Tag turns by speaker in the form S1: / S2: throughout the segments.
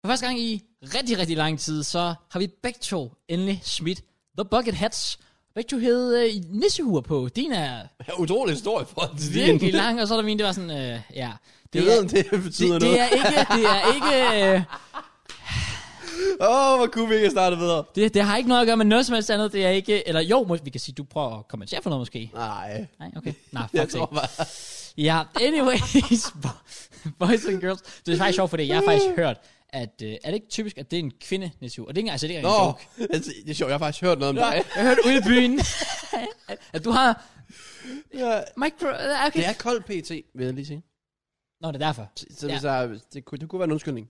S1: For første gang i rigtig, rigtig lang tid, så har vi begge to endelig smidt The Bucket Hats. Begge to hed øh, nissehuer på. Din er
S2: Altså, Utrolig stor for det.
S1: virkelig lang, og så er der min, det var sådan, øh, ja.
S2: Jeg
S1: er,
S2: ved, om det betyder
S1: det,
S2: noget.
S1: det er ikke, det er ikke, øh,
S2: Åh, hvor kunne vi ikke have startet videre.
S1: det, det har ikke noget at gøre med noget som helst andet. Det er ikke, eller jo, må, vi kan sige, du prøver at kommentere for noget måske.
S2: Nej.
S1: Nej, okay. Nej, fuck
S2: Jeg
S1: det.
S2: tror bare...
S1: Ja, anyways, bo- boys and girls. Det er faktisk sjovt, fordi jeg har
S2: Mm.
S1: faktisk hørt, at øh, er det ikke typisk, at det er en kvinde, Nisu? Og det er ikke engang, altså, det er ikke
S2: Nå,
S1: engang en joke.
S2: altså, det er sjovt, jeg har faktisk hørt noget om dig.
S1: Jeg har hørt ude i byen, at- at du har
S2: Ja.
S1: micro... Okay.
S2: Det er koldt pt, vil jeg lige sige.
S1: Nå, det er derfor.
S2: Så- Så hvis jeg, det, kunne, det kunne være en undskyldning.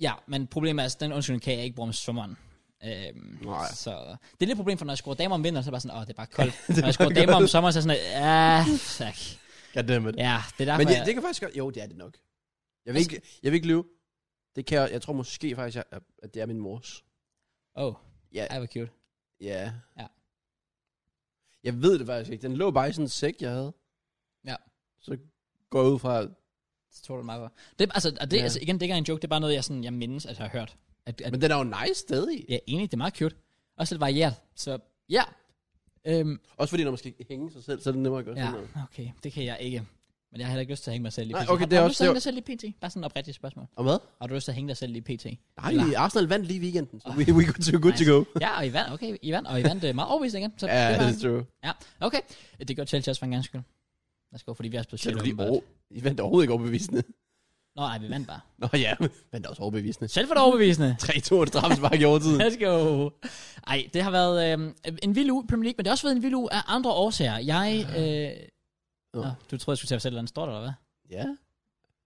S1: Ja, men problemet er, at den undskyldning kan jeg ikke bruge om sommeren. Øhm,
S2: Nej.
S1: Så det er lidt et problem, for når jeg skruer damer om vinteren, så er det bare sådan, åh, det er bare koldt. når jeg skruer damer om sommeren, så er jeg sådan, ja, fuck.
S2: Goddammit. Ja,
S1: Ja, det er derfor,
S2: Men det,
S1: jeg- Altså-
S2: det kan faktisk godt... Jo, det er det nok. Jeg vil ikke, jeg vil ikke lyve. Det kan jeg, jeg tror måske faktisk, jeg, at det er min mors.
S1: Åh,
S2: Ja,
S1: ej, hvor cute.
S2: ja.
S1: Ja.
S2: Jeg ved det faktisk ikke. Den lå bare i sådan en sæk, jeg havde.
S1: Ja.
S2: Så går jeg ud fra...
S1: Det tror du meget for. Det, altså, og det,
S2: Ja.
S1: ja. altså, igen, det er ikke engang en joke, det er bare noget, jeg, sådan, jeg mindes, at jeg har hørt. At, at
S2: Men den er jo nice stadig.
S1: Ja, egentlig, det er meget cute. Også lidt varieret. Så ja. Øhm,
S2: Også fordi, når man skal hænge sig selv, så er det nemmere at gøre
S1: ja,
S2: sådan noget.
S1: okay, det kan jeg ikke. Men jeg har heller ikke lyst til at hænge mig selv lige
S2: Nej,
S1: pt.
S2: okay,
S1: har,
S2: det er
S1: har du
S2: også-
S1: lyst til at
S2: det
S1: hænge
S2: er-
S1: dig selv lige pt? Bare sådan et oprigtigt spørgsmål.
S2: Og hvad?
S1: Har du lyst til at hænge dig selv lige pt?
S2: Nej,
S1: Eller-
S2: Arsenal vandt lige i weekenden,
S1: Ah.
S2: så we, we good to, good to go.
S1: Ja, og I vandt, okay, I vandt, og I vandt øh, meget overbevisende igen. Så
S2: Ja,
S1: det
S2: det
S1: var,
S2: er true.
S1: ja, okay. Det gør Chelsea også for en gangs skyld. Lad os gå, fordi vi har spillet
S2: Kan du
S1: Chelsea.
S2: lige
S1: åbenbart.
S2: over? I vandt overhovedet ikke overbevisende.
S1: Nå, nej, vi vandt bare.
S2: Nå ja, vandt også overbevisende.
S1: Selv for det overbevisende.
S2: 3-2 et straffespark i overtiden.
S1: Let's go. Ej, det har været øh, en vild uge i Premier League, men det har også været en vild uge af andre årsager. Jeg, øh,
S2: Nå.
S1: nå, du troede, jeg skulle til at fortælle, hvordan det står der, eller hvad?
S2: Ja,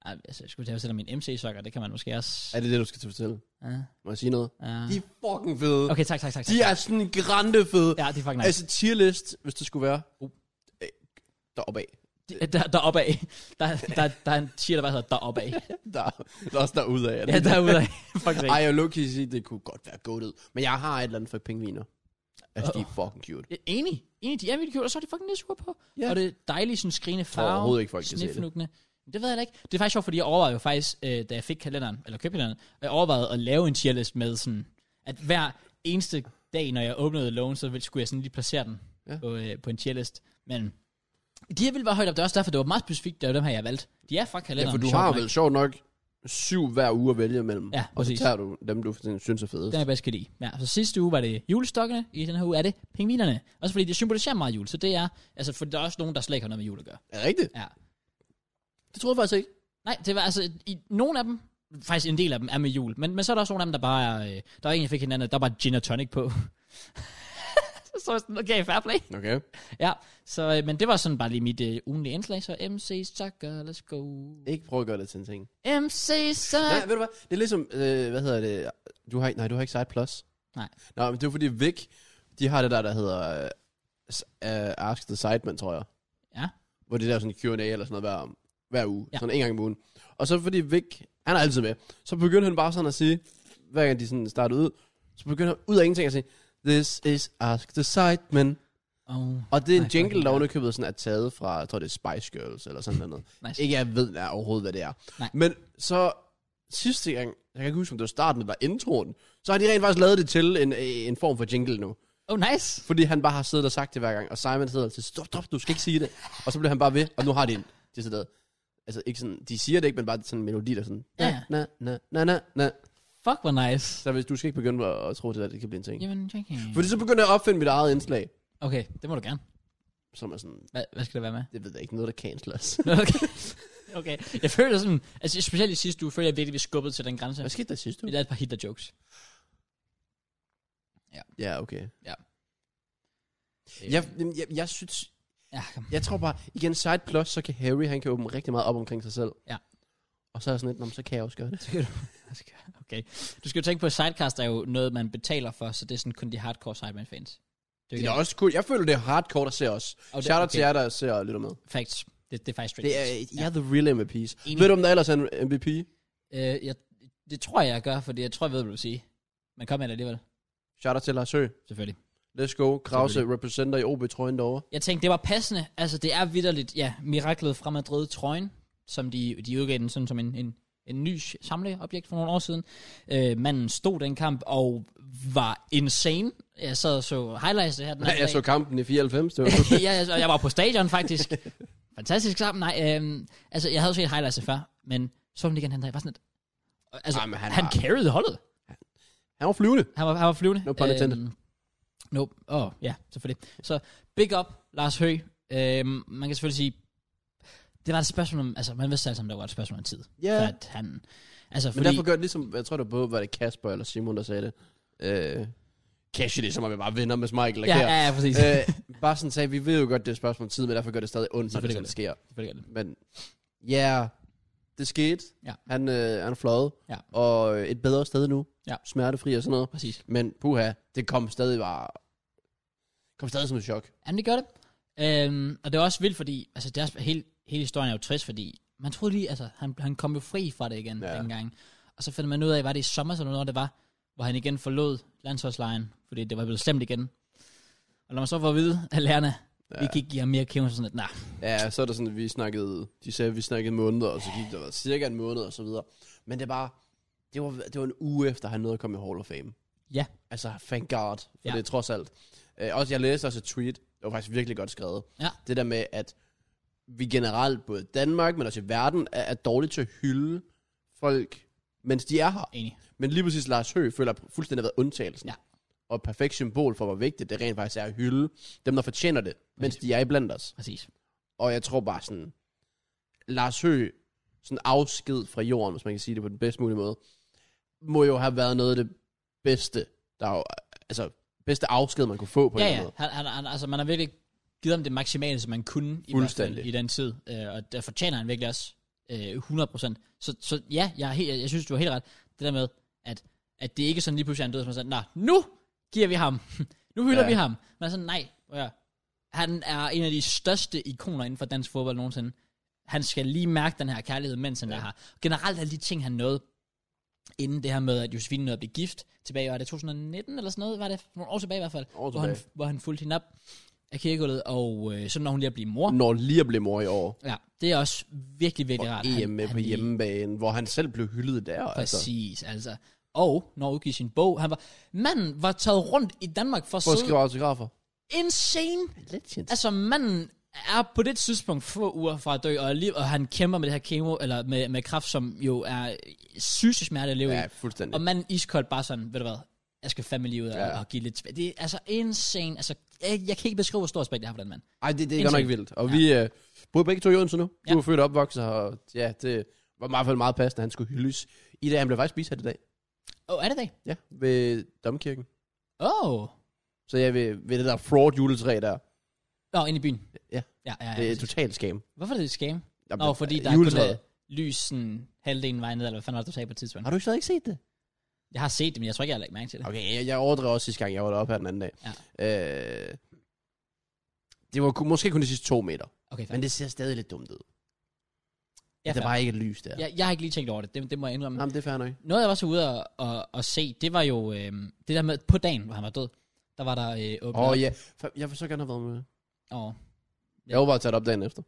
S1: Ej, altså, jeg skulle til at fortælle om min MC-sokker, det kan man måske også...
S2: er det det, du skal til at fortælle?
S1: Ja,
S2: Må jeg sige noget?
S1: ja.
S2: De er fucking fede.
S1: Ah. Okay, tak, tak, tak.
S2: De
S1: tak.
S2: er sådan grande fede.
S1: Ja, det er fucking nice.
S2: Altså tier list, hvis det skulle være. Uh, øh, deroppe af. Øh,
S1: De- Der, der er opad. Der, der, der er en tier, der bare hedder, der er opad.
S2: Der, der er også derude af.
S1: Ja, der er ude af. Fuck det.
S2: Ej, jeg vil lukke sige, det kunne godt være goated. Men jeg har et eller andet for pingviner. Altså, de er fucking cute.
S1: Jeg er Enig. Enig, de er vildt cute, og så er de fucking nissure på.
S2: Ja.
S1: Og det er dejligt sådan skrigende
S2: tror
S1: farve.
S2: overhovedet ikke, folk kan se det.
S1: snefnukkende. Det ved jeg da ikke. Det er faktisk sjovt, fordi jeg overvejede jo faktisk, øh, da jeg fik kalenderen, eller købte kalenderen, jeg overvejede at lave en tierlist med sådan, at hver eneste dag, når jeg åbnede loven, så ville- skulle jeg sådan lige placere den
S2: Ja.
S1: ja. på, øh, på en tierlist. Men de her ville være højt op. Det er også derfor, det var meget specifikt, det var dem her, jeg valgte. De er fra
S2: Ja,
S1: kalenderen.
S2: for du
S1: sjovt
S2: har
S1: nok.
S2: vel sjovt nok syv hver uge at vælge imellem.
S1: Ja,
S2: og så
S1: præcis.
S2: tager du dem, du sådan synes er fedest.
S1: Den er jeg bedst kan lide. Ja, så sidste uge var det julestokkene, i den her uge er det pingvinerne. Også fordi det symboliserer meget jul, så det er, altså for der er også nogen, der slet ikke har noget med jul at gøre.
S2: Er det rigtigt?
S1: Ja.
S2: Det troede jeg faktisk ikke.
S1: Nej, det var altså, i, nogle af dem, faktisk en del af dem, er med jul. Men, men så er der også nogle af dem, der bare er, øh, der var en, jeg fik hinanden, der var gin og tonic på. så var jeg sådan, okay, fair play.
S2: Okay.
S1: Ja, så, øh, men det var sådan bare lige mit øh, ugenlige indslag, så MC Sucker, let's go.
S2: Ikke prøve at gøre det til en ting.
S1: MC
S2: Nej,
S1: Sucker.
S2: ved du hvad? Det er ligesom, øh, hvad hedder det? Du har, ikke- nej, du har ikke Side Plus.
S1: Nej.
S2: Nå, men det er jo fordi Vic, de har det der, der hedder øh, s- øh, Ask the Sideman, tror jeg.
S1: Ja.
S2: Hvor det der er sådan en Q&A eller sådan noget hver, hver uge.
S1: Ja.
S2: Ja. Sådan en gang om ugen. Og så fordi Vic, han er altid med, så begyndte han bare sådan at sige, hver gang de sådan startede ud, så begyndte han ud af ingenting at sige, This is Ask the Sideman.
S1: Oh,
S2: Og det er en
S1: Nej,
S2: Ej, jingle,
S1: fucking
S2: der
S1: ja.
S2: underkøbet sådan er taget fra, jeg tror det er Spice Girls eller sådan noget.
S1: nice.
S2: Ikke jeg ved jeg overhovedet, hvad det er.
S1: Nej.
S2: Men så sidste gang, jeg kan ikke huske, om det var starten eller introen, så har de rent faktisk lavet det til en, øh, en form for jingle nu.
S1: Oh, nice.
S2: Fordi han bare har siddet og sagt det hver gang, og Simon sidder altid, stop, stop, du skal ikke sige det. Og så bliver han bare ved, og nu har de en, det sådan, altså ikke sådan, de siger det ikke, men bare sådan en melodi, der sådan, na,
S1: Ja.
S2: na, na, na, na, na.
S1: Fuck, hvor nice.
S2: Så hvis du skal ikke begynde at, at tro til, at det kan blive en ting.
S1: Jamen, thank you.
S2: Fordi så begynder jeg at opfinde mit eget indslag,
S1: Okay, det må du gerne.
S2: som er sådan,
S1: Hvad, hvad skal det være med?
S2: det ved jeg ikke, noget der canceles.
S1: Okay. okay. Jeg føler sådan, altså specielt i sidste uge, føler jeg virkelig, vi skubbede til den grænse.
S2: Hvad skete der sidste
S1: Vi
S2: uge?
S1: lavede et par Hitler jokes.
S2: Ja, okay.
S1: Øh,
S2: Jeg, jeg, jeg synes,
S1: ja, kom.
S2: Jeg tror bare, igen, side plus, så kan Harry, han kan åbne rigtig meget op omkring sig selv.
S1: Ja.
S2: Og så er jeg sådan lidt, "Nå, men så kan jeg også gøre det.
S1: Okay. Du skal jo tænke på, at sidecast er jo noget, man betaler for, så det er sådan kun de hardcore Sideman fans. Det
S2: Det
S1: ikke-
S2: er også cool. Jeg føler, det er hardcore, der ser os.
S1: Og det-
S2: Shout out
S1: okay.
S2: til jer, der ser og lytter med.
S1: Facts. Det, det er faktisk
S2: Det
S1: straight
S2: er,
S1: facts.
S2: jeg er the real MVP's.
S1: Enig.
S2: Ved du, om der ellers er en MVP?
S1: Øh, jeg, det tror jeg, jeg gør, fordi jeg tror, jeg ved, hvad du vil sige. Men kom med det alligevel,
S2: Shout out til Lars Høgh.
S1: selvfølgelig.
S2: Let's go. Krause representer i OB-trøjen derovre.
S1: Jeg tænkte, det var passende. Altså, det er vidderligt, ja, miraklet fra Madrid-trøjen, som de, de udgav den sådan som en, en, en ny samleobjekt for nogle år siden. Øh, manden stod den kamp og var insane. Jeg sad og så highlights det her den
S2: Nej, jeg så kampen i 94, det var.
S1: ja, jeg, jeg var på stadion faktisk. Fantastisk sammen. Nej, øhm, altså, jeg havde set highlights af før, men så den igen, han var sådan et... Altså,
S2: Jamen, han
S1: han, han
S2: var-
S1: carried holdet.
S2: Han var flyvende.
S1: Han var, han var flyvende.
S2: No pun intended.
S1: Øhm, Nope. Åh, oh, ja, selvfølgelig. Så big up, Lars Høgh. Øhm, man kan selvfølgelig sige, det var et spørgsmål om, altså man vidste altså, om der var et spørgsmål om tid.
S2: Ja.
S1: For at han, altså
S2: Men
S1: fordi,
S2: derfor gør det ligesom, jeg tror det var både, var det Kasper eller Simon, der sagde det. Øh, cash det, som om vi bare vinder med Michael.
S1: ja, ja, ja, præcis. Øh,
S2: øh, bare sådan sagde, vi ved jo godt, det er et spørgsmål om tid, men derfor gør det stadig ondt, når det
S1: Selvfølgelig
S2: sådan sker.
S1: selvfølgelig.
S2: Men ja, yeah, det skete.
S1: Ja.
S2: Han, øh, han fløjede.
S1: Ja.
S2: Og øh, et bedre sted nu.
S1: Ja.
S2: Smertefri og sådan noget.
S1: Præcis.
S2: Men puha, det kom stadig bare... kom stadig som et chok.
S1: Jamen, det gør det. Øhm, og det er også vildt, fordi altså, deres, hele, hele historien er jo trist, fordi man troede lige, altså, han, han kom jo fri fra det igen
S2: Ja.
S1: ja. dengang. Og så finder man ud af, var det i sommer, eller noget, det var, hvor han igen forlod landsholdslejen, fordi det var blevet stemt igen. Og når man så får at vide af lærerne, ja. vi kan ikke give ham mere kæmpe, så sådan lidt, nej,
S2: Ja, så er der sådan, at vi snakkede... De sagde, at vi snakkede måneder, og så gik der cirka en måned og så videre. Men det er bare... Det var, det var en uge efter, han nåede at komme i Hall of Fame.
S1: Ja.
S2: Altså, thank God, for ja.
S1: Ja.
S2: det er trods alt. Øh, også, jeg læste også et tweet, det var faktisk virkelig godt skrevet.
S1: Ja.
S2: Det der med, at vi generelt, både i Danmark, men også i verden, er, er dårlige til at hylde folk, mens de er her.
S1: enig.
S2: Men lige præcis Lars Høgh føler fuldstændig været undtagelsen.
S1: Ja.
S2: Og perfekt symbol for, hvor vigtigt det rent faktisk er at hylde dem, der fortjener det, mens de er iblandt os.
S1: Præcis.
S2: Og jeg tror bare sådan, Lars Høgh, sådan afsked fra jorden, hvis man kan sige det på den bedst mulige måde, må jo have været noget af det bedste, der er jo, altså bedste afsked, man kunne få på en
S1: Ja,
S2: eller anden
S1: ja. Han, han, han, altså, man har virkelig givet ham det maksimale, som man kunne i, hvert fald,
S2: Fuldstændig.
S1: i den tid. Øh, og der fortjener han virkelig også øh, 100%. Så, så ja, jeg, er helt, jeg, jeg synes, du har helt ret. Det der med, at, at det ikke er sådan lige pludselig, han døde, som sådan, nej, nu giver vi ham. nu hylder
S2: Ja.
S1: ja. vi ham. Men sådan, nej, ja. han er en af de største ikoner inden for dansk fodbold nogensinde. Han skal lige mærke den her kærlighed, mens han ja. er her. Generelt alle de ting, han nåede, inden det her med, at Josefine nåede at blive gift tilbage, var det 2019 eller sådan noget, var det nogle år tilbage i hvert fald,
S2: År
S1: hvor, han,
S2: tilbage.
S1: hvor han fulgte hende op af kirkegulvet, og øh, så når hun lige at blive mor.
S2: måde. Når lige at blive mor i år,
S1: Ja, det er også virkelig,
S2: og
S1: virkelig rart. at
S2: EM med på
S1: lige-
S2: hjemmebane, hvor han selv blev hyldet der. Altså.
S1: Præcis, altså. Og når han udgav sin bog, han var, manden var taget rundt i Danmark for,
S2: For
S1: for
S2: at
S1: at sidde
S2: skrive autografer.
S1: insane.
S2: Legend.
S1: Altså, manden er på det tidspunkt få uger fra at dø, og, lige, og han kæmper med det her kemo, eller med, med kraft, som jo er syge smerte at leve
S2: Ja,
S1: ja. i.
S2: fuldstændig.
S1: Og manden iskoldt bare sådan, ved du hvad, jeg skal fandme lige ud og,
S2: Ja.
S1: ja. og give lidt tilbage. Det er altså insane. Altså, jeg, jeg kan ikke beskrive, hvor stor respekt jeg har for den mand.
S2: Ej, det, det er
S1: Indsigt.
S2: godt nok vildt. Og ja. vi øh, bor begge to i Odense nu. Du
S1: Ja.
S2: er født og opvokset, og ja, det var i hvert fald meget passende, at han skulle hyldes i dag. Han blev faktisk bisat i dag.
S1: Åh, oh, er det det?
S2: Ja, ved Domkirken.
S1: Åh. Oh.
S2: Så ja, ved, ved det der fraud juletræ der.
S1: Nå, inde i byen.
S2: Ja.
S1: Ja, ja, ja.
S2: Det er
S1: præcis.
S2: totalt scam.
S1: Hvorfor er det et scam?
S2: Jamen, øh,
S1: Nå, fordi der er kun
S2: juletræet.
S1: noget lys sådan halvdelen vej ned, eller hvad fanden var det, du sagde på et tidspunkt?
S2: Har du stadig ikke set det?
S1: Jeg har set det, men jeg tror ikke, jeg har lagt mærke til det.
S2: Okay, jeg, jeg overdrev også sidste gang, jeg var deroppe her den anden dag. Ja. Øh, det var ku- måske kun de sidste to meter,
S1: Okay,
S2: men
S1: fanden.
S2: det ser stadig lidt dumt ud.
S1: Ja,
S2: Ja, der
S1: fair.
S2: var ikke et lys der. Ja.
S1: jeg, jeg har ikke lige tænkt over det, det, det må jeg indrømme.
S2: Jamen, det er fair nok.
S1: Noget, jeg var så ude og, og, og se, det var jo øh, det der med, på dagen, hvor han var død, der var der øh, åbnet.
S2: Åh oh,
S1: op-
S2: ja, Fa- jeg vil så gerne have været med.
S1: Åh.
S2: Jeg var bare taget op dagen efter.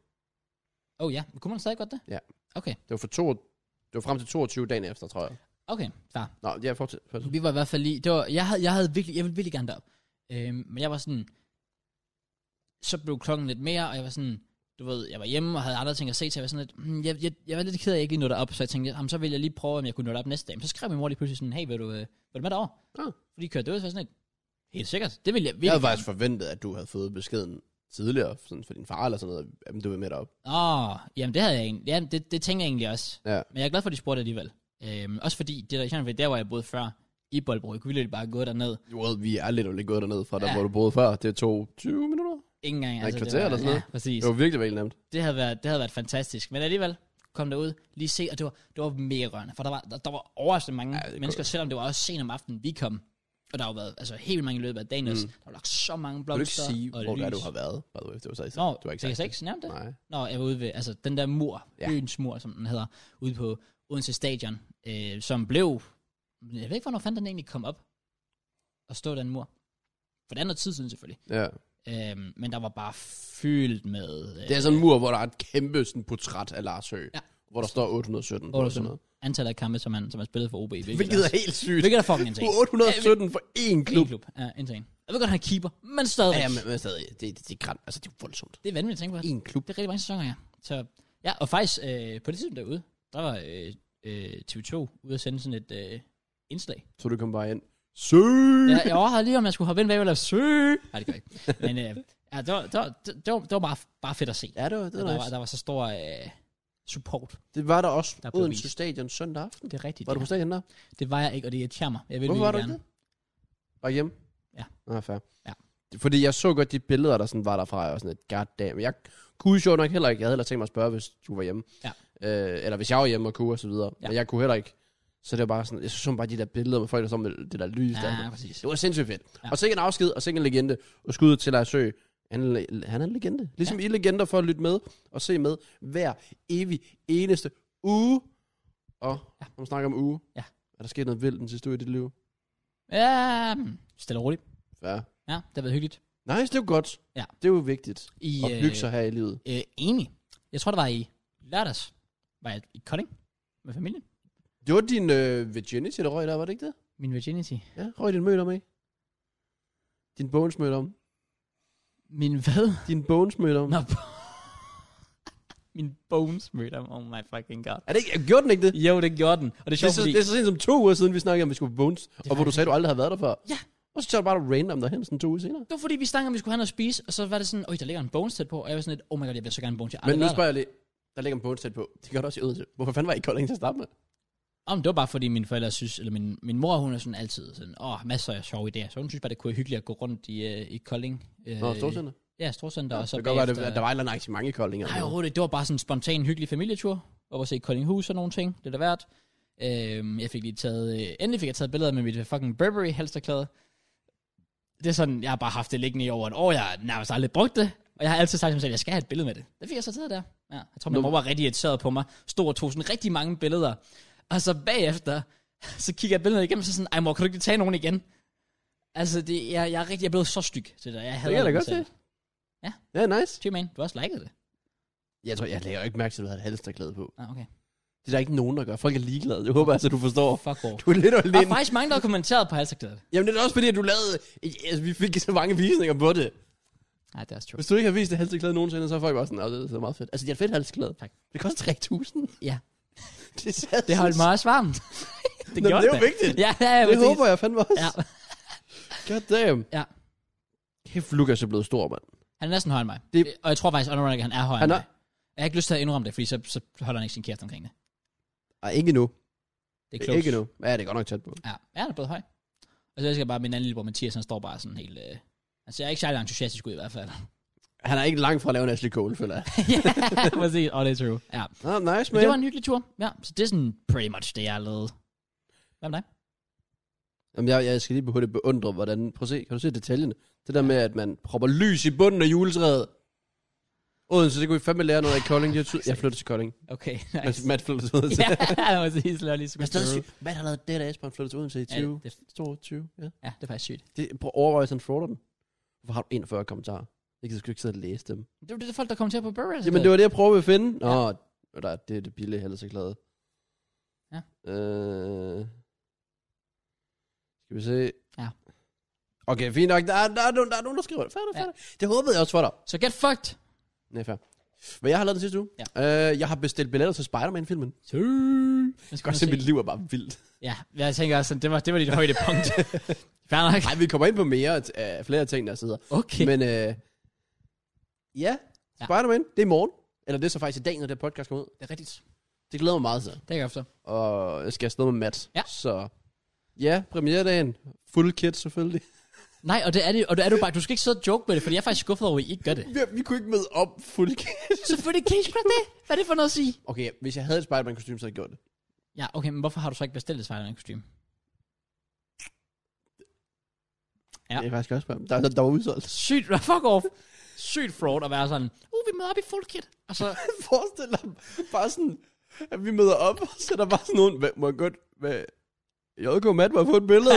S1: Åh, ja, kunne man stadig godt det?
S2: Ja.
S1: Okay,
S2: Det var, for to, det var frem til 22 dagen efter, tror jeg.
S1: okay, fair.
S2: Nå, ja, fortsæt. fortsæt.
S1: Vi var i hvert fald lige, det var, jeg, havde, jeg, havde virkelig, jeg ville virkelig gerne derop. Øhm, men jeg var sådan, så blev klokken lidt mere, og jeg var sådan, du ved, jeg var hjemme og havde andre ting at se til, jeg var sådan lidt, hmm, jeg, jeg, jeg var lidt ked af, at jeg ikke lige nåede op, så jeg tænkte, jamen, så ville jeg lige prøve, om jeg kunne nå op næste dag. Men så skrev min mor lige pludselig sådan, hey, vil du, øh, vil du med derover?
S2: Ah.
S1: Fordi kørte det ud, så var jeg sådan lidt, helt sikkert, det ville jeg
S2: Jeg
S1: virkelig.
S2: havde faktisk forventet, at du havde fået beskeden tidligere, sådan for din far eller sådan noget, at du var med derop.
S1: Åh, oh, jamen det havde jeg egentlig, jamen, det, det tænkte jeg egentlig også.
S2: Ja.
S1: Men jeg er glad for, at de spurgte alligevel. Øhm, også fordi, det der, jeg ved, der hvor jeg boede før, i Boldbro, jeg kunne virkelig bare gå derned.
S2: Well, vi er lidt og lidt gået derned fra der,
S1: Ja.
S2: hvor du boede før. Det tog 20 minutter.
S1: Ingen gang. altså,
S2: et kvarter
S1: det var,
S2: eller sådan noget.
S1: Ja, præcis.
S2: Det var virkelig virkelig nemt.
S1: det havde været, det havde været fantastisk. Men alligevel kom derud, lige se, og det var, det var mega rørende, for der var, der, der var overraskende mange
S2: Ja, det
S1: ja,
S2: kunne-
S1: mennesker, selvom det var også sent om aftenen, vi kom. Og der har jo været altså, helt vildt mange i løbet af dagen mm. også. Der var lagt så mange
S2: Kan du
S1: blomster
S2: ikke sige,
S1: og
S2: hvor
S1: lys.
S2: der du har været? By the way, det var så ikke
S1: Nå,
S2: du har
S1: ikke jeg ikke nævne det.
S2: Nej.
S1: Nå, jeg var ude ved, altså den der mur,
S2: Ja.
S1: ja. øens mur, som den hedder, ude på Odense Stadion, øh, som blev, jeg ved ikke, hvornår fanden den egentlig kom op og stå den mur. For det er noget tid siden selvfølgelig.
S2: Ja.
S1: Øh, men der var bare fyldt med... Øh,
S2: Det er sådan en mur, hvor der er et kæmpe sådan, portræt af Lars Høgh.
S1: Ja.
S2: hvor der står 817. på, eller sådan noget.
S1: Antallet af kampe, som han, som han spillede for OB. Hvilket,
S2: Hvilket
S1: er,
S2: er helt sygt.
S1: hvilket er fucking insane.
S2: 817 for én
S1: Klub.
S2: klub.
S1: klub. Ja, insane. Jeg ved godt, han er keeper, men stadigvæk.
S2: Ja, men, men stadig, det, det, det er grimt. Altså, det er voldsomt.
S1: Det er vanvittigt at tænke på.
S2: En klub.
S1: Det er rigtig mange sæsoner, ja. Så, ja, og faktisk øh, på det tidspunkt derude, der var øh, øh, TV2 ude at sende sådan et øh, indslag.
S2: Så du kom bare ind. Søg!
S1: Jeg, jeg overvejede lige, om jeg skulle hoppe ind bag og lave sø. Nej, det gør jeg ikke. Men øh, ja, det, var, det, var, det, var, det var bare, bare fedt at se.
S2: Ja, det var, det
S1: der,
S2: var
S1: var,
S2: nice.
S1: der var så stor øh, support.
S2: Det var der også
S1: Der blev
S2: Odense
S1: vist.
S2: Stadion søndag aften.
S1: Det er rigtigt.
S2: Var du
S1: ja.
S2: på stadion der?
S1: Det var jeg ikke, og det irriterer mig. Jeg vil
S2: Hvorfor var du
S1: virkelig
S2: ikke
S1: gerne.
S2: det? Var hjemme?
S1: Ja.
S2: Nå, fair.
S1: Ja.
S2: Fordi jeg så godt de billeder, der sådan var derfra, og jeg var sådan et goddamn. Jeg kunne jo nok heller ikke, jeg havde heller tænkt mig at spørge, hvis du var hjemme.
S1: Ja.
S2: Øh, eller hvis jeg var hjemme og kunne, og så videre.
S1: Ja.
S2: Ja. Men jeg kunne heller ikke. Så det var bare sådan, jeg så bare de der billeder med folk, der så med det der lys. Ja.
S1: Ja,
S2: Der.
S1: præcis.
S2: Det var sindssygt fedt.
S1: Ja.
S2: Ja. Og så ikke en afsked, og så ikke en legende. Og skud til Lars Sø. Han er, en le- han er en legende. Ligesom ja. I er legender for at lytte med og se med hver evig eneste uge. Og ja. når man snakker om uge,
S1: Ja.
S2: er der sket noget vildt den sidste uge i dit liv?
S1: Ja, mm, stille og roligt.
S2: Ja.
S1: Ja, det har været hyggeligt.
S2: Nice, det er jo godt.
S1: Ja.
S2: Det er jo vigtigt
S1: I,
S2: at hygge sig her i livet.
S1: Øh, øh, enig. Jeg tror, det var i lørdags. Var jeg i Kolding med familien.
S2: Det var din øh, virginity, der røg der, var det ikke det?
S1: Min virginity.
S2: Ja, røg din møde om, ikke? Din bones møde om.
S1: Min hvad?
S2: Din bones møde om.
S1: Nå, bo- Min bones mødte ham. Oh my fucking god.
S2: Er det ikke, gjorde den ikke det?
S1: Jo, det gjorde den. Og det er
S2: Det er,
S1: sjovt,
S2: så,
S1: fordi...
S2: det er så sent som to uger siden, vi snakkede om, at vi skulle på bones. Og hvor du
S1: faktisk-
S2: sagde, at du aldrig havde været der før.
S1: Ja.
S2: Og så tager du bare random derhen sådan to uger senere.
S1: Det var fordi, vi snakkede om, vi skulle have noget at spise, og så var det sådan, øj, der ligger en bones tæt på, og jeg var sådan lidt, oh my god, jeg vil så gerne en bones, jeg har
S2: Men
S1: aldrig
S2: nu
S1: været
S2: spørger jeg lige, der ligger en bones tæt på. Det gør der også i Odense. Hvorfor fanden var I ikke Kolding til at starte med?
S1: der." Om det var bare fordi, mine forældre synes, eller min, min mor, hun er sådan altid sådan, åh, oh, masser af sjove idéer, så hun synes bare, det kunne være hyggeligt at gå rundt i, øh, i Kolding. Øh,
S2: Nå, Storcenter.
S1: Ja, Storcenter, og
S2: Så
S1: så
S2: det kan godt være,
S1: bagefter-
S2: at der var et eller andet arrangement i Kolding. eller
S1: Nej,
S2: noget.
S1: overhovedet ikke. Det var bare sådan en spontan, hyggelig familietur. Og at se Koldinghus og nogle ting. Det er da værd. Øhm, jeg fik lige taget... Øh, endelig fik jeg taget billeder med mit fucking Burberry halsterklæde. Det er sådan, jeg har bare haft det liggende i over et år. Jeg har nærmest aldrig brugt det. Og jeg har altid sagt til mig selv, at jeg skal have et billede med det. Det fik jeg så taget der. Ja, jeg tror, min
S2: Nu-
S1: mor var rigtig irriteret på mig. Stod og tog sådan rigtig mange billeder. Og så bagefter, så kigger jeg billederne igennem, og så sådan, ej mor, kan du ikke lige tage nogen igen? Altså, det, jeg, jeg, er rigtig, jeg er blevet så styg til det. Jeg
S2: Det kan jeg da
S1: mig
S2: godt se.
S1: selv. Ja.
S2: Ja, nice.
S1: Ty, man, du har også liket det.
S2: Jeg tror, jeg lægger ikke mærke til, at du havde et halsterklæde på.
S1: Ah, okay.
S2: Det er der ikke nogen, der gør. Folk er ligeglade. Jeg håber altså, du forstår.
S1: Ah, Fuck, hvor.
S2: Du er lidt
S1: Der er
S2: alene.
S1: faktisk mange, der har kommenteret på halserklædet.
S2: Jamen, det er også fordi, at du lavede... Altså, vi fik så mange visninger på det.
S1: Nej, det er også true.
S2: Hvis du ikke har vist det halsklæde nogensinde, så er folk bare sådan, "Nå, det er så meget fedt. Altså, det er et fedt halsklæde.
S1: Tak.
S2: Det koster 3.000.
S1: Ja.
S2: Det, er sat-
S1: Det holdt mig også varmt. det
S2: Nå,
S1: gjorde
S2: det er jo
S1: da.
S2: vigtigt.
S1: Ja, ja, ja,
S2: det
S1: præcis.
S2: håber jeg fandme også.
S1: Ja.
S2: God damn.
S1: Ja.
S2: Kæft, Lukas er blevet stor, mand.
S1: Han er næsten højere end mig. Det...
S2: Det-
S1: Og jeg tror faktisk, at han er højere
S2: Han
S1: end
S2: er-
S1: mig. Jeg har ikke lyst til at indrømme det, fordi så, så holder han ikke sin kæreste omkring det.
S2: Ej, ikke nu.
S1: Det er close.
S2: Ikke nu. Ja, det er godt nok tæt på.
S1: Ja, ja han er blevet høj. Og så elsker jeg bare, at min anden lillebror Mathias, han står bare sådan helt... Øh... Han ser ikke særlig entusiastisk ud i hvert fald.
S2: Han er ikke langt fra at lave en Ashley Cole, føler jeg.
S1: ja, præcis. Og det er true. Ja.
S2: Nå,
S1: Men
S2: nice, man.
S1: det var en hyggelig tur. Ja, så det er sådan pretty much det, jeg har lavet. Hvad med dig?
S2: Jamen, jeg, jeg skal lige på det beundre, hvordan... Prøv at se, kan du se detaljen? Det der med, at man propper lys i bunden af juletræet. Odense, det kunne vi fandme lære noget af i Kolding. Jeg, jeg flyttede til Kolding.
S1: Okay,
S2: Mads,
S1: nice.
S2: Matt flyttede til Odense.
S1: ja, præcis. Lad os lige
S2: Men
S1: skulle
S2: stadig sygt. Matt har lavet det der Esbjørn flyttet til Odense i
S1: Ja,
S2: 20.
S1: det,
S2: Ja, 22, ja.
S1: ja, det er faktisk sygt.
S2: Det, prøv at overveje, at han frauder den. Hvorfor har du 41 kommentarer? Jeg kan sgu ikke sidde og læse dem.
S1: Det var det, Altså, det folk, der kommenterer på Burberry.
S2: Jamen, det var det, jeg prøvede at finde. Nå, ja. der, det er det billige heller så glad.
S1: Ja.
S2: Øh, skal vi se.
S1: Ja.
S2: Okay, fint nok. Der, er- der, er, nogen- der er nogen, der skriver det. Færdig,
S1: Ja.
S2: færdig. Det håbede jeg også for dig.
S1: Så get fucked.
S2: Nej, fair. Hvad jeg har lavet den sidste uge?
S1: Ja.
S2: Øh, jeg har bestilt billetter til Spider-Man-filmen. Det
S1: Jeg skal
S2: kan godt se, mit liv er bare vildt.
S1: Ja, jeg tænker også, sådan, det var, det var dit højdepunkt. Fair nok.
S2: Nej, vi kommer ind på mere øh, flere ting, der sidder.
S1: Okay. Men,
S2: Men øh, ja,
S1: Ja.
S2: Spider-Man, det er i morgen. Eller det er så faktisk i dag, når det her podcast kommer ud.
S1: det er rigtigt.
S2: Det glæder mig meget til.
S1: Det kan jeg forstå.
S2: og jeg skal afsted med Matt.
S1: Ja.
S2: Så ja, premieredagen. Fuld kit selvfølgelig.
S1: Nej, og det er det, og det er du bare. Du skal ikke sidde og joke med det, for jeg er faktisk skuffet over, at I ikke gør det.
S2: Vi, vi kunne ikke møde op fuld kit.
S1: Selvfølgelig kan I ikke gøre det. Hvad er det for noget at sige?
S2: Okay, hvis jeg havde et spider kostume så havde jeg gjort det.
S1: Ja, okay, men hvorfor har du så ikke bestilt et spider kostume? Ja.
S2: Det er faktisk også Spider-Man. Der, der, der var udsolgt.
S1: Sygt, fuck off. Sygt fraud at være sådan, uh, vi møder op i full kit. Og så,
S2: Forestil dig bare sådan, at vi møder op, og så er der bare sådan nogen, "Hvad- må jeg godt, hvad, JK og Matt, må jeg få et billede?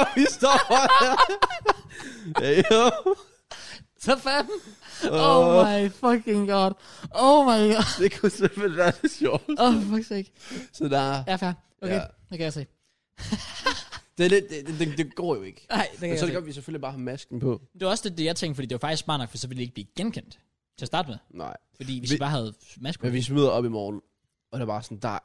S2: og vi står bare der. Ja, jo.
S1: så fanden. Oh my fucking god. Oh my god.
S2: Det kunne selvfølgelig være lidt sjovt.
S1: Oh, fuck sake.
S2: Så der,
S1: Jeg er færdig. Okay,
S2: Ja.
S1: det kan jeg se.
S2: det, er lidt, det, det, det, går jo ikke.
S1: Nej, det kan
S2: Men
S1: jeg
S2: så er
S1: se.
S2: det godt, at vi selvfølgelig bare har masken på.
S1: Det var også det, det, jeg tænkte, fordi det var faktisk smart nok, for så ville det ikke blive genkendt til at starte med.
S2: Nej.
S1: Fordi hvis vi,
S2: Vi-
S1: bare havde masker på.
S2: Men vi smider op i morgen, og der var sådan, der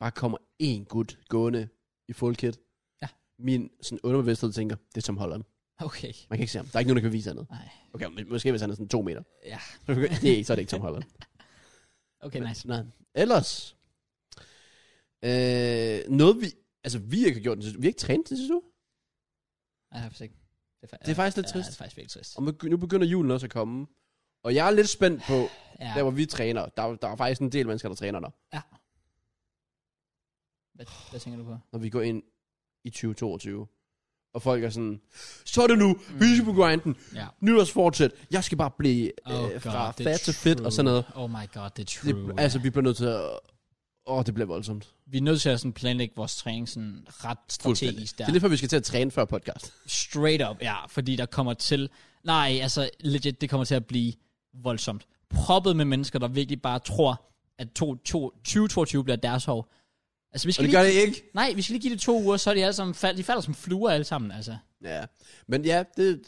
S2: bare kommer én gut gående i full kit.
S1: Ja.
S2: Min sådan underbevidsthed tænker, det er Tom Holland.
S1: Okay.
S2: Man kan ikke se ham. Der er ikke nogen, der kan vise andet.
S1: Nej.
S2: Okay, men måske hvis han er sådan to meter.
S1: Ja.
S2: Så kan- det er, ikke- så er det ikke Tom Holland.
S1: Okay, nice.
S2: Nej. Ellers, øh, noget vi, altså vi ikke har gjort, den sidste- vi har ikke trænet den sidste uge.
S1: Jeg har faktisk ikke. Det er, fa-
S2: Det er faktisk lidt
S1: ja,
S2: trist.
S1: det er faktisk virkelig trist.
S2: Og nu begynder julen også at komme. Og jeg er lidt spændt på,
S1: Ja.
S2: der hvor vi træner. Der, der er faktisk en del mennesker, der træner der,
S1: Hvad, hvad tænker du på?
S2: når vi går ind i 2022. Og folk er sådan, så er det nu, vi skal på grinden,
S1: Mm. Ja.
S2: nytårsfortsæt, jeg skal bare blive oh, øh, fra
S1: det er
S2: fat til fedt og sådan noget.
S1: true. Oh my god, det er true.
S2: Det, altså, vi bliver nødt til at... Åh, det bliver voldsomt.
S1: vi er nødt til at sådan planlægge vores træning sådan ret
S2: Fuldstændig.
S1: strategisk
S2: Det
S1: der.
S2: er lidt for, vi skal til at træne før podcast.
S1: Straight up, ja. Fordi der kommer til... Nej, altså legit, det kommer til at blive voldsomt. Proppet med mennesker, der virkelig bare tror, at to- to- 2022 bliver deres år. Altså, vi
S2: Og
S1: skal
S2: det
S1: lige,
S2: gør det ikke.
S1: Nej, vi skal lige give det to uger, så er de alle sammen fald, de falder som fluer alle sammen, altså.
S2: Ja. Men ja, det...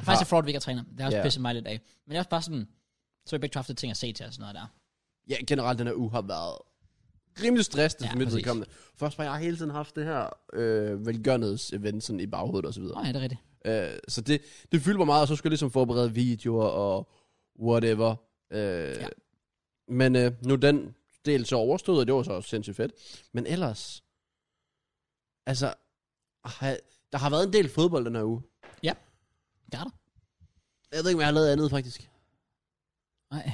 S1: Faktisk er Fraud, vi ikke er træner. Det har også
S2: Ja.
S1: yeah. pisset mig lidt af. Men jeg er også bare sådan, så har vi begge to haft lidt ting at se til og sådan noget der.
S2: Ja, generelt den her uge har været rimelig stressende
S1: Ja,
S2: ja, for mit
S1: præcis.
S2: vedkommende. Først var jeg hele tiden haft det her øh, velgørenheds-event sådan i baghovedet og så videre.
S1: Nå ja, det er rigtigt.
S2: Øh, så det, det fyldte mig meget, og så skulle jeg ligesom forberede videoer og whatever. Øh, ja. Men øh, nu er den del så overstået, og det var så også sindssygt fedt. Men ellers, altså, har, der har været en del fodbold den her uge.
S1: Det er der.
S2: Jeg ved ikke, om jeg har lavet andet, faktisk.
S1: Nej.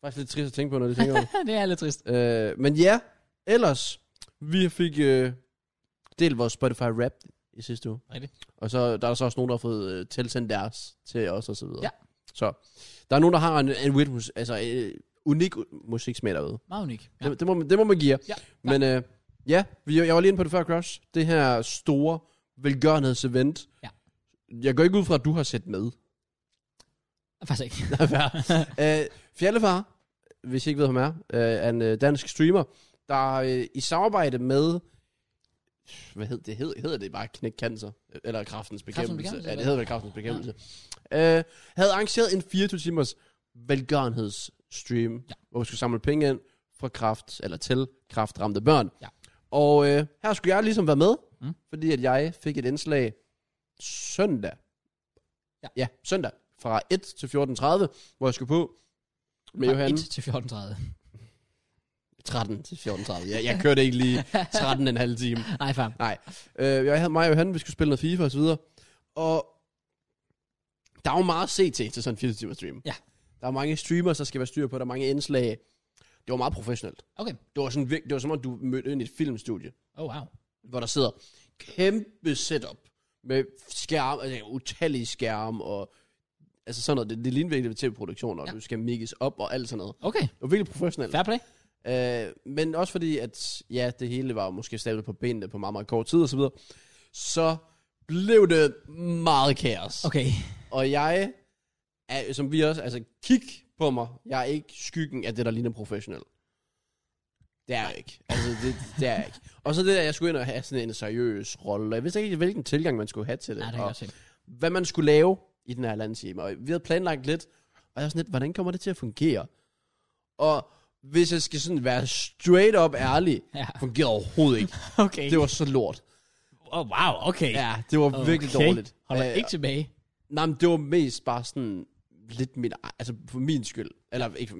S2: Faktisk lidt trist at tænke på, når det tænker over det.
S1: det er lidt trist.
S2: Øh, men ja, ellers, vi fik øh, delt vores Spotify rap i sidste uge.
S1: Rigtigt.
S2: Og så der er så også nogen, der har fået øh, tilsendt deres til os og så videre.
S1: Ja.
S2: Så der er nogen, der har en, en weird, mus- altså øh, unik musiksmag derude.
S1: Meget unik. Ja.
S2: Ja. Det, det, må, man- det må man give jer.
S1: Ja,
S2: Men øh, ja, vi, jeg var lige inde på det før, Crush. Det her store velgørenhedsevent.
S1: Ja.
S2: Jeg går ikke ud fra, at du har set med.
S1: Faktisk ikke.
S2: Øh, Fjallefar, hvis I ikke ved, hvem han er, øh, er en øh, dansk streamer, der øh, i samarbejde med, hvad hed det, hed, hedder det bare Knæk Cancer, eller Kraftens Bekæmpelse,
S1: Bekæmpelse,
S2: ja, det
S1: eller?
S2: hedder vel Kraftens Bekæmpelse, ja. øh, havde arrangeret en 24 timers velgørenhedsstream,
S1: Ja.
S2: ja. hvor vi skulle samle penge ind fra kraft, eller til kraftramte børn.
S1: Ja.
S2: Og øh, her skulle jeg ligesom være med,
S1: Mm.
S2: mm. fordi at jeg fik et indslag søndag,
S1: Ja.
S2: ja søndag, fra 1 til 14.30, hvor jeg skulle på med
S1: Fra
S2: Johan.
S1: 1 til 14.30.
S2: 13 til 14.30. Jeg, jeg kørte ikke lige 13 en halv time.
S1: Nej, fam.
S2: Øh, jeg havde mig og Johan, vi skulle spille noget FIFA og så videre. Og der er jo meget at se til, til sådan en 24 timer stream.
S1: Ja.
S2: Der er mange streamers, der skal være styr på, der er mange indslag. Det var meget professionelt.
S1: Okay.
S2: Det var, sådan, virk- det var som om, du mødte ind i et filmstudie,
S1: Oh, wow.
S2: hvor der sidder kæmpe setup med skærm, altså utallige skærme og altså sådan noget. Det, det ligner virkelig tv-produktioner, og
S1: Ja.
S2: du skal mixes op og alt sådan noget.
S1: Okay.
S2: Det var virkelig professionelt.
S1: Fair play.
S2: Øh, men også fordi, at ja, det hele var jo måske stablet på benene på meget, meget kort tid og så videre. Så blev det meget kaos.
S1: Okay.
S2: Og jeg, er, som vi også, altså kig på mig, jeg er ikke skyggen af det, der ligner professionel. Det er jeg ikke. Altså, det, det er jeg ikke. Og så det der, jeg skulle ind og have sådan en seriøs rolle, og jeg vidste ikke, rigtig, hvilken tilgang man skulle have til det.
S1: Nej, det kan
S2: og
S1: jeg godt se.
S2: hvad man skulle lave i den her landstime. Og vi havde planlagt lidt, og jeg var sådan lidt, hvordan kommer det til at fungere? Og hvis jeg skal sådan være straight up ærlig,
S1: Ja.
S2: fungerede overhovedet ikke.
S1: Okay.
S2: Det var så lort.
S1: Oh, wow, okay.
S2: Ja, det var okay. virkelig dårligt.
S1: Hold dig
S2: Øh,
S1: ikke tilbage.
S2: Nej, men det var mest bare sådan lidt min, altså for min skyld. Eller ikke for,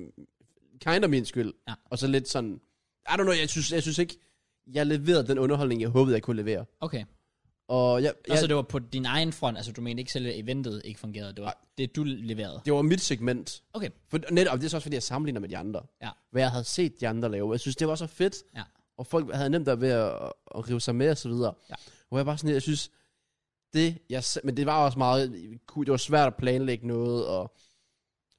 S2: kind of min skyld.
S1: Ja.
S2: Og så lidt sådan, I don't know, jeg synes, jeg synes ikke, jeg leverede den underholdning, jeg håbede, jeg kunne levere.
S1: Okay.
S2: Og jeg,
S1: Og
S2: jeg,
S1: så det var på din egen front, altså du mente ikke selv, at eventet ikke fungerede. Det var det, du leverede.
S2: det var mit segment.
S1: Okay.
S2: For, netop, det er så også, fordi jeg sammenligner med de andre.
S1: Ja.
S2: Hvad jeg havde set de andre lave. Jeg synes, det var så fedt.
S1: Ja.
S2: Og folk havde nemt der ved at, at rive sig med og så videre.
S1: Ja.
S2: Hvor jeg bare sådan, jeg synes, det, jeg, se- men det var også meget, det var svært at planlægge noget, og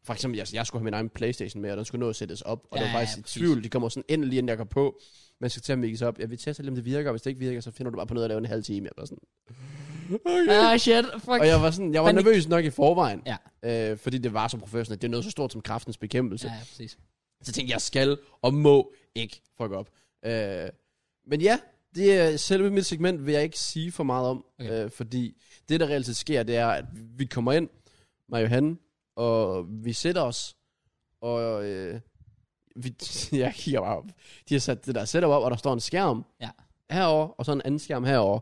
S2: for eksempel, jeg, jeg skulle have min egen Playstation med, og den skulle nå at sættes op, og
S1: Ja,
S2: ja, det
S1: ja,
S2: var faktisk
S1: ja,
S2: i
S1: præcis.
S2: tvivl, de kommer sådan endelig, inden jeg går på, man skal til at mixe op, ja, vi tester lige, om det virker, og hvis det ikke virker, så finder du bare på noget at lave en halv time, eller sådan. Okay.
S1: Ah, shit. Fuck.
S2: Og jeg var, sådan, jeg var
S1: Panik.
S2: nervøs nok i forvejen,
S1: Ja.
S2: øh, fordi det var så professionelt. Det er noget så stort som kraftens bekæmpelse.
S1: Ja, ja, præcis.
S2: Så tænkte jeg, jeg skal og må ikke fuck op. Øh, men ja, det er selve mit segment vil jeg ikke sige for meget om,
S1: Okay.
S2: okay. øh, fordi det, der reelt set sker, det er, at vi kommer ind, mig og Johan, og vi sætter os, og øh, vi, jeg kigger bare op. De har sat det der setup op, og der står en skærm
S1: Ja.
S2: herover og så en anden skærm herover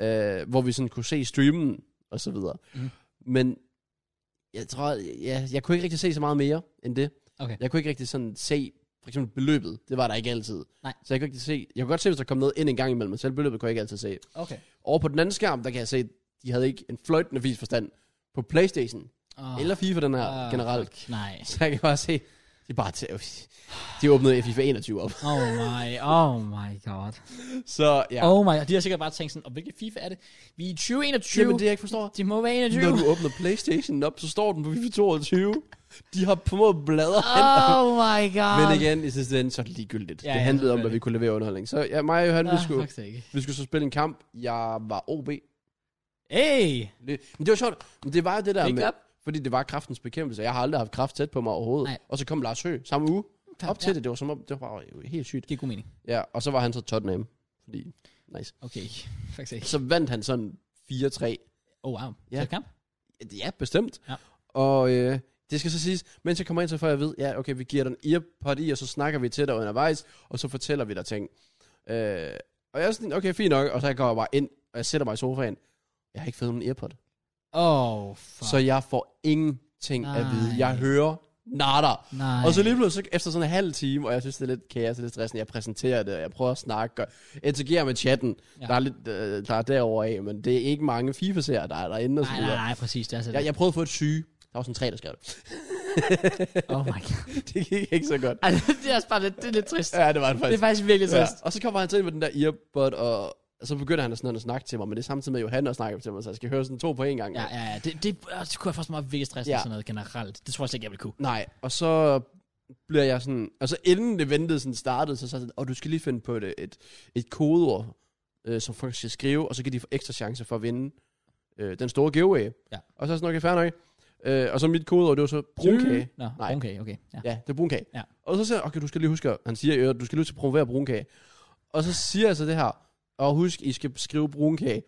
S2: øh, hvor vi sådan kunne se streamen, og så videre.
S1: Mhm.
S2: Mm. Men jeg tror, jeg, jeg kunne ikke rigtig se så meget mere end det.
S1: Okay.
S2: Jeg kunne ikke rigtig sådan se, for eksempel beløbet, det var der ikke altid.
S1: Nej.
S2: Så jeg kunne ikke se, jeg kunne godt se, hvis der kom noget ind en gang imellem, men selv beløbet kunne jeg ikke altid se.
S1: Okay.
S2: Over på den anden skærm, der kan jeg se, de havde ikke en fløjtende vis forstand på Playstation,
S1: Oh,
S2: oh. eller FIFA den her oh, generelt.
S1: Ah, Fuck. Nej.
S2: Så jeg kan bare se, de bare til, øh, de åbnede FIFA 21 op.
S1: Oh my, oh my god.
S2: Så ja,
S1: Ja.
S2: oh,
S1: Oh my god. De har sikkert bare tænkt sådan, og hvilket FIFA er det? Vi er i 2021.
S2: Jamen, det jeg ikke forstår,
S1: det må være 21.
S2: Når du åbner Playstation op, så står den på FIFA 22. De har på måde bladret oh.
S1: Oh my god.
S2: Men igen, i sidste ende, så er det ligegyldigt.
S1: Ja,
S2: Ja, det
S1: ja,
S2: handlede om, hvad
S1: selvfølgelig.
S2: vi kunne levere underholdning. Så ja, mig og Johan, vi,
S1: Ah,
S2: skulle,
S1: fuck det ikke.
S2: vi skulle så spille en kamp. Jeg var OB.
S1: Hey.
S2: Men det var sjovt. Men det var jo det der
S1: Big
S2: med...
S1: up.
S2: Fordi det var kraftens bekæmpelse. Jeg har aldrig haft kraft tæt på mig overhovedet.
S1: Nej.
S2: Nej. Og så kom Lars Høgh samme uge.
S1: Ja,
S2: Op til
S1: ja.
S2: det. Det var, som om, det var bare helt sygt.
S1: Det er god mening.
S2: Ja, og så var han så Tottenham. Fordi, nice.
S1: Okay. Fuck det ikke.
S2: Så vandt han sådan 4-3.
S1: Oh wow.
S2: Ja.
S1: Ja. Så kamp?
S2: Ja, bestemt.
S1: Ja.
S2: Og øh, det skal så siges, mens jeg kommer ind, så får jeg at vide, ja, okay, vi giver dig en earpod i, og så snakker vi til dig undervejs, og så fortæller vi dig ting. Øh, og jeg er sådan, okay, fint nok, og så går jeg bare ind, og jeg sætter mig i sofaen. Jeg har ikke fået nogen earpod.
S1: Oh fuck.
S2: Så jeg får ingenting Nej. at vide.
S1: Nej.
S2: Jeg hører nada.
S1: Nej.
S2: Og så lige pludselig, så efter sådan en halv time, og jeg synes, det er lidt kaos, det er lidt stressende, jeg præsenterer det, og jeg prøver at snakke, og interagerer med chatten.
S1: Ja.
S2: Ja. Der er lidt øh, der er derover af, men det er ikke mange FIFA-serier, der er derinde og så
S1: Nej,
S2: videre.
S1: nej, nej, præcis. Det er altså
S2: Jeg, jeg prøvede at få et syge. Der var sådan tre, der skrev det.
S1: Oh my god.
S2: det gik ikke så godt.
S1: Ej, det er også bare lidt, det er lidt trist.
S2: Ja, det var det
S1: Det er
S2: faktisk.
S1: faktisk virkelig
S2: ja.
S1: trist.
S2: Og så kommer han til med den der earbud, og og så begynder han at, sådan at snakke til mig, men det er samtidig med, at Johan også snakker til mig, så jeg skal høre sådan to på en gang.
S1: Ja, ja, ja. Det, det, øh, det kunne jeg faktisk meget virkelig stress ja.
S2: Ja.
S1: sådan noget generelt. Det tror jeg slet ikke, jeg ville kunne.
S2: Nej, og så bliver jeg sådan, og så inden det ventede sådan startede, så sagde jeg sådan, åh, du skal lige finde på et, et, et kodeord, øh, som folk skal skrive, og så kan de få ekstra chance for at vinde øh, den store giveaway.
S1: Ja.
S2: Og så er jeg sådan, okay, fair nok. Øh, og så mit kodeord, det var så brunkage.
S1: Nå,
S2: Nej.
S1: okay, okay. Ja.
S2: Ja, det er brunkage.
S1: Ja.
S2: Og så siger jeg, okay, du skal lige huske, at- han siger, i øvrigt, du skal lige huske at promovere brunkage. Og så siger jeg så det her, og husk, I skal skrive brunkage.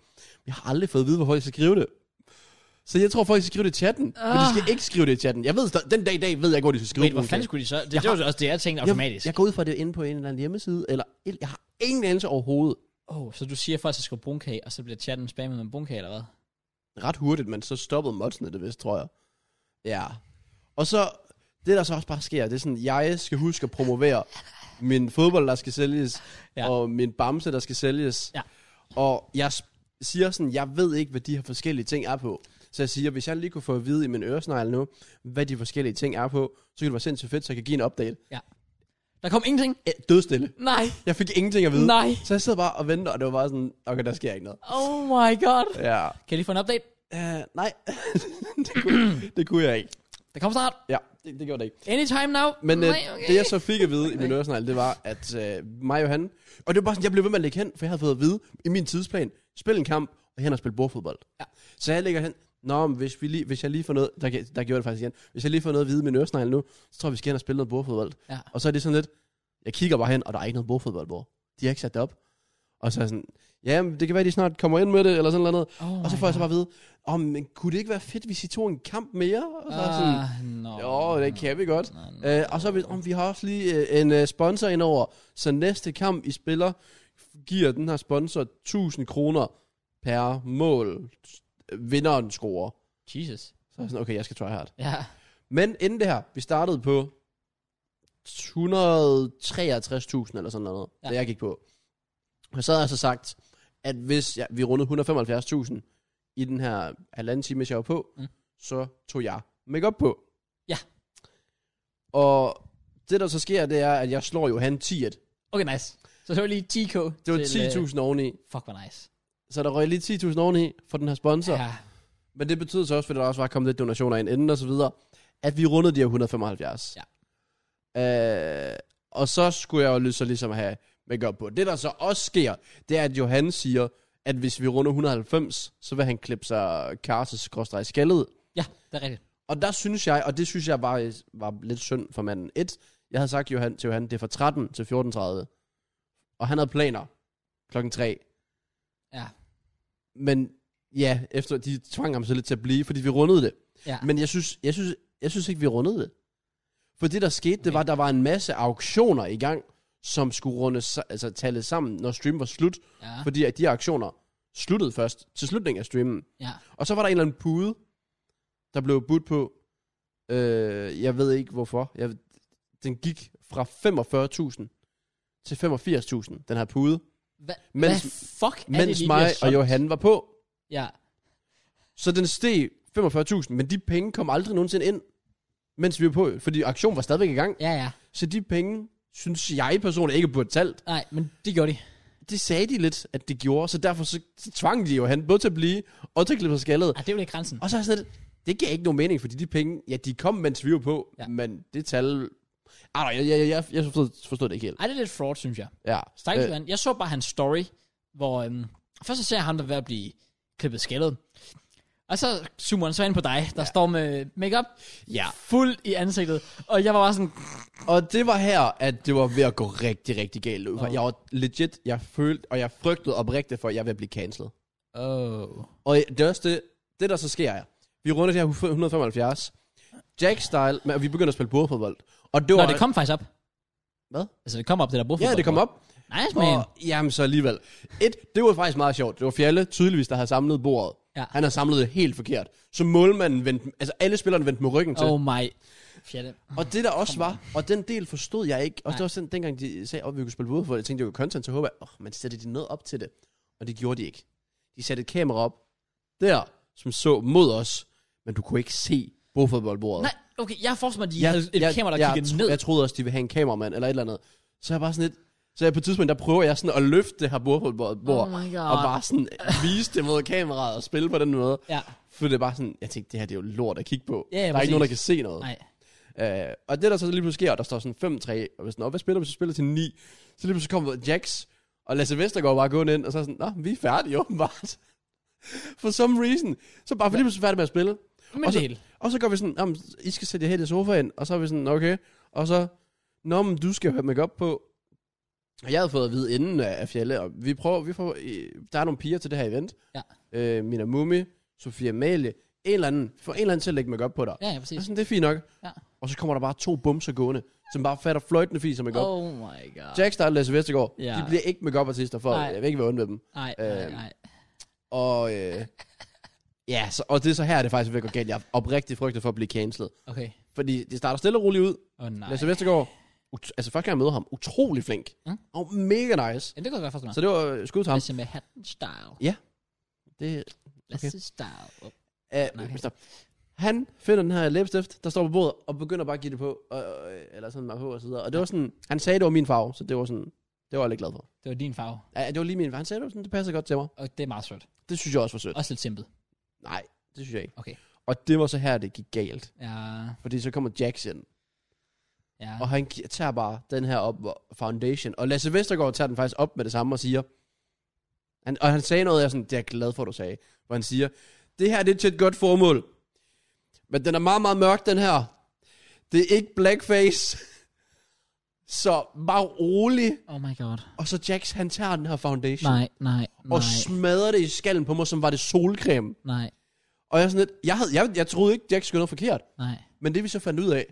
S2: Jeg har aldrig fået at vide, hvor folk skal skrive det. Så jeg tror, folk skal skrive det i chatten. Ah. Men
S1: Ah.
S2: de skal ikke skrive det i chatten. Jeg ved, sta- den dag i dag ved jeg ikke, hvor de skal skrive
S1: Wait, hvor
S2: brunkage.
S1: fanden skulle de så? Det, det var jo også det, jeg tænkte automatisk.
S2: jeg, jeg går ud fra at det er inde på en eller anden hjemmeside, eller et- jeg har ingen anelse overhovedet.
S1: Oh, så du siger først, at jeg skal bruge kage, og så bliver chatten spammet med brunkage, eller hvad?
S2: Ret hurtigt, men så stoppede modsene det vist, tror jeg. Ja. Og så, det der så også bare sker, det er sådan, jeg skal huske at promovere min fodbold, der skal sælges,
S1: Ja.
S2: ja. og min bamse, der skal sælges.
S1: Ja.
S2: Og jeg s- siger sådan, jeg ved ikke, hvad de her forskellige ting er på. Så jeg siger, hvis jeg lige kunne få at vide i min øresnegl nu, hvad de forskellige ting er på, så kan det være sindssygt fedt, så jeg kan give en update.
S1: Der kom ingenting?
S2: Eh, Dødstille.
S1: Nej.
S2: Jeg fik ingenting at vide.
S1: Nej.
S2: Så jeg sidder bare og venter, og det var bare sådan, okay, der sker ikke noget.
S1: Oh my god.
S2: Ja.
S1: Kan jeg lige få en update?
S2: Uh, nej, det, kunne, det kunne jeg ikke.
S1: Der kom snart.
S2: Ja, det, det gjorde det ikke.
S1: Anytime now.
S2: Men øh,
S1: Nej, okay.
S2: det jeg så fik at vide i min øresnegl, det var, at øh, mig og han... Og det var bare sådan, jeg blev ved med at lægge hen, for jeg havde fået at vide i min tidsplan, spil en kamp, og hen og spille bordfodbold.
S1: Ja.
S2: Så jeg lægger hen, Nå, men hvis, vi lige, hvis jeg lige får noget... Der, der gjorde det faktisk igen. Hvis jeg lige får noget at vide i min øresnegl nu, så tror jeg, vi skal hen og spille noget bordfodbold.
S1: Ja.
S2: Og så er det sådan lidt... Jeg kigger bare hen, og der er ikke noget bordfodboldbord. De har ikke sat det op. Og så er jeg sådan... Ja, men det kan være, de snart kommer ind med det, eller sådan noget.
S1: Oh
S2: Og så
S1: my
S2: får jeg så
S1: God.
S2: bare at vide, oh, men kunne det ikke være fedt, hvis I tog en kamp mere? Og så er jeg sådan,
S1: Ah, no.
S2: jo, det kan vi godt.
S1: Nå, nå.
S2: Øh, og så har vi, om vi har også lige øh, en øh, sponsor indover, så næste kamp, I spiller, giver den her sponsor 1000 kroner per mål, øh, vinderen scorer.
S1: Jesus.
S2: Så er jeg sådan, okay, jeg skal try hard.
S1: Ja.
S2: Men inden det her, vi startede på 163.000 eller sådan noget,
S1: Ja.
S2: ja. da jeg gik på. Og så havde jeg så sagt, at hvis jeg, vi rundede 175.000 i den her halvanden time, jeg var på,
S1: Mm.
S2: mm. så tog jeg makeup på.
S1: Ja.
S2: Og det, der så sker, det er, at jeg slår jo han 10'et.
S1: Okay, nice. Så det var lige 10k.
S2: Det var
S1: til, øh,
S2: 10.000 oveni.
S1: Fuck, hvor nice.
S2: Så der røg lige 10.000 oveni for den her sponsor. Ja.
S1: Ja.
S2: Men det betyder så også, fordi der også var kommet lidt donationer ind inden og så videre, at vi rundede de her 175.
S1: Ja.
S2: Øh, og så skulle jeg jo lige- så ligesom have make op på. Det der så også sker, det er, at Johan siger, at hvis vi runder 190, så vil han klippe sig Carter skaldet.
S1: Ja, det er rigtigt.
S2: Og der synes jeg, og det synes jeg var, var lidt synd for manden 1, jeg havde sagt Johan, til Johan, det er fra 13 til 14.30. Og han havde planer klokken 3.
S1: Ja.
S2: Men ja, efter de tvang ham så lidt til at blive, fordi vi rundede det.
S1: Ja.
S2: Men jeg synes, jeg synes, jeg synes ikke, vi rundede det. For det, der skete, det var, at der var en masse auktioner i gang, som skulle runde, sa- altså tale sammen, når streamen var slut.
S1: Ja.
S2: Fordi at de auktioner sluttede først til slutningen af streamen.
S1: Ja.
S2: Og så var der en eller anden pude, der blev budt på. Øh, jeg ved ikke hvorfor. Jeg, den gik fra 45.000 til 85.000, den her pude.
S1: Hva,
S2: Mens-
S1: hvad fuck er det lige,
S2: Mens
S1: vi har
S2: mig og
S1: solgt?
S2: Johan var på.
S1: Ja.
S2: Så den steg 45.000, men de penge kom aldrig nogensinde ind, mens vi var på. Fordi aktionen var stadigvæk i gang.
S1: Ja, ja.
S2: Så de penge, synes jeg personligt, ikke burde talt.
S1: Nej, men det gjorde de.
S2: Det sagde de lidt, at det gjorde. Så derfor så, så tvang de Johan både til at blive og til at klippe sig skaldet.
S1: Ah, det er jo ikke grænsen.
S2: Og så er jeg sådan lidt, det giver ikke nogen mening, fordi de penge, ja, de kom, mens vi var på,
S1: Ja.
S2: ja. men det tal... Ej, nej, jeg, jeg, jeg, jeg forstod, forstod det ikke helt.
S1: Ej, det er lidt fraud, synes jeg.
S2: Ja. Øh,
S1: Stakkels mand. Jeg så bare hans story, hvor øhm, først så ser jeg ham, der er ved at blive klippet skaldet. Og så zoomer han så ind på dig, der ja. står med makeup
S2: ja.
S1: fuld i ansigtet. Og jeg var bare sådan,
S2: Og det var her, at det var ved at gå rigtig, rigtig galt ud. Oh. Jeg var legit, jeg følte, og jeg frygtede oprigtigt for, at jeg ville blive cancelled.
S1: oh.
S2: Og det er også det, det der så sker er, vi runder det her 175, Jack Style, men vi begynder at spille bordfodbold. Og det
S1: Nå,
S2: var...
S1: det kom faktisk op.
S2: Hvad?
S1: Altså, det kom op, det der bordfodbold.
S2: Ja, det kom op.
S1: Nice, man.
S2: Og, jamen så alligevel. Et, det var faktisk meget sjovt. Det var Fjalle, tydeligvis, der havde samlet bordet.
S1: Ja.
S2: Han har samlet det helt forkert. Så målmanden vendte, altså alle spillerne vendte med ryggen til.
S1: Oh, my. Fjalle.
S2: Og det der også var, og den del forstod jeg ikke. Og det var også den, dengang, de sagde, at vi kunne spille fodbold, jeg tænkte, det var content, så håber jeg, oh, man sætter de noget op til det. Og det gjorde de ikke. De satte et kamera op der, som så mod os, men du kunne ikke se bordfodboldbordet.
S1: Nej, okay, jeg forestiller mig, at de havde et kamera, der
S2: jeg,
S1: kiggede
S2: tro-
S1: ned.
S2: Jeg troede også, de ville have en kameramand eller et eller andet. Så jeg var sådan lidt... Så jeg på et tidspunkt, der prøver jeg sådan at løfte det her bordfodboldbord.
S1: Oh my God.
S2: Og bare sådan vise det mod kameraet og spille på den måde.
S1: Ja.
S2: For det er bare sådan, jeg tænkte, det her det er jo lort at kigge på.
S1: Ja,
S2: der er
S1: præcis.
S2: ikke nogen, der kan se noget.
S1: Nej.
S2: Øh, og det der så lige pludselig sker, der står sådan 5-3, og hvis sådan, hvad spiller vi, så spiller til 9. Så lige pludselig kommer Jax, og Lasse Vestergaard bare gående ind, og så er sådan, nå, vi er færdige åbenbart. For some reason. Så bare for lige pludselig færdige med at spille.
S1: Men
S2: og,
S1: det
S2: så,
S1: hele.
S2: og så går vi sådan, jamen, I skal sætte jer her i sofaen, og så er vi sådan, okay. Og så, nå, men du skal jo have make op på. Og jeg havde fået at vide inden af af Fjalle, og vi prøver, vi får, øh, der er nogle piger til det her event.
S1: Ja.
S2: Øh, Mina Mumi, Sofia Amalie, en eller anden, får en eller anden til at lægge make op på dig.
S1: Ja, ja,
S2: Og
S1: præcis.
S2: sådan, det er fint nok.
S1: Ja.
S2: Og så kommer der bare to bumser gående, som bare fatter fløjtende fis, som er godt.
S1: Oh my god.
S2: Jack Star og Lasse Vestergaard,
S1: Ja.
S2: de bliver ikke make artister for,
S1: Nej.
S2: jeg vil ikke være ond ved dem.
S1: Nej, nej,
S2: Øhm,
S1: nej.
S2: Og, øh, ja, så, og det er så her, det faktisk vil gå galt. Jeg er oprigtigt frygtet for at blive cancelled.
S1: Okay.
S2: Fordi det starter stille og roligt ud.
S1: Åh, oh, nej.
S2: Lasse Vestergaard, ut- altså første gang jeg møder ham, utrolig flink.
S1: Mm.
S2: Og mega nice.
S1: Ja, det kunne jeg godt forstå mig.
S2: Så det var øh, skud til ham.
S1: Lasse med hatten style.
S2: Det,
S1: Lasse okay. style. Oh.
S2: øh,
S1: Nej.
S2: stop. Han finder den her læbestift, der står på bordet, og begynder bare at give det på, og, og, eller sådan meget på og så videre. Og det var sådan, han sagde, det var min farve, så det var sådan, det var jeg lidt glad for.
S1: Det var din farve.
S2: Ja, det var lige min. Han sagde, det, var sådan, det passer godt til mig.
S1: Og det er meget sødt.
S2: Det synes jeg også var sødt.
S1: Også lidt simpelt.
S2: Nej, det synes jeg ikke.
S1: Okay.
S2: Og det var så her, det gik galt.
S1: Ja,
S2: Fordi så kommer Jackson,
S1: ja.
S2: og han gi- tager bare den her op, hvor- Foundation. Og Lasse Vestergaard tager den faktisk op med det samme og siger, han, og han sagde noget, jeg er sådan, det er jeg glad for, du sagde. Hvor han siger, det her det er til et godt formål. Men den er meget, meget mørk, den her. Det er ikke blackface. Så bare rolig.
S1: Oh my god.
S2: Og så Jax, han tager den her foundation.
S1: Nej, nej,
S2: og
S1: nej,
S2: smadrer det i skallen på mig, som var det solcreme.
S1: nej,
S2: Og jeg er sådan lidt, jeg, havde, jeg, jeg troede ikke, Jack skulle noget forkert.
S1: nej,
S2: Men det vi så fandt ud af,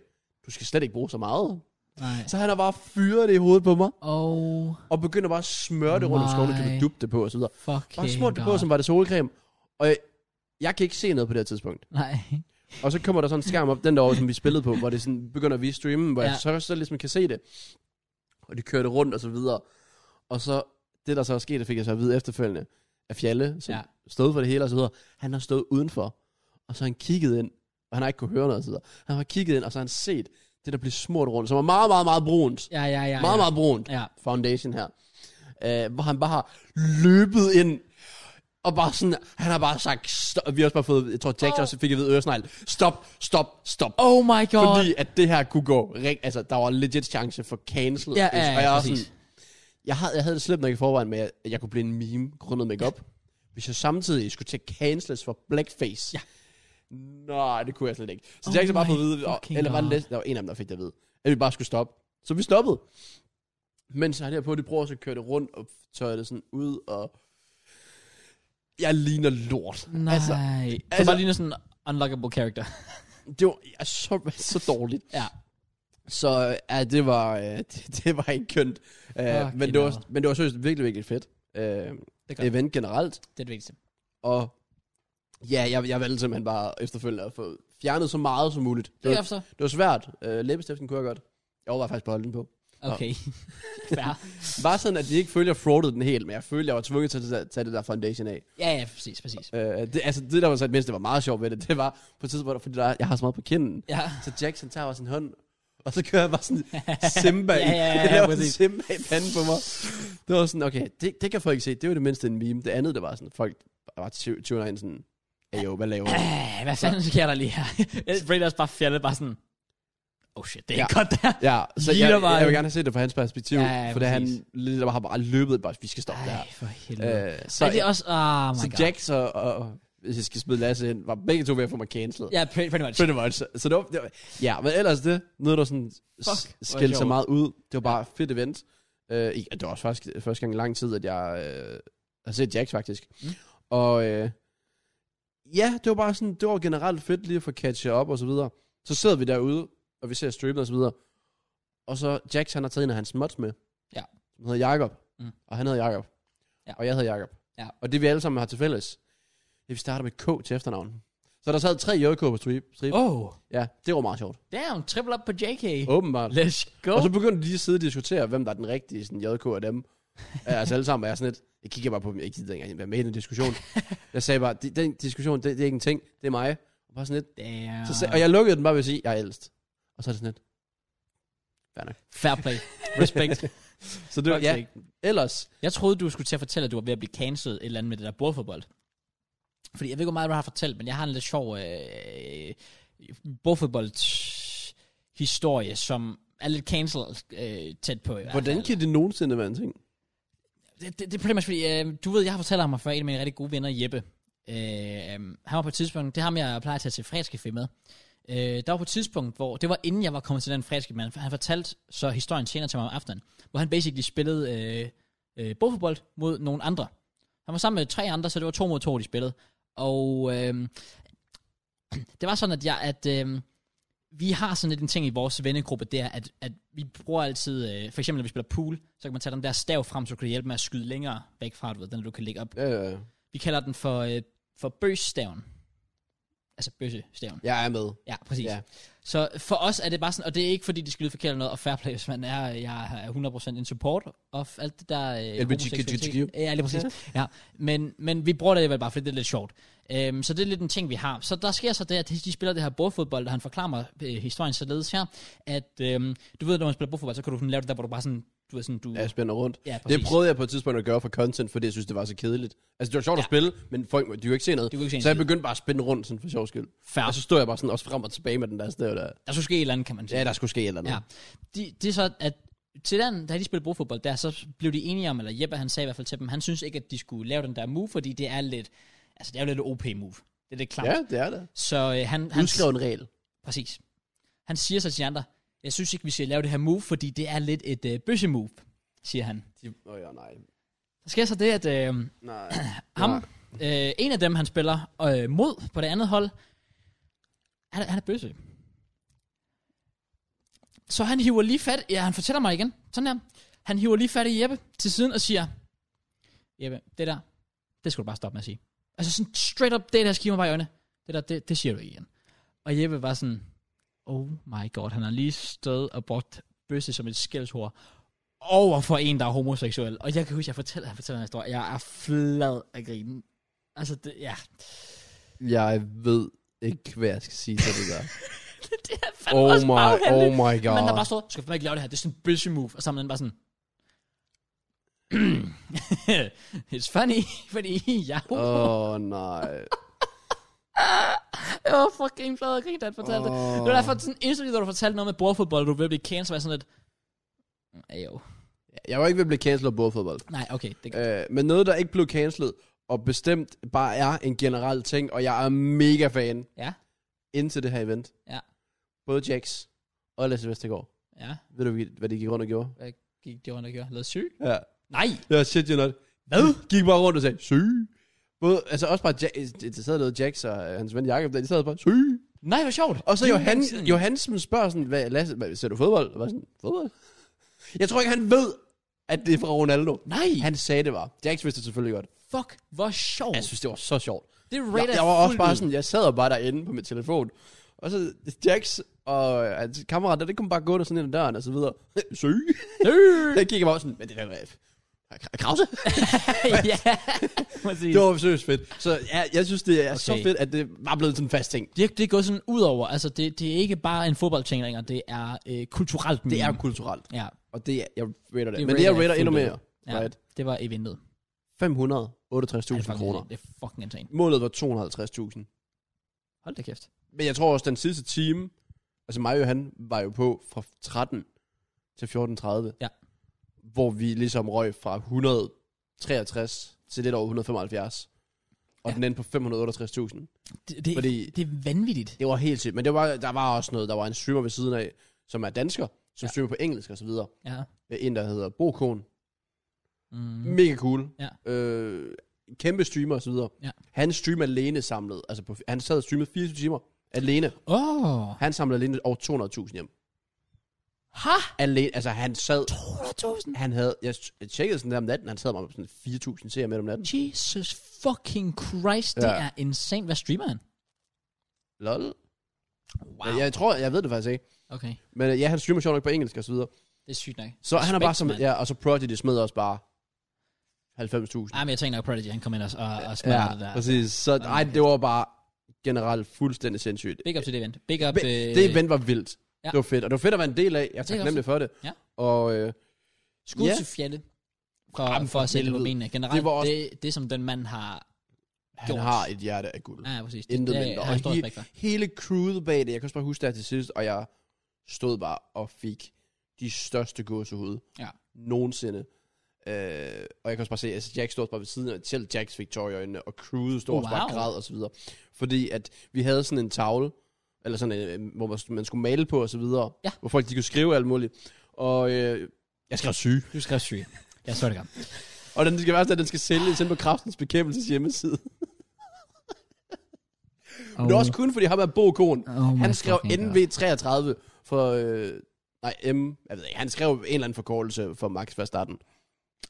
S2: du skal slet ikke bruge så meget.
S1: nej.
S2: Så han har bare fyret det i hovedet på mig,
S1: Oh,
S2: og begynder bare at smøre det rundt om skoven, og
S1: Nej.
S2: kan dubbe det på osv.
S1: fucking
S2: Bare smurt det på,
S1: god.
S2: som var det solcreme. Og jeg, jeg kan ikke se noget på det her tidspunkt.
S1: Nej.
S2: Og så kommer der sådan en skærm op, den der over, som vi spillede på, hvor det sådan begynder at vise streamen, hvor ja.
S1: Ja.
S2: jeg så, så ligesom kan se det. Og de kører det rundt og så videre. Og så, det der så er sket, det fik jeg så at vide efterfølgende, af Fjalle, som
S1: Ja.
S2: ja. stod for det hele og så videre, han har stået udenfor, og så har han kigget ind, og han har ikke kunne høre noget og så videre. Han har kigget ind, og så har han set det, der bliver smurt rundt, som er meget, meget, meget brunt. Ja,
S1: Ja, ja, ja.
S2: ja. Meget,
S1: ja.
S2: meget brunt
S1: Ja.
S2: foundation her, øh, hvor han bare har løbet ind, og bare sådan, han har bare sagt, stop, vi har også bare fået, jeg tror Jack
S1: Åh.
S2: også fik at vide øresnegl, stop, stop, stop.
S1: Oh my god.
S2: Fordi at det her kunne gå, rigt- altså der var legit chance for cancel.
S1: Ja, ja, ja,
S2: og jeg, var
S1: præcis.
S2: sådan, jeg, havde, jeg havde det slemt nok i forvejen med, at jeg kunne blive en meme grundet make-up. hvis jeg samtidig skulle til at canceles for blackface.
S1: Ja.
S2: Nej, det kunne jeg slet ikke.
S1: Oh
S2: Så oh jeg ikke så bare fået at
S1: my
S2: vide, og-
S1: fucking
S2: eller var det
S1: God.
S2: læst, der var en af dem, der fik det at vide, at vi bare skulle stoppe. Så vi stoppede. Men så har jeg på, at de prøver så at køre det rundt, og tørre det sådan ud, og jeg ligner lort.
S1: Nej. Altså, altså,
S2: altså-
S1: bare ligner sådan en unlockable character.
S2: Det var ja, så, så dårligt.
S1: ja.
S2: Så ja, det var, øh, det, det var ikke kønt. Øh,
S1: Fucking
S2: men, det
S1: hell.
S2: var, men det var seriøst virkelig, virkelig fedt. Øh,
S1: Det gør det.
S2: event generelt.
S1: Det er det vigtigste.
S2: Og ja, jeg, jeg valgte simpelthen bare efterfølgende at få fjernet så meget som muligt.
S1: Det
S2: Det
S1: er
S2: var,
S1: jeg så.
S2: det var svært. Øh, læbestiften kunne jeg godt. Jeg overvejede faktisk på at holde den på.
S1: Okay. Fair.
S2: Bare sådan, at de ikke følte, at jeg fraudede den helt, men jeg følte, at jeg var tvunget til at tage- tage det der foundation af.
S1: ja, ja, præcis, præcis.
S2: Øh, det, altså, det der var så det mindste, der var meget sjovt ved det, det var på et tidspunkt, fordi der, jeg har så meget på kinden.
S1: Ja.
S2: Så Jackson tager bare sin hånd, og så kører jeg bare sådan Simba i.
S1: Ja, ja, ja,
S2: Jeg laver
S1: præcis.
S2: sådan Simba i panden på mig. Det var sådan, okay, det, det kan folk ikke se. Det var det mindste en meme. Det andet, det var sådan, folk var ty- tuner ind sådan, hey, jo, hvad laver du?
S1: Æh, hvad fanden sker der lige her? Raiders bare fjaldet bare sådan, oh shit, det er ja. ikke godt der.
S2: Ja, så
S1: Ligner
S2: jeg, jeg,
S1: bare
S2: jeg vil
S1: en-
S2: gerne have set det fra hans perspektiv,
S1: Ja, ja,
S2: for det han
S1: præcis.
S2: lidt bare har bare løbet, bare, vi skal stoppe det her.
S1: Ej, for helvede. Øh,
S2: Øh,
S1: så,
S2: så
S1: er det også, oh my
S2: så
S1: god.
S2: Jack så, og, hvis jeg skal smide Lasse ind, var begge to ved at få mig cancelled.
S1: Ja, pretty, pretty much.
S2: Pretty much. Så det var, det var, ja, men ellers det, noget der sådan
S1: Fuck, hvor
S2: Fuck, skilte sig
S1: sjovt.
S2: meget ud. Det var bare et fedt event. Uh, det var også faktisk første gang i lang tid, at jeg uh, har set Jax faktisk.
S1: Mm.
S2: Mm. Og uh, ja, det var bare sådan, det var generelt fedt lige at få catchet op og så videre. Så sidder vi derude, og vi ser streamen og så videre. Og så Jax, han har taget en af hans mods med.
S1: Ja.
S2: Som hedder Jakob.
S1: Mm.
S2: Mm. Og han hedder Jakob.
S1: Ja.
S2: Og jeg hedder Jakob.
S1: Ja.
S2: Og det vi alle sammen har til fælles, det er, vi starter med K til efternavn. Så der sad tre JK på strip. strip.
S1: Oh,
S2: Ja, det var meget sjovt.
S1: damn, triple up på JK.
S2: Åbenbart.
S1: Let's go.
S2: Og så begyndte de lige at sidde og diskutere, hvem der er den rigtige sådan, JK af dem. altså alle sammen, og jeg er sådan lidt, jeg kigger bare på dem, jeg gider ikke engang være med i den diskussion. jeg sagde bare, "Det- den diskussion, det, det, er ikke en ting, det er mig. Og, bare sådan lidt,
S1: Damn.
S2: så sag, og jeg lukkede den bare ved at sige, jeg er ældst. Og så er det sådan lidt,
S1: Fair play. Respekt.
S2: så det var,
S1: Fuck's
S2: ja,
S1: sake.
S2: ellers,
S1: Jeg troede, du skulle til at fortælle, at du var ved at blive cancelled et eller andet med det der bordfodbold. Fordi jeg ved ikke, hvor meget du har fortalt, men jeg har en lidt sjov øh, bordfodbold-historie, som er lidt cancelled øh, tæt på. i hvert
S2: hvordan
S1: fald.
S2: kan det nogensinde være en ting?
S1: det, det, det er pretty much fordi, øh, du ved, jeg har fortalt ham før, en af mine rigtig gode venner, Jeppe. Øh, han var på et tidspunkt, det er ham, jeg plejer at tage til fredagscafé med. Øh, der var på et tidspunkt, hvor, det var inden jeg var kommet til den fredagscafé, men han fortalte så historien senere til mig om aftenen, hvor han basically spillede øh, øh, bordfodbold mod nogle andre. Han var sammen med tre andre, så det var to mod to, de spillede. Og øh, det var sådan, at, jeg, at øh, vi har sådan lidt en ting i vores vennegruppe, det er, at, at vi bruger altid, øh, for eksempel når vi spiller pool, så kan man tage den der stav frem, så kan det hjælpe med at skyde længere væk fra, du ved, den du kan lægge op.
S2: Øh,
S1: Vi kalder den for, øh, for bøsstaven. Altså bøssestaven.
S2: jeg er med.
S1: Ja, præcis.
S2: Ja.
S1: Så for os er det bare sådan, og det er ikke fordi, de skyder forkert eller noget, og fair play, hvis man er, jeg er 100% en support of alt det der... Øh, homoseksualitet. Ja, lige præcis. Ja. Men, men vi bruger det vel bare, fordi det er lidt sjovt. Øhm, så det er lidt en ting, vi har. Så der sker så det, at de spiller det her bordfodbold, og han forklarer mig øh, historien således her, at øhm, du ved, når man spiller bordfodbold, så kan du sådan lave det der, hvor du bare sådan, du ved sådan, du...
S2: Jeg spænder rundt.
S1: ja
S2: Det prøvede jeg på et tidspunkt at gøre for content, fordi jeg synes, det var så kedeligt. Altså, det var sjovt ja.
S1: Ja.
S2: at spille, men folk, de kunne ikke se noget.
S1: Du kan ikke
S2: Så
S1: se
S2: jeg
S1: en skid.
S2: begyndte bare at spænde rundt, sådan for sjov skyld.
S1: Fair.
S2: Og så stod jeg bare sådan også frem og tilbage med den der stav der.
S1: Der skulle ske et eller andet, kan man sige.
S2: Ja, der skulle ske et eller andet.
S1: Ja. De, det er så, at til den, da de spillede bordfodbold der, så blev de enige om, eller Jeppe han sagde i hvert fald til dem, han synes ikke, at de skulle lave den der move, fordi det er lidt, altså det er jo lidt OP-move. Det er lidt klamt.
S2: Ja, det er det.
S1: Så øh, han, han,
S2: Udskrev en regel.
S1: præcis. Han siger så til de andre, jeg synes ikke, vi skal lave det her move, fordi det er lidt et øh, bøsse-move, siger han.
S2: De, oh, ja, nej.
S1: Der sker så det, at øh,
S2: nej.
S1: ham,
S2: Nej.
S1: øh, en af dem, han spiller øh, mod på det andet hold, han, er- han er bøsse. Så han hiver lige fat, ja, han fortæller mig igen, sådan her. Han hiver lige fat i Jeppe til siden og siger, Jeppe, det der, det skulle du bare stoppe med at sige. Altså sådan straight up, det der skiver mig bare i øjnene. Det der, det, det siger du ikke igen. Og Jeppe var sådan, oh my god, han har lige stået og brugt bøsse som et skældsord over for en, der er homoseksuel. Og jeg kan huske, jeg fortæller, jeg fortæller en historie. Jeg er flad af grinen. Altså, det, ja.
S2: Jeg ved ikke, hvad jeg skal sige til det der.
S1: det er fandme
S2: oh,
S1: også
S2: my,
S1: baghandlet.
S2: oh my
S1: Men der
S2: god.
S1: bare stod, du skal fandme ikke lave det her, det er sådan en bøsse move. Og så er man bare sådan, "Hmm, It's funny, fordi jeg
S2: Åh, oh, nej.
S1: jeg var fucking flad og grin, da han fortalte det.
S2: Åh.
S1: Det var derfor sådan instantly, da du fortalte noget med bordfodbold, og du ville blive kendt, så var jeg sådan lidt, "Mm, ayo.
S2: Jeg var ikke ved at blive cancelled af bordfodbold.
S1: Nej, okay, det gør
S2: Øh, men noget, der ikke blev cancelled, og bestemt bare er en generel ting, og jeg er mega fan
S1: Ja.
S2: indtil det her event.
S1: Ja.
S2: Både Jax og Lasse Vestergaard.
S1: Ja,
S2: Ved du, hvad de gik rundt og gjorde?
S1: gik det rundt og gjorde. Lad os syg.
S2: Ja.
S1: Nej!
S2: Ja, shit, you not.
S1: Hvad?
S2: Gik bare rundt og sagde, syg. Både, altså også bare, ja, det sad noget Jax og øh, hans ven Jacob, der de sad bare, syg.
S1: Nej, hvor sjovt.
S2: Og så
S1: Det er
S2: Johan,
S1: lang tid.
S2: Johansen spørger sådan, hvad, Lasse, hvad, ser du fodbold? Og var sådan, fodbold? Jeg tror ikke, han ved, at det er fra Ronaldo.
S1: Nej,
S2: Han sagde, det var. Jax vidste det selvfølgelig godt.
S1: fuck, hvor sjovt.
S2: Jeg synes, det var så sjovt.
S1: det er
S2: Jeg,
S1: rated
S2: jeg var også
S1: fuldt
S2: bare
S1: ud.
S2: sådan, jeg sad og bare derinde på min telefon. Og så Jax og hans kammerat, der, det kom bare gå der sådan ind ad døren og så videre. Søg.
S1: Øh.
S2: Der gik jeg bare sådan, men det der Krause?
S1: ja, præcis.
S2: Det var seriøst fedt. Så ja, jeg synes, det er okay. så
S1: Okay.
S2: fedt, at det var blevet sådan en fast ting.
S1: Det, er- det er gået sådan ud over, altså det, det er ikke bare en fodboldting længere, det er øh, kulturelt
S2: Det er
S1: meme.
S2: kulturelt.
S1: Ja,
S2: Og det er, jeg rater Mm. det.
S1: Det
S2: det men det, jeg
S1: rater jeg
S2: rater endnu
S1: fuldt
S2: mere.
S1: ja
S2: Right?
S1: det var eventet. Ja, det, er
S2: 568.000
S1: fucking-
S2: kroner.
S1: det er fucking insane.
S2: Målet var 250.000.
S1: Hold da kæft.
S2: Men jeg tror også, den sidste time, altså mig og han var jo på fra 13 til 14.30.
S1: Ja.
S2: Hvor vi ligesom røg fra 163 til lidt over 175. Og
S1: Ja.
S2: ja. den endte på 568.000.
S1: Det, det, Fordi...
S2: Fordi-
S1: det er vanvittigt.
S2: Det var helt sygt. Men det var, der var også noget. Der var en streamer ved siden af, som er dansker, som
S1: Ja.
S2: ja. streamer på engelsk og så videre. Øh,
S1: Ja.
S2: En, der hedder Brokon. Mm.
S1: Mm.
S2: Mega cool.
S1: Ja.
S2: Øh, kæmpe streamer og så videre.
S1: Ja.
S2: Han streamer alene samlet. Altså på, han sad og streamede 24 timer alene.
S1: Åh.
S2: Han samlede alene over 200.000 hjem.
S1: Ha!
S2: Alene, altså han sad...
S1: 200.000?
S2: Han havde, jeg tjekkede sådan der om natten, han sad bare med sådan 4.000 seere med om natten.
S1: Jesus fucking Christ, ja. det
S2: Ja.
S1: er insane. Hvad streamer han?
S2: Lol.
S1: Wow.
S2: Wow. Jeg, jeg, tror, jeg ved det faktisk ikke.
S1: Okay,
S2: Men øh, ja, han streamer sjovt nok på engelsk og så videre.
S1: det er sygt nok.
S2: Så han er bare som,
S1: mand.
S2: ja, og så Prodigy smed også bare 90.000.
S1: Ej, men jeg tænker nok, Prodigy, han kom ind og, og, og smadrede Ah, det der.
S2: præcis. Så nej, det var bare generelt fuldstændig sindssygt.
S1: Big up til det event. Big up...
S2: Be-
S1: øh,
S2: det event var vildt.
S1: Ja.
S2: Ja. Det var fedt, og det var fedt at være en del af. Jeg er
S1: Det er
S2: taknemmelig for det.
S1: Ja.
S2: Og øh,
S1: Skud
S2: Ja.
S1: til Fjalle for,
S2: Jamen,
S1: for
S2: for
S1: at sætte det på
S2: helvede.
S1: benene. Generelt, det,
S2: Det var også-
S1: det, det, som den mand har...
S2: han
S1: Gjort.
S2: har et hjerte af guld.
S1: Ja, ja, præcis.
S2: Intet
S1: det,
S2: mindre.
S1: Jeg har jeg stor
S2: Og he-
S1: respekt for.
S2: Hele crewet bag det, jeg kan også bare huske det her til sidst, og jeg stod bare og fik de største gåsehud
S1: Ja.
S2: nogensinde. Øh, og jeg kan også bare se, at altså Jack stod også bare ved siden af, selv Jacks fik tår i øjnene, og crewet stod også bare
S1: Wow.
S2: og græd og så videre. Fordi at vi havde sådan en tavle, eller sådan en, øh, hvor man, man skulle male på og så videre,
S1: Ja.
S2: hvor folk de kunne skrive alt muligt. Og øh, jeg skrev syge.
S1: Du skrev syg. Jeg så det godt.
S2: Og den skal være sådan, at den skal sælges ind på Kraftens Bekæmpelses hjemmeside. Oh. Men det er også kun, fordi ham er Bo Kohn.
S1: oh my
S2: Han skrev
S1: fucking God.
S2: NV33 for... Øh, nej, M... Jeg ved ikke, han skrev en eller anden forkortelse for Max Verstappen.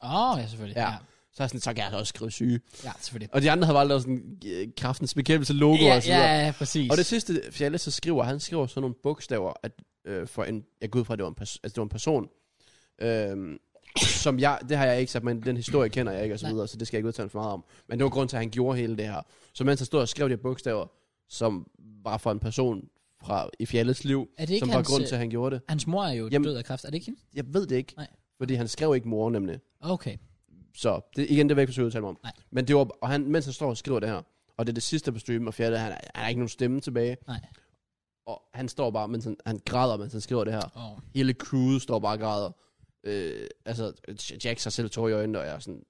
S1: Åh, oh, ja, selvfølgelig. Ja.
S2: Ja. Så er jeg sådan, så kan jeg da også skrive syge.
S1: ja, selvfølgelig.
S2: Og de andre havde bare lavet sådan øh, kraftens bekæmpelse logo ja, og så
S1: ja,
S2: videre. Ja.
S1: ja, præcis.
S2: Og det sidste Fjalle så skriver, han skriver sådan nogle bogstaver, at, øh, for en, jeg går ud fra, at det var en, pers- altså, det var en person, øh, som jeg, det har jeg ikke sagt, men den historie kender jeg ikke, og så
S1: Nej.
S2: videre, så det skal jeg ikke udtale for meget om. Men det var grund til, at han gjorde hele det her. Så mens han stod og skrev de her bogstaver, som var for en person fra, i Fjalles liv,
S1: er det ikke
S2: som var
S1: hans, øh,
S2: grund til, at han gjorde det.
S1: hans mor er jo Jamen,
S2: Jamen-
S1: død af kræft. Er det ikke hende?
S2: Jeg ved det ikke.
S1: Nej.
S2: Fordi han skrev ikke mor nemlig.
S1: Okay.
S2: Så det, igen, det vil jeg ikke forsøge at udtale mig om.
S1: Nej.
S2: Men det var, og han, mens han står og skriver det her, og det er det sidste på streamen, og fjerde, han, han har ikke nogen stemme tilbage.
S1: Nej.
S2: Og han står bare, mens han, han græder, mens han skriver det her.
S1: Oh.
S2: Hele crewet står bare og græder. Øh, altså, Jack sig selv tår i øjnene, og jeg er sådan...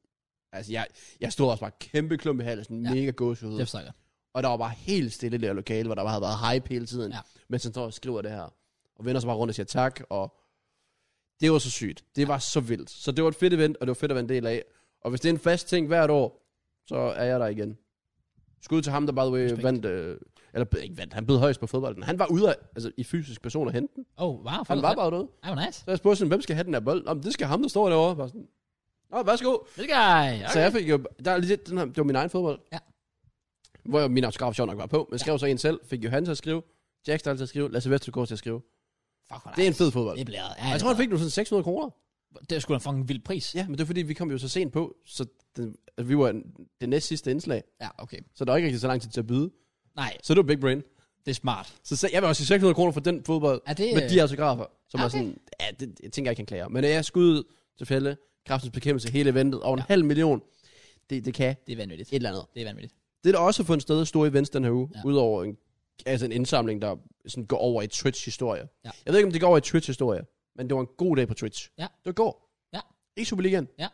S2: Altså, jeg, jeg stod også bare kæmpe klump i halsen,
S1: Ja.
S2: ja. mega
S1: Det
S2: gåsehud.
S1: forstår jeg godt.
S2: Og der var bare helt stille i det her lokale, hvor der bare havde været hype hele tiden,
S1: Ja.
S2: ja. mens han står og skriver det her. Og vender sig bare rundt og siger tak, og det var så sygt. Det var så vildt. Så det var et fedt event, og det var fedt at være en del af. Og hvis det er en fast ting hvert år, så er jeg der igen. Skud til ham, der by the way
S1: Respekt.
S2: Respekt. vandt, øh, eller ikke vandt, han blev højst på fodbolden. Han var ude af, altså, i fysisk person at hente den.
S1: Oh, wow.
S2: Han var bare derude.
S1: Ej, hvor nice.
S2: Så jeg spurgte sådan, hvem skal have den her bold? Om det skal ham, der står derovre. Bare sådan, Nå, værsgo.
S1: This guy. Okay.
S2: Så jeg fik jo, der er lige lidt den her, det var min egen fodbold.
S1: Ja.
S2: Hvor jo min autograf sjov nok var på, men skrev så en selv, fik Johan til at skrive, Jack Stahl til at skrive, Lasse Vestergaard til at skrive.
S1: Fuck, hvor
S2: Det er
S1: nice.
S2: en fed fodbold.
S1: Det er blæret. Ja,
S2: Jeg
S1: det
S2: tror,
S1: er
S2: han fik nu sådan 600 kroner.
S1: blæret. Det er sgu da en fucking vild pris.
S2: Ja, men det er fordi, vi kom jo så sent på, så den, altså, vi var en- det næst sidste indslag,
S1: ja, okay.
S2: så der var ikke rigtig så lang tid til at byde.
S1: Nej,
S2: Så det var big brain.
S1: det er smart.
S2: Så se- jeg vil også sige 600 kroner for den fodbold,
S1: Er det...
S2: med de autografer, som er
S1: okay.
S2: sådan, ja, det, jeg tænker, jeg kan klage. Men jeg skud til fælde, kraftens bekæmpelse, hele eventet, over en halv million. Det, det kan et
S1: Det er vanvittigt.
S2: eller andet.
S1: Det er vanvittigt.
S2: Det er der også fundet sted store events den her uge,
S1: Ja.
S2: ja. udover en, altså en indsamling, der sådan går over i Twitch-historie.
S1: Ja.
S2: Jeg ved ikke, om det går over i Twitch-historie, men det var en god dag på Twitch.
S1: Ja.
S2: Det var i går.
S1: Ja.
S2: I Superligaen.
S1: Ja.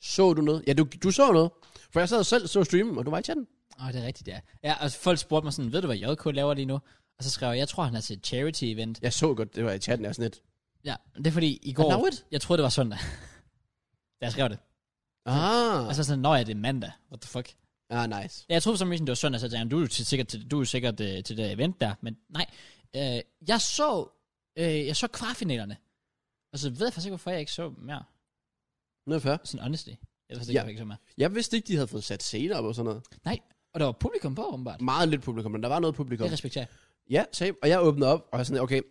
S2: Så du noget? Ja, du, du så noget. For jeg sad jo selv så streamen, og du var i chatten.
S1: Åh, oh, det er rigtigt, ja. Ja, og folk spurgte mig sådan, ved du, hvad JK laver lige nu? Og så skrev jeg, jeg tror, han er til et charity-event.
S2: Jeg så godt, det var i chatten, jeg er sådan lidt.
S1: Ja, det er fordi i går...
S2: Allow it?
S1: Jeg troede, det var søndag. da jeg skrev det.
S2: Ah,
S1: Og så sådan, nå ja, det er mandag. What the fuck?
S2: ah nice.
S1: Ja, jeg troede for some reason, det var søndag, så jeg tænkte, du er jo til, sikkert, til, du er jo sikkert øh, til det event der. Men nej, øh, jeg så, øh, jeg så kvartfinalerne. Og så ved jeg faktisk ikke, hvorfor jeg ikke så dem mere.
S2: Nu er jeg fair.
S1: Sådan honestly. Jeg ved faktisk
S2: Ja.
S1: ikke, hvorfor jeg ikke så mere.
S2: Jeg vidste ikke, de havde fået sat scener op og sådan noget.
S1: Og der var publikum på, åbenbart.
S2: Meget lidt publikum, men der var noget publikum.
S1: Det respekterer jeg.
S2: Ja, same. Og jeg åbnede op, og jeg var sådan, okay,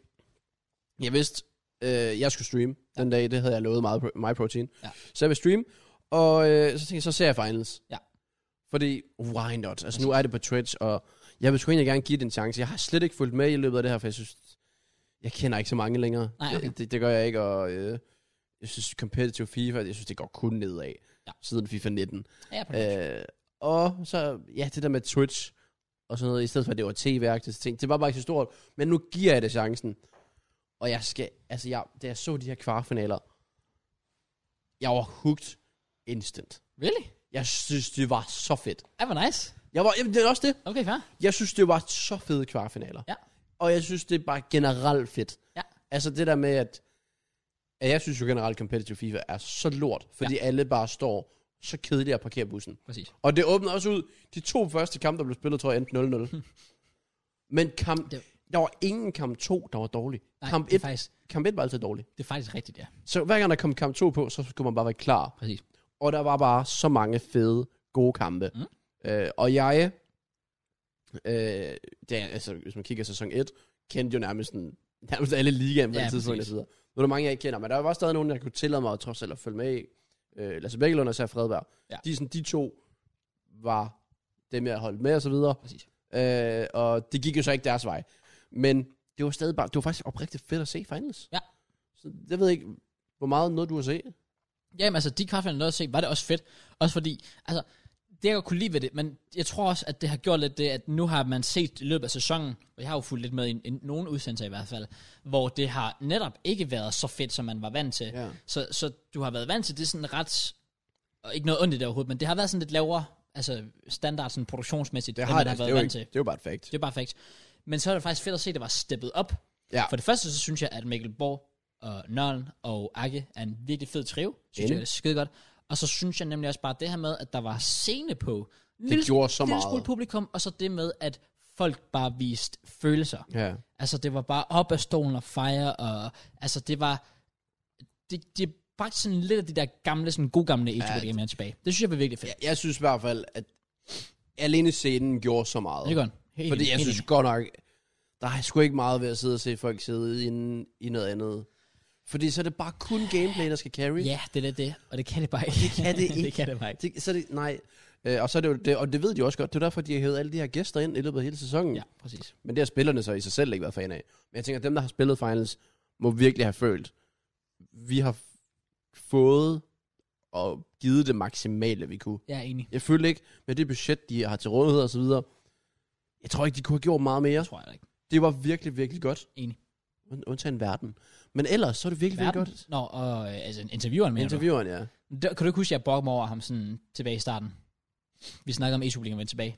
S2: jeg vidste, øh, jeg skulle streame ja. den dag, det havde jeg lovet meget pro- My Protein.
S1: Ja.
S2: Så jeg vil streame, og øh, så tænkte jeg, så ser jeg finals.
S1: Ja.
S2: Fordi, why not? Altså nu er det på Twitch, og jeg vil sgu egentlig gerne give det en chance. Jeg har slet ikke fulgt med i løbet af det her, for jeg synes, jeg kender ikke så mange længere.
S1: Nej, okay.
S2: det, det, det gør jeg ikke, og øh, jeg synes, competitive FIFA, jeg synes, det går kun nedad
S1: Ja.
S2: siden FIFA 19.
S1: Ja, jeg er på det.
S2: Øh, og så, ja, det der med Twitch og sådan noget, i stedet for, at det var tv så ting, det var bare ikke så stort, men nu giver jeg det chancen. Og jeg skal, altså jeg, da jeg så de her kvartfinaler, jeg var hooked instant.
S1: Really?
S2: Jeg synes, det var så fedt.
S1: Ej, hvor nice.
S2: Jeg var, jamen, det er også det.
S1: Okay, fair.
S2: Jeg synes, det var så fede kvartfinaler.
S1: Ja.
S2: Og jeg synes, det er bare generelt fedt.
S1: Ja.
S2: Altså det der med, at, at jeg synes jo generelt, competitive FIFA er så lort, fordi ja. alle bare står så kedeligt og parkerer bussen.
S1: Præcis.
S2: Og det åbnede også ud. De to første kampe, der blev spillet, tror jeg endte 0-0. Men kamp,
S1: Det-
S2: der var ingen kamp 2, der var dårlig.
S1: Nej,
S2: kamp,
S1: det
S2: 1,
S1: er faktisk,
S2: kamp 1 var altid dårlig.
S1: det er faktisk rigtigt, ja.
S2: Så hver gang der kom kamp 2 på, så skulle man bare være klar.
S1: Præcis.
S2: Og der var bare så mange fede, gode kampe.
S1: Mm.
S2: Øh, og jeg, øh, det, er- altså, hvis man kigger sæson 1, kendte jo nærmest, den, nærmest alle ligaen på
S1: Ja,
S2: ja, det tidspunkt.
S1: præcis.
S2: jeg sidder. Nu er der mange, jeg ikke kender, men der var stadig nogen, jeg kunne tillade mig at trods alt at følge med i. Øh, Lasse Bækkelund og Sær Fredberg.
S1: Ja.
S2: De, er sådan, de to var dem, jeg holdt med og så videre.
S1: Præcis.
S2: Øh, og det gik jo så ikke deres vej. Men det var stadig bare, det var faktisk oprigtigt fedt at se finals.
S1: Ja.
S2: Så jeg ved ikke, hvor meget noget du har set.
S1: Jamen altså, de kaffe, jeg nåede at se, var det også fedt. Også fordi, altså, det jeg godt kunne lide ved det, men jeg tror også, at det har gjort lidt det, at nu har man set i løbet af sæsonen, og jeg har jo fulgt lidt med i, i nogle udsendelser i hvert fald, hvor det har netop ikke været så fedt, som man var vant til.
S2: Ja.
S1: Så, så du har været vant til, det er sådan ret, og ikke noget ondt i det overhovedet, men det har været sådan lidt lavere, altså standard sådan produktionsmæssigt,
S2: Det
S1: det
S2: har,
S1: man
S2: det,
S1: har
S2: altså,
S1: været
S2: det, er jo
S1: vant
S2: ikke,
S1: til.
S2: det er jo bare et fact.
S1: Det er bare facts. Men så er det faktisk fedt at se, at det var steppet op.
S2: Ja.
S1: For det første, så synes jeg, at Mikkel Borg og Nørlen og Akke er en virkelig fed trio. Synes
S2: Enig.
S1: jeg, det er skide godt. Og så synes jeg nemlig også bare det her med, at der var scene på. Lille,
S2: gjorde så
S1: lille
S2: meget.
S1: smule publikum, og så det med, at folk bare viste følelser.
S2: Ja.
S1: Altså, det var bare op af stolen og fejre, og altså, det var... Det, det bragte sådan lidt af de der gamle, sådan gode gamle e
S2: Ja,
S1: ja, tilbage. Det synes jeg var virkelig fedt.
S2: Jeg, jeg synes i hvert fald, at alene scenen gjorde så meget.
S1: Det er godt. Helt
S2: Fordi
S1: enig,
S2: jeg
S1: helt
S2: synes
S1: enig.
S2: godt nok, der er sgu ikke meget ved at sidde og se folk sidde inde i noget andet. Fordi så er det bare kun gameplay, der skal carry.
S1: Ja, det er lidt det, og det kan det bare ikke.
S2: det kan det ikke.
S1: det kan det bare ikke.
S2: Det, så er det, nej. Øh, og, så er det jo, det, og det ved de også godt. Det er derfor, de har hævet alle de her gæster ind i løbet af hele sæsonen.
S1: Ja, præcis.
S2: Men det har spillerne så i sig selv ikke været fan af. Men jeg tænker, at dem, der har spillet finals, må virkelig have følt, vi har f- fået og givet det maksimale, vi kunne.
S1: Jeg er enig.
S2: Jeg følte ikke, med det budget, de har til rådighed og så videre, jeg tror ikke, de kunne have gjort meget mere.
S1: Det tror jeg da ikke.
S2: Det var virkelig, virkelig godt.
S1: Enig.
S2: Und- Undtagen verden. Men ellers, så er det virkelig, virkelig
S1: Verden?
S2: godt.
S1: Nå, og øh, altså intervieweren mener Interview.
S2: Intervieweren, ja.
S1: du? Der, kan du ikke huske, at jeg brokkede mig over ham sådan tilbage i starten? Vi snakkede om e vende tilbage.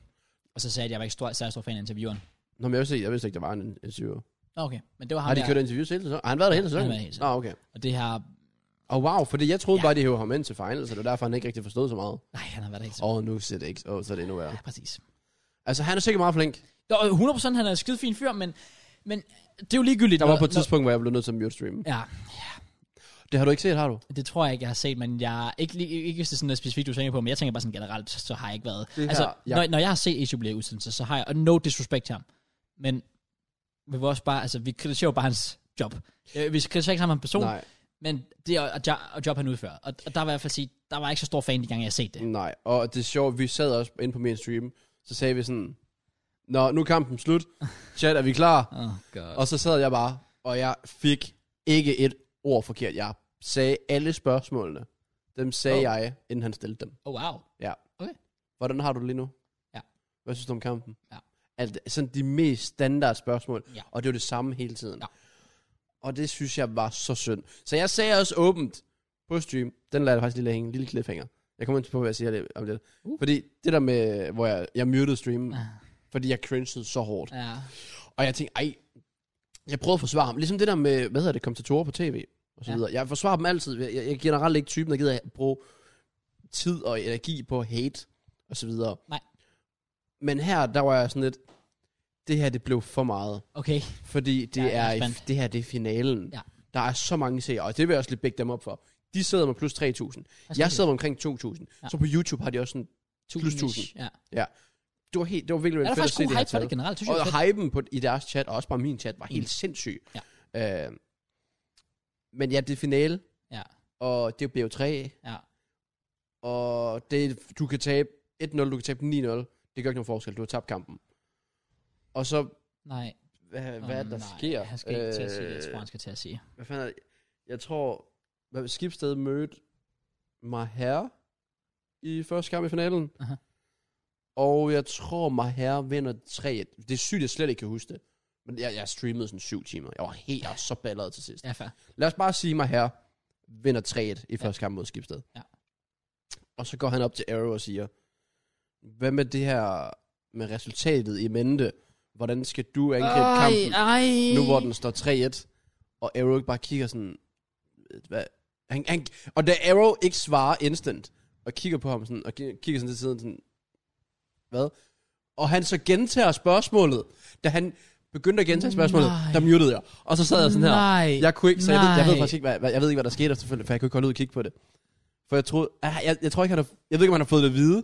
S1: Og så sagde jeg, at jeg var ikke stor, særlig stor fan af intervieweren.
S2: Nå, men jeg vidste ikke, jeg vidste ikke der var en interviewer.
S1: Nå, okay. Men det var ham
S2: Har de
S1: der,
S2: kørt interviews hele sæsonen? Har han været der hele
S1: Ah, han har
S2: sæsonen?
S1: været hele
S2: Ah, okay.
S1: og det her...
S2: Og oh, wow, fordi jeg troede
S1: Ja.
S2: bare, de hævde ham ind til finals, så det var derfor, han ikke rigtig forstod så meget.
S1: Nej, han har været der helt
S2: Åh, oh, nu ser det ikke. Åh, oh, så er det endnu værre.
S1: Ja, præcis.
S2: Altså, han er sikkert meget flink.
S1: Nå, og 100% han er en skide fin fyr, men, men det er jo ligegyldigt.
S2: Der var
S1: når-
S2: på et
S1: når-
S2: tidspunkt, hvor jeg blev nødt til at mute streamen.
S1: Ja,
S2: Det har du ikke set, har du?
S1: det tror jeg ikke, jeg har set, men jeg ikke, lige- ikke hvis det er sådan noget specifikt, du tænker på, men jeg tænker bare sådan generelt, så har jeg ikke været.
S2: Det
S1: altså,
S2: her, jeg-
S1: når, når jeg har set Ezio blive udsendt, så har jeg, og no disrespect til ham, men vi vil også bare, altså vi kritiserer jo bare hans job. Øh, Vi kritiserer ikke ham som person, Nej.
S2: Nej,
S1: men det er og job, og job han udfører. Og, og der vil jeg i hvert fald sige, der var jeg ikke så stor fan, de gange jeg har set det.
S2: nej. Og det er sjovt, vi sad også inde på min stream, så sagde vi sådan, Nå, nu er kampen slut. Chat, er vi klar?
S1: Oh god.
S2: Og så sad jeg bare, og jeg fik ikke et ord forkert. Jeg sagde alle spørgsmålene. Dem sagde
S1: Oh.
S2: oh. jeg, inden han stillede dem.
S1: Oh wow.
S2: Hvordan har du det lige nu?
S1: Ja.
S2: Hvad synes du om kampen?
S1: Ja.
S2: Alt, sådan de mest standard spørgsmål,
S1: Ja.
S2: og det var det samme hele tiden.
S1: Ja.
S2: Og det synes jeg var så synd. Så jeg sagde også åbent på stream, den lader jeg faktisk lige hænge, en lille cliffhanger. Jeg Jeg kommer ikke på, hvad jeg siger det, om det.
S1: Uh.
S2: Uh. Fordi det der med, hvor jeg, jeg myrede streamen,
S1: Ah.
S2: fordi jeg cringede så hårdt.
S1: Ja.
S2: Og jeg tænkte, ej, jeg prøvede at forsvare ham. Ligesom det der med, hvad hedder det, kommentatorer på tv og så
S1: Ja.
S2: ja. videre. Jeg forsvarer dem altid. Jeg, jeg er generelt ikke typen, der gider at bruge tid og energi på hate og så videre.
S1: Nej.
S2: Men her, der var jeg sådan lidt, det her, det blev for meget.
S1: Okay.
S2: Fordi det,
S1: Ja,
S2: ja,
S1: jeg er
S2: er, i-
S1: spændt.
S2: det her, det er finalen.
S1: Ja.
S2: Der er så mange seere, og det vil jeg også lidt bække dem op for. De sidder med plus 3.000. Jeg sidder med omkring 2.000.
S1: Ja.
S2: Ja. Så på YouTube har de også sådan, plus 1000.
S1: Ja.
S2: det var, helt, det var virkelig,
S1: Er
S2: virkelig
S1: der
S2: fedt at
S1: faktisk
S2: se
S1: god
S2: det her
S1: hype for
S2: tal.
S1: det generelt? Synes jeg, er fedt.
S2: Og hypen på, i deres chat, og også bare min chat, var helt
S1: Mm.
S2: sindssyg. Ja. Øh, men ja, det er finale,
S1: Ja.
S2: og det bliver jo 3
S1: Ja.
S2: og det, du kan tabe 1-0, du kan tabe 9-0, det gør ikke nogen forskel, du har tabt kampen. Og så,
S1: Nej.
S2: hvad,
S1: Åh,
S2: hvad er det, der
S1: nej.
S2: sker? Øh,
S1: Han skal ikke til at sige det, jeg tror, han skal til at sige.
S2: hvad fanden er det? Jeg tror, hvad Skibsted mødte Maher i første kamp i finalen.
S1: Aha.
S2: Og jeg tror, Maher vinder 3-1. Det er sygt, jeg slet ikke kan huske det. Men jeg, jeg streamede sådan syv timer. Jeg var helt jeg var så balleret til sidst.
S1: Ja, fair.
S2: Lad os bare sige, Maher vinder 3-1 i første kamp mod Skibsted.
S1: Ja.
S2: Og så går han op til Arrow og siger, hvad med det her med resultatet i mente? Hvordan skal du angribe kampen?
S1: ej.
S2: nu hvor den står 3-1, og Arrow bare kigger sådan, hvad, han, han, og da Arrow ikke svarer instant, og kigger på ham sådan, og ki- kigger sådan til siden sådan, hvad? Og han så gentager spørgsmålet, da han begyndte at gentage spørgsmålet,
S1: Nej.
S2: Nej. der mutede jeg. Og så sad jeg sådan her.
S1: Nej.
S2: Jeg kunne ikke, så jeg ved, jeg ved
S1: Nej.
S2: faktisk ikke, hvad, hvad, jeg ved ikke, hvad der skete efterfølgende, for jeg kunne ikke holde ud og kigge på det. For jeg troede, ah, jeg, jeg tror ikke, han har, jeg ved ikke, om han har fået det at vide.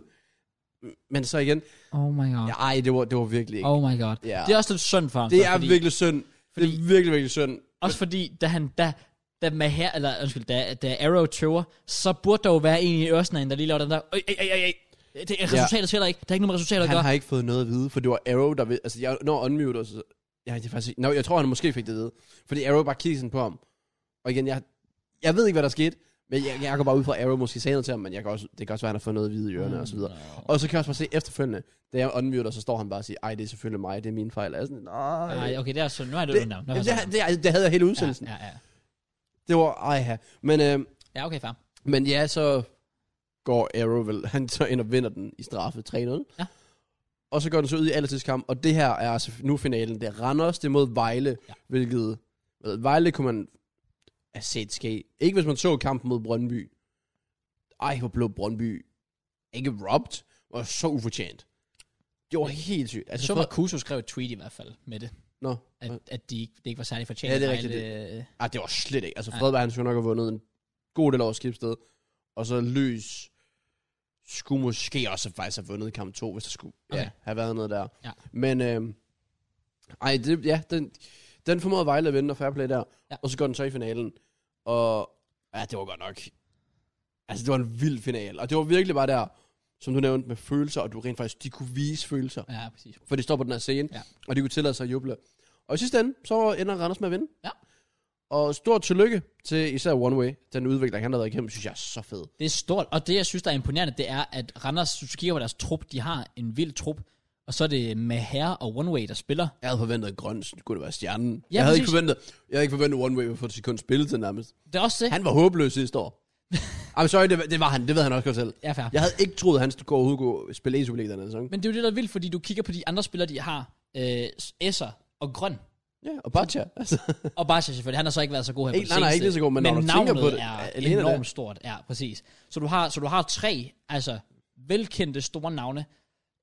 S2: Men så igen,
S1: Oh my god.
S2: ja, ej, det var, det var virkelig ikke.
S1: Oh my god.
S2: Ja.
S1: Det er også lidt synd for ham.
S2: det
S1: så,
S2: er
S1: fordi,
S2: virkelig synd. Fordi, det
S1: fordi-
S2: er virkelig, virkelig synd.
S1: Også fordi, da han, da, da Maher, eller undskyld, da, da Arrow tøver, så burde der jo være en i Ørsnagen, der lige laver den der, øj, øj, øj, øj, øj. Det er resultatet tæller ikke. Der er ikke nogen resultater at
S2: Han
S1: gøre.
S2: har ikke fået noget at vide, for det var Arrow, der ved... Altså, jeg når unmute, og så... Jeg, det er faktisk, ikke- Nå, jeg tror, han måske fik det at vide. Fordi Arrow bare kiggede sådan på ham. Og igen, jeg, jeg ved ikke, hvad der skete. Men jeg, jeg går bare ud fra, at Arrow måske sagde noget til ham, men jeg kan også, det kan også være, at han har fået noget at vide i ørerne og så
S1: Mm.
S2: videre. Og så kan jeg også bare se efterfølgende, da jeg unmuter, så står han bare og siger, ej, det er selvfølgelig mig, det er min fejl. Og Jeg er sådan, nej.
S1: Nej, okay, det er sådan. Nu er det,
S2: det,
S1: det,
S2: jamen, det, det, det, det, havde jeg hele udsendelsen.
S1: ja, ja, ja.
S2: Det var, ej, ja. Men, øh,
S1: ja, okay, far.
S2: men ja, så går Arrow vel, han så ind og vinder den i straffe 3-0.
S1: Ja.
S2: Og så går den så ud i allertidskamp, og det her er altså nu finalen. Det er Randers, det er mod Vejle,
S1: Ja.
S2: ja. hvilket... Ved, Vejle kunne man have set ske. Ikke hvis man så kampen mod Brøndby. Ej, hvor blev Brøndby ikke robbed, og så ufortjent. Det var helt sygt.
S1: Jeg
S2: Altså,
S1: så
S2: for,
S1: Marcuso skrev et tweet i hvert fald med det,
S2: nå,
S1: at, at de, ikke- det ikke var særlig fortjent.
S2: Ja, det er
S1: at
S2: rigtigt,
S1: Vejle, øh,
S2: Ej, det var slet ikke. Altså,
S1: Nej.
S2: Fredberg, han skulle nok have vundet en god del over skibsted. Og så Løs skulle måske også faktisk have vundet kamp 2, hvis der skulle okay.
S1: Okay.
S2: ja, have været noget der.
S1: Ja.
S2: Men, øh, ej, det, ja, den, den formåede Vejle at vinde, og fair play der.
S1: Ja.
S2: Ja. Og så går den så i finalen. Og ja, det var godt nok. Altså, det var en vild final. Og det var virkelig bare der, som du nævnte, med følelser, og du rent faktisk, de kunne vise følelser.
S1: øh, Ja, præcis.
S2: For de står på den her scene,
S1: Ja.
S2: ja. og de kunne tillade sig at juble. Og i sidste ende, så ender Randers med at vinde.
S1: Ja.
S2: Og stort tillykke til især One Way. Den udvikling, han har været igennem, synes jeg er så fed.
S1: Det er stort, og det jeg synes, der er imponerende, det er, at Randers, hvis du kigger på deres trup, de har en vild trup, og så er det Maher og One Way, der spiller.
S2: Jeg havde forventet, at Grøn skulle det være stjernen.
S1: Ja,
S2: jeg, havde ikke
S1: præcis.
S2: forventet, jeg havde ikke forventet One Way ville få et sekund spilletid nærmest.
S1: Det er også det.
S2: Han var håbløs sidste år. I'm sorry, det, var- det var han. Det ved han også godt selv.
S1: Ja, fair.
S2: Jeg havde ikke troet, at han skulle gå overhovedet gå spille i Superligaen den her sæson.
S1: Men det er jo det, der er vildt, fordi du kigger på de andre spillere, de har, øh, Esser og Grøn,
S2: Ja, og Batja. Altså,
S1: og Barca selvfølgelig, han har så ikke været så god her
S2: Ikke-
S1: på
S2: nej,
S1: det
S2: nej,
S1: seneste.
S2: ikke lige så god, men når du tænker
S1: navnet
S2: på det,
S1: er
S2: alene
S1: enormt
S2: der.
S1: stort, ja, præcis. Så du har, så du har tre, altså velkendte store navne,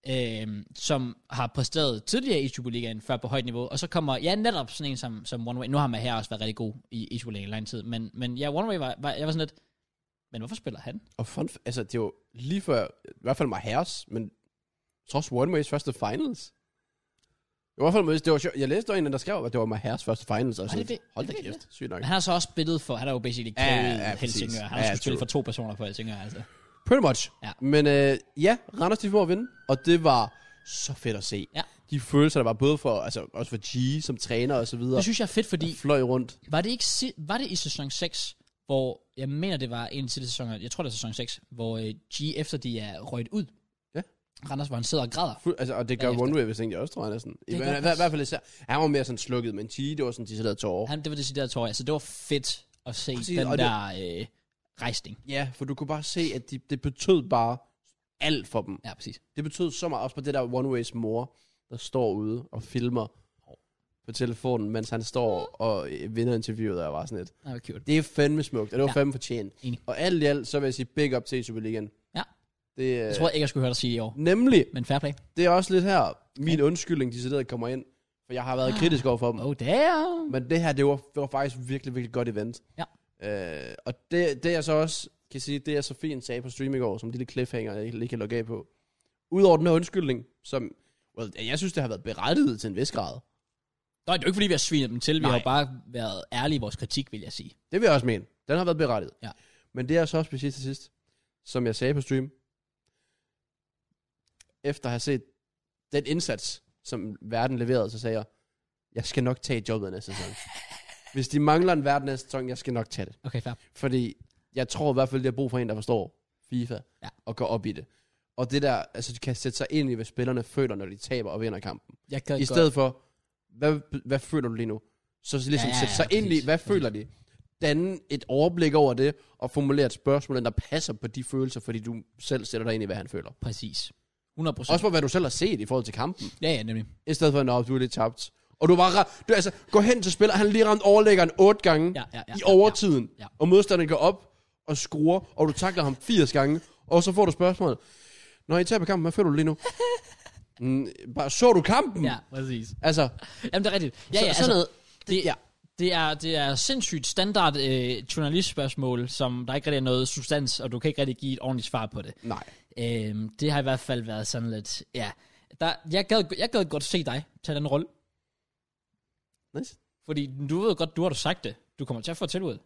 S1: øh, som har præsteret tidligere i Superligaen, før på højt niveau, og så kommer, ja, netop sådan en som, som One Way, nu har man her også været rigtig god i, i Superligaen i lang tid, men, men ja, One Way var, var, jeg var sådan lidt, men hvorfor spiller han?
S2: og fun, f- altså, det er jo lige før, i hvert fald mig herres, men trods One Ways første finals. I hvert fald, mødes- det var sjovt. Jeg læste der var en, der skrev, at det var mig herres første finals. Og
S1: Var det
S2: sådan,
S1: det?
S2: hold da
S1: Det er
S2: kæft, sygt nok.
S1: Men han har så også spillet for, han er jo basically
S2: Ja, ja,
S1: carried ja,
S2: ja,
S1: ja,
S2: præcis.
S1: Helsingør, han har
S2: Ja,
S1: ja,
S2: ja,
S1: spillet
S2: true.
S1: for to personer på Helsingør, altså.
S2: Pretty much.
S1: Ja.
S2: Men øh, ja, Randers de får at vinde, og det var så fedt at se.
S1: Ja.
S2: De følelser, der var både for, altså også for G som træner og så videre,
S1: Det synes jeg er fedt, fordi
S2: de fløj rundt.
S1: Var det, ikke si- var det i sæson 6, hvor, jeg mener det var en af de tidligere sæsoner, jeg tror det er sæson 6, hvor øh, G efter de er røget ud,
S2: Ja.
S1: Randers, hvor han sidder og græder.
S2: Fuld, altså, og det gør
S1: Bagefter.
S2: One Way, hvis jeg også, tror jeg næsten. I,
S1: Det
S2: hver-
S1: gør
S2: hver-
S1: også.
S2: i hvert fald især. Han var mere sådan slukket, men G, det var sådan, de sidder tårer.
S1: Han, det var det sidste tårer, altså det var fedt at se
S2: Præcis,
S1: den
S2: og det-
S1: der øh, rejsning.
S2: Ja, for du kunne bare se, at de, det betød bare alt for dem.
S1: Ja, præcis.
S2: Det betød så meget, også på det der One Ways mor, der står ude og filmer på telefonen, mens han står og øh, vinder interviewet, og jeg var sådan lidt.
S1: Nej, hvor cute.
S2: Det er fandme smukt, og det var
S1: Ja.
S2: ja. fandme fortjent.
S1: Enig.
S2: Og alt i alt, så vil jeg sige big up til Superligaen.
S1: Ja.
S2: Det,
S1: Jeg
S2: jeg
S1: tror ikke, jeg skulle høre dig sige det i år.
S2: Nemlig,
S1: Men fair play.
S2: det er også lidt her, min undskyldning, de sidder kommer ind, for jeg har været kritisk over for dem.
S1: Oh damn.
S2: Men det her, det var, det var faktisk virkelig, virkelig godt event.
S1: Ja.
S2: Øh, og det, det jeg så også kan sige, det er så fint sagde på stream i går, som en lille cliffhanger, jeg ikke lige kan logge af på. Udover den her undskyldning, som, well, jeg synes, det har været berettiget til en vis grad.
S1: Nå, det er jo ikke, fordi vi har svinet dem til. Vi
S2: Nej.
S1: har jo bare været ærlige i vores kritik, vil jeg sige.
S2: Det vil jeg også mene. Den har været berettiget.
S1: Ja.
S2: Men det er så også præcis til sidst, som jeg sagde på stream, efter at have set den indsats, som verden leverede, så sagde jeg, jeg skal nok tage jobbet næste sæson. Hvis de mangler en verden næste sæson, jeg skal nok tage det.
S1: Okay, fair.
S2: Fordi jeg tror i hvert fald, de har brug for en, der forstår FIFA
S1: Ja.
S2: ja. og går op i det. Og det der, altså de kan sætte sig ind i, hvad spillerne føler, når de taber og vinder kampen.
S1: Jeg kan
S2: I
S1: godt-
S2: stedet for, hvad, hvad føler du lige nu? Så ligesom
S1: Ja,
S2: ja,
S1: ja,
S2: ja,
S1: ja,
S2: sætte sig ind i,
S1: præcis,
S2: hvad
S1: præcis.
S2: føler de? Danne et overblik over det, og formulere et spørgsmål, der passer på de følelser, fordi du selv sætter dig ind i, hvad han føler.
S1: Præcis. 100 procent.
S2: Også på, hvad du selv har set i forhold til kampen.
S1: Ja, ja, nemlig.
S2: I stedet for, at du er lidt tabt. Og du var ra- du, altså, gå hen til spiller, han har lige ramt overlæggeren otte gange
S1: Ja, ja, ja,
S2: i
S1: ja,
S2: overtiden.
S1: ja, ja.
S2: Og modstanderen går op og skruer, og du takler ham 80 gange. Og så får du spørgsmålet. Når I taber kampen, hvad føler du lige nu? mm, bare, så du kampen?
S1: Ja, præcis.
S2: Altså,
S1: Jamen, det Mm. er rigtigt. Ja, altså,
S2: Så-
S1: ja,
S2: sådan noget.
S1: Det,
S2: ja.
S1: det, er, det er sindssygt standard øh, journalistspørgsmål, som der ikke rigtig er noget substans, og du kan ikke rigtig give et ordentligt svar på det.
S2: nej.
S1: Øhm, det har i hvert fald været sådan lidt, ja. Der, jeg, gad, jeg gad godt se dig tage den rolle,
S2: Nice.
S1: fordi du ved godt, du har du sagt det. Du kommer til at få tilbud.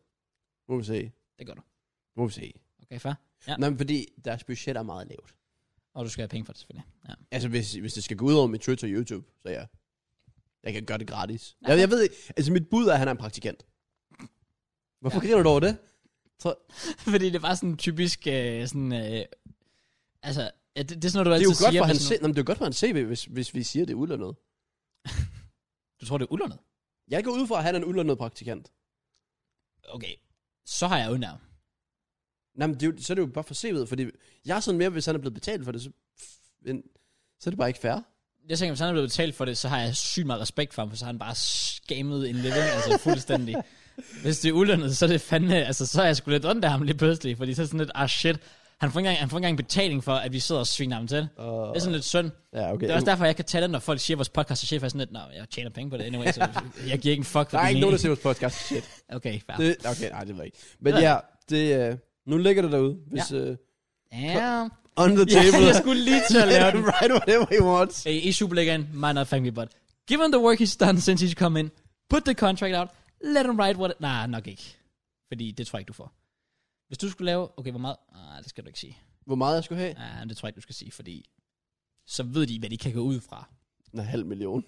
S2: Må vi se.
S1: Det gør du.
S2: Må vi se.
S1: Okay, fair. Ja.
S2: Ja. Nej, men fordi deres budget er meget lavt.
S1: Og du skal have penge for det, selvfølgelig. Ja.
S2: Altså, hvis, hvis det skal gå ud over mit Twitch og YouTube, så ja. Jeg kan gøre det gratis. Jeg, jeg ved ikke, altså mit bud er, at han er en praktikant. Hvorfor
S1: Ja.
S2: ja. griner du over det? Tror,
S1: fordi det var sådan typisk, øh, sådan, øh, altså, ja, det, det, er sådan noget, du
S2: det
S1: altid
S2: er jo godt
S1: siger.
S2: for
S1: med
S2: hans
S1: sådan
S2: CV, det er jo godt for hans CV, hvis, hvis vi siger, det er ulønnet.
S1: nogle- Du tror, det er ulønnet?
S2: Jeg går ud fra, at han er en ulønnet praktikant.
S1: Okay, så har jeg jo nær.
S2: Nej, men det er jo, så er det jo bare for CV'et, fordi jeg er sådan mere, hvis han er blevet betalt for det, så, men, så er det bare ikke fair.
S1: Jeg tænker, hvis han er blevet betalt for det, så har jeg sygt meget respekt for ham, for så har han bare skammet en living, altså fuldstændig. Hvis det er ulønnet, så er det fandme, altså så er jeg sgu lidt ondt af ham lige pludselig, fordi så er det sådan lidt, ah shit, han får, ikke engang, han får ikke engang betaling for, at vi sidder og sviner ham til. Det
S2: Og,
S1: er sådan lidt synd.
S2: ja, okay.
S1: Det er også derfor, jeg kan tage den, når folk siger, at vores podcast er chef, er sådan lidt, nej, jeg tjener penge på det anyway, så jeg giver ikke en fuck for
S2: der er
S1: din
S2: ikke nogen, der
S1: mening."
S2: ser vores podcast. Shit.
S1: Okay, fair.
S2: Det, okay, nej, det ved jeg ikke. Men
S1: Det ved
S2: ja, det, øh, nu ligger det derude. Hvis, øh,
S1: Ja,
S2: on the table.
S1: ja, jeg skulle lige til at lave den.
S2: right whatever he wants.
S1: Hey, i Superligaen, might not thank me, but given the work he's done since he's come in, put the contract out, let him write what... Nej, nah, nok ikke. Fordi det tror jeg ikke, du får. Hvis du skulle lave... Okay, hvor meget... Nej, det skal du ikke sige.
S2: Hvor meget jeg skulle have?
S1: Nej, det tror jeg ikke, du skal sige, fordi... Så ved de, hvad de kan gå ud fra.
S2: En halv million.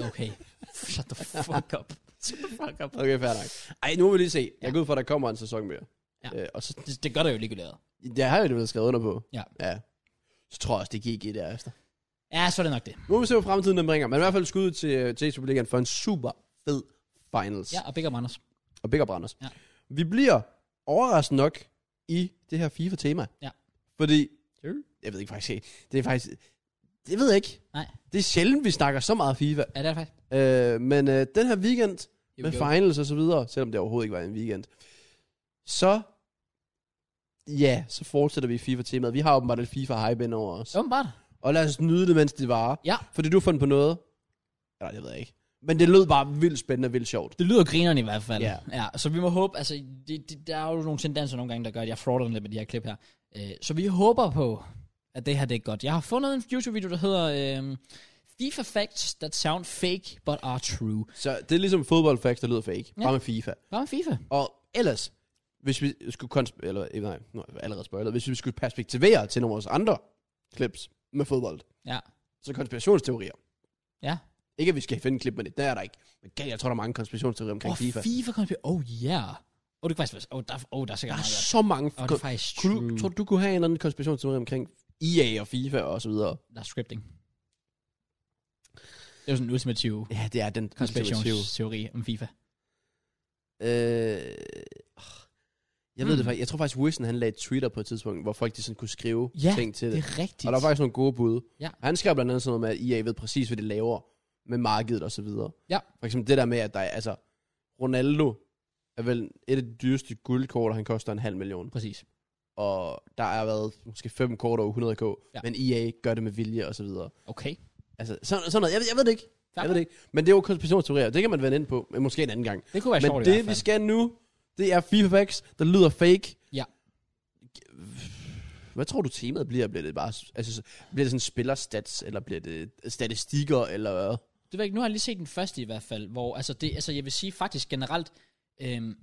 S1: Okay. Shut the fuck up. Shut the fuck up.
S2: Okay, fair nok. Ej, nu må vi lige se. Jeg går ud fra, at der kommer en sæson mere.
S1: Ja.
S2: Øh, og så,
S1: Det, det gør der jo ligegyldigt.
S2: det har jeg jo blevet skrevet under på.
S1: Ja.
S2: ja. Så tror jeg også, det gik i derefter.
S1: Ja, så er det nok det.
S2: Nu må vi se, hvad fremtiden den bringer. Men i hvert fald skud til, til Superligaen for en super fed finals.
S1: Ja, og Big Up Anders.
S2: Og Big Up Anders.
S1: Ja.
S2: Vi bliver overraskende nok i det her FIFA-tema.
S1: Ja.
S2: Fordi, jeg ved ikke faktisk, ikke. det er faktisk, det ved jeg ikke.
S1: Nej.
S2: Det er sjældent, vi snakker så meget FIFA.
S1: Ja, det er det faktisk.
S2: Øh, men øh, den her weekend,
S1: Here we
S2: med
S1: go.
S2: finals og så videre, selvom det overhovedet ikke var en weekend. Så, ja, så fortsætter vi FIFA-temaet. Vi har åbenbart et FIFA-hype ind over os.
S1: Åbenbart.
S2: Og lad os nyde det, mens det varer.
S1: Ja.
S2: Fordi du har fundet på noget. Eller det ved jeg ikke. Men det lød bare vildt spændende og vildt sjovt.
S1: Det lyder grineren i hvert fald.
S2: Ja.
S1: ja så vi må håbe, altså, det, det, der er jo nogle tendenser nogle gange, der gør, at jeg frauder lidt med de her klip her. Øh, så vi håber på, at det her det er godt. Jeg har fundet en YouTube-video, der hedder øh, FIFA Facts That Sound Fake But Are True.
S2: Så det er ligesom fodboldfacts, der lyder fake.
S1: Ja.
S2: Ja. Bare med FIFA.
S1: Hvad med FIFA?
S2: Og ellers, hvis vi skulle konsp- eller, eh, nej, nu har jeg allerede spoilet, hvis vi skulle perspektivere til nogle af vores andre clips med fodbold,
S1: Ja.
S2: så konspirationsteorier.
S1: Ja.
S2: Ikke at vi skal finde en klip med det, der er der ikke. Men gæld, jeg tror, der er mange konspirationsteorier omkring
S1: Og
S2: FIFA.
S1: FIFA. FIFA konspir- oh yeah. Oh, det kan faktisk være- oh, der, oh, der er
S2: Der
S1: sikkert
S2: er
S1: meget godt.
S2: så mange...
S1: Og oh, det
S2: kon-
S1: er faktisk
S2: Ah, kunne
S1: true.
S2: du, tror du, du kunne have en eller anden konspirationsteori omkring EA og FIFA og så videre?
S1: Der er scripting. Det er jo sådan en ultimativ
S2: Ja, det er den konspirationsteori.
S1: konspirationsteori om FIFA.
S2: Øh, Jeg ved
S1: Hmm.
S2: det faktisk. Jeg tror faktisk, Wilson han lagde Twitter på et tidspunkt, hvor folk de sådan kunne skrive
S1: Ja,
S2: ting til det.
S1: Det er rigtigt.
S2: Og der var faktisk nogle gode bud.
S1: Ja.
S2: Han skrev blandt andet sådan noget med, at EA ved præcis, hvad de laver med markedet og så videre.
S1: Ja.
S2: For eksempel det der med, at der er, altså, Ronaldo er vel et af de dyreste guldkort, og han koster en halv million.
S1: Præcis.
S2: Og der er været måske fem kort over 100k,
S1: Ja.
S2: men EA gør det med vilje og så videre.
S1: Okay.
S2: Altså, sådan, sådan noget. Jeg, ved- jeg ved det ikke.
S1: Fair
S2: Jeg ved det ikke. Men det er jo konspirationsteorier. Det kan man vende ind på, men måske en anden gang.
S1: Det kunne være sjovt
S2: Men
S1: i
S2: det,
S1: hvert
S2: vi
S1: fald.
S2: skal nu, det er FIFA Facts, der lyder fake.
S1: Ja.
S2: Hvad tror du temaet bliver? Bliver det bare, altså, så- bliver det sådan spillerstats, eller bliver det statistikker, eller hvad?
S1: Det ved jeg ikke, nu har jeg lige set den første i hvert fald, hvor, altså, det, altså jeg vil sige faktisk generelt, øhm, en,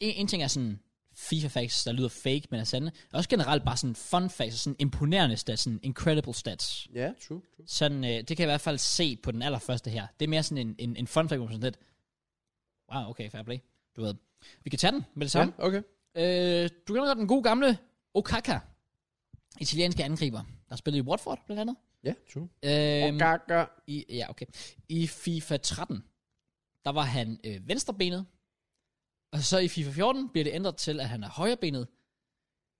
S1: en ting er sådan FIFA facts, der lyder fake, men er sande, og også generelt bare sådan fun facts, sådan imponerende stats, sådan incredible stats.
S2: Ja, true. true.
S1: Sådan, øh, det kan jeg i hvert fald se på den allerførste her. Det er mere sådan en, en, en fun fact, hvor man sådan lidt, wow, okay, fair play, du ved. Vi kan tage den med det samme.
S2: Ja, okay.
S1: Øh, du kender godt den gode gamle Okaka, italienske angriber, der spillede i Watford blandt andet.
S2: Ja, true.
S1: Øhm,
S2: Gaga.
S1: I, ja, okay. I FIFA 13, der var han øh, venstrebenet, og så i FIFA 14 bliver det ændret til, at han er højrebenet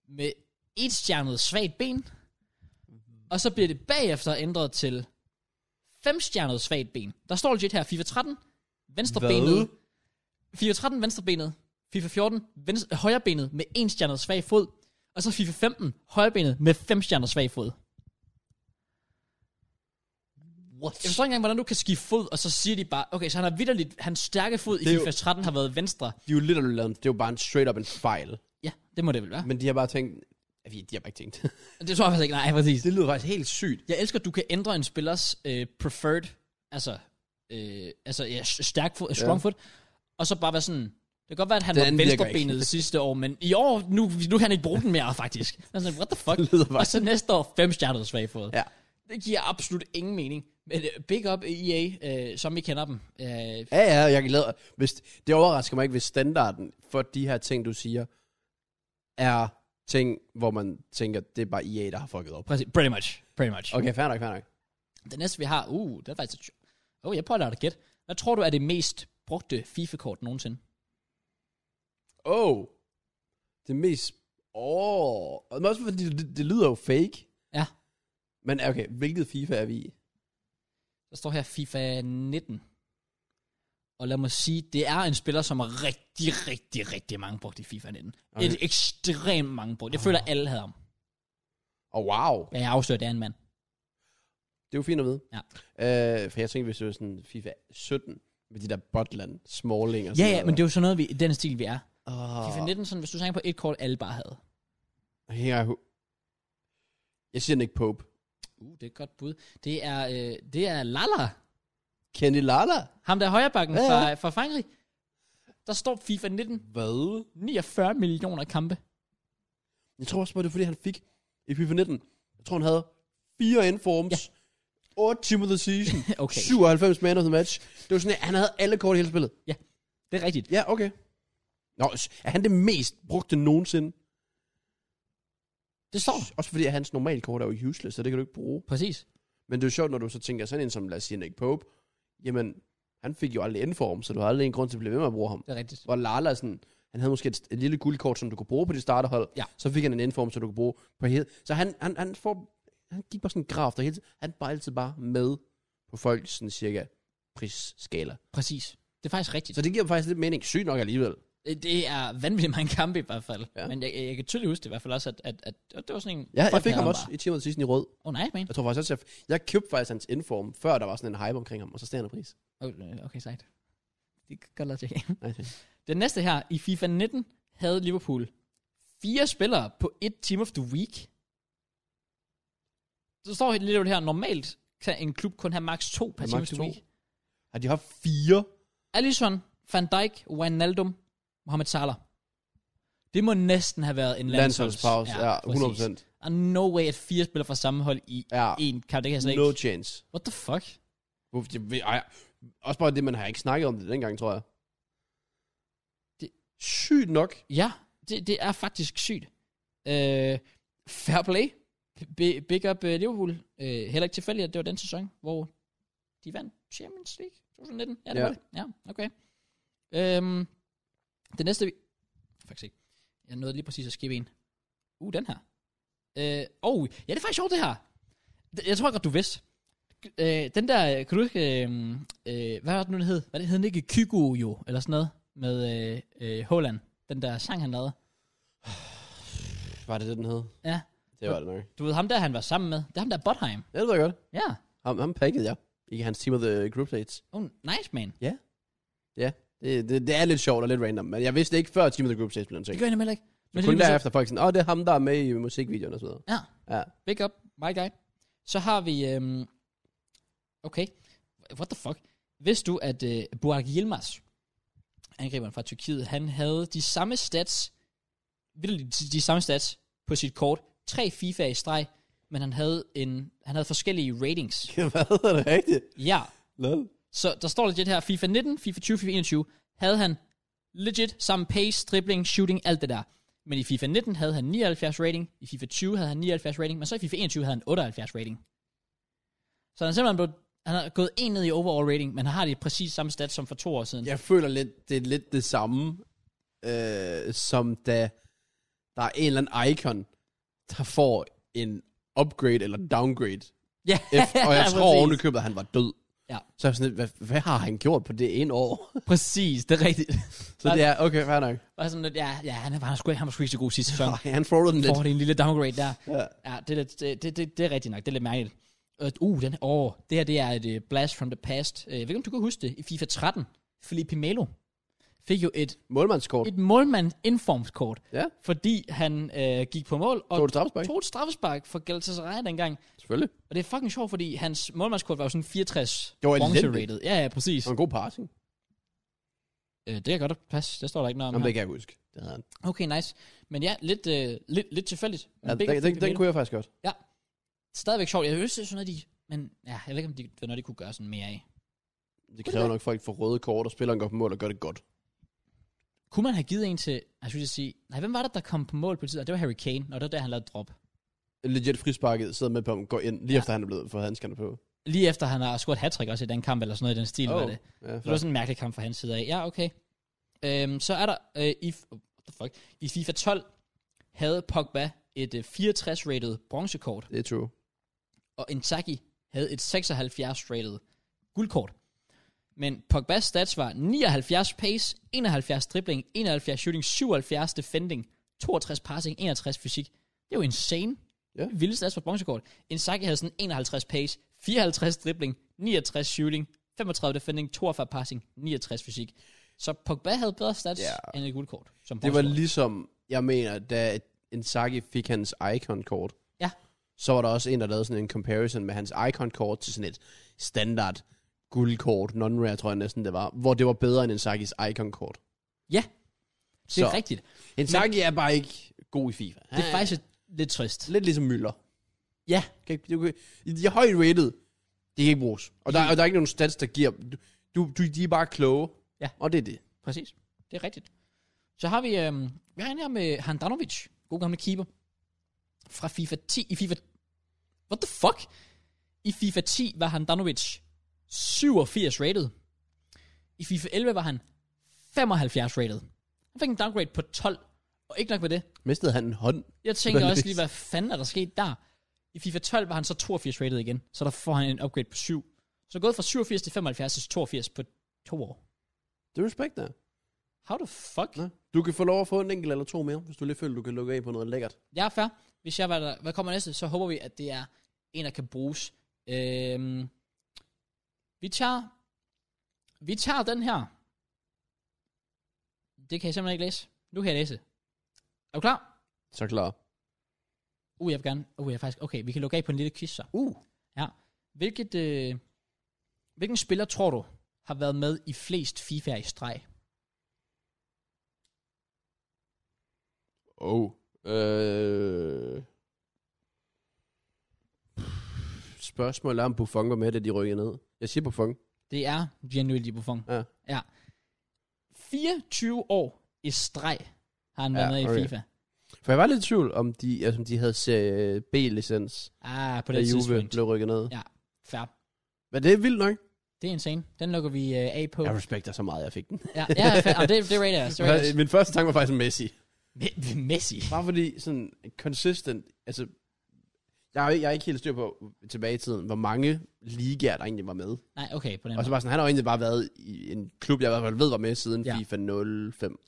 S1: med et stjernet svagt ben, og så bliver det bagefter ændret til femstjernet svagt ben. Der står legit her, FIFA 13, venstrebenet, FIFA 13 venstrebenet, FIFA 14 venstre, højrebenet med en stjernet svag fod, og så FIFA 15 højrebenet med fem stjernet svag fod.
S2: What?
S1: Jeg forstår ikke engang, hvordan du kan skifte fod, og så siger de bare, okay, så han har vidderligt, hans stærke fod i
S2: Det er jo-
S1: FIFA 13 har været venstre.
S2: De er jo literally lavet, det er jo bare en straight up en fejl.
S1: Ja, det må det vel være.
S2: Men de har bare tænkt, at de har bare ikke tænkt.
S1: Det tror jeg faktisk ikke, nej, præcis.
S2: det lyder faktisk helt sygt.
S1: Jeg elsker, at du kan ændre en spillers øh, preferred, altså, øh, altså ja, s- stærk fod, strong foot, og så bare være sådan, det kan godt være, at han
S2: Den
S1: var
S2: anden virker
S1: venstrebenet sidste år, men i år, nu, nu kan han ikke bruge den mere, faktisk. Jeg er Sådan, what the fuck?
S2: Det lyder
S1: og
S2: faktisk-
S1: så næste år, fem stjernet svag fod.
S2: Ja.
S1: Det giver absolut ingen mening. Men øh, big up EA, øh, som vi kender dem. Øh,
S2: Ja, ja, jeg kan lade, hvis, det overrasker mig ikke, hvis standarden for de her ting, du siger, er ting, hvor man tænker, det er bare EA, der har fucket op.
S1: præcis, pretty much, pretty much.
S2: Okay, fair nok, fair nok.
S1: Det næste, vi har, uh, det er faktisk... et sj- Åh, oh, jeg prøver at lade dig gætte. Hvad tror du er det mest brugte FIFA-kort nogensinde?
S2: Oh, det mest... Åh, oh, men også fordi det, det, lyder jo fake.
S1: Ja.
S2: Men okay, hvilket FIFA er vi i?
S1: Der står her FIFA 19. Og lad mig sige, det er en spiller, som er rigtig, rigtig, rigtig mange brugt i FIFA 19. Okay. Ah.
S2: Okay.
S1: Et ekstremt mange brugt. Jeg føler, at alle havde ham.
S2: Oh, wow.
S1: Ja, jeg afslører, det er en mand.
S2: Det er jo fint at vide.
S1: Ja.
S2: Øh, for jeg tænkte, hvis det var sådan FIFA 17, med de der Botland, Smalling og
S1: Ja,
S2: sådan
S1: ja, men det er jo sådan noget, vi, den stil, vi er.
S2: Oh.
S1: FIFA 19, sådan, hvis du tænker på et kort, alle bare havde.
S2: Jeg, jeg siger Nick Pope.
S1: Uh, det er et godt bud. Det er, øh, det er Lala.
S2: Kenny Lala?
S1: Ham der er højrebakken
S2: Ja,
S1: ja,
S2: ja.
S1: ja. fra, fra Frankrig. Der står FIFA 19.
S2: Hvad?
S1: 49 millioner kampe.
S2: Jeg tror også, bare, det er fordi, han fik i FIFA 19. Jeg tror, han havde fire informs, ja. 8 timer the season,
S1: Okay.
S2: 97 man of the match. Det var sådan, at han havde alle kort i hele spillet.
S1: Det er rigtigt.
S2: Ja, okay. Nå, s- er han det mest brugte nogensinde?
S1: Det står.
S2: Også fordi, at hans normale kort er jo useless, så det kan du ikke bruge.
S1: Præcis.
S2: Men det er jo sjovt, når du så tænker sådan en som, lad os sige, Nick Pope. Jamen, han fik jo aldrig inform, så du har aldrig en grund til at blive ved med at bruge ham.
S1: Det er rigtigt.
S2: Hvor Lala er sådan, han havde måske et, et lille guldkort, som du kunne bruge på dit starterhold.
S1: Ja.
S2: Så fik han en inform, som du kunne bruge på hele. Så han, han, han, får, han gik bare sådan en graf, der hele tiden, han var altid bare med på folk sådan cirka prisskala.
S1: Præcis. Det er faktisk rigtigt.
S2: Så det giver faktisk lidt mening. Sygt nok alligevel.
S1: Det, det er vanvittigt mange kampe i hvert fald. Ja.
S2: Ja.
S1: Men jeg, jeg, kan tydeligt huske det i hvert fald også, at, at, at det var sådan en...
S2: Ja, jeg
S1: folk
S2: fik ham
S1: havde
S2: også i timer sidste i rød.
S1: bare. Oh, nej, man.
S2: Jeg tror faktisk også, jeg, jeg købte faktisk hans inform, før der var sådan en hype omkring ham, og så steg han i pris.
S1: Oh, okay, sejt. Det kan godt lade sig.
S2: Okay.
S1: Den næste her, i FIFA 19, havde Liverpool fire spillere på et Team of the Week. Så står helt lidt her, normalt kan en klub kun have maks to per
S2: Ja,
S1: Team
S2: max
S1: of the
S2: to.
S1: Week.
S2: Har de haft fire?
S1: Alisson, Van Dijk, Wijnaldum, Mohamed Salah. Det må næsten have været en
S2: Landsholdspause,
S1: landsholds-
S2: ja,
S1: præcis.
S2: 100%.
S1: Der er no way, at fire spillere fra samme hold i
S2: Ja,
S1: en kamp. Det kan jeg slet
S2: no
S1: ikke.
S2: chance.
S1: What the fuck?
S2: Uff, det ved- ej, Også bare det, man har ikke snakket om det dengang, tror jeg.
S1: Det-
S2: Sygt nok.
S1: Ja, det, det er faktisk sygt. Øh, fair play. B- big up øh, Liverpool. Øh, heller ikke tilfældigt, at det var den sæson, hvor de vandt Champions League 2019. Ja, det
S2: Ja.
S1: var det. Ja, okay. Øhm, det næste vi... Faktisk ikke. Jeg Jeg nåede lige præcis at skippe en. Uh, den her. Øh, oh, ja, det er faktisk sjovt, det her. Det- Jeg tror godt, du vidste. Øh, den der, øh, kan du huske, øh, øh, hvad var det nu, den hed? Hvad det hed den ikke? Kygo jo, eller sådan noget, med øh, øh, Holland. Den der sang, han lavede.
S2: Var det det, den hed?
S1: Ja.
S2: Det var det nok.
S1: Du ved ham der, han var sammen med. Det er ham der, Botheim.
S2: Ja, det ved jeg godt.
S1: Ja.
S2: Ham, ham pakkede jeg. I hans team of the group dates.
S1: Oh, nice, man.
S2: Det, det, det, er lidt sjovt og lidt random, men jeg vidste ikke før Team of the Group Stage blev en ting.
S1: Det gør jeg nemlig heller ikke.
S2: Så
S1: det
S2: kun
S1: er lige
S2: derefter folk sådan, åh, oh, det er ham, der er med i musikvideoen og sådan noget.
S1: præcis- Big up, my guy. Så har vi, øhm, okay, what the fuck. Vidste du, at øh, Burak Yilmaz, angriberen fra Tyrkiet, han havde de samme stats, vildt de, de samme stats på sit kort, tre FIFA i streg, men han havde, en, han havde forskellige ratings.
S2: Hvad er det rigtigt?
S1: Ja,
S2: Lol.
S1: Så der står legit her, FIFA 19, FIFA 20, FIFA 21, havde han legit samme pace, dribling, shooting, alt det der. Men i FIFA 19 havde han 79 rating, i FIFA 20 havde han 79 rating, men så i FIFA 21 havde han 78 rating. Så han er simpelthen blevet, han har gået en ned i overall rating, men han har de præcis samme stats som for to år siden.
S2: Jeg føler lidt, det er lidt det samme, øh, som da der er en eller anden icon, der får en upgrade eller downgrade.
S1: Ja,
S2: F- og jeg tror
S1: præcis.
S2: ovenikøbet, at han var død.
S1: Ja.
S2: Så er jeg sådan lidt, hvad, hvad har han gjort på det ene år?
S1: Præcis, det er rigtigt.
S2: Så det er, okay, fair nok.
S1: Og sådan lidt, ja, ja han, var, han, var sgu, ikke- han var sgu ikke så god sidste sæson.
S2: Ej, Han forwardede den lidt.
S1: Får det en lille downgrade der.
S2: Ja.
S1: Ja, det er, lidt, det, det, det, det er rigtigt nok. Det er lidt mærkeligt. Øh, Uh, den, åh, det her det er et uh, blast from the past. Uh, jeg ved ikke, om du kan huske det. I FIFA 13, Felipe Melo fik jo et,
S2: Målmandskort.
S1: et målmand informskort,
S2: Ja.
S1: fordi han øh, gik på mål og
S2: Tog et straffespark.
S1: tog et straffespark for Galatasaray dengang.
S2: Selvfølgelig.
S1: Og det er fucking sjovt, fordi hans målmandskort var jo sådan 64
S2: Det var
S1: bouncer
S2: elendigt.
S1: rated. Ja, ja, præcis.
S2: Det var en god passing.
S1: Øh, det er godt at passe. Der står der ikke noget om
S2: Jamen, det
S1: her.
S2: kan jeg huske. Det havde han.
S1: Okay, nice. Men ja, lidt, øh, lidt, lidt tilfældigt. Men
S2: Ja,
S1: begge
S2: den, den,
S1: Felipe
S2: den
S1: Melo.
S2: kunne jeg faktisk godt.
S1: stadigvæk sjovt. Jeg synes, det er sådan noget, de... Men ja, jeg ved ikke, om de, det er noget, de kunne gøre sådan mere af.
S2: Det kræver nok, at folk får røde kort, og spilleren går på mål og gør det godt.
S1: Kunne man have givet en til... Jeg synes, jeg sige... Nej, hvem var det, der kom på mål på tid? Og det var Harry Kane, og det var der, han lavede drop.
S2: Legit frisparket, sidder med på ham, går ind, lige ja. efter han er blevet for handskerne på.
S1: Lige efter, han har scoret hat også i den kamp, eller sådan noget i den stil, oh. var det.
S2: Ja,
S1: Så det var sådan en mærkelig kamp fra hans side af. Ja, okay. Øhm, så er der... Øh, i, f- oh, what the fuck? I FIFA 12 havde Pogba et 64-rated bronzekort,
S2: det er true.
S1: og Inzaghi havde et 76-rated guldkort. Men Pogba's stats var 79 pace, 71 dribling, 71 shooting, 77 defending, 62 passing, 61 fysik. Det er jo insane.
S2: Ja.
S1: Vilde stats for bronzekort. Inzaghi havde sådan 51 pace, 54 dribling, 69 shooting, 35 defending, 42 passing, 69 fysik. Så Pogba havde bedre stats
S2: Ja.
S1: end et guldkort. Som
S2: Det var
S1: bronzekort.
S2: ligesom, jeg mener, da Inzaghi fik hans Icon-kort,
S1: Ja.
S2: så var der også en, der lavede sådan en comparison med hans Icon-kort til sådan et standard guldkort, non-rare tror jeg næsten det var, hvor det var bedre end Inzaghis Icon-kort.
S1: Ja, det er
S2: Så.
S1: rigtigt.
S2: Inzaghi er bare ikke god i FIFA.
S1: Det er faktisk et- lidt trist.
S2: lidt ligesom Müller.
S1: Ja,
S2: Kan ikke- du kan- De er højt rated. De kan ikke bruges. Og der, og der er ikke nogen stats, der giver... Du, du, de er bare kloge.
S1: Ja.
S2: Og det er det.
S1: Præcis. Det er rigtigt. Så har vi, øhm, vi har en her med Handanovic, god gamle keeper, fra FIFA 10, i FIFA, what the fuck? I FIFA 10 var Handanovic 87 rated. I FIFA 11 var han 75 rated. Han fik en downgrade på 12, og ikke nok med det.
S2: Mistede han en hånd?
S1: Jeg tænker
S2: Hvad
S1: også
S2: er det?
S1: lige, hvad fanden er der sket der? I FIFA 12 var han så 82 rated igen, så der får han en upgrade på 7. Så gået fra 87 til 75 til 82 på to år.
S2: Det er respekt, der.
S1: How the fuck?
S2: Ja. Du kan få lov at få en enkelt eller to mere, hvis du lige føler, du kan lukke af på noget lækkert.
S1: Jeg er fair. Hvis jeg var der, hvad kommer næste, så håber vi, at det er en, der kan bruges. Øhm, vi tager, vi tager den her. Det kan jeg simpelthen ikke læse. Nu kan jeg læse. Er du klar?
S2: Så klar.
S1: Uh, jeg vil gerne. Uh, jeg er faktisk, okay, vi kan lukke af på en lille quiz så.
S2: Uh.
S1: Ja. Hvilket, øh, hvilken spiller tror du har været med i flest FIFA i streg?
S2: Oh. Øh. Spørgsmålet er, om Buffon var med, da de rykkede ned. Jeg siger Buffon.
S1: Det er Gianluigi Buffon.
S2: Ja.
S1: ja. 24 år i streg har han været
S2: Ja,
S1: med i
S2: okay.
S1: FIFA.
S2: For jeg var lidt i tvivl, om de, altså, om de havde serie B-licens,
S1: Ah, på
S2: da
S1: det
S2: Juve
S1: tidspunkt.
S2: blev rykket ned.
S1: Ja. Fair.
S2: Men det er vildt nok.
S1: Det er insane. Den lukker vi øh, af på.
S2: Jeg respekter så meget, jeg fik den.
S1: Ja, ja fair. Jamen, det, det rater jeg. også, Det rater jeg. også.
S2: Min første tanke var faktisk Messi.
S1: Me- Messi.
S2: Bare fordi sådan consistent, altså, jeg er, jo ikke- jeg er ikke helt styr på tilbage i tiden, hvor mange ligaer, der egentlig var med.
S1: Nej, okay, på den
S2: Og
S1: måde.
S2: så bare sådan, han har jo egentlig bare været i en klub, jeg i hvert fald ved var med siden
S1: Ja.
S2: ja. FIFA 05.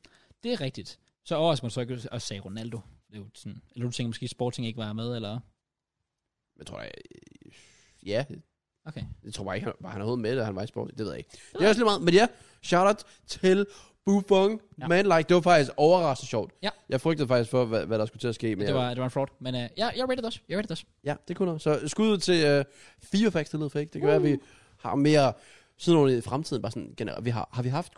S1: Det er rigtigt. Så overrasker man så ikke også sagde Ronaldo. Det er jo sådan, eller du tænker måske Sporting ikke var med, eller?
S2: Jeg tror da, øh, ja,
S1: Okay.
S2: jeg tror bare ikke, han var han overhovedet med, da han var i sport. Det ved jeg ikke. Det er også lige meget, men ja, shout-out til Buffon,
S1: Ja.
S2: ja. man like, det var faktisk overraskende sjovt.
S1: Ja.
S2: Jeg frygtede faktisk for, hvad, hvad der skulle til at ske. Men
S1: Ja. Det, var, det var en fraud. Men uh, ja, jeg rated det også. Jeg rated det også.
S2: Ja, det kunne han. Så skud ud til øh, fire facts, det lyder fake. Det kan uh. være, at vi har mere sådan nogle i fremtiden. Bare sådan, generelt. vi har, har vi haft...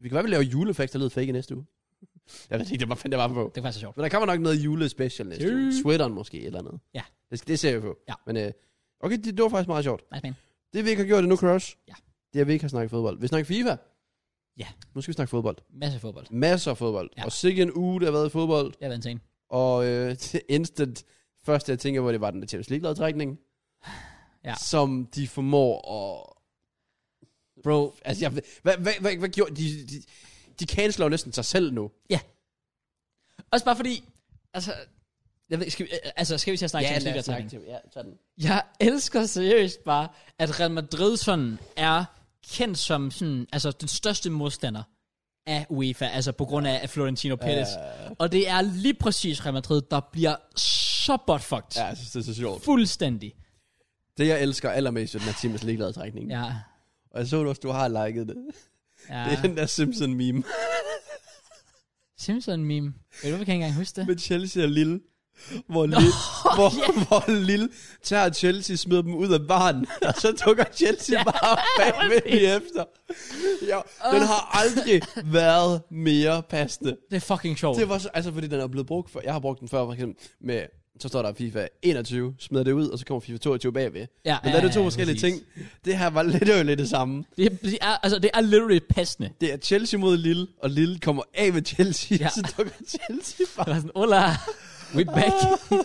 S2: Vi kan være, at vi laver julefacts, der lyder fake i næste uge. Jeg ved ikke, det var fanden, der var på.
S1: Det var faktisk sjovt.
S2: Men der kommer nok noget julespecial næste
S1: Tjø.
S2: uge. Sweateren måske, et eller andet.
S1: Ja.
S2: Det, skal- det ser vi på.
S1: Ja.
S2: Men øh, okay, det, det, var faktisk meget sjovt.
S1: Nice man.
S2: Det vi ikke har gjort endnu, Crush.
S1: Ja.
S2: Det er, at vi ikke har snakket fodbold. Vi snakker FIFA.
S1: Ja.
S2: Nu skal vi snakke fodbold.
S1: Masse fodbold.
S2: Masser af fodbold.
S1: Ja.
S2: Og sikke en uge, der har været i fodbold.
S1: Det har været insane.
S2: Og øh, til instant første, jeg tænker på, det var den der Champions League-lodtrækning.
S1: Ja.
S2: Som de formår at... Bro, altså jeg, ved- hvad, hvad, hvad, hvad gjorde de? De, de canceler jo næsten sig selv nu.
S1: Også bare fordi, altså, jeg ved, ikke, skal vi, øh, altså, skal vi til at snakke Champions League trækning?
S2: Ja, tag den.
S1: Jeg elsker seriøst bare, at Real Madrid sådan er kendt som sådan, altså, den største modstander af UEFA, altså på grund af, af Florentino Perez.
S2: Ja.
S1: Og det er lige præcis Real Madrid, der bliver så buttfucked.
S2: Ja, jeg synes, det er så sjovt.
S1: Fuldstændig.
S2: Det, jeg elsker allermest ved den her Champions League-lodtrækning.
S1: Ja.
S2: Og jeg så også, du har liket det.
S1: ja.
S2: Det er den der Simpson-meme
S1: Simpson-meme. Ved du, hvorfor kan jeg ikke engang huske det?
S2: med Chelsea og Lille. Hvor Lille, hvor, hvor Lille tager Chelsea, smider dem ud af baren, og så dukker Chelsea bare bagved lige efter. Ja, den har aldrig været mere passende.
S1: Det er fucking sjovt.
S2: Det var så, altså fordi den er blevet brugt før. Jeg har brugt den før, for eksempel med, så står der FIFA 21, smider det ud, og så kommer FIFA 22 bagved.
S1: Ja,
S2: Men der er
S1: ja,
S2: det to
S1: ja,
S2: forskellige
S1: præcis.
S2: ting. Det her var lidt, det er jo lidt det samme.
S1: Det, er, det er, altså, det er literally passende.
S2: Det er Chelsea mod Lille, og Lille kommer af med Chelsea,
S1: Ja.
S2: ja. så dukker Chelsea bare
S1: Det var sådan, hola, we back. det er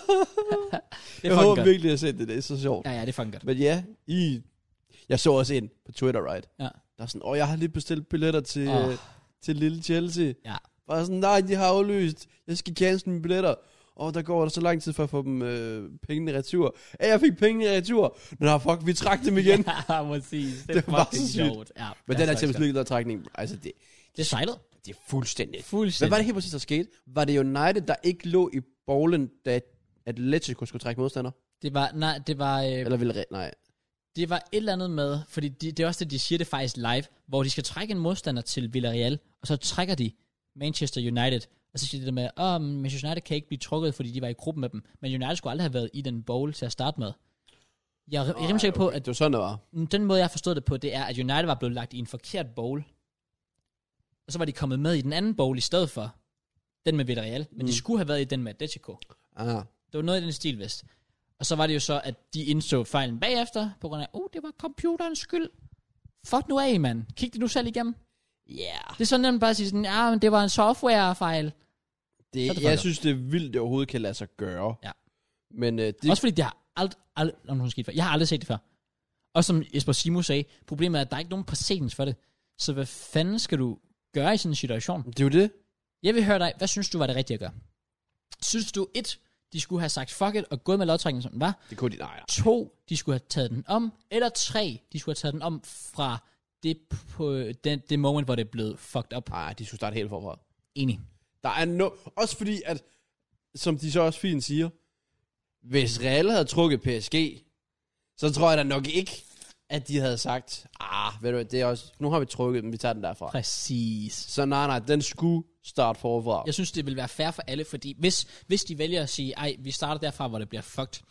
S2: Jeg
S1: fucking
S2: håber
S1: godt.
S2: virkelig, at jeg set det. Det er så sjovt.
S1: Ja,
S2: Ja.
S1: ja, det er fucking godt.
S2: Men ja, I... Jeg så også en på Twitter, right?
S1: Ja.
S2: Der er sådan, åh, jeg har lige bestilt billetter til,
S1: Åh.
S2: oh. til Lille Chelsea.
S1: Ja.
S2: Bare sådan, nej, de har aflyst. Jeg skal cancel mine billetter. Og der går der så lang tid for at få dem øh, pengene i retur. Ja, jeg fik pengene i retur. Nå, fuck, vi trak dem igen. Ja.
S1: ja, præcis. Det er
S2: Det var
S1: fucking
S2: så sygt.
S1: sjovt. Ja,
S2: Men
S1: det
S2: den
S1: er
S2: her Champions
S1: faktisk
S2: League trækning, altså det,
S1: godt. Det er sejlet.
S2: det er fuldstændig. Hvad
S1: Fuldstændig.
S2: var det helt præcis, der skete? Var det United, der ikke lå i bowlen, da Atletico skulle trække modstander?
S1: Det var, nej, det var, øh,
S2: Eller ville... re- Nej.
S1: det var et eller andet med, fordi de, det er også det, de siger det faktisk live, hvor de skal trække en modstander til Villarreal, og så trækker de Manchester United, og så siger de det med, at Manchester United kan ikke blive trukket, fordi de var i gruppen med dem, men United skulle aldrig have været i den bowl til at starte med. Jeg er, jeg er rimelig sikker på, at
S2: Ah, Det var sådan, det var.
S1: den måde, jeg forstod det på, det er, at United var blevet lagt i en forkert bowl. Og så var de kommet med i den anden bowl i stedet for. Den med Villarreal. Men mm. de skulle have været i den med Atletico.
S2: Ah.
S1: Det var noget i den stil, vist. Og så var det jo så, at de indså fejlen bagefter, på grund af, oh, det var computerens skyld. Fuck nu af, mand. Kig det nu selv igennem.
S2: Yeah.
S1: Det er så nemt bare at sige sådan, ja, men det var en softwarefejl.
S2: Det,
S1: Så er
S2: det
S1: det
S2: jeg
S1: fucked up.
S2: synes, det er vildt, det overhovedet kan lade sig gøre.
S1: Ja.
S2: Men øh, det,
S1: Også fordi, det har aldrig, aldrig, om nogen sket før. Jeg har aldrig set det før. Og som Jesper Simo sagde, problemet er, at der er ikke nogen præcedens for det. Så hvad fanden skal du gøre i sådan en situation?
S2: det er jo det.
S1: Jeg vil høre dig, hvad synes du var det rigtige at gøre? Synes du, et, de skulle have sagt fuck it og gået med lodtrækningen, som den var?
S2: Det kunne de, nej, nej.
S1: To, de skulle have taget den om? Eller tre, de skulle have taget den om fra det, på, den, det moment, hvor det blev fucked up?
S2: Nej, de skulle starte helt forfra.
S1: Enig.
S2: Der er no, også fordi, at, som de så også fint siger, hvis Real havde trukket PSG, så tror jeg da nok ikke, at de havde sagt, ah, ved du, hvad, det er også, nu har vi trukket dem, vi tager den derfra.
S1: Præcis.
S2: Så nej, nej, den skulle starte forfra.
S1: Jeg synes, det vil være fair for alle, fordi hvis, hvis de vælger at sige, ej, vi starter derfra, hvor det bliver fucked,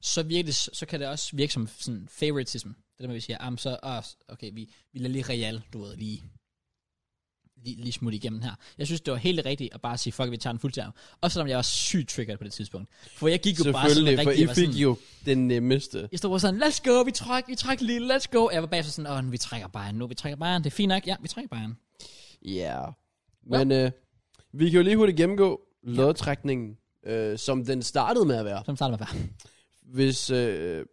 S1: så, virkelig, så kan det også virke som sådan favoritism. Det der med, at vi siger, ah, men så, ah, okay, vi, vi lader lige Real, du ved, lige, lige, lige smutte igennem her. Jeg synes, det var helt rigtigt at bare sige, fuck, vi tager den fuldtime. Også selvom jeg var sygt triggered på det tidspunkt. For jeg gik jo bare sådan
S2: Selvfølgelig,
S1: rigtig,
S2: for
S1: jeg var
S2: I
S1: sådan,
S2: fik jo den nemmeste.
S1: jeg stod bare sådan, let's go, vi træk, vi træk lige, let's go. Jeg var bagefter sådan, åh, vi trækker Bayern nu, vi trækker Bayern, det er fint nok, ja, vi trækker Bayern.
S2: Ja. Yeah. Men øh, vi kan jo lige hurtigt gennemgå lodtrækningen, øh, som den startede med at være.
S1: Så starter man bare.
S2: Hvis... Øh,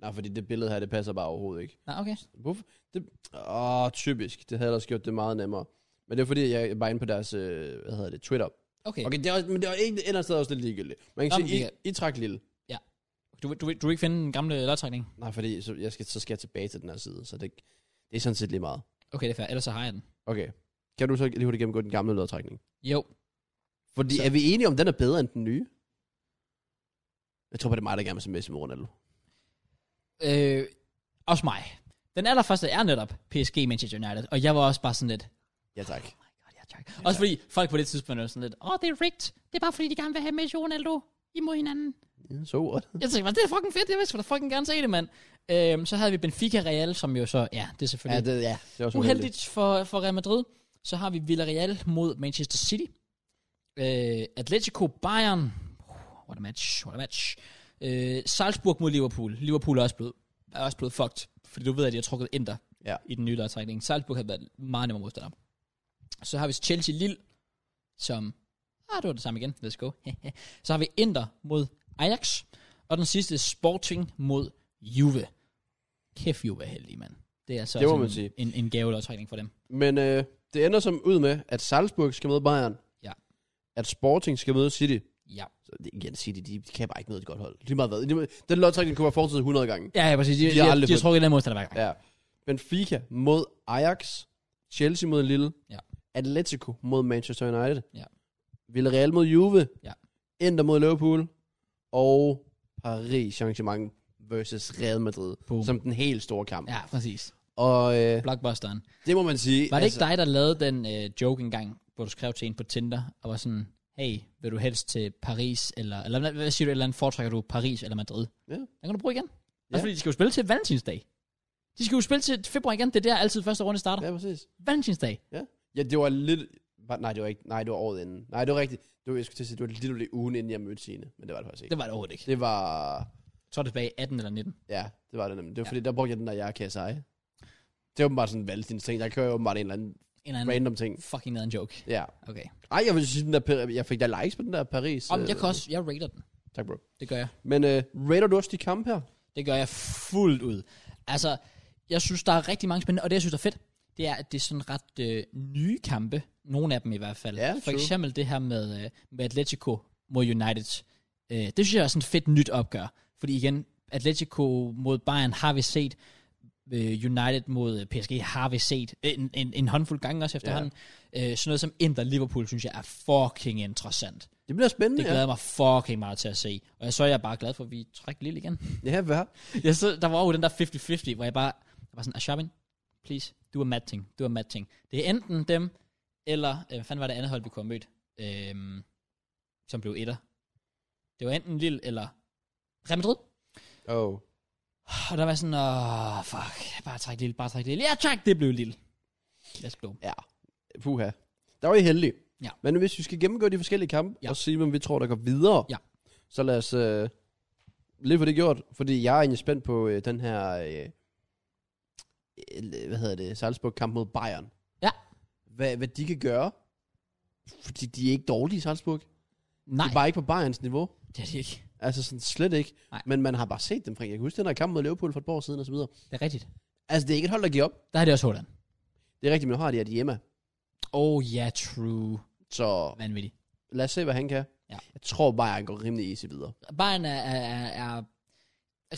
S2: nej, fordi det billede her, det passer bare overhovedet ikke.
S1: Nå, okay.
S2: Hvorfor? Det, åh, typisk. Det havde ellers gjort det meget nemmere. Men det er fordi, jeg var inde på deres, øh, hvad hedder det, Twitter.
S1: Okay. okay.
S2: Okay, det er også, men det er ikke, det ender stadig også lidt ligegyldigt. Man kan
S1: Jamen,
S2: sige, I,
S1: det
S2: I trak lille.
S1: Du, vil- du, vil- du vil ikke finde den gamle lodtrækning?
S2: Nej, fordi så, jeg skal, så skal jeg tilbage til den her side, så det, det er sådan set lige meget.
S1: Okay, det er fair. Ellers så har jeg den.
S2: Okay. Kan du så lige hurtigt gennemgå den gamle lodtrækning?
S1: Jo.
S2: Fordi
S1: Så-
S2: så. er vi enige om, den er bedre end den nye? Jeg tror bare, det er mig, der gerne vil se Messi med Ronaldo.
S1: Øh, også mig. Den allerførste er netop PSG Manchester United, og jeg var også bare sådan lidt,
S2: Ja, tak.
S1: oh my god, jeg er tjek. Også fordi folk på det tidspunkt var sådan lidt, åh, oh, det er rigt. Det er bare fordi, de gerne vil have Messi og Ronaldo imod hinanden.
S2: Ja, Så what?
S1: Jeg tænkte, "Man, det er fucking fedt, jeg vil sgu da fucking gerne se det, mand. Øhm, så havde vi Benfica Real, som jo så, ja, det er selvfølgelig
S2: det, ja, det var så uheldigt.
S1: Uheldigt for, for Real Madrid. Så har vi Villarreal mod Manchester City. Øh, Atletico Bayern. Oh, What a match, what a match. Øh, Salzburg mod Liverpool. Liverpool er også blevet, er også blevet fucked, fordi du ved, at de har trukket Inter
S2: Ja.
S1: i den nye lodtrækning. Salzburg har været meget nemmere modstander. Så har vi Chelsea Lille, som... Ah, det var det samme igen. Let's go. så har vi Inter mod Ajax. Og den sidste Sporting mod Juve. Kæft, Juve er heldig, mand. Det er altså
S2: Det må
S1: også
S2: man
S1: en,
S2: sige.
S1: en, en gavelodtrækning for dem.
S2: Men øh, det ender som ud med, at Salzburg skal møde Bayern.
S1: Ja.
S2: At Sporting skal møde City.
S1: Ja.
S2: Så det, igen, City, de, de kan bare ikke noget et godt hold. Lige meget hvad. Lige meget- Den lodtrækning kunne være fortsat 100 gange.
S1: Ja, ja, præcis. De, de,
S2: har
S1: de,
S2: aldrig
S1: de har
S2: fået-
S1: trukket en anden modstander hver gang. Ja.
S2: Ja. Benfica mod Ajax. Chelsea mod Lille.
S1: Ja.
S2: Atletico mod Manchester United.
S1: Ja.
S2: Villarreal mod Juve.
S1: Ja.
S2: Inter mod Liverpool. Og Paris Saint-Germain versus Real Madrid.
S1: Boom.
S2: Som den helt store kamp.
S1: ja, præcis.
S2: Og øh,
S1: Blockbusteren.
S2: det må man sige. altså-
S1: Var det ikke dig, der lavede den øh, joke engang, hvor du skrev til en på Tinder, og var sådan, hey, vil du helst til Paris, eller, eller hvad- hvad siger du, et eller andet foretrækker du Paris eller Madrid?
S2: Ja.
S1: Den kan du bruge igen. Ja.
S2: Ja.
S1: Også fordi, de skal jo spille til valentinsdag. De skal jo spille til februar igen, det er der altid første runde starter. Ja.
S2: Ja, præcis.
S1: Valentinsdag.
S2: Ja, det var lidt... var- Nej, det var ikke... Nej, det var året inden. Nej, det var rigtigt. Det var, jeg skulle til at sige, det var lidt lidt ugen inden jeg mødte Signe. Men det var det faktisk ikke.
S1: Det var det overhovedet ikke.
S2: Det var...
S1: Jeg tror, det er tilbage i 18 eller 19.
S2: Ja, det var det nemlig. Det var fordi, der brugte jeg den der, jeg kan seje. Det er åbenbart sådan en valgtins ting. Jeg kører jo åbenbart en eller anden
S1: En eller anden
S2: random ting.
S1: fucking nederen joke.
S2: Ja.
S1: Okay.
S2: Ej, jeg vil sige, den der, Per- jeg fik da likes på den der Paris.
S1: Om, jeg
S2: øh,
S1: kan også, jeg rater den.
S2: Tak, bro.
S1: Det gør jeg.
S2: Men øh, rater du også de kampe her?
S1: Det gør jeg fuldt ud. Altså, jeg synes, der er rigtig mange spændende, og det, jeg synes er fedt, det er, at det er sådan ret øh, nye kampe. Nogle af dem i hvert fald.
S2: Ja,
S1: For
S2: true.
S1: eksempel det her med, øh, med Atletico mod United. Øh, det synes jeg er sådan et fedt nyt opgør. Fordi igen, Atletico mod Bayern har vi set. Øh, United mod øh, PSG har vi set. øh, En, en, en håndfuld gange også efterhånden. Øh, sådan noget som Inter Liverpool, synes jeg er fucking interessant.
S2: Det bliver spændende,
S1: Det glæder jeg mig fucking meget til at se. Og jeg- så er jeg bare glad for, at vi trækker lidt igen.
S2: ja. Ja, hvad?
S1: Jeg så, der var jo den der 50-50, hvor jeg bare jeg var sådan, Ashabin, please, du er matting, du er matting. Det er enten dem, eller, øh, hvad fanden var det andet hold, vi kunne have mødt, øh, som blev etter. Det var enten Lille eller Real Madrid.
S2: Oh.
S1: Og der var sådan, åh, fuck, bare træk Lille, bare træk Lille. Ja, tak, det blev Lille. Let's go.
S2: Ja. Puha. Der var I heldige.
S1: Ja.
S2: Men hvis vi skal gennemgå de forskellige kampe,
S1: Ja.
S2: ja. og sige, hvem vi tror, der går videre,
S1: Ja.
S2: så lad os øh, lige få det gjort. Fordi jeg er egentlig spændt på øh, den her, øh, øh, hvad hedder det, Salzburg-kamp mod Bayern.
S1: Ja.
S2: Hvad, hvad de kan gøre. Fordi de er ikke dårlige i Salzburg.
S1: Nej,
S2: De er bare ikke på Bayerns niveau.
S1: det er det ikke.
S2: Altså sådan slet ikke.
S1: Nej.
S2: Nej. Men man har bare set dem fra. Jeg kan huske den her kamp mod Liverpool for et par år siden og så videre.
S1: Det er rigtigt.
S2: Altså det er ikke et hold, der giver op.
S1: Der er det også Holland.
S2: Det er rigtigt, men nu har de at hjemme.
S1: Oh ja, yeah, true.
S2: Så
S1: Vanvittigt.
S2: lad os se, hvad han kan.
S1: Ja.
S2: Jeg tror bare, han går rimelig easy videre.
S1: Bayern er, er, er- er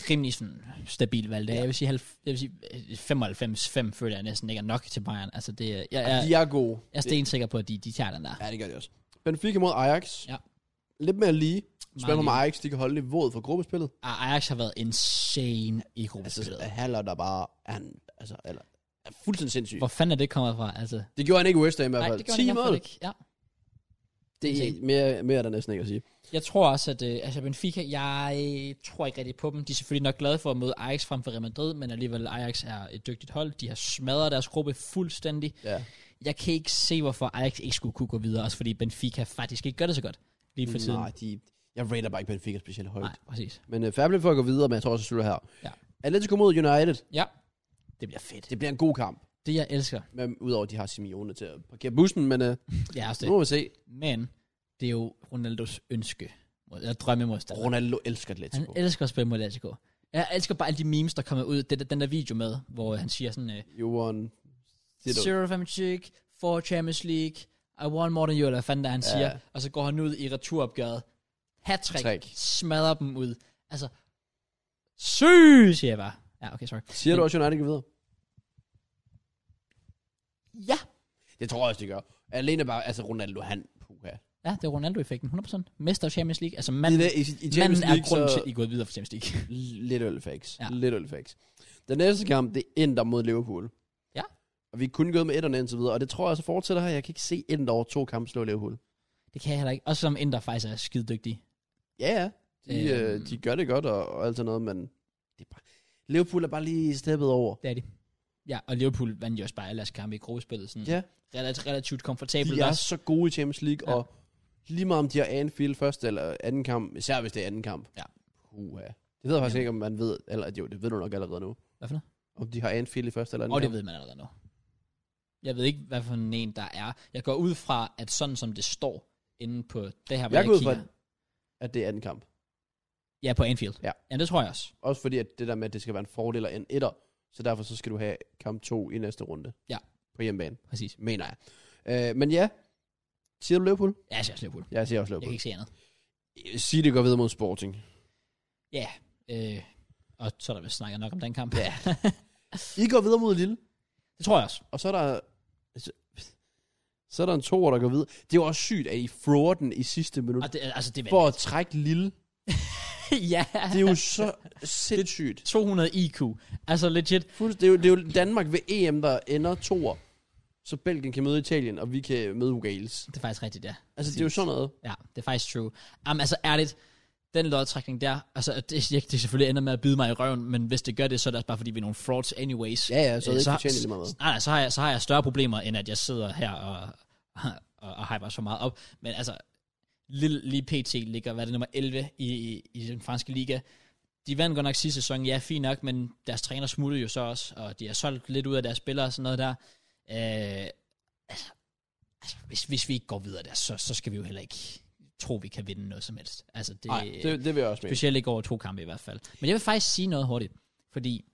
S1: rimelig sådan stabil valg. Ja. Jeg vil sige, halv- jeg vil sige øh, 95-5 føler jeg næsten ikke er nok til Bayern. Altså det, er- jeg,
S2: Ja.
S1: jeg,
S2: De er gode.
S1: jeg er stensikker på, at de, de tager den der.
S2: Ja, det gør de også. Benfica mod Ajax.
S1: Ja.
S2: Lidt mere lige. Spiller
S1: lige.
S2: med Ajax, de kan holde niveauet for gruppespillet.
S1: Og Ajax har været insane i
S2: Altså,
S1: gruppespillet.
S2: Haller der bare, han, altså, eller, er fuldstændig sindssyg.
S1: Hvor fanden er det kommet fra? Altså,
S2: Det gjorde han ikke i West Ham i hvert fald.
S1: han i
S2: 10
S1: hvert fald
S2: mål.
S1: ikke. Ja.
S2: Det er
S1: Insane.
S2: mere, mere er der næsten ikke at sige.
S1: Jeg tror også, at øh, altså Benfica, jeg tror ikke rigtig på dem. De er selvfølgelig nok glade for at møde Ajax frem for Real Madrid, men alligevel Ajax er et dygtigt hold. De har smadret deres gruppe fuldstændig.
S2: Ja.
S1: Jeg kan ikke se, hvorfor Ajax ikke skulle kunne gå videre, også fordi Benfica faktisk ikke gør det så godt lige for tiden.
S2: Nej, de, jeg rater bare ikke Benfica specielt højt.
S1: Nej, præcis.
S2: Men uh, Fablen får at gå videre, men jeg tror også, at slutter her.
S1: Ja.
S2: Atletico mod United.
S1: Ja. Det bliver fedt.
S2: Det bliver en god kamp.
S1: Det, jeg elsker.
S2: Men udover, at de har Simeone til at parkere bussen, men uh,
S1: Ja, også
S2: nu
S1: det.
S2: må vi se.
S1: Men det er jo Ronaldos ønske. mod- Eller drømme modstander.
S2: Ronaldo elsker
S1: Han
S2: Atletico.
S1: elsker at spille mod Atletico. Jeg elsker bare alle de memes, der kommer ud. Det, der- den der video med, hvor han siger sådan, øh,
S2: You won. Ditto.
S1: Zero from chick, for Champions League, I want more than you, eller hvad fanden der han
S2: Ja.
S1: ja. siger, og så går han ud i returopgøret, hat
S2: Trick.
S1: smadrer dem ud, altså, syg, siger jeg bare. Ja, okay, sorry.
S2: Siger
S1: Men-
S2: du også, United kan videre?
S1: Ja,
S2: Det tror jeg også, de gør. Alene bare, altså Ronaldo, han, puha.
S1: ja det er Ronaldo-effekten, 100%. Mester af Champions League, altså
S2: I,
S1: manden,
S2: i, i Champions
S1: manden er
S2: League,
S1: grunden
S2: så-
S1: til, at I er gået videre fra Champions League.
S2: Lidt øl facts. Ja.
S1: Ja.
S2: Lidt øl facts. Den næste kamp, det er Inter mod Liverpool.
S1: Ja.
S2: Og vi er kun gået med etterne indtil videre, og det tror jeg så fortsætter her. Jeg kan ikke se Inter over to kampe slå Liverpool.
S1: Det kan jeg heller ikke. Også selvom Inter faktisk er skide dygtige.
S2: Ja, ja. De,
S1: Øhm.
S2: øh, de gør det godt og, og alt sådan noget, men det er bare, Liverpool er bare lige steppet over.
S1: Det er de. Ja, og Liverpool vandt jo også bare alle deres kampe i gruppespillet. Sådan
S2: Ja.
S1: relativt, relativt komfortabelt.
S2: De er
S1: også.
S2: så gode i Champions League,
S1: Ja.
S2: ja. og lige meget om de har Anfield første eller anden kamp, især hvis det er anden kamp.
S1: Ja.
S2: Uha. Det ved jeg faktisk ikke, om man ved, eller jo, det ved du nok allerede nu.
S1: Hvad for noget?
S2: Om de har Anfield i første eller anden
S1: Og det
S2: kamp.
S1: ved man allerede nu. Jeg ved ikke, hvad for en der er. Jeg går ud fra, at sådan som det står inde på det her, hvor
S2: Jeg
S1: jeg,
S2: går ud fra-
S1: kigger.
S2: At det er anden kamp.
S1: Ja, på Anfield.
S2: Ja.
S1: ja, det tror jeg også.
S2: Også fordi, at det der med, at det skal være en fordel og en etter, så derfor så skal du have kamp 2 i næste runde.
S1: Ja.
S2: På hjemmebane,
S1: Præcis.
S2: mener jeg. Øh, men ja, siger du Liverpool?
S1: Ja, jeg ser også Liverpool.
S2: Jeg siger også
S1: Jeg kan
S2: Liverpool.
S1: ikke se andet.
S2: Sig det går videre mod Sporting.
S1: Ja, øh, og så er der vist snakket nok om den kamp.
S2: Ja. I går videre mod Lille,
S1: det tror jeg også.
S2: og så er der... Så, så er der en toer, der går videre. Det er jo også sygt, at I fraud den i sidste minut.
S1: Og det, altså, det er
S2: For at trække Lille.
S1: ja,
S2: Det er jo så sindssygt.
S1: 200 IQ. Altså legit,
S2: Fuldst- Det er, jo, det er jo Danmark ved EM, der ender toer. Så Belgien kan møde Italien, og vi kan møde Wales.
S1: det er faktisk rigtigt, ja.
S2: Altså, det er jo sådan noget.
S1: Ja, det er faktisk true. Um, altså ærligt, den lodtrækning der, altså det, jeg, det selvfølgelig ender med at bide mig i røven, men hvis det gør det, så er det også bare fordi, vi er nogle frauds anyways.
S2: Ja, ja, så er
S1: Øh,
S2: det ikke
S1: har-
S2: fortjent lige meget.
S1: Nej, nej, så har, jeg, så har jeg større problemer, end at jeg sidder her og, og, og hyper så meget op. Men altså, lille, lige PT ligger, hvad er det, nummer 11 i, i, i den franske liga. De vandt godt nok sidste sæson, ja, fint nok, men deres træner smuttede jo så også, og de har solgt lidt ud af deres spillere og sådan noget der. Øh, altså, altså hvis, hvis vi ikke går videre der, så, så skal vi jo heller ikke tro, vi kan vinde noget som helst. Altså, det,
S2: Nej, det, det vil jeg også mene.
S1: Specielt ikke over to kampe i hvert fald. Men jeg vil faktisk sige noget hurtigt, fordi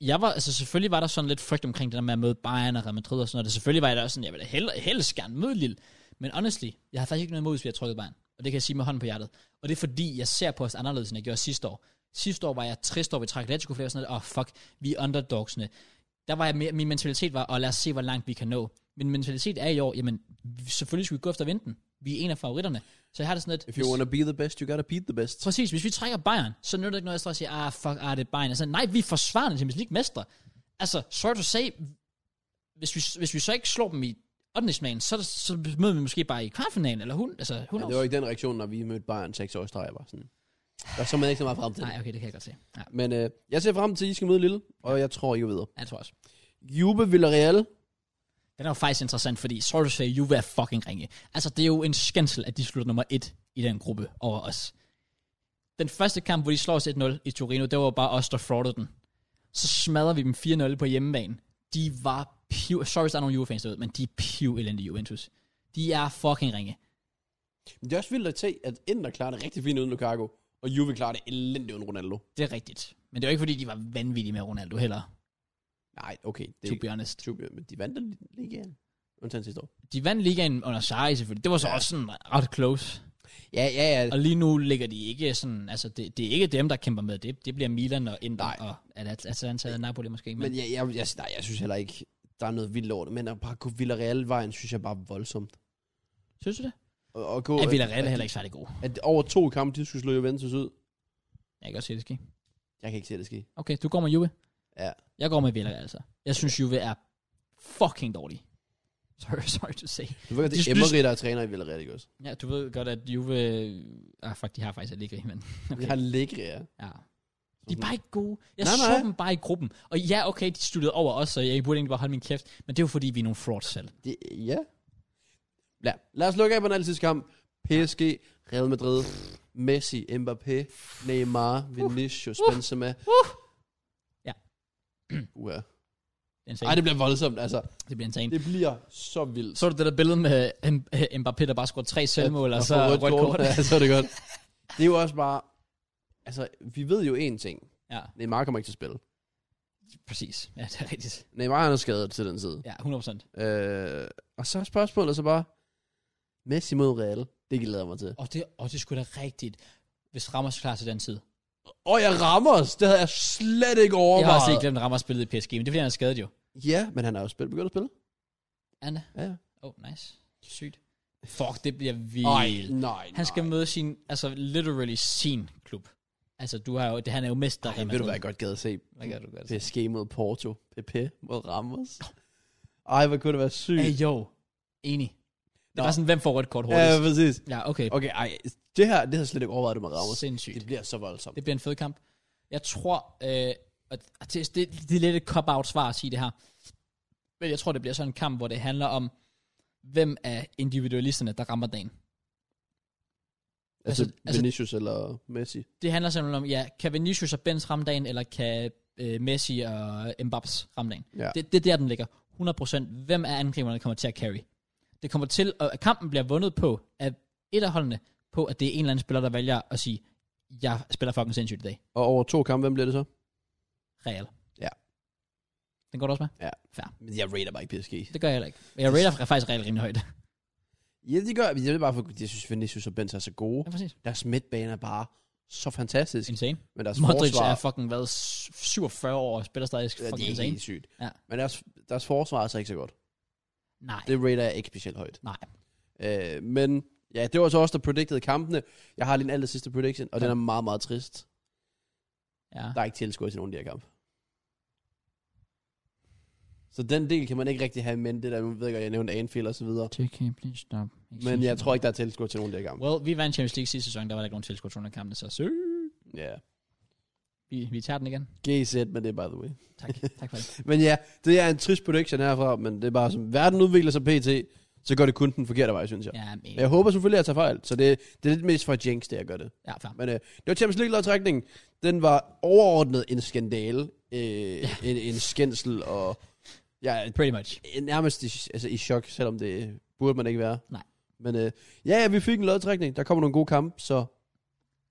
S1: jeg var, altså selvfølgelig var der sådan lidt frygt omkring det der med at møde Bayern og Real Madrid og sådan noget. Selvfølgelig var jeg da også sådan, jeg ville da hellere, helst gerne møde Lille. Men honestly, jeg har faktisk ikke noget imod, hvis vi har trykket Bayern. Og det kan jeg sige med hånden på hjertet. Og det er fordi, jeg ser på os anderledes, end jeg gjorde sidste år. Sidste år var jeg trist over, vi trak Atletico flere og sådan noget. Åh, oh, fuck, vi er underdogsene. Der var jeg, mere- min mentalitet var, og lad os se, hvor langt vi kan nå. Min mentalitet er i år, jamen, vi- selvfølgelig skal vi gå efter at vinde den. Vi er en af favoritterne. Så jeg har det sådan lidt...
S2: If you
S1: hvis-
S2: want to be the best, you gotta beat the best.
S1: Præcis, hvis vi trækker Bayern, så nytter det ikke noget, at jeg står og siger, ah, fuck, ah, det er Bayern. Altså, nej, vi er forsvarende Champions League mestre. Altså, sorry to say, hvis vi, hvis vi så ikke slår dem i 8. så, er det- så møder vi måske bare i kvartfinalen, eller hun, altså, hun
S2: Ja, det var ikke den reaktion, når vi mødte Bayern 6 år i streg, jeg var sådan. Der så man ikke så meget frem til.
S1: Nej, okay, det kan jeg godt se. Ja,
S2: Men øh, jeg ser frem til, at I skal møde Lille, og jeg tror, I går videre.
S1: ja, jeg tror også.
S2: Juve Villarreal.
S1: Den er jo faktisk interessant, fordi, sorry to say, Juve er fucking ringe. Altså, det er jo en skændsel, at de slutter nummer 1 i den gruppe over os. Den første kamp, hvor de slår os 1-0 i Torino, det var bare os, der fraudede den. Så smadrer vi dem 4-0 på hjemmebane. De var piv... Sorry, hvis der er nogle Juve-fans derude, men de er piv elendige Juventus. De er fucking ringe.
S2: Det er også vildt at se, at Inter klarer det rigtig fint uden Lukaku, og Juve klarer det elendigt uden Ronaldo.
S1: Det er rigtigt. Men det var ikke, fordi de var vanvittige med Ronaldo heller,
S2: Nej, okay. Det
S1: det
S2: er
S1: to
S2: ikke
S1: be honest.
S2: Tubia, men de vandt den ligaen. Undtagen sidste år.
S1: De vandt ligaen under Sarri selvfølgelig. Det var så
S2: Ja.
S1: ja. også sådan ret close.
S2: Ja, ja, ja.
S1: Og lige nu ligger de ikke sådan, altså det, det er ikke dem, der kæmper med det. Det bliver Milan og Inter
S2: Nej.
S1: Nej. og At- Atalanta og Napoli måske. Men,
S2: Men
S1: men
S2: jeg, jeg, jeg, nej, jeg synes heller ikke, der er noget vildt over det, men at bare gå Villarreal-vejen, synes jeg bare er voldsomt.
S1: synes du det?
S2: Og, og gå,
S1: At Villarreal er
S2: at-
S1: heller ikke særlig god.
S2: At over to kampe, de skulle slå Juventus ud.
S1: Jeg kan godt se det ske.
S2: Jeg kan ikke se det ske.
S1: Okay, du går med Juve.
S2: Ja.
S1: Jeg går med Villarreal altså. Jeg synes Juve er fucking dårlig. Sorry, sorry to say.
S2: Du ved godt, det
S1: De-
S2: er Emery, der er træner i Villarreal, ikke også?
S1: Ja, du ved godt, at Juve... Ah, fuck, de har faktisk Allegri, men...
S2: Okay. Jeg har lækre, ja.
S1: Ja. De er bare ikke gode. Jeg
S2: Nej,
S1: Mhm. nej, så
S2: nej.
S1: nej. dem bare i gruppen. Og ja, okay, de studerede over os, så jeg burde egentlig bare holde min kæft. Men det er jo fordi, vi er nogle frauds selv.
S2: Det, ja. Lad, lad os lukke af på den altidens kamp. PSG, Real Madrid, Messi, Mbappé, Neymar, Vinicius, uh, Benzema.
S1: uh. Ja. Det
S2: Uha.
S1: er en
S2: Ej,
S1: sag.
S2: det bliver voldsomt, altså.
S1: Det bliver en sag.
S2: Det bliver så vildt.
S1: Så du det der billede med M- øh, Mbappé, der bare scorede tre selvmål, og
S2: Og
S1: så rødt
S2: får
S1: kort?
S2: Ja, så er det godt. Det er jo også bare... Altså, vi ved jo én ting.
S1: Ja.
S2: Neymar kommer ikke til at spille.
S1: Præcis. Ja, det er rigtigt.
S2: Neymar han er skadet til den tid.
S1: Ja, 100%.
S2: Øh, og så er spørgsmålet så bare, Messi mod Real. Det glæder jeg mig til.
S1: Og det, og det skulle da rigtigt, hvis Ramos er klar til den tid.
S2: Og jeg rammer os. Det havde jeg slet ikke overvejet.
S1: Jeg har også ikke glemt, at Ramos spillede i PSG, men det er fordi, han er skadet jo.
S2: Ja, men han har jo spillet, begyndt at spille.
S1: Anna.
S2: Ja, ja.
S1: Oh, nice. Sygt. Fuck, det bliver
S2: Ej,
S1: vildt.
S2: nej,
S1: Han skal møde sin, altså literally sin klub. Altså, du har jo, det, han er jo mester.
S2: Ej, ved du, hvad jeg godt gad at se?
S1: Hvad gør du godt?
S2: Det er sket mod Porto. Pepe mod Ramos. Ej, hvor kunne det være sygt.
S1: Ej, jo. Enig. Det
S2: Nå. Øh,
S1: var sådan, hvem får rødt kort
S2: ja,
S1: hurtigst?
S2: præcis.
S1: Ja, okay.
S2: Okay, ej. Det her, det har jeg slet ikke overvejet, du med Ramos.
S1: Sindssygt.
S2: Det bliver så voldsomt.
S1: Det bliver en fed kamp. Jeg tror, øh, og og det, det, det er lidt et cop-out svar at sige det her. Men jeg tror, det bliver sådan en kamp, hvor det handler om, hvem af individualisterne, der rammer dagen.
S2: Altså,
S1: altså- altså-
S2: Vinicius eller Messi.
S1: Det handler simpelthen om, ja, kan Vinicius og Benz ramme dagen, eller kan øh, Messi og Mbappes ramme dagen?
S2: Ja.
S1: Det, det er der, den ligger. 100%. Hvem af angriberne der kommer til at carry? Det kommer til, og at kampen bliver vundet på, at et af holdene på, at det er en eller anden spiller, der vælger at sige, jeg spiller fucking sindssygt i dag.
S2: Og over to kampe, hvem bliver det så?
S1: Real.
S2: Ja.
S1: Den går du også med?
S2: Men jeg rater bare ikke PSG.
S1: Det gør jeg heller ikke. Men Jeg rater faktisk Real rimelig højt.
S2: Ja, det gør jeg. Jeg vil bare, for, jeg synes, Vinicius og Benz er så gode.
S1: Ja, præcis.
S2: Deres midtbane er bare så fantastisk.
S1: Insane.
S2: Men deres
S1: Modric
S2: Altså, forsvar...
S1: er fucking været 47 år og spiller stadig
S2: ja,
S1: fucking
S2: det er
S1: insane.
S2: helt sygt.
S1: Ja.
S2: Men deres, deres forsvar er så ikke så godt.
S1: Nej.
S2: Det rater jeg ikke specielt højt.
S1: Nej.
S2: Øh, men ja, det var så også der predicted kampene. Jeg har lige en aller sidste prediction, og
S1: Ja.
S2: den er meget, meget trist.
S1: Ja.
S2: Der er ikke tilskuer til nogen af de her kampe. Så den del kan man ikke rigtig have i mente, det der, nu ved jeg godt, jeg nævnte Anfield og så videre.
S1: TK, please stop.
S2: Men jeg tror ikke, der er tilskuer til nogen af de her kampe.
S1: Well, vi vandt Champions League sidste sæson, der var der ikke nogen tilskuer til nogle af kampene, så sø.
S2: Ja.
S1: Vi, vi tager den igen.
S2: GZ, men det er by the way.
S1: Tak, tak for det.
S2: Men ja, det er en trist prediction herfra, men det er bare som, verden udvikler sig pt, så går det kun den forkerte vej, synes jeg. Ja.
S1: Ja, men,
S2: Jeg håber selvfølgelig, at jeg tager fejl, så det, det er lidt mest for at jinx, det jeg gør det.
S1: ja, fair.
S2: Men øh, det var Champions League-lodtrækningen. Den var overordnet en skandale. Øh, ja. en, en skændsel, og jeg
S1: Pretty much.
S2: er nærmest i, altså, i chok, selvom det burde man ikke være.
S1: Nej.
S2: Men øh, ja, ja, vi fik en lodtrækning. Der kommer nogle gode kampe, så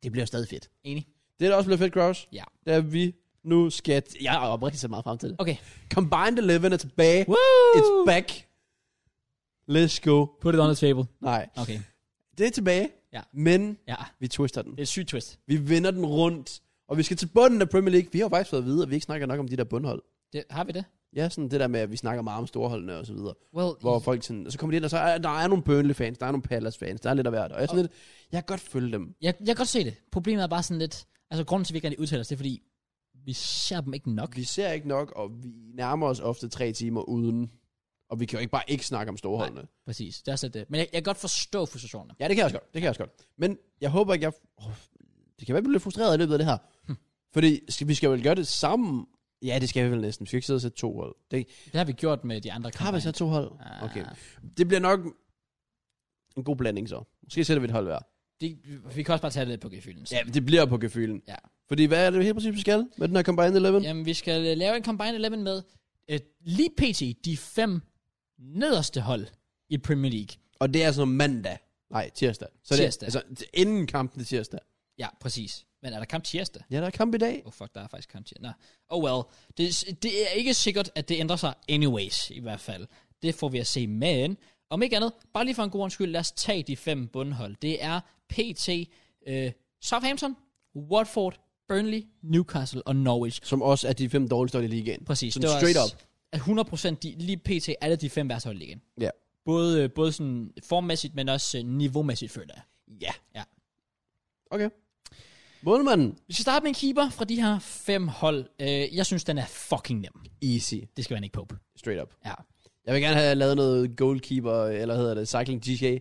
S2: det bliver stadig fedt.
S1: Enig.
S2: Det, der også bliver fedt, Kraus,
S1: Ja.
S2: det er, at vi nu skal... T- jeg er oprigtigt så meget frem til det.
S1: Okay.
S2: Combined Eleven er tilbage.
S1: Woo!
S2: It's back. Let's go.
S1: Put it on the table.
S2: Nej,
S1: Okay.
S2: det er tilbage,
S1: Ja.
S2: men
S1: Ja,
S2: vi twister den.
S1: det er et sygt twist.
S2: Vi vender den rundt, og vi skal til bunden af Premier League. Vi har jo faktisk fået at vide, at vi ikke snakker nok om de der bundhold.
S1: Det, har vi det?
S2: Ja, sådan det der med, at vi snakker meget om storholdene og så videre.
S1: Well,
S2: Hvor folk sådan, og så kommer de ind, og så er, der er nogle Burnley-fans, der er nogle Palace-fans, der er lidt af hvert. Og jeg, er sådan lidt, jeg kan godt følge dem.
S1: jeg, jeg kan godt se det. Problemet er bare sådan lidt, altså grunden til, at vi ikke rigtig udtaler os, det er fordi, vi ser dem ikke nok.
S2: Vi ser ikke nok, og vi nærmer os ofte tre timer uden. Og vi kan jo ikke bare ikke snakke om storholdene. Nej.
S1: Præcis, det er slet det. Men jeg, jeg kan godt forstå frustrationen.
S2: Ja, det kan jeg også godt. Det kan jeg også godt. Men jeg håber ikke, jeg... Oh, det kan være, at jeg bliver lidt frustreret i løbet af det her. Fordi skal, vi skal vel gøre det sammen. Hm. Ja, det skal vi vel næsten. Vi skal ikke sidde og sætte to hold. Det,
S1: Det har vi gjort med de andre
S2: har vi
S1: kampagner.
S2: så to hold?
S1: Ah,
S2: Okay. Det bliver nok en god blanding så. Måske sætter vi et hold hver.
S1: Det, vi kan også bare tage det på gefylden.
S2: Ja, det bliver på gefylen.
S1: Ja.
S2: Fordi hvad er det helt præcis, vi skal med den her Combined 11? Ja.
S1: Jamen, vi skal øh, lave en Combined 11 med øh, lige pt. de fem nederste hold i Premier League.
S2: Og det er altså mandag. Nej, tirsdag. Så
S1: Tirsdag.
S2: Det, er- altså, inden kampen til tirsdag.
S1: Ja, præcis. Men er der kamp tirsdag?
S2: Ja, der er kamp i dag.
S1: Oh fuck, der er faktisk kamp tirsdag. Nå. Oh well. Det, det er ikke sikkert, at det ændrer sig anyways, i hvert fald. Det får vi at se. Men, om ikke andet, bare lige for en god ordens skyld, lad os tage de fem bundhold. Det er pt. Øh, Southampton, Watford, Burnley, Newcastle og Norwich.
S2: Som også er de fem dårligste hold i ligaen.
S1: Præcis.
S2: Sådan straight up.
S1: At 100% de, lige pt. alle de fem værste hold i ligaen.
S2: Ja.
S1: Både, øh, både sådan formmæssigt, men også øh, niveaumæssigt, føler jeg.
S2: Ja.
S1: Ja.
S2: Okay. Målmanden.
S1: Vi skal starte med en keeper fra de her fem hold. Øh, jeg synes, den er fucking nem.
S2: Easy.
S1: Det skal man ikke på.
S2: Straight up.
S1: Ja,
S2: Jeg vil gerne have lavet noget goalkeeper, eller hedder det, cycling DJ.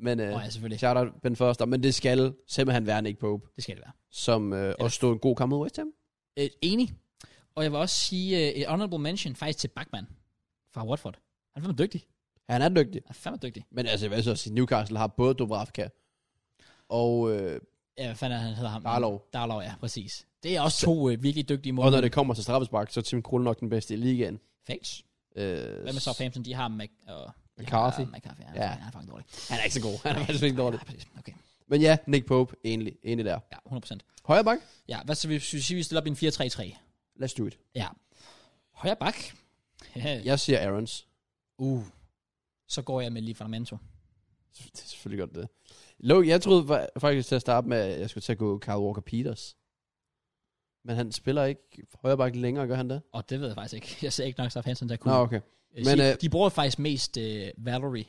S2: Men øh,
S1: Nå, ja, selvfølgelig.
S2: shout out Ben Foster. Men det skal simpelthen være Nick Pope,
S1: det skal det være.
S2: som øh, også stod en god kamp mod West Ham.
S1: Øh, enig. Og jeg vil også sige øh, et honorable mention faktisk til Bachmann fra Watford. Han er fandme dygtig.
S2: Han er dygtig.
S1: Han er fandme dygtig.
S2: Men altså, jeg vil så sige, Newcastle har både Dubravka og... Øh,
S1: Ja, hvad fanden er han hedder ham?
S2: Darlow.
S1: Darlow, ja, præcis. Det er også to øh, virkelig dygtige mål.
S2: og når det kommer til straffespark, så er Tim Krul nok den bedste i ligaen.
S1: Facts.
S2: Øh,
S1: Hvad med Southampton? De har Mac... Og,
S2: McCarthy.
S1: Ja, McCarthy. Han,
S2: Ja.
S1: ja. han er fucking dårlig.
S2: Han er ikke så god. Han er faktisk ikke dårlig.
S1: Ja, præcis. Okay.
S2: Men ja, Nick Pope, egentlig, egentlig der.
S1: Ja, 100%.
S2: Højre bak,
S1: Ja, hvad så hvis vi sige, vi stiller op i en 4-3-3?
S2: Let's do it.
S1: Ja. Højre bak. ja.
S2: Jeg siger Aarons.
S1: Uh. Så går jeg med lige Fernando.
S2: Det er selvfølgelig godt det. Lå, jeg troede fa- faktisk til at starte med, at jeg skulle til at gå Kyle Walker-Peters. Men han spiller ikke højre bakke længere, gør han det?
S1: Og det ved jeg faktisk ikke. Jeg ser ikke nok Southampton, der
S2: Nå,
S1: kunne. No,
S2: okay.
S1: men,
S2: men,
S1: sige,
S2: øh,
S1: de bruger faktisk mest øh, Valerie.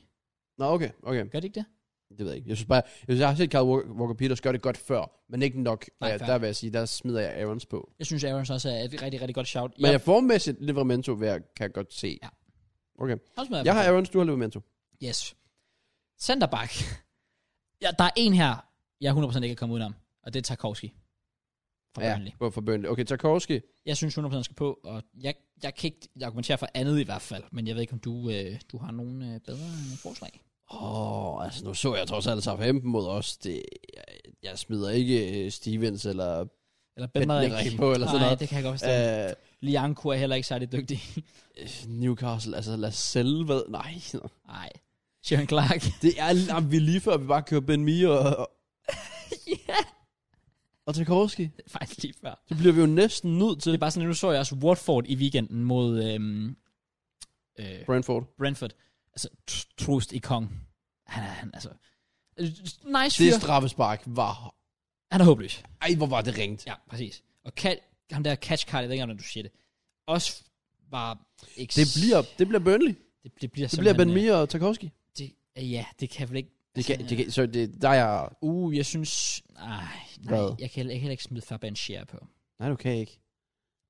S2: Nå, okay, okay.
S1: Gør de ikke det?
S2: Det ved jeg ikke. Jeg synes bare, jeg, synes, jeg har set Kyle Walker- Walker-Peters gøre det godt før, men ikke nok.
S1: Nej,
S2: Nej,
S1: fair.
S2: der vil jeg sige, der smider jeg Aarons på.
S1: Jeg synes, Aarons også er et rigtig, rigtig godt shout.
S2: Men jeg formæssigt Livermento, vil jeg, kan jeg godt se.
S1: Ja.
S2: Okay.
S1: også med
S2: Jeg har Aarons, du har Livermento.
S1: Yes. Centerback. Ja, der er en her, jeg 100% ikke kan komme udenom, og det er Tarkovski. For ja.
S2: Ja, for- for Burnley. Okay, Tarkovski.
S1: Jeg synes 100% han skal på, og jeg, jeg kan ikke argumentere for andet i hvert fald, men jeg ved ikke, om du, øh, du har nogen øh, bedre øh, forslag.
S2: Åh, oh, altså nu så jeg trods alt Southampton mod os. Det, jeg, jeg smider ikke øh, Stevens eller...
S1: Eller
S2: Ben
S1: Ben
S2: Henrik på, eller sådan
S1: Nej,
S2: noget.
S1: det kan jeg godt forstå. Øh.
S2: Øh,
S1: Lianco er heller ikke særlig dygtig.
S2: Newcastle, altså lad os selv hvad... Nej,
S1: Nej. Sharon Clark.
S2: det er... Jamen, vi er lige før, vi bare kører Ben Mee og... og
S1: ja,
S2: og Tarkovski.
S1: det er faktisk lige før.
S2: Det bliver vi jo næsten nødt til.
S1: Det er bare sådan, at nu så jeg også Watford i weekenden mod øhm, øh,
S2: Brentford.
S1: Brentford. Altså, tr- Troost i Kong. Han er, han, altså... øh, Nice
S2: Det
S1: fyr.
S2: straffespark var...
S1: Han er håbløs.
S2: Ej, hvor var det ringt.
S1: Ja, præcis. Og Kat, ham der catch card, jeg ved ikke, om du siger det, også var... Ikke,
S2: Det bliver, det bliver Burnley.
S1: Det, det bliver,
S2: Det bliver Ben
S1: simpelthen,
S2: Mee og Tarkovski.
S1: øh, Det, øh, ja, det kan vel ikke...
S2: Det kan,
S1: altså,
S2: det kan, så det, der er...
S1: Uh, jeg synes... Nej, nej
S2: Hvad?
S1: jeg, kan, heller- jeg kan heller ikke smide Fabian Scheer på.
S2: Nej, du kan ikke.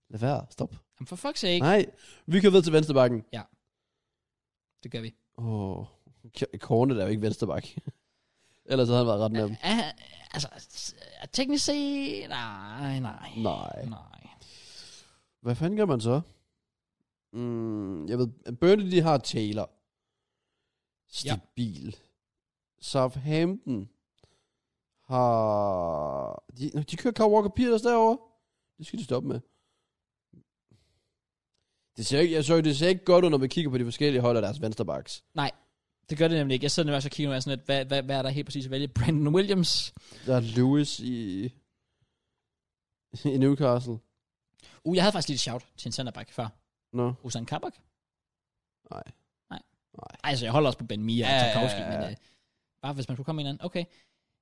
S2: Lad være. Stop.
S1: Jamen for fuck's sake,
S2: Nej, vi kører ved til venstrebakken.
S1: det gør vi.
S2: Åh, oh, Kornet er jo ikke venstreback. Ellers havde han været ret med dem.
S1: Ja, altså, er teknisk set... Nej, nej.
S2: Nej.
S1: Nej.
S2: Hvad fanden gør man så? Mm, jeg ved, Burnley de har Taylor. Stabil. Ja. Southampton har... De, nå, de kører Kyle Walker Peters derovre. Det skal de stoppe med. Det ser ikke, jeg så, det ser ikke godt ud, når man kigger på de forskellige hold og deres vensterbacks.
S1: Det gør det nemlig ikke. Jeg sidder nemlig også og kigger nu og er sådan lidt, hvad, hvad, hvad er der helt præcis at vælge? Brandon Williams.
S2: Der er Lewis i, i Newcastle.
S1: Uh, jeg havde faktisk lige et shout til en centerback før.
S2: Nå, no.
S1: Usain Kabak?
S2: Nej.
S1: Nej.
S2: Nej.
S1: Altså, jeg holder også på Ben Mia og
S2: Ja,
S1: Tarkovski,
S2: ja, ja, ja.
S1: men øh, bare hvis man skulle komme med en anden. Okay.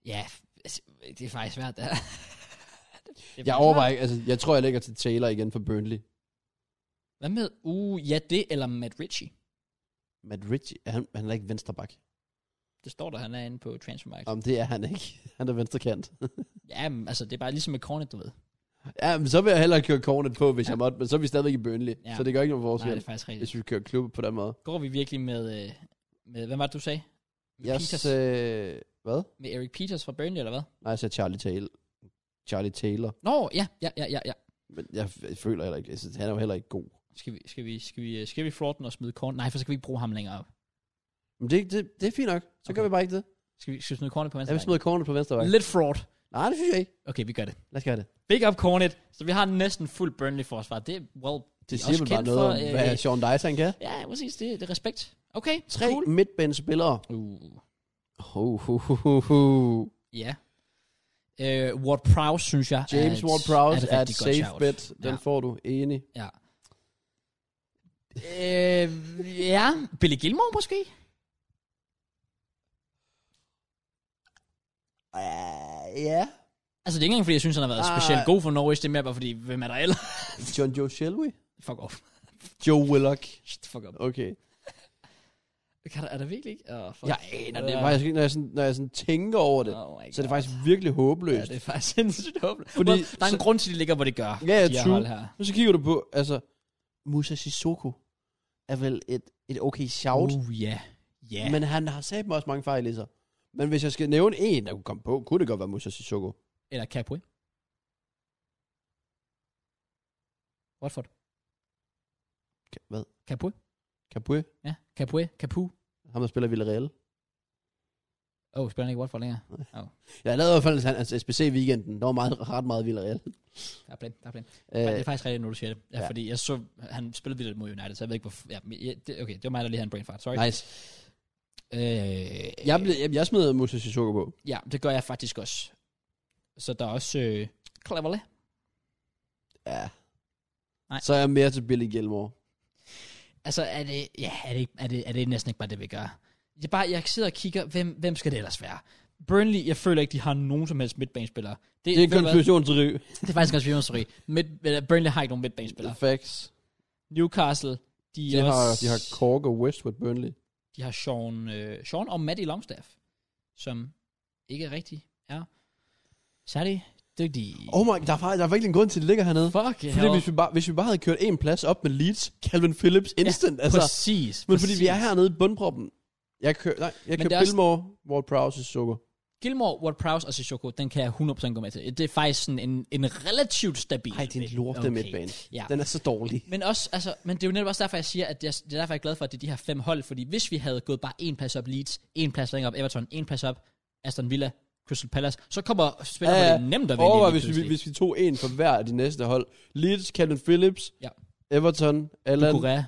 S1: Ja, f- altså, det er faktisk svært. det er faktisk
S2: jeg overvejer ikke, altså, jeg tror, jeg lægger til Taylor igen for Burnley.
S1: svært. Hvad med? Uh, ja, det eller Matt Ritchie.
S2: Matt Ritchie, er han, han er ikke venstreback.
S1: Det står der, han er inde på Transfermarkt.
S2: Om det er han ikke. Han er venstrekant.
S1: Ja, men, altså, det er bare ligesom med Cornet, du ved.
S2: ja, men så vil jeg hellere køre Cornet på, hvis
S1: Ja.
S2: ja. jeg måtte. Men så er vi stadigvæk i Burnley.
S1: Ja.
S2: Ja. Så det gør ikke nogen
S1: Nej, det
S2: forskel,
S1: er faktisk rigtigt.
S2: hvis vi kører klubber på den måde.
S1: Går vi virkelig med, øh, med hvad var det, du sagde? Med,
S2: Jeg
S1: Peters,
S2: sagde... Hvad?
S1: med Eric Peters fra Burnley, eller hvad?
S2: Nej, jeg sagde Charlie Taylor. Charlie Taylor.
S1: Nå, ja, ja, ja, ja, ja.
S2: Men jeg, f- jeg føler heller ikke... Altså, han er jo heller ikke god.
S1: Skal vi, skal vi, skal vi, øh, skal vi flirte den og smide Cornet? Nej, for så kan vi ikke bruge ham længere op.
S2: Men det, det, det er fint nok. Så okay. gør
S1: Okay.
S2: vi bare ikke det.
S1: Skal vi, skal vi smide Cornet på
S2: Jeg vil
S1: venstre?
S2: smide Cornet på venstre vej.
S1: Lidt fraud.
S2: Nej, det synes jeg ikke.
S1: Okay, vi gør det.
S2: Lad os gøre det.
S1: Big up Cornet. Så vi har næsten fuld Burnley-forsvar. Det er, well,
S2: Det
S1: er
S2: siger
S1: også
S2: vel bare
S1: kendt
S2: noget
S1: for,
S2: om,
S1: øh,
S2: hvad Sean Dyson kan.
S1: ja, præcis. Det, det er respekt. Okay,
S2: Tre
S1: Cool.
S2: midtbanespillere.
S1: Uh,
S2: Oh, oh, oh, oh, oh.
S1: ja. Uh, Ward Prowse, synes jeg.
S2: James
S1: er et-
S2: Ward-Prowse er,
S1: er
S2: et safe
S1: shout.
S2: bet. Den
S1: Ja.
S2: får du. Enig.
S1: Ja. øh, ja, Billy Gilmore måske? Øh,
S2: Uh, ja.
S1: Altså, det er ikke engang, fordi jeg synes, han har været
S2: Ah.
S1: specielt god for Norwich. Det er mere bare, fordi, hvem er der ellers?
S2: John Joe Shelby?
S1: Fuck off.
S2: Joe Willock.
S1: Shit, Fuck off.
S2: Okay.
S1: Kan der, er der virkelig ikke? Oh, fuck.
S2: Jeg aner det
S1: Øh,
S2: faktisk ikke, når jeg, sådan, når jeg sådan tænker over det.
S1: Oh my
S2: så er
S1: God.
S2: det faktisk virkelig
S1: Ja,
S2: håbløst.
S1: det er faktisk sindssygt håbløst. Fordi,
S2: Fordi-
S1: well, der er en
S2: så-
S1: grund til, at de ligger, hvor det gør.
S2: Ja, ja,
S1: de her
S2: true.
S1: hold her.
S2: Men så kigger du på, altså, Musa Sissoko er vel et, et okay shout, uh,
S1: Uh, ja. Ja.
S2: men han har sagt mig også mange fejl i sig. Men hvis jeg skal nævne en, der kunne komme på, kunne det godt være Musa Sissoko.
S1: Eller Capri. Watford.
S2: Ka- Hvad?
S1: Capri.
S2: Capue?
S1: Ja. Capri. Capu.
S2: Ham, der spiller Villarreal.
S1: Åh, oh, spiller han ikke Watford længere?
S2: Jeg lavede i hvert fald hans- hans SBC i weekenden. Der var meget, ret meget Villarreal.
S1: Der er plan. Der er plan. Øh, det
S2: Øh,
S1: er faktisk rigtigt, når du siger det. Ja, ja.
S2: ja.
S1: Fordi jeg så, han spillede vildt mod United, så jeg ved ikke, hvor... Ja, men- ja, det, okay, det var mig, der lige havde en brain fart. Sorry.
S2: nice.
S1: Øh,
S2: Jeg, blev, jeg, jeg smed Musa Sissoko på.
S1: Ja, det gør jeg faktisk også. Så der er også... Øh, Cleverly.
S2: Ja.
S1: Nej.
S2: Så er jeg mere til Billy Gilmore.
S1: Altså, er det, ja, er det, ikke- er det, er det næsten ikke bare det, vi gør? Jeg, er bare, jeg sidder og kigger, hvem, hvem skal det ellers være? Burnley, jeg føler ikke, de har nogen som helst midtbanespillere.
S2: Det er en
S1: ved du hvad?
S2: konspirationsteori.
S1: Det er faktisk en konspirationsteori. Midt, eller Burnley har ikke nogen midtbanespillere.
S2: Facts.
S1: Newcastle, de,
S2: De
S1: er
S2: har,
S1: også,
S2: de har Cork og Westwood Burnley.
S1: de har Sean, øh, Sean og Matty Longstaff, som ikke rigtig er særlig dygtige.
S2: Oh my, der er, faktisk- der er virkelig en grund til, at det ligger hernede.
S1: fuck
S2: Fordi hvis vi, bare, hvis vi bare havde kørt en plads op med Leeds, Calvin Phillips instant. Ja, altså.
S1: præcis,
S2: Men
S1: præcis.
S2: fordi vi er hernede i bundproppen. Jeg kører, nej, jeg
S1: Men
S2: kører
S1: det er også-
S2: Billmore, Ward Prowse og Sukker.
S1: Gilmore, Ward-Prowse og Sissoko, den kan jeg 100% gå med til. Det er faktisk sådan en, en relativt stabil.
S2: Ej, det er en lorte okay. midtbane.
S1: Ja.
S2: Den er så dårlig.
S1: Men, også, altså, men det er jo netop også derfor, jeg siger, at jeg, det er derfor, jeg er glad for, at det er de her fem hold, fordi hvis vi havde gået bare en plads op Leeds, en plads længere op Everton, en plads op Aston Villa, Crystal Palace, så kommer spillerne ja, ja. nemt at vinde.
S2: Overvej,
S1: lige
S2: hvis vi,
S1: pludselig.
S2: hvis vi tog en for hver af de næste hold. Leeds, Calvin Phillips,
S1: Ja.
S2: Everton, Allen.
S1: Ducouré.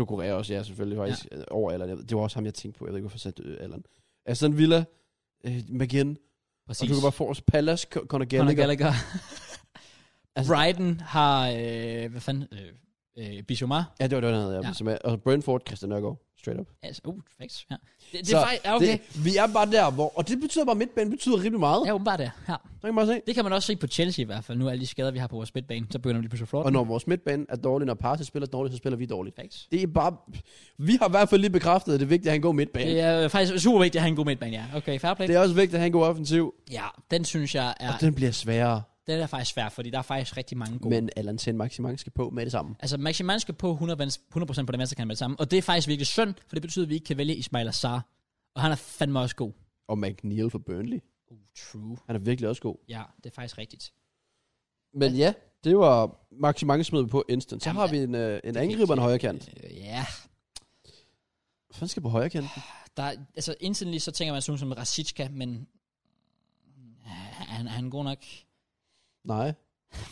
S2: Ducouré også, ja, selvfølgelig. Faktisk, ja. Over Allen. Jeg ved- Det var også ham, jeg tænkte på. Jeg ved ikke, hvorfor jeg sagde øh, Allen. Aston Villa, øh, McGinn.
S1: Præcis.
S2: Og du kan bare få os Palace, Co- Conor
S1: Conor
S2: Gallagher.
S1: Gallagher.
S2: Altså-
S1: Brighton har, øh, hvad fanden, øh, øh, Bissouma.
S2: Ja, det var det, han havde. Ja.
S1: Ja.
S2: Som er, og Brentford, Christian Nørgaard. Straight up.
S1: Altså, uh, facts, ja. Det, det
S2: Så
S1: er faktisk, ja, okay. Det,
S2: Det, vi er bare der, hvor... Og det betyder bare, at midtbanen betyder rimelig meget.
S1: ja, åbenbart det, ja.
S2: Så kan man bare se.
S1: Det kan man også se på Chelsea i hvert fald, nu alle de skader, vi har på vores midtbane, så begynder vi lige pludselig at flot.
S2: Og når vores midtbane er dårlig, når Parse spiller dårligt, så spiller vi dårligt.
S1: Facts.
S2: Det er bare... Vi har i hvert fald lige bekræftet, at det er vigtigt at have en god midtbane.
S1: Det er øh, faktisk super vigtigt at have en god midtbane, ja. Okay, fair play.
S2: Det er også vigtigt at have en god offensiv.
S1: Ja, den synes jeg er,
S2: Og den bliver sværere.
S1: den er faktisk svær, fordi der er faktisk rigtig mange gode. Men.
S2: Men Allan Sen Maximang skal på med det samme.
S1: Altså, Maximan skal på 100%, 100 på den venstre kant med det samme, og det er faktisk virkelig synd, for det betyder, at vi ikke kan vælge Ismail Azar, og han er fandme også god.
S2: Og McNeil for Burnley.
S1: Oh, true.
S2: Han er virkelig også god.
S1: Ja, det er faktisk rigtigt.
S2: Men ja, det var Maximang smed vi på instant. Så
S1: Jamen,
S2: har vi en, øh, en
S1: er
S2: angriber og en
S1: vigtigt.
S2: højre kant.
S1: Øh, ja,
S2: Hvad fanden skal på højre kanten?
S1: der, er- altså instantly så tænker man sådan nogen som Rasicka, men øh, han, han er god nok.
S2: Nej.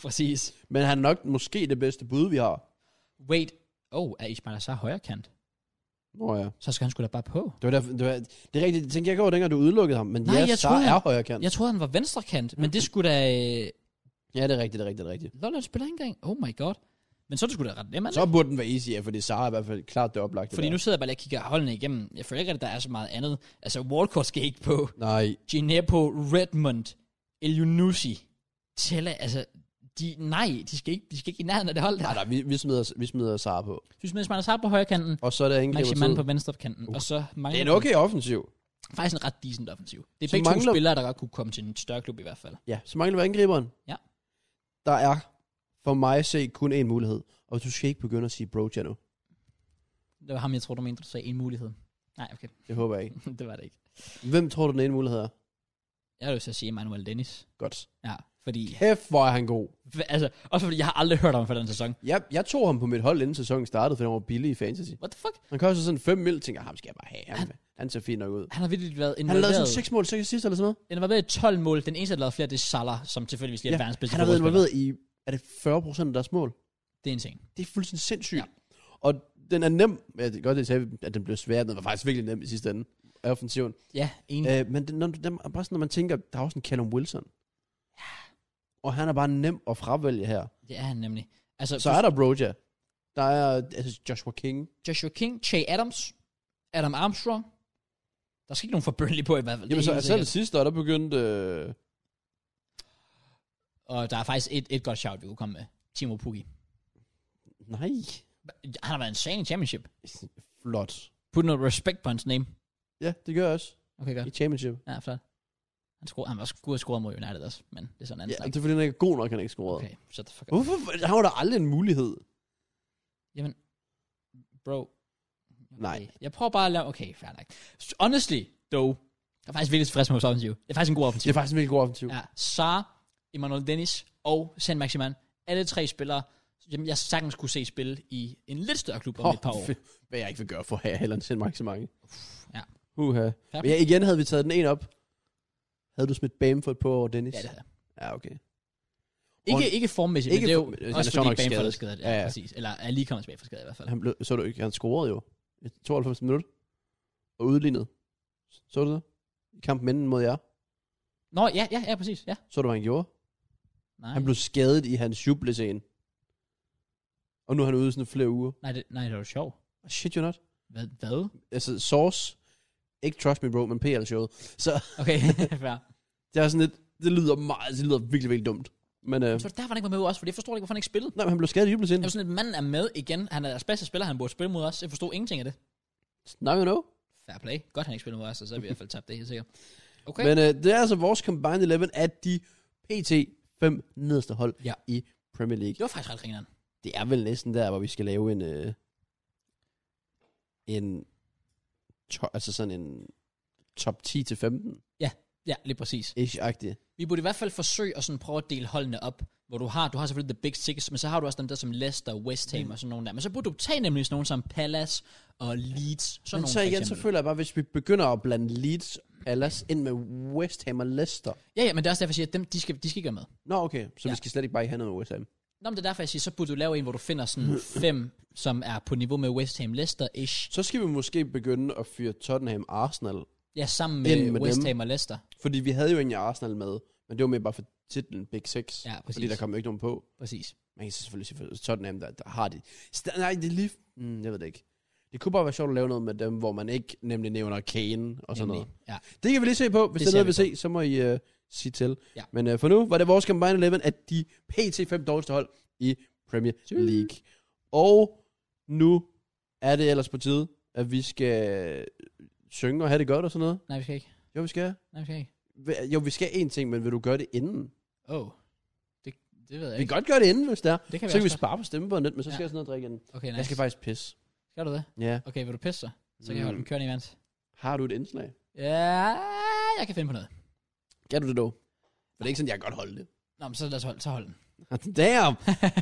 S1: Præcis.
S2: Men han er nok måske det bedste bud, vi har.
S1: Wait, oh, er Ismail Azar højre kant?
S2: Nå ja.
S1: Så skal han sgu da bare på.
S2: Det, var derfor, det, var, det er rigtigt. Det tænkte jeg ikke over, dengang du udelukkede ham. Men
S1: Nej,
S2: Nej, ja,
S1: jeg
S2: jeg så
S1: troede-
S2: er højre kant.
S1: Jeg troede, han var venstre kant, men det skulle da... Øh,
S2: Ja, det er rigtigt, det er rigtigt, det er rigtigt.
S1: Lolland spiller ikke engang. Oh my god. Men så er det sgu da ret nemt,
S2: Så burde den være easy, ja, fordi Sara er i hvert fald klart det oplagte.
S1: Fordi
S2: der.
S1: nu sidder jeg bare lige og kigger holdene igennem. Jeg føler ikke, at der er så meget andet. Altså, Walcott skal ikke på.
S2: Nej,
S1: Gineppo, Redmond, Elionusi, Tella, altså... De, nej, de skal, ikke, de skal ikke i nærheden af det hold der.
S2: nej, nej vi, vi, smider, vi smider Sara på.
S1: Du smider Smart Hazard på højre kanten,
S2: Og så er der
S1: Maximan
S2: angriber
S1: på venstre kanten, og så
S2: Det
S1: mangler
S2: er en okay offensiv.
S1: vi faktisk en ret decent offensiv. Det er
S2: Så
S1: begge mangler... to
S2: mangler-
S1: spillere, der godt kunne komme til en større klub i hvert fald.
S2: Ja, så mangler vi angriberen.
S1: Ja.
S2: Der er for mig at se kun én mulighed. Og du skal ikke begynde at sige Broja nu.
S1: Det var ham, jeg tror, du mente, du sagde en mulighed. Nej, okay,
S2: Det håber jeg ikke.
S1: det var det ikke.
S2: Hvem tror du den ene mulighed er?
S1: Jeg har lyst til at sige Manuel Dennis.
S2: Godt.
S1: Ja, fordi...
S2: Kæft, hvor er han god.
S1: Hva- Altså, også fordi jeg har aldrig hørt om ham for den sæson.
S2: Jeg, jeg tog ham på mit hold, inden sæsonen startede, for han var billig i fantasy.
S1: What the fuck?
S2: Han kostede sådan 5 mil, tænker jeg, ham skal jeg bare have. Han, han ser fint nok ud.
S1: Han har virkelig været
S2: Han har lavet
S1: involveret.
S2: sådan 6 mål, 6 sidst eller sådan noget.
S1: Han har været i 12 mål. Den eneste, der har lavet flere, det er Salah, som tilfældigvis lige er verdens bedste
S2: han har været
S1: fodboldspiller.
S2: involveret i, er det 40% af deres mål?
S1: Det er en ting.
S2: Det er fuldstændig sindssygt. Ja. Og den er nem. Ja, det er godt, at jeg sagde, at den blev svær. men Den var faktisk virkelig nem i sidste ende af offensiven.
S1: Ja, en.
S2: Øh, men den, når, den, er bare sådan, når man tænker, der er også en Callum Wilson. Og han er bare nem at fravælge her.
S1: Det er han nemlig. Altså,
S2: Så er der Broja. Der er altså Joshua King.
S1: Joshua King, Che Adams, Adam Armstrong. Der skal ikke nogen for Burnley på i hvert fald.
S2: Jamen
S1: det
S2: så
S1: er helt
S2: selv
S1: sikkert.
S2: sidste år, der begyndte... Øh,
S1: Og der er faktisk et, et godt shout, vi kunne komme med. Timo Pukki.
S2: nej.
S1: Han har været en sane i championship.
S2: Flot.
S1: Put noget respect på hans name.
S2: Ja, det gør jeg også.
S1: Okay, godt.
S2: I championship.
S1: Ja, flot. Han, scorer, han var skulle have scoret mod United også, men det er sådan en anden
S2: Ja,
S1: snak.
S2: det er fordi, han ikke er god nok, han ikke scorede. Okay. Uh.
S1: Okay, shut the fuck up.
S2: Hvorfor? Han var der aldrig en mulighed.
S1: Jamen, bro. Okay.
S2: Nej.
S1: Jeg prøver bare at lave... Okay, fair nok. S- Honestly, though, jeg er faktisk virkelig tilfreds med vores offensiv. Det er faktisk en god
S2: Det
S1: offensiv.
S2: er faktisk en virkelig god offensiv.
S1: Ja, Sar, Emmanuel Dennis og San Maximan. Alle tre spillere, som jeg sagtens kunne se spille i en lidt større klub om oh, et par år.
S2: fe- Hvad jeg ikke vil gøre for her, heller end sende mange.
S1: ja.
S2: Uha. Men ja, igen havde vi taget den ene op. Havde du smidt Bamford på over Dennis?
S1: Ja, det er.
S2: ja okay.
S1: Ikke, ikke formmæssigt,
S2: Ikke
S1: men det er jo
S2: form- han er
S1: også
S2: sjovt
S1: fordi
S2: nok
S1: Bamford er
S2: skadet.
S1: skadet.
S2: Ja,
S1: Ja,
S2: ja.
S1: præcis. Eller er lige kommet tilbage fra skade i hvert fald.
S2: Han blev, så du ikke, han scorede jo. i 92 minutter. Og udlignet. Så du det? I kampen inden mod jer.
S1: Nå, ja, ja, ja, præcis. Ja.
S2: Så du, hvad han gjorde?
S1: Nej.
S2: Han blev skadet i hans jublescene. og nu er han ude i sådan flere uger. Oh,
S1: Nej, det, nej, det var sjovt.
S2: Shit you not.
S1: Hvad? hvad?
S2: Altså, Source, ikke Trust Me Bro, men PL-showet. Så
S1: Okay, fair.
S2: det er sådan lidt, det lyder meget, det lyder virkelig, virkelig dumt. Men øh,
S1: Så derfor han ikke var med også, for det forstår jeg ikke, hvorfor han ikke spillede.
S2: nej, men han blev skadet i jubelsinde.
S1: Jeg var sådan, at manden er med igen. Han er deres bedste spiller, han burde spille mod os. Jeg forstod ingenting af det.
S2: Now you know.
S1: Fair play. Godt, han ikke spillede mod os, og så har vi i hvert fald tabt det, helt sikkert. Okay.
S2: Okay. Men øh, det er altså vores combined 11 af de PT 5 nederste hold
S1: Ja.
S2: ja. i Premier League.
S1: det var faktisk ret grineren.
S2: Det er vel næsten der, hvor vi skal lave en... Øh, en to, altså sådan en top 10 til 15
S1: Ja, lige præcis.
S2: ish-agtig.
S1: Vi burde i hvert fald forsøge at sådan prøve at dele holdene op, hvor du har, du har selvfølgelig The Big Six, men så har du også dem der som Leicester, West Ham mm. og sådan nogle der. Men så burde du tage nemlig sådan nogle som Palace og Leeds, sådan
S2: Men
S1: nogle
S2: så
S1: for
S2: igen, så
S1: eksempel.
S2: føler jeg bare, hvis vi begynder at blande Leeds Palace ind med West Ham og Leicester.
S1: Ja, ja, men det er også derfor, jeg siger, at dem, de skal, de skal ikke være med.
S2: Nå, okay. Så
S1: Ja.
S2: ja. vi skal slet ikke bare have noget med West Ham.
S1: Nå, men det er derfor, jeg siger, så burde du lave en, hvor du finder
S2: Mm.
S1: sådan fem, som er på niveau med West Ham, Leicester-ish.
S2: Så skal vi måske begynde at fyre Tottenham Arsenal.
S1: Ja, sammen
S2: Ind
S1: med,
S2: med
S1: med West
S2: dem.
S1: Ham og Leicester.
S2: Fordi vi havde jo egentlig Arsenal med, men det var mere bare for titlen Big Six.
S1: Ja, præcis.
S2: Fordi der kom jo ikke nogen på.
S1: Præcis.
S2: Man kan selvfølgelig sige, for Tottenham, der, der har de... St- nej, det er lige... Mm, jeg ved det ikke. Det kunne bare være sjovt at lave noget med dem, hvor man ikke nemlig nævner Kane og sådan
S1: Nemlig.
S2: noget.
S1: Ja.
S2: Det kan vi lige se på. Hvis
S1: Det
S2: det, det er noget,
S1: ser
S2: vi vil se, så må I uh, sige til.
S1: Ja.
S2: Men uh, for nu var det vores Combined 11 at de pt. 5 dårligste hold i Premier
S1: Tjus.
S2: League. Og nu er det ellers på tide, at vi skal øh, synge og have det godt og sådan noget.
S1: Nej, vi skal ikke.
S2: Jo, vi skal.
S1: Nej, vi skal ikke.
S2: Hva- Jo, vi skal én ting, men vil du gøre det inden?
S1: Oh. Det, det ved jeg
S2: Vi kan
S1: ikke.
S2: godt gøre det inden, hvis det er.
S1: Det kan vi
S2: så kan vi
S1: også
S2: spare på stemmebåndet lidt, men så
S1: Ja.
S2: skal jeg sådan noget drikke inden.
S1: godt. Okay, nice.
S2: Jeg skal faktisk pisse.
S1: Skal du det?
S2: Ja. Mm.
S1: Okay, vil du pisse så? Så kan jeg holde den kørende imens.
S2: Har du et indslag?
S1: Ja, jeg kan finde på noget.
S2: Kan du det dog? For det er ikke sådan, jeg kan godt holde det.
S1: Nå, men så lad os holde, så hold den.
S2: Damn!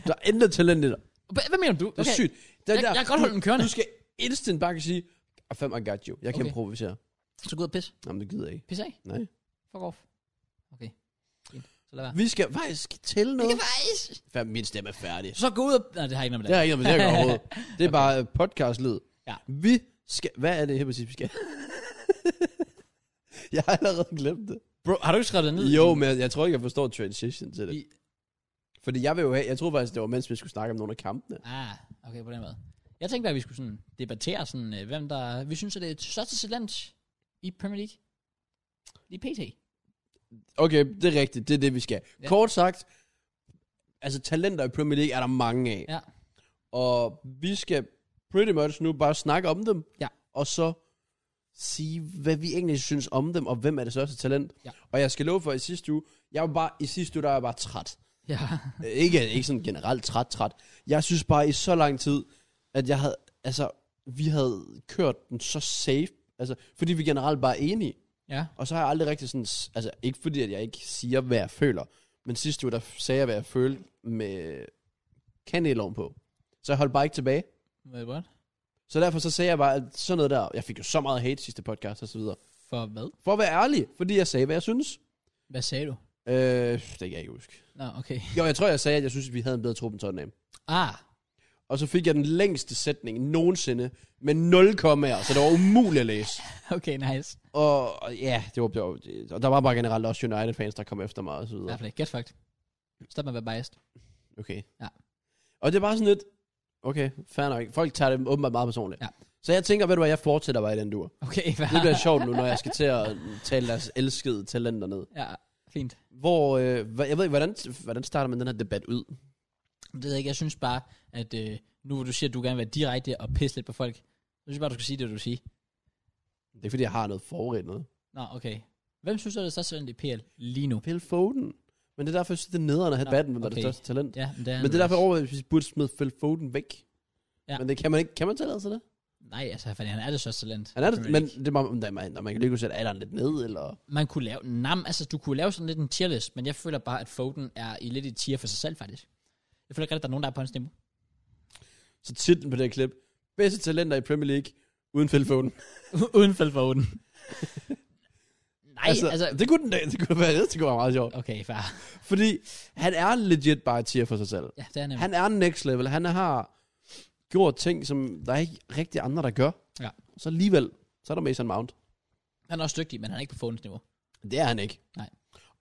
S2: Der er intet talent i dig.
S1: Hva- Hvad mener du?
S2: Det er sygt. Det er
S1: Jeg- jeg kan godt holde den kørende.
S2: Du skal instant bare kan sige, I fem I got you. Jeg kan
S1: Okay.
S2: okay. improvisere.
S1: Så gå ud og pis.
S2: Jamen, det gider jeg ikke.
S1: Pis af.
S2: Nej.
S1: Fuck off. Okay. Fint. Så lad være.
S2: Vi skal faktisk tælle
S1: Det
S2: noget.
S1: Ah. kan faktisk.
S2: Fem, min stemme er færdig.
S1: Så gå ud og... Nej, det har jeg ikke noget med
S2: Det
S1: det.
S2: er ikke noget, med det at gøre overhovedet. Det er bare øh, podcastlyd.
S1: Ja.
S2: Vi skal... Hvad er det her præcis, vi skal? jeg har allerede glemt det.
S1: Bro, har du ikke skrevet det ned?
S2: Jo, men jeg, jeg tror ikke, jeg forstår transition til det.
S1: Vi-
S2: Fordi jeg vil jo have, jeg tror faktisk, det var mens vi skulle snakke om nogle af kampene.
S1: Ah, okay, på den måde. Jeg tænkte, at vi skulle sådan debattere, sådan, øh, hvem der... Vi synes, at det er et største talent i Premier League. Lige pt.
S2: Okay, det er rigtigt, det er det, vi skal.
S1: Ja.
S2: Ja. Kort sagt, altså talenter i Premier League er der mange af.
S1: Ja.
S2: Og vi skal pretty much nu bare snakke om dem,
S1: Ja.
S2: og så sige, hvad vi egentlig synes om dem, og hvem er det største talent.
S1: Ja.
S2: Og jeg skal love for, at i sidste uge, jeg var bare, i sidste uge, der var jeg bare træt.
S1: Ja.
S2: Øh, ikke, ikke sådan generelt træt, træt. Jeg synes bare i så lang tid, at jeg havde, altså, vi havde kørt den så safe, altså, fordi vi generelt bare er enige.
S1: Ja.
S2: Og så har jeg aldrig rigtig sådan, altså ikke fordi, at jeg ikke siger, hvad jeg føler, men sidste uge, der sagde jeg, hvad jeg følte med kandeloven på. Så jeg holdt bare ikke tilbage.
S1: Hvad what?
S2: Så derfor så sagde jeg bare, at sådan noget der, jeg fik jo så meget hate sidste podcast og så videre.
S1: For hvad?
S2: For at være ærlig, fordi jeg sagde, hvad jeg synes.
S1: Hvad sagde du?
S2: Øh, det kan jeg ikke huske.
S1: Nå, okay.
S2: Jo, jeg tror, jeg sagde, at jeg synes, at vi havde en bedre trup end Tottenham.
S1: Ah,
S2: Og så fik jeg den længste sætning nogensinde med 0 kommaer, så det var umuligt at læse.
S1: okay, nice.
S2: Og og ja, det var, det var, det- og der var bare generelt også United-fans, der kom efter mig og så
S1: Fair
S2: videre.
S1: play. Ah, Get fucked. Stop med at være biased.
S2: Okay.
S1: Ja.
S2: Og det er bare sådan lidt, okay, fair nok. Folk tager det åbenbart meget personligt.
S1: Ja.
S2: Så jeg tænker, ved du hvad, jeg fortsætter bare i den dur.
S1: Okay, fair.
S2: Det bliver sjovt nu, når jeg skal til at tale deres elskede talenter ned.
S1: Ja, fint.
S2: Hvor, øh, hva- jeg ved ikke, hvordan, hvordan starter man den her debat ud?
S1: Det ved jeg ikke. Jeg synes bare, at øh, nu hvor du siger, at du gerne vil være direkte og pisse lidt på folk, så synes jeg bare, du skal sige det, du vil sige.
S2: Det er fordi, jeg har noget forberedt noget.
S1: Nå, okay. Hvem synes du, er det største talent i PL lige nu?
S2: Phil Foden. Men det er derfor, jeg synes, det er nederen at have
S1: Nå,
S2: debatten, hvem okay. er
S1: okay.
S2: det største talent.
S1: Ja, men det er,
S2: Men det er derfor, jeg overvejer, at vi burde smide Phil Foden væk.
S1: Ja.
S2: Ja. Men det kan man ikke. Kan man tillade sig det?
S1: Nej, altså, fordi han er det største talent.
S2: Han er
S1: Kan man
S2: det, men
S1: ikke-
S2: det er man, man, man kan lige kunne sætte alderen lidt ned, eller...
S1: Man kunne lave... Nam, altså, du kunne lave sådan lidt en tierlist, men jeg føler bare, at Foden er i lidt i tier for sig selv, faktisk. Jeg føler ikke, at der er nogen, der er på hans niveau.
S2: Så titlen på det her klip. Bedste talenter i Premier League, uden Phil Foden.
S1: Uden fald Foden. Nej, altså... altså
S2: det kunne, den, det kunne være, det kunne være meget sjovt.
S1: okay, fair.
S2: Fordi han er legit bare et tier for sig selv.
S1: Ja, det er nemlig.
S2: Han er next level. Han har gjort ting, som der er ikke rigtig andre, der gør.
S1: Ja.
S2: Så alligevel, så er der Mason Mount.
S1: Han er også dygtig, men han er ikke på Fodens niveau.
S2: Det er han ikke.
S1: Nej.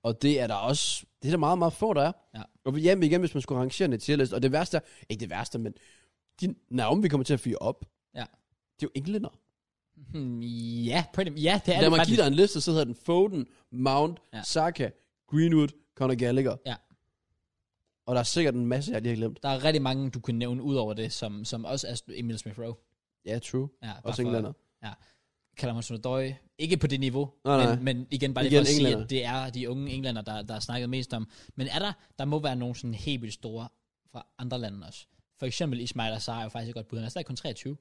S2: Og det er der også, det er der meget, meget få, der er.
S1: Ja.
S2: Og hjem igen, hvis man skulle rangere en tier list. Og det værste er, ikke det værste, men de navne, vi kommer til at fyre op,
S1: Ja.
S2: det er jo englænder.
S1: Hmm, ja, pretty, ja, det er
S2: Lad
S1: det
S2: mig give
S1: faktisk.
S2: dig en liste, så hedder den Foden, Mount,
S1: Ja.
S2: ja. Saka, Greenwood, Conor Gallagher.
S1: Ja.
S2: Og der er sikkert en masse, jeg lige har glemt.
S1: Der er rigtig mange, du kunne nævne ud over det, som, som også er Emil Smith-Rowe.
S2: Ja, true.
S1: Ja, bare
S2: Også
S1: for-
S2: englænder.
S1: kalder man Sundadoy. Ikke på det niveau,
S2: Nej, nej.
S1: Men, men igen bare lige
S2: Igen
S1: for at sige,
S2: englænder.
S1: at det er de unge englænder, der, der er snakket mest om. Men er der, der må være nogle sådan helt vildt store fra andre lande også. For eksempel Ismail Azar er jo faktisk et godt bud. Han er stadig kun 23.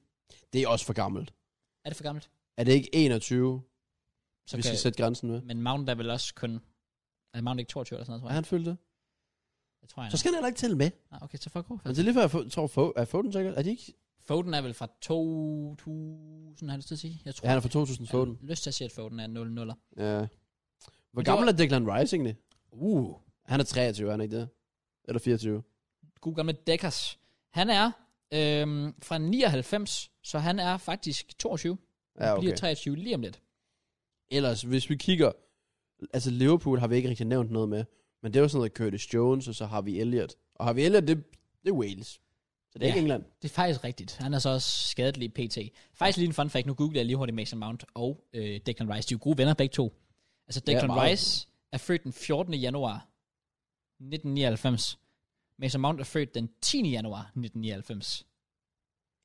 S2: Det er også for gammelt.
S1: Er det for gammelt?
S2: Er det ikke 21,
S1: Så
S2: så vi skal sætte grænsen med?
S1: Men Mount er vel også kun... Er Mount ikke 22 eller sådan noget, tror
S2: Er
S1: jeg?
S2: han fyldt det?
S1: Det tror jeg, han
S2: Så
S1: er.
S2: skal han heller ikke tælle med.
S1: Ah, okay, så fuck off.
S2: Men det er lige før, jeg fo- tror, Fo- er Foden sikkert? Er de ikke?
S1: Foden er vel fra 2000, har jeg lyst til at sige? Jeg tror,
S2: Ja, han er fra 2000
S1: jeg har
S2: Foden.
S1: lyst til at sige, at Foden er 00.
S2: Ja. Hvor
S1: det
S2: gammel
S1: var-
S2: er Declan Rice egentlig?
S1: Uh.
S2: Han er 23, er han ikke det? Eller 24?
S1: god gamle Deckers. Han er øhm, fra 99, så han er faktisk 22.
S2: Ja,
S1: Han Bliver
S2: okay.
S1: 23 lige om lidt.
S2: Ellers, hvis vi kigger... Altså, Liverpool har vi ikke rigtig nævnt noget med. Men det er jo sådan noget Curtis Jones, og så har vi Elliot. Og har vi Elliot, det, det er Wales. Så det er
S1: Ja.
S2: ja. ikke England.
S1: Det er faktisk rigtigt. Han er så også skadet lige pt. Faktisk lige en fun fact. Nu googler jeg lige hurtigt Mason Mount og øh, Declan Rice. De er jo gode venner begge to. Altså Declan ja,
S2: meget.
S1: Rice er født den 14. januar 1999. Mason Mount er født den 10. januar 1999.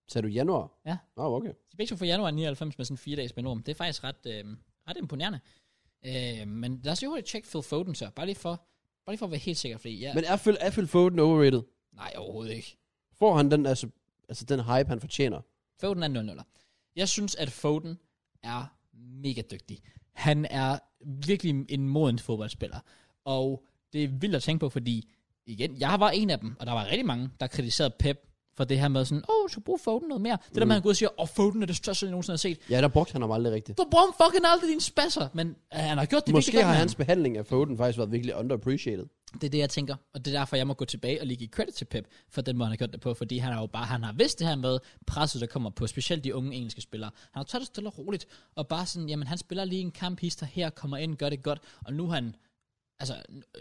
S2: Sagde du januar?
S1: Ja.
S2: Nå, oh, okay.
S1: De er begge to fra januar 99 med sådan fire dages mellemrum. Det er faktisk ret, øh, ret imponerende. Øh, men lad os lige hurtigt tjekke Phil Foden så. Bare lige for, bare lige for at være helt sikker, fordi ja,
S2: Men er Phil, er Phil Foden overrated?
S1: Nej, overhovedet ikke.
S2: Får han den, altså, altså den hype, han fortjener?
S1: Foden er 0 Jeg synes, at Foden er mega dygtig. Han er virkelig en moden fodboldspiller. Og det er vildt at tænke på, fordi igen, jeg var en af dem, og der var rigtig mange, der kritiserede Pep for det her med sådan, åh, oh, så brug Foden noget mere. Det der
S2: Mm.
S1: med, at han går ud og siger, åh, oh, Foden er det største, jeg nogensinde har set.
S2: Ja, der brugte han ham aldrig rigtigt.
S1: Du bruger ham fucking aldrig dine spasser, men øh, han har gjort det
S2: Måske
S1: virkelig godt
S2: har
S1: med
S2: hans behandling af Foden faktisk været virkelig underappreciated.
S1: ham. Det er det, jeg tænker, og det er derfor, jeg må gå tilbage og lige give credit til Pep for den måde, han har gjort det på, fordi han har jo bare, han har vidst det her med presset, der kommer på, specielt de unge engelske spillere. Han har taget det stille og roligt, og bare sådan, jamen han spiller lige en kamp, hister her, kommer ind, gør det godt, og nu er han, altså,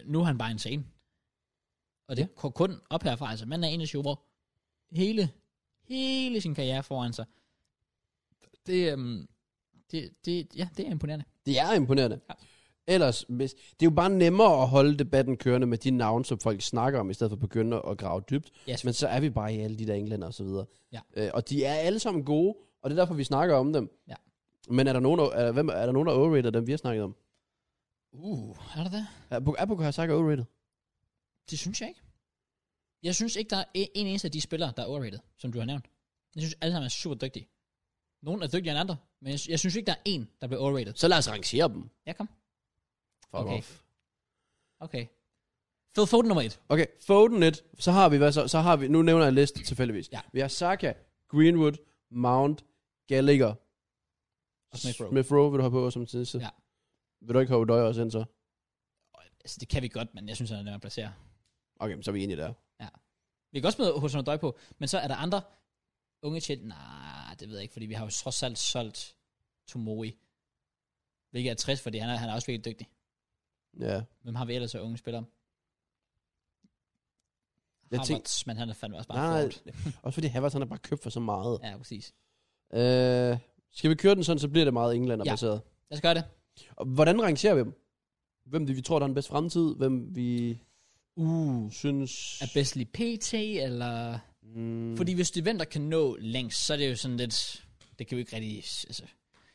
S1: nu er han bare insane. Og det går kun op herfra, altså, man er 21 år, hele, hele sin karriere foran sig. Det, øhm, det, det, ja, det er imponerende.
S2: Det er imponerende.
S1: Ja.
S2: Ja. Ellers, hvis, det er jo bare nemmere at holde debatten kørende med de navne, som folk snakker om, i stedet for at begynde at grave dybt.
S1: Yes.
S2: Men så er vi bare i alle de der englænder og så videre.
S1: Ja.
S2: Øh, og de er alle sammen gode, og det er derfor, vi snakker om dem.
S1: Ja.
S2: Men er der nogen, er, hvem, er der nogen, der overrated dem, vi har snakket om?
S1: Uh, er der det?
S2: Er Buk- Er Bukayo Saka overrated?
S1: Det synes jeg ikke. Jeg synes ikke, der er en, en eneste af de spillere, der er overrated, som du har nævnt. Jeg synes, alle sammen er super dygtige. Nogle er dygtigere end andre, men jeg, sy- jeg synes ikke, der er en, der bliver overrated.
S2: Så lad os rangere dem.
S1: Ja, kom.
S2: Fuck
S1: Okay.
S2: off.
S1: Okay. Phil Foden nummer et.
S2: Okay, Foden lidt. Så har vi, hvad så? Så har vi, nu nævner jeg en liste tilfældigvis.
S1: Ja.
S2: Vi har Saka, Greenwood, Mount, Gallagher.
S1: Og Smith Rowe.
S2: Smith Rowe vil du have på som sidste.
S1: Ja.
S2: Vil du ikke have Udoy også ind så?
S1: Altså, det kan vi godt, men jeg synes, han er nemmere at placere.
S2: Okay, men så er vi enige der.
S1: Vi kan også smide hos Døj på, men så er der andre unge til. Nej, det ved jeg ikke, fordi vi har jo trods alt solgt Tomori. Hvilket er trist, fordi han er, han er også virkelig dygtig.
S2: Ja.
S1: Hvem har vi ellers af unge spillere?
S2: Jeg
S1: Havertz,
S2: tænkte,
S1: men han er fandme også
S2: Nej,
S1: bare
S2: nej.
S1: forward.
S2: også fordi Havertz, han er bare købt for så meget.
S1: Ja, præcis.
S2: Ja. Øh, skal vi køre den sådan, så bliver det meget englænder
S1: Ja.
S2: baseret.
S1: Lad os gøre det.
S2: Og hvordan rangerer vi dem? Hvem det, vi tror, der har den bedste fremtid? Hvem vi
S1: Uh.
S2: synes...
S1: Er bedst lige PT, eller...
S2: Mm,
S1: Mm. Fordi hvis det venter kan nå længst, så er det jo sådan lidt... Det kan vi ikke rigtig... Altså,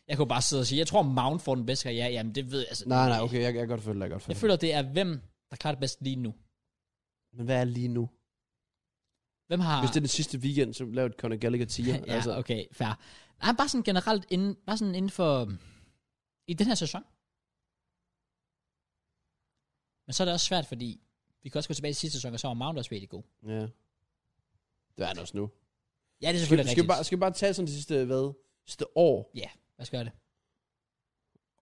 S1: jeg kunne bare sidde og sige, jeg tror Mount får den bedste karriere. Jamen det ved jeg. Altså,
S2: Nej, nej, okay, jeg, jeg kan godt følge dig, jeg kan godt følge
S1: Jeg
S2: dig.
S1: føler, det er hvem, der klarer det bedst lige nu.
S2: Men hvad er lige nu?
S1: Hvem har...
S2: Hvis det er den sidste weekend, så lav et Conor Gallagher 10. Ah. ja,
S1: ja,
S2: altså.
S1: altså. okay, fair. Nej, bare sådan generelt inden, bare sådan inden for... I den her sæson. Men så er det også svært, fordi vi kan også gå tilbage til sidste sæson, og så var Mount også virkelig god.
S2: ja. Det er han også nu.
S1: Ja, det er
S2: Skal,
S1: selvfølgelig
S2: skal, vi
S1: rigtigt.
S2: bare, skal vi bare tage sådan de sidste, hvad? Sidste år?
S1: Lad os gøre det.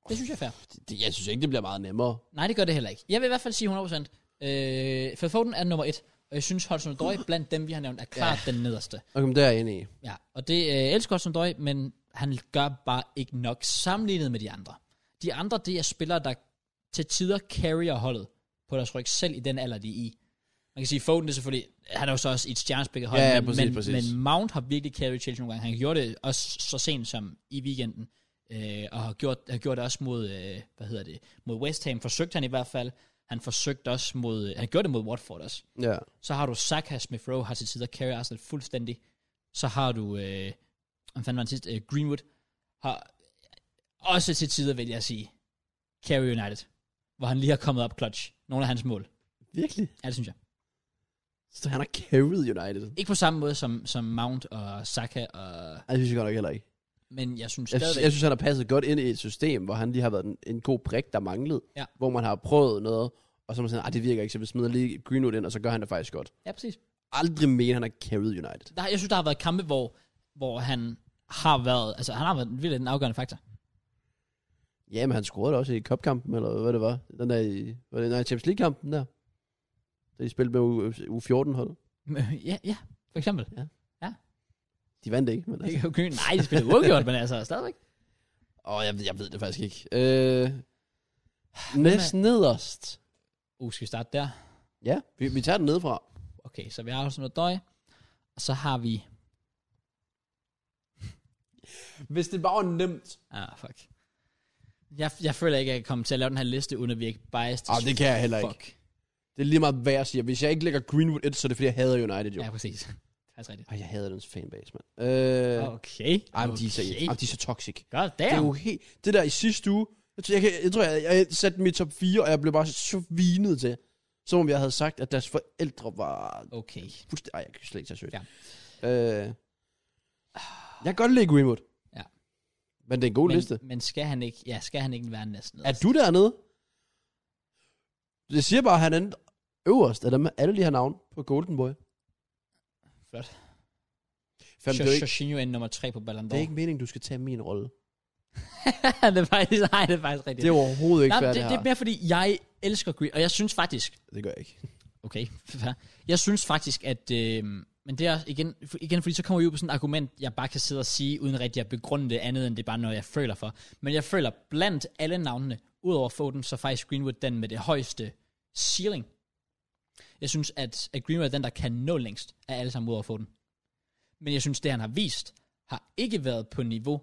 S1: Det synes jeg er fair.
S2: Det, det, jeg synes ikke, det bliver meget nemmere.
S1: Nej, det gør det heller ikke. Jeg vil i hvert fald sige 100%. Øh, for Foden er nummer et, og jeg synes, Hudson Odoi blandt dem, vi har nævnt, er klart ja. den nederste.
S2: Okay, men det er jeg enig i.
S1: Ja, og det øh, elsker Hudson Odoi, men han gør bare ikke nok sammenlignet med de andre. De andre, det er spillere, der til tider carrier holdet på deres ryg, selv i den alder, de er i. Man kan sige, Foden det er selvfølgelig, han er jo så også i et stjernespækket hold,
S2: Ja, ja,
S1: men,
S2: præcis,
S1: men,
S2: præcis.
S1: men Mount har virkelig carried Chelsea nogle gange. Han gjorde det også så sent som i weekenden, øh, og har gjort, har gjort det også mod, øh, hvad hedder det, mod West Ham, forsøgte han i hvert fald. Han forsøgte også mod, han gjorde det mod Watford også.
S2: Ja.
S1: Så har du Saka, Smith Rowe har til tider carry Arsenal fuldstændig. Så har du, øh, hvad fanden var den sidste, øh, Greenwood, har også til tider, vil jeg sige, carry United, hvor han lige har kommet op clutch. Nogle af hans mål.
S2: Virkelig?
S1: Ja, det synes jeg.
S2: Så han har carried United.
S1: Ikke på samme måde som, som Mount og Saka, og,
S2: Ej, det synes jeg godt nok heller ikke.
S1: men jeg synes
S2: Jeg,
S1: stadigvæk,
S2: synes- jeg synes, han har passet godt ind i et system, hvor han lige har været en, en god brik, der manglede.
S1: Ja.
S2: Hvor man har prøvet noget, og så er man sådan, "Ej, det virker ikke, så vi smider lige Greenwood ind, og så gør han det faktisk godt.
S1: ja, præcis.
S2: Aldrig mere, han har carried United.
S1: Der, jeg synes, der har været kampe, hvor, hvor han har været, altså han har været virkelig den afgørende faktor.
S2: Ja, men han scorede da også i cupkampen, eller hvad det var. Den der i, var det, nej, Champions League-kampen der. Da de spillede med U14-hold.
S1: ja, ja, for eksempel.
S2: Altså. De vandt ikke, men altså.
S1: Ikke okay. Nej, de spillede uafgjort, men altså stadigvæk.
S2: Åh, jeg, ved- jeg ved det faktisk ikke. Øh, næst nederst.
S1: Uh, skal vi starte der?
S2: Ja, vi, vi tager den nedefra.
S1: Okay, så vi har også noget døj. Og så har vi...
S2: Hvis det bare var nemt.
S1: Ah, fuck. Jeg, jeg føler ikke, at jeg kommer til at lave den her liste, uden at virke biased.
S2: Ah, det kan jeg heller ikke.
S1: Fuck.
S2: Det er lige meget, hvad jeg siger. Hvis jeg ikke lægger Greenwood ind, så er det fordi, jeg hader United, jo.
S1: Ja,
S2: Ja.
S1: præcis. Det er faktisk rigtigt.
S2: Og jeg hader dens fanbase, mand. Øh, okay.
S1: Okay.
S2: Ej, men de er så,
S1: okay.
S2: ej, men de er så toxic.
S1: God
S2: Det er
S1: damn.
S2: jo helt... Det der i sidste uge, jeg tror, jeg, kan, jeg, tror, jeg, jeg satte mit top 4, og jeg blev bare så vinet til. Som om jeg havde sagt, at deres forældre var
S1: Okay.
S2: fuldstændig... Ej, jeg kan slet ikke tage sødt.
S1: Ja.
S2: Øh, jeg kan godt lide Greenwood.
S1: Ja.
S2: Men det er en god
S1: Men,
S2: liste.
S1: men skal han ikke, ja, skal han ikke være næsten
S2: Er du dernede? Jeg siger bare, at han er øverst af dem, alle de her navne på Golden Boy.
S1: Flot.
S2: Fem, det, er jo ikke,
S1: Jorginho er nummer tre på Ballon
S2: det er
S1: d'Or.
S2: ikke meningen, du skal tage min rolle.
S1: det er faktisk, nej, det er faktisk rigtigt.
S2: Det er overhovedet ikke
S1: nej,
S2: fair,
S1: det,
S2: det,
S1: det, er mere fordi, jeg elsker Green, og jeg synes faktisk,
S2: her. Det gør jeg ikke.
S1: Okay, fair. Jeg synes faktisk, at... Øh, men det er igen, igen, fordi så kommer vi ud på sådan et argument, jeg bare kan sidde og sige, uden rigtig at begrunde det andet, end det er bare noget, jeg føler for. Men jeg føler blandt alle navnene, udover Foden, så er faktisk Greenwood den med det højeste ceiling. Jeg synes, at, at Greenwood er den, der kan nå længst af alle sammen udover Foden. Men jeg synes, det han har vist, har ikke været på niveau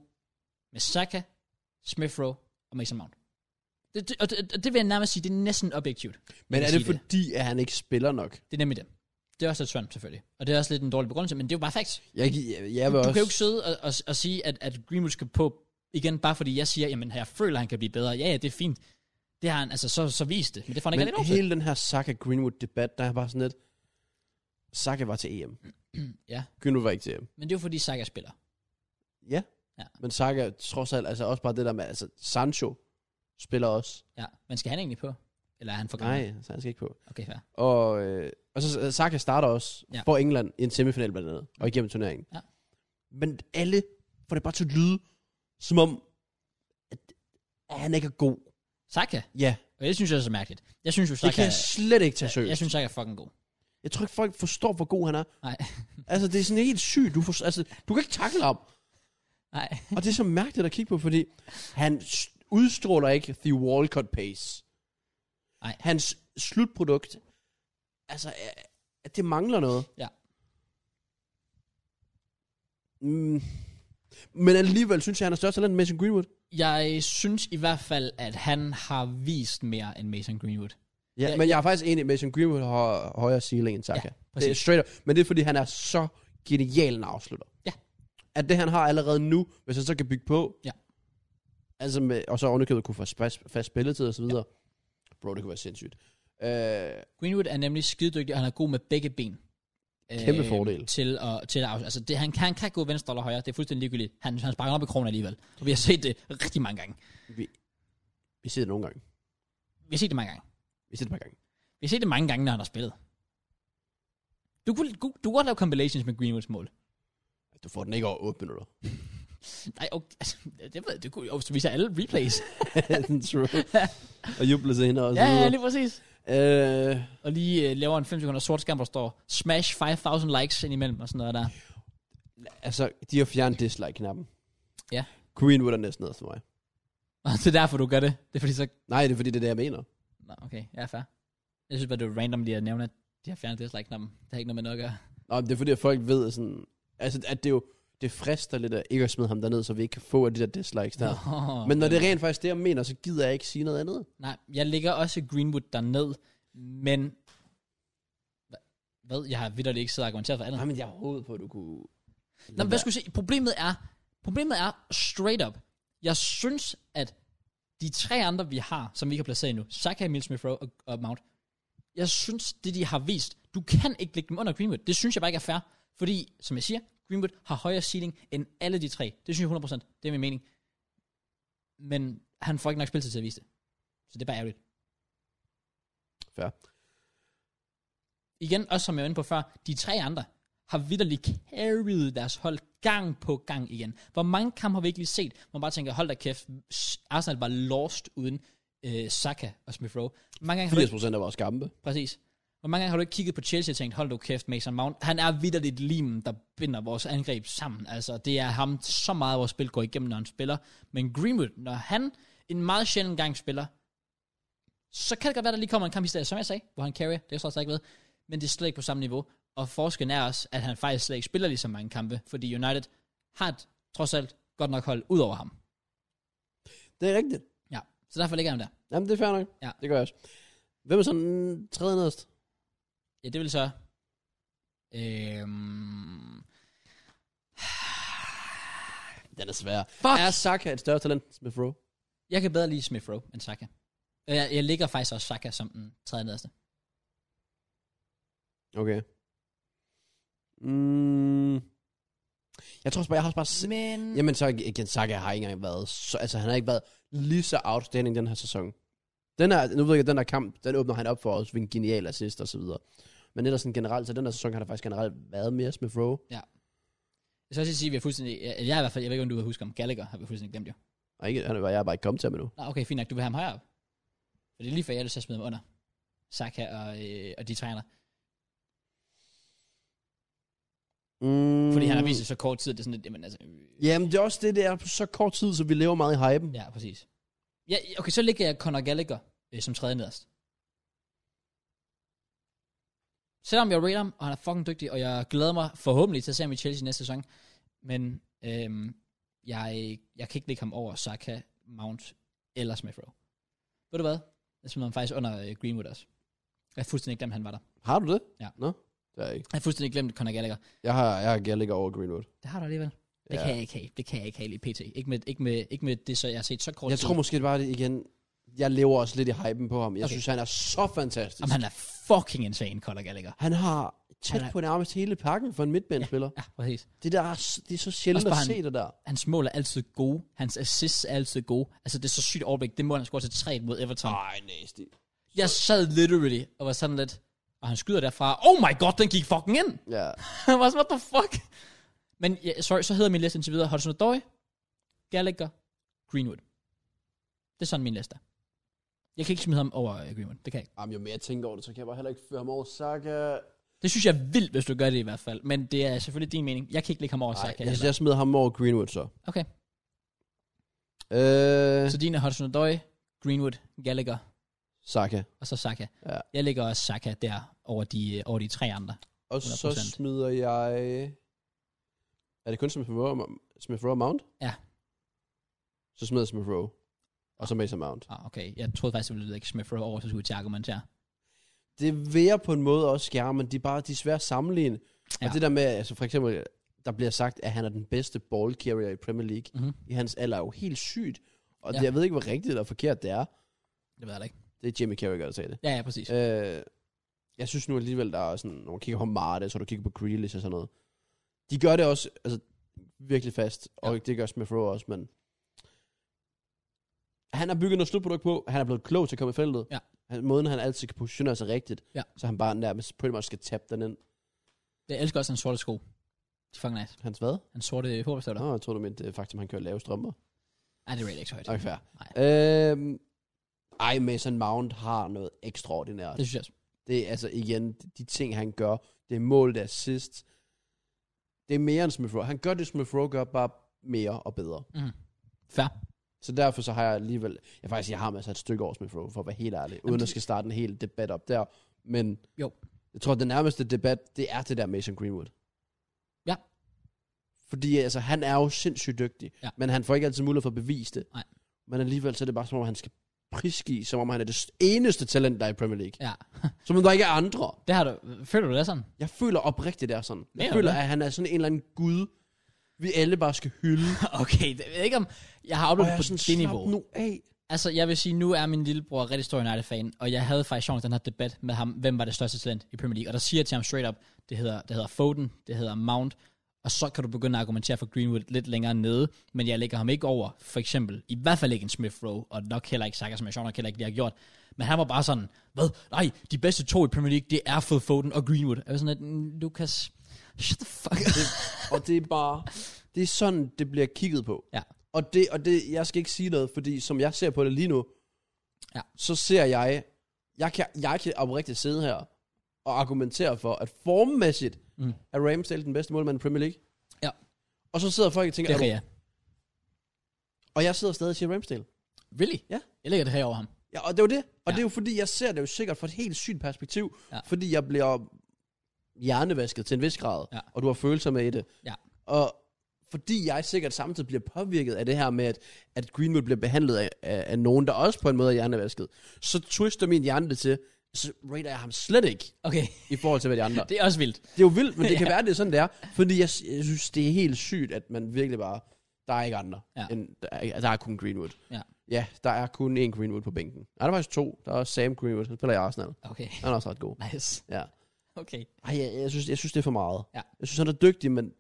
S1: med Saka, Smith Rowe og Mason Mount. Det, det, og det, og det vil jeg nærmest sige, det er næsten objektivt. vil
S2: Men er det
S1: sige det.
S2: fordi, at han ikke spiller nok?
S1: Det er nemlig det. Det er også lidt synd, selvfølgelig. Og det er også lidt en dårlig begrundelse, men det er jo bare facts.
S2: Jeg, gi- jeg, jeg
S1: Du
S2: vil
S1: kan
S2: også...
S1: jo ikke sidde og, og, og sige, at, at Greenwood skal på igen, bare fordi jeg siger, jamen jeg føler, han kan blive bedre. Ja, ja, det er fint. Det har han, altså så, så vist det, men det får han ikke
S2: Men
S1: rigtig lov til.
S2: hele den her Saka Greenwood-debat, der er bare sådan lidt... Saka var til EM.
S1: Ja,
S2: Greenwood var ikke til EM.
S1: men det er jo fordi Saka spiller.
S2: Ja.
S1: Ja.
S2: Men Saka, trods alt, altså også bare det der med... Altså, Sancho spiller også.
S1: Ja, men skal han egentlig på? Eller er han for gammel?
S2: Nej, så han skal ikke på.
S1: Okay, fair.
S2: Og, øh, og så Saka starter også
S1: Ja.
S2: ja. for England i en semifinal blandt andet, og igennem turneringen.
S1: Ja.
S2: Men alle får det bare til at lyde, som om, at, at han ikke er god.
S1: Saka?
S2: Ja,
S1: Og det synes jeg er så mærkeligt. Jeg synes jo,
S2: det
S1: Saka
S2: kan jeg slet ikke tage
S1: jeg,
S2: seriøst.
S1: jeg synes, Saka er fucking god.
S2: Jeg tror ikke, folk forstår, hvor god han er.
S1: Nej.
S2: Altså, det er sådan helt sygt. Du, for, altså, du kan ikke takle ham.
S1: Nej.
S2: Og det er så mærkeligt at kigge på, fordi han s- udstråler ikke The Walcott pace.
S1: Nej.
S2: Hans slutprodukt, altså, er- er- det mangler noget.
S1: Ja.
S2: Mm. Men alligevel synes jeg, han er større talent end Mason Greenwood.
S1: Jeg synes i hvert fald, at han har vist mere end Mason Greenwood.
S2: Ja,
S1: Ja,
S2: men jeg er faktisk enig, Mason Greenwood har højere ceiling end Saka. Ja, det er
S1: præcis.
S2: straight up. Men det er, fordi han er så genial en afslutter.
S1: Ja.
S2: At det, han har allerede nu, hvis han så kan bygge på.
S1: Ja.
S2: Altså med, og så ovenikøbet kunne få spas- fast spilletid og så videre. Bro, det kunne være sindssygt. Øh,
S1: Greenwood er nemlig skidedygtig, og han er god med begge ben. Øh,
S2: Kæmpe fordel.
S1: Til at, til at, af- altså det, han, kan, han kan gå venstre eller højre, det er fuldstændig ligegyldigt. Han, han sparker op i krogen alligevel. Og vi har set det rigtig mange gange.
S2: vi, vi ser det nogle gange.
S1: Vi har set det mange gange.
S2: Vi ser det mange gange.
S1: Vi har set det mange gange, når han har spillet. Du kunne, du, du kunne godt lave compilations med Greenwoods mål.
S2: Du får den ikke over 8 minutter.
S1: Nej, okay, altså, det, ved, jeg, det kunne jo så viser alle replays.
S2: True. og jubler senere og så
S1: ja, ja,
S2: videre.
S1: lige præcis.
S2: Øh,
S1: Og lige øh, laver en 5 sekunder sort skærm, hvor der står smash 5.000 likes indimellem og sådan noget der.
S2: altså, de har fjernet dislike-knappen.
S1: Ja.
S2: Greenwood er næsten nede for mig.
S1: Og det er derfor, du gør det. Det er fordi så...
S2: Nej, det er fordi, det er det, jeg mener.
S1: Nå, okay, jeg er fair. Jeg synes bare, det var random lige at nævne, at de har fjernet dislike-knappen. Det har ikke noget med noget at gøre.
S2: Nå, men det er fordi, at folk ved, at, sådan, altså, at det jo det frister lidt at ikke at smide ham derned, så vi ikke kan få de der dislikes der.
S1: Nå,
S2: Men når det er rent faktisk det, jeg mener, så gider jeg ikke sige noget andet.
S1: Nej, jeg ligger også Greenwood derned, men... Hva- Hvad? Jeg har vidderligt ikke siddet og argumenteret for andet.
S2: Nej, men jeg håbede på, at du kunne...
S1: Nå, men hvad skulle jeg sige? Problemet er, problemet er straight up. Jeg synes, at de tre andre, vi har, som vi ikke har placeret endnu, Saka, Emil Smith Rowe og, og Mount, jeg synes, det de har vist, du kan ikke lægge dem under Greenwood. Det synes jeg bare ikke er fair, fordi, som jeg siger, Greenwood har højere ceiling end alle de tre. Det synes jeg 100%, det er min mening. Men han får ikke nok spilletid til at vise det. Så det er bare ærgerligt.
S2: Fair.
S1: Igen, også som jeg var inde på før, de tre andre har vidderligt carried deres hold gang på gang igen. Hvor mange kampe har vi ikke lige set, hvor man bare tænker, hold da kæft, Arsenal var lost uden øh, Saka og Smith Rowe. Hvor Mange gange har du
S2: 80
S1: ikke,
S2: procent af vores kampe.
S1: præcis. Hvor mange gange har du ikke kigget på Chelsea og tænkt, hold da kæft, Mason Mount. Han er vidderligt limen, der binder vores angreb sammen. Altså, det er ham så meget, vores spil går igennem, når han spiller. Men Greenwood, når han en meget sjældent gang spiller, så kan det godt være, der lige kommer en kamp i stedet, som jeg sagde, hvor han carrier, det er så ikke ved, men det er slet ikke på samme niveau. Og forskellen er også, at han faktisk slet ikke spiller lige så mange kampe, fordi United har et, trods alt godt nok hold ud over ham.
S2: Det er rigtigt.
S1: Ja, så derfor ligger han der.
S2: Jamen, det er fair nok.
S1: Ja.
S2: Det gør jeg også. Hvem er sådan tredje nederst?
S1: Ja, det vil så... Øhm,
S2: Den er svær.
S1: fuck!
S2: Er Saka et større talent end Smith Rowe?
S1: Jeg kan bedre lide Smith Rowe end Saka. Og Jeg, jeg ligger faktisk også Saka som den tredje nederste.
S2: Okay. Mm. Jeg tror også bare, jeg har også bare... Se-
S1: Men...
S2: Jamen, så igen, Saka har ikke engang været... Så, altså, han har ikke været lige så outstanding den her sæson. Den her, nu ved jeg, at den her kamp, den åbner han op for os ved en genial assist og så videre. Men ellers sådan generelt, så den her sæson har der faktisk generelt været mere Smith Rowe.
S1: Jeg skal også lige sige, at vi har fuldstændig... Jeg, jeg, er i hvert fald, jeg ved ikke, om du husker om Gallagher, har vi fuldstændig glemt jo.
S2: Og ikke, han er, jeg er bare ikke kommet til ham endnu.
S1: Nå, okay, fint nok, du vil have ham højere op. For det er lige før, jeg ellers har smidt ham under. Saka og, øh, og de træner.
S2: Mm.
S1: Fordi han har vist det så kort tid, at det er sådan lidt, jamen altså... øh,
S2: Jamen, det er også det, det er på så kort tid, så vi lever meget i hypen.
S1: Ja, præcis. Ja, okay, så ligger jeg Conor Gallagher øh, som tredje nederst. Selvom jeg rater ham, og han er fucking dygtig, og jeg glæder mig forhåbentlig til at se ham i Chelsea næste sæson, men øhm, jeg, jeg kan ikke lægge ham over Saka, Mount eller Smith Rowe. Ved du hvad? Jeg smider ham faktisk under øh, Greenwood også. Jeg har fuldstændig glemt, at han var der.
S2: Har du det?
S1: Ja.
S2: Nå, det har jeg ikke.
S1: Jeg har fuldstændig glemt Conor Gallagher.
S2: Jeg har, jeg har Gallagher over Greenwood.
S1: Det har du alligevel. Det
S2: Ja.
S1: ja. kan jeg ikke have. Det kan jeg ikke have lige pt. Ikke med, ikke med, ikke med det, så jeg har set så kort
S2: Jeg
S1: tid.
S2: tror måske det bare det igen. Jeg lever også lidt i hypen på ham. Jeg okay.
S1: Okay.
S2: synes, han er så fantastisk.
S1: Jamen, han er fucking insane, Conor Gallagher.
S2: han har tæt
S1: Han er-
S2: på nærmest hele pakken for en midtbanespiller.
S1: Ja, præcis.
S2: Det, der, er s- det er så sjældent
S1: Også
S2: at
S1: bare
S2: se
S1: han-
S2: det der.
S1: Hans mål er altid gode. Hans assists er altid gode. Altså, det er så sygt overblik. Det mål, han scorer til 3 mod Everton. Ah,
S2: Nej, nasty.
S1: jeg sad literally og var sådan lidt... Og han skyder derfra. Oh my god, den gik fucking ind!
S2: Ja.
S1: Han var sådan, what the fuck? Men ja, sorry, så hedder min liste indtil videre Hudson Odoi, Gallagher, Greenwood. Det er sådan min liste. er. Jeg kan ikke smide ham over øh, Greenwood. Det kan jeg ikke.
S2: Jamen, jo mere jeg tænker over det, så kan jeg bare heller ikke føre ham over Saka.
S1: Det synes jeg er vildt, hvis du gør det i hvert fald. Men det er selvfølgelig din mening. Jeg kan ikke lægge ham over
S2: Nej,
S1: Saka.
S2: jeg,
S1: heller.
S2: jeg smider ham over Greenwood så.
S1: Okay,
S2: Øh,
S1: så din er Hudson Odoi, Greenwood, Gallagher.
S2: Saka.
S1: og så Saka.
S2: Ja.
S1: Ja. Jeg lægger også Saka der over de, øh, over de tre andre.
S2: Og så
S1: 100%.
S2: smider jeg... Er det kun Smith Rowe, Smith Rowe og Mount?
S1: Ja.
S2: Så smider jeg Smith Rowe. Og så Mason Mount.
S1: Ah, okay. Jeg troede faktisk, jeg ville lægge Smith Rowe over, så skulle jeg til at argumentere.
S2: det vil jeg på en måde også gerne, men de er bare de er svære at sammenligne. Ja.
S1: Ja.
S2: Og det der med, altså for eksempel, der bliver sagt, at han er den bedste ball carrier i Premier League
S1: Mhm.
S2: i hans alder, er jo helt sygt. Og ja.
S1: Ja.
S2: det, jeg ved ikke, hvor rigtigt eller forkert det er.
S1: Det ved jeg da ikke.
S2: Det er Jimmy Carragher, der sagde det.
S1: Ja, ja, præcis. Ja.
S2: Øh, jeg synes nu alligevel, der er sådan, når man kigger på Marte, så du kigger på Grealish og sådan noget. De gør det også, altså virkelig fast, og ja. det gør Smith Rowe også, men han har bygget noget slutprodukt på, han er blevet klog til at komme i feltet.
S1: Ja.
S2: Han, måden, han altid kan positionere sig rigtigt,
S1: Ja.
S2: så han bare nærmest pretty much skal tabe den ind.
S1: Jeg elsker også hans sorte sko. De er fucking nice.
S2: Hans hvad?
S1: Hans sorte hårbestøvler.
S2: Nå, jeg tror du mente øh, faktisk, han kører lave strømper.
S1: Nej, det er really ikke så højt.
S2: Okay, fair.
S1: Nej.
S2: Øhm, ej, Mason Mount har noget ekstraordinært.
S1: Det synes jeg også.
S2: Det er altså igen, de ting han gør, det er mål, det er assist. Det er mere end Smith Rowe. Han gør det, Smith Rowe gør, bare mere og bedre.
S1: Mm. Fair.
S2: Så derfor så har jeg alligevel, jeg faktisk jeg har masser af et stykke års med Fro, for at være helt ærlig, uden
S1: det-
S2: at skal starte en hel debat op der. Men
S1: Jo.
S2: jeg tror, at den nærmeste debat, det er det der Mason Greenwood.
S1: Ja.
S2: Fordi altså, han er jo sindssygt dygtig,
S1: Ja.
S2: men han får ikke altid mulighed for at bevise det.
S1: Nej.
S2: Men alligevel så er det bare som om, han skal prisgive, som om han er det eneste talent, der er i Premier League.
S1: Ja.
S2: Som om der ikke er andre.
S1: Det har du, føler du det er sådan?
S2: Jeg føler oprigtigt, det er sådan. Jeg
S1: Mener du
S2: føler,
S1: det?
S2: at han er sådan en eller anden gud, vi alle bare skal hylde.
S1: okay, det, jeg ved ikke om... Jeg har
S2: Og
S1: oplevet
S2: jeg
S1: det
S2: er
S1: på
S2: sådan,
S1: det
S2: slap
S1: niveau.
S2: nu af.
S1: Altså, jeg vil sige, nu er min lillebror rigtig stor United-fan, og jeg havde faktisk sjovt den her debat med ham, hvem var det største talent i Premier League, og der siger jeg til ham straight up, det hedder, det hedder Foden, det hedder Mount, og så kan du begynde at argumentere for Greenwood lidt længere nede, men jeg lægger ham ikke over, for eksempel, i hvert fald ikke en Smith Rowe, og nok heller ikke Saka, som jeg sjovt nok heller ikke lige har gjort, men han var bare sådan, hvad, nej, de bedste to i Premier League, det er Phil Foden og Greenwood. Jeg var sådan lidt, "Mm, Lukas, shut the fuck up.
S2: Og det er bare, det er sådan, det bliver kigget på.
S1: Ja.
S2: Og, det, og det, jeg skal ikke sige noget, fordi som jeg ser på det lige nu,
S1: Ja.
S2: så ser jeg, jeg kan, jeg kan oprigtigt sidde her og argumentere for, at formmæssigt
S1: Mm.
S2: mm. er Ramsdale den bedste målmand i Premier League.
S1: Ja.
S2: Og så sidder folk og tænker,
S1: Det er
S2: er du,
S1: jeg.
S2: og jeg sidder stadig og siger Ramsdale.
S1: Really?
S2: Ja.
S1: Jeg lægger det her over ham.
S2: Ja, og det er jo det. Og
S1: Ja.
S2: ja. det er jo fordi, jeg ser det jo sikkert fra et helt sygt perspektiv.
S1: Ja.
S2: Ja. Fordi jeg bliver hjernevasket til en vis grad.
S1: Ja.
S2: Og du har følelser med i det.
S1: Ja.
S2: Og fordi jeg sikkert samtidig bliver påvirket af det her med, at, at Greenwood bliver behandlet af, af, af nogen, der også på en måde er hjernevasket, så twister min hjerne det til, så rater jeg ham slet ikke
S1: Okay,
S2: i forhold til, hvad de andre. det,
S1: det er også vildt.
S2: det er jo vildt, men det kan
S1: Ja.
S2: være, det er sådan, det er. Fordi jeg, jeg synes, det er helt sygt, at man virkelig bare, der er ikke andre.
S1: Ja.
S2: End, der, er, altså, der er kun Greenwood.
S1: Ja.
S2: Ja, der er kun én Greenwood på bænken. Nej, der er faktisk to. Der er også Sam Greenwood, han spiller i Arsenal.
S1: Okay,
S2: Han er også ret god.
S1: nice.
S2: Ja.
S1: Okay.
S2: Ej, jeg, jeg, synes, jeg synes, det er for meget.
S1: Ja.
S2: Jeg synes, han er dygtig, men...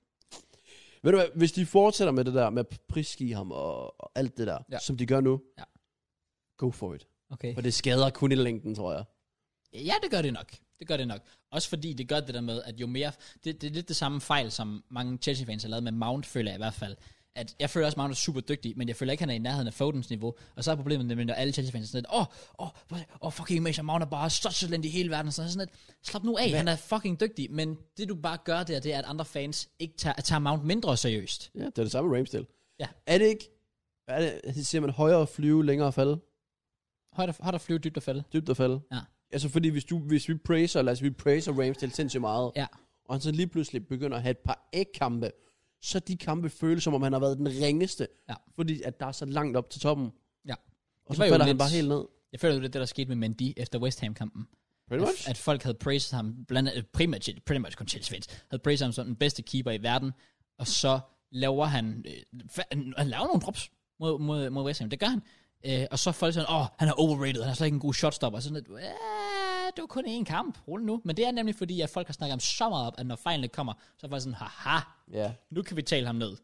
S2: Ved du hvad, hvis de fortsætter med det der med at prisgive ham og, og alt det der,
S1: Ja.
S2: ja. som de gør nu,
S1: Ja.
S2: go for it.
S1: Okay.
S2: For det skader kun i længden, tror jeg.
S1: Ja, det gør det nok. Det gør det nok. Også fordi det gør det der med, at jo mere... Det, det er lidt det samme fejl, som mange Chelsea-fans har lavet med Mount, føler jeg i hvert fald. At jeg føler også, at Mount er super dygtig, men jeg føler ikke, at han er i nærheden af Fodens niveau. Og så er problemet nemlig, når alle Chelsea-fans er sådan lidt, åh, åh, oh, oh, fucking Mason Mount er bare så talent i hele verden. Så er jeg sådan lidt, slap nu af, Hvad? han er fucking dygtig. Men det du bare gør der, det er, at andre fans ikke tager, tager Mount mindre seriøst.
S2: Ja, det er det samme med Ramsdale.
S1: Ja.
S2: Er det ikke... Er det, siger man højere at flyve, længere at falde?
S1: Højt og, højt og flyve dybt og falde.
S2: Dybt at falde?
S1: Ja.
S2: Altså fordi, hvis, du, hvis vi praiser, lad os vi praiser Ramsdale sindssygt meget,
S1: Ja.
S2: og han så lige pludselig begynder at have et par ægkampe, så de kampe føles, som om han har været den ringeste,
S1: Ja.
S2: fordi at der er så langt op til toppen.
S1: Ja.
S2: Og
S1: Det
S2: så
S1: var jo
S2: falder han
S1: lidt-
S2: bare helt ned.
S1: Jeg føler jo lidt det, der skete med Mendy efter West Ham-kampen.
S2: Pretty
S1: at-
S2: much.
S1: At folk havde praised ham, blandt, øh, primært, pretty much kun Chelsea fans, havde praised ham som den bedste keeper i verden, og så laver han, øh, fa- han laver nogle drops mod, mod, mod West Ham, det gør han. Øh, og så er folk sådan, åh, han er overrated, han er slet ikke en god shotstopper. Sådan lidt, "Ah, det var kun én kamp, rolig nu. Men det er nemlig fordi, at folk har snakket om så meget op, at når fejlene kommer, så er folk sådan, haha,
S2: Ja.
S1: nu kan vi tale ham ned.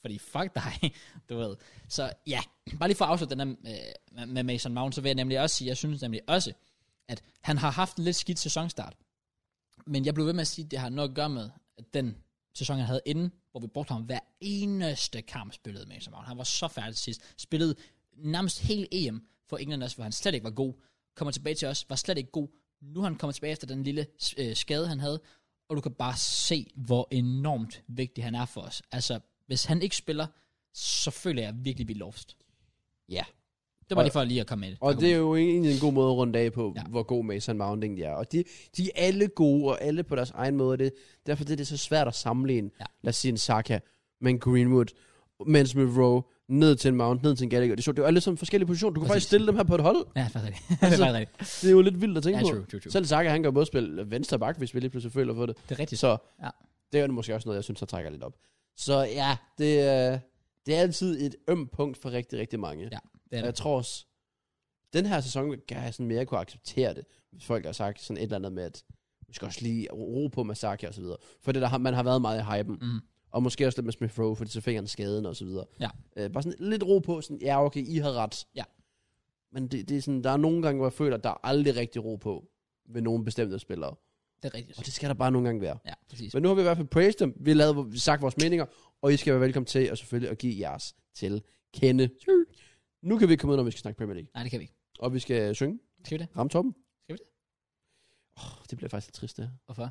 S1: Fordi fuck dig, du ved. Så ja, bare lige for at afslutte den der øh, med- med Mason Mount, så vil jeg nemlig også sige, jeg synes nemlig også, at han har haft en lidt skidt sæsonstart. Men jeg blev ved med at sige, at det har noget at gøre med at den sæson, han havde inden, hvor vi brugte ham hver eneste kamp, spillede Mason Mount. Han var så færdig til sidst. Spillede nærmest hele EM for England også, hvor han slet ikke var god. Kommer tilbage til os, var slet ikke god. Nu er han kommet tilbage efter den lille øh, skade, han havde. Og du kan bare se, hvor enormt vigtig han er for os. Altså, hvis han ikke spiller, så føler jeg virkelig, vi er lost.
S2: Ja.
S1: Det var
S2: Og-
S1: lige for lige at komme ind.
S2: Og det er jo egentlig en god måde at runde af på,
S1: Ja.
S2: ja. hvor god Mason Mount egentlig er. Og de, de er alle gode, og alle på deres egen måde. Det, derfor det er det så svært at sammenligne,
S1: Ja.
S2: ja. lad os sige en Saka, men Greenwood, men Smith Rowe, ned til en Mount, ned til en Gallagher. Det er sjovt, det er jo alle sammen forskellige positioner. Du kan
S1: Præcis.
S2: faktisk stille dem her på et hold.
S1: Ja, det er faktisk rigtigt.
S2: Altså-
S1: det er faktisk rigtigt.
S2: Det er jo lidt vildt at tænke
S1: Ja,
S2: på.
S1: true, true, true.
S2: Selv Saka, han kan jo både spille venstre bak, hvis vi lige pludselig føler for det.
S1: Det er rigtigt.
S2: Så
S1: Ja.
S2: ja. det er jo måske også noget, jeg synes, der trækker lidt op. Så ja, det, er- det er altid et øm punkt for rigtig, rigtig mange.
S1: Ja, det er
S2: Og jeg
S1: det.
S2: tror også, den her sæson kan jeg sådan mere kunne acceptere det, hvis folk har sagt sådan et eller andet med, at vi skal også lige ro på med Saka og så videre. For det der, har- man har været meget i hypen.
S1: Mm.
S2: Og måske også lidt med Smith Rowe, fordi så fik han skaden og så videre.
S1: Ja.
S2: Øh, bare sådan lidt ro på, sådan, ja okay, I har ret.
S1: Ja.
S2: Men det, det er sådan, der er nogle gange, hvor jeg føler, at der er aldrig rigtig ro på ved nogle bestemte spillere.
S1: Det er rigtigt.
S2: Og det skal der bare nogle gange være.
S1: Ja, præcis.
S2: Men nu har vi i hvert fald praised dem. Vi har lavet, sagt vores meninger, og I skal være velkommen til og selvfølgelig at give jeres til kende. Nu kan vi ikke komme ud, når vi skal snakke Premier League.
S1: Nej, det kan vi ikke.
S2: Og vi skal synge.
S1: Skal vi det?
S2: Ramme toppen.
S1: Skal vi det?
S2: Oh, det bliver faktisk lidt trist, det her.
S1: Hvorfor?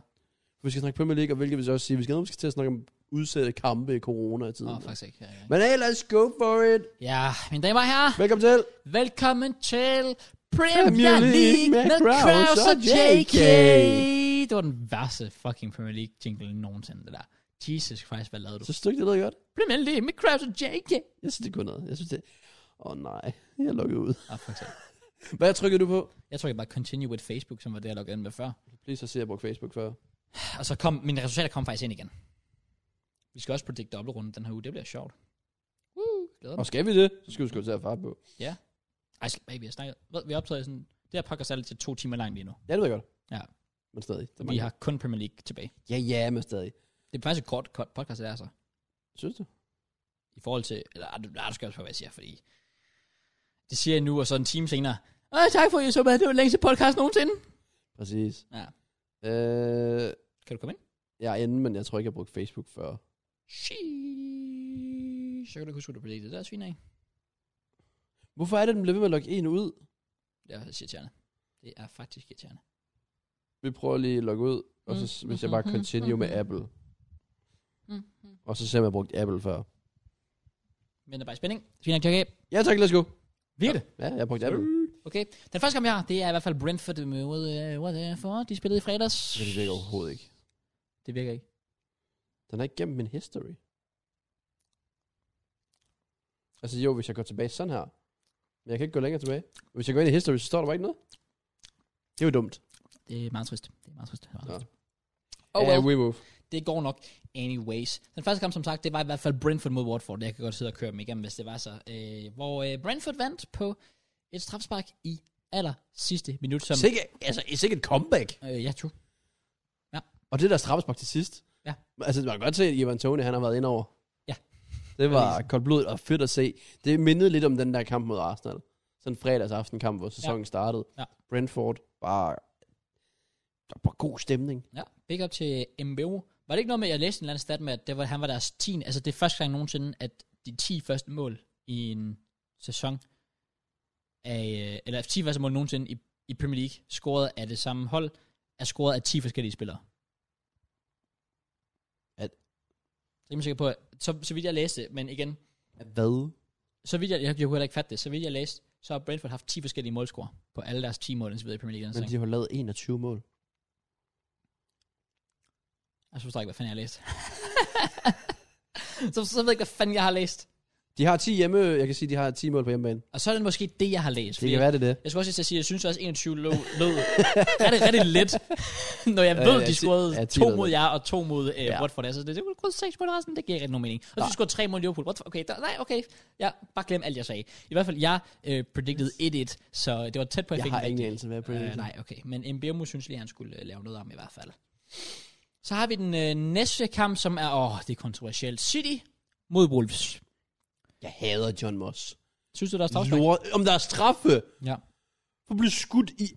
S2: Vi skal snakke Premier League, og hvilket vil så også sige, vi skal, vi skal til at snakke om udsatte kampe i coronatiden.
S1: Åh, oh,
S2: Oh,
S1: faktisk ikke. Ja, ja.
S2: Men hey, let's go for it.
S1: ja, mine damer og herrer,
S2: Velkommen til.
S1: velkommen til
S2: Premier
S1: Premier League
S2: League
S1: med Kraus og JK. Det var den værste fucking Premier League jingle nogensinde, det der. Jesus Christ, hvad lavede du?
S2: Så stykke, det lyder godt.
S1: Premier League med Kraus og JK.
S2: Jeg synes, det kunne noget. Jeg synes, det... Åh oh, nej, jeg er lukket ud.
S1: Åh, oh, faktisk ikke.
S2: Hvad trykkede du på?
S1: Jeg tror, jeg bare continue with Facebook, som var det, jeg loggede ind med før.
S2: Please så se, jeg brugte Facebook før.
S1: Og så kom, mine resultater kom faktisk ind igen. Vi skal også predict dobbeltrunden den her uge. Det bliver sjovt. Woo, glæder mig.
S2: Og skal vi det, så skal vi sgu til at fart på.
S1: Ej, sl- baby, jeg snakker. Hvad, vi optager sådan... Det her podcast er lidt til to timer langt lige nu.
S2: Ja, det ved jeg godt.
S1: Ja.
S2: Men stadig.
S1: Vi
S2: Der er mange-
S1: har kun Premier League tilbage.
S2: Ja, ja, men stadig.
S1: Det er faktisk et kort, kort podcast, det er så.
S2: Synes du?
S1: I forhold til... Eller ej, du, ej, du skal også på, hvad jeg siger, fordi... Det siger jeg nu, og så en time senere... Åh, tak for, at I så med. Det var den længste podcast nogensinde.
S2: Præcis.
S1: Ja.
S2: Øh,
S1: Kan du komme ind?
S2: jeg er inde, men jeg tror ikke, jeg brugte Facebook før.
S1: Sheesh. Så kan du ikke huske, at du blev det der svin af.
S2: Hvorfor er det, den bliver ved med at logge en ud?
S1: Det er faktisk irriterende. Det er faktisk irriterende.
S2: Vi prøver lige at logge ud, og så
S1: Mm,
S2: hvis jeg bare
S1: mhm,
S2: continue med
S1: mhm.
S2: Apple.
S1: Mm.
S2: Og så ser jeg, om jeg har brugt Apple før.
S1: Men der er bare spænding. Svin af, okay.
S2: Ja tak, let's go.
S1: Virker det?
S2: Ja, jeg har brugt Apple.
S1: Okay. Den første kamp, jeg har, det er i hvert fald Brentford mod uh, Watford. De spillede i fredags.
S2: Men det virker overhovedet ikke.
S1: Det virker ikke.
S2: Den er ikke gennem min history. Altså jo, hvis jeg går tilbage sådan her. Men jeg kan ikke gå længere tilbage. Hvis jeg går ind i history, så står der bare ikke noget. Det er jo dumt.
S1: Det er meget trist. Det er meget trist. Det er meget
S2: Nå.
S1: trist.
S2: Oh,
S1: Oh, well.
S2: well. we move.
S1: Det går nok. Anyways. Den første kamp, som sagt, det var i hvert fald Brentford mod Watford. Jeg kan godt sidde og køre dem igennem, hvis det var så. Øh, hvor øh, Brentford vandt på et strafspark i aller sidste minut. Som,
S2: Sikke, altså, sikkert et comeback.
S1: øh, ja, true.
S2: Og det der straffespark til sidst.
S1: Ja.
S2: Altså, man kan godt se, at Ivan Tony, han har været ind over.
S1: Ja.
S2: Det var koldt blod og fedt at se. Det mindede lidt om den der kamp mod Arsenal. Sådan en fredagsaftenkamp, hvor sæsonen ja. startede.
S1: Ja.
S2: Brentford var... Der var god stemning.
S1: Ja, big up til MBO. Var det ikke noget med, at jeg læste en eller anden stat med, at det var, han var deres 10. Altså det er første gang nogensinde, at de 10 første mål i en sæson, af, øh, eller 10 første mål nogensinde i, i Premier League, scoret af det samme hold, er scoret af 10 forskellige spillere.
S2: At-
S1: Det er jeg sikker på, at- så, så vidt jeg læste, men igen,
S2: Hvad?
S1: så vidt jeg, jeg, jeg kunne heller ikke fatte det, så vidt jeg læste, så har Brentford haft 10 forskellige målscorer på alle deres 10 mål, indtil videre i Premier League. i den
S2: Men
S1: sæson.
S2: de har lavet 21 mål.
S1: Jeg forstår ikke, hvad fanden jeg har læst. så, så ved jeg ikke, hvad fanden jeg har læst.
S2: De har 10 hjemme... Jeg kan sige, de har 10 mål på hjemmebane.
S1: Og så er det måske det, jeg har læst.
S2: Det
S1: fordi
S2: kan være, det er det.
S1: Jeg skulle også lige til at sige, at jeg synes også, at 21 lød, lød rigtig, rigtig lidt. Når jeg
S2: Ja,
S1: ved, de
S2: ja, ti-
S1: scorede
S2: ja, ti
S1: to
S2: lød
S1: mod
S2: lidt.
S1: jer og to mod uh,
S2: Ja.
S1: Watford. Altså, det, det var kun seks mod resten, det giver ikke rigtig nogen mening. Og så
S2: Nej.
S1: skulle tre mod Liverpool. Watford, okay, der, nej, okay. Ja, bare glem alt, jeg sagde. I hvert fald, jeg uh, predicted 1-1, så det var tæt på, at jeg,
S2: Jeg
S1: fik
S2: har
S1: den
S2: ingen
S1: rigtige.
S2: anelse, hvad jeg
S1: Øh, nej, okay. Men Mbemu synes lige, at han skulle øh, lave noget om i hvert fald. Så har vi den øh, næste kamp, som er, åh, det er kontroversielt. City mod Wolves.
S2: Jeg hader John Moss.
S1: Synes du, der er strafspark?
S2: Lort. Om der er straffe
S1: Ja.
S2: for at blive skudt i...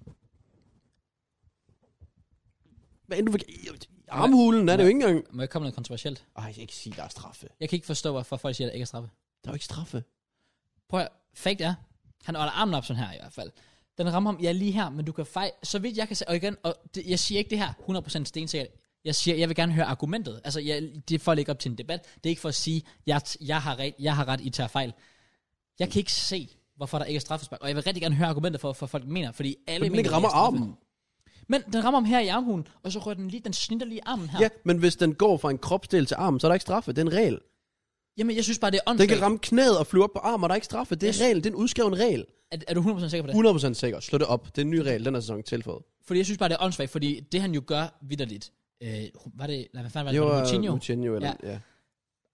S2: Hvad end du vil... i- i Armhulen er det jo ikke engang...
S1: Må jeg komme med noget kontroversielt?
S2: Ej, jeg kan ikke sige, der er straffe.
S1: Jeg kan ikke forstå, hvorfor folk siger, at der ikke er straffe.
S2: Der er jo ikke straffe.
S1: Prøv at, fakt er, han holder armen op sådan her i hvert fald. Den rammer ham, ja lige her, men du kan fej, så vidt jeg kan se, og igen, og det, jeg siger ikke det her 100% stensikkert, jeg siger, jeg vil gerne høre argumentet. Altså, jeg, det er for at lægge op til en debat. Det er ikke for at sige, jeg, jeg, har, ret, jeg har ret, I tager fejl. Jeg kan ikke se, hvorfor der ikke er straffespark. Og jeg vil rigtig gerne høre argumenter for, for folk mener, fordi alle
S2: Men den
S1: mener,
S2: ikke
S1: det er
S2: rammer
S1: straffe.
S2: armen.
S1: Men den rammer ham her i armhulen, og så rører den lige, den snitter lige armen her.
S2: Ja, men hvis den går fra en kropsdel til armen, så er der ikke straffe. Det er en regel.
S1: Jamen, jeg synes bare, det er
S2: Den
S1: åndssvagt.
S2: kan ramme knæet og flyve op på armen, og der er ikke straffe. Det er en
S1: Yes.
S2: regel. Det er en udskreven regel.
S1: er, er, du 100% sikker på det?
S2: 100% sikker. Slå det op. Det er en ny regel. Den er sæson tilføjet.
S1: Fordi jeg synes bare, det er åndssvagt, fordi det han jo gør vidderligt. Øh, var det, nej, hvad fanden var det?
S2: Det var
S1: Moutinho?
S2: Moutinho eller...
S1: Ja.
S2: Ja.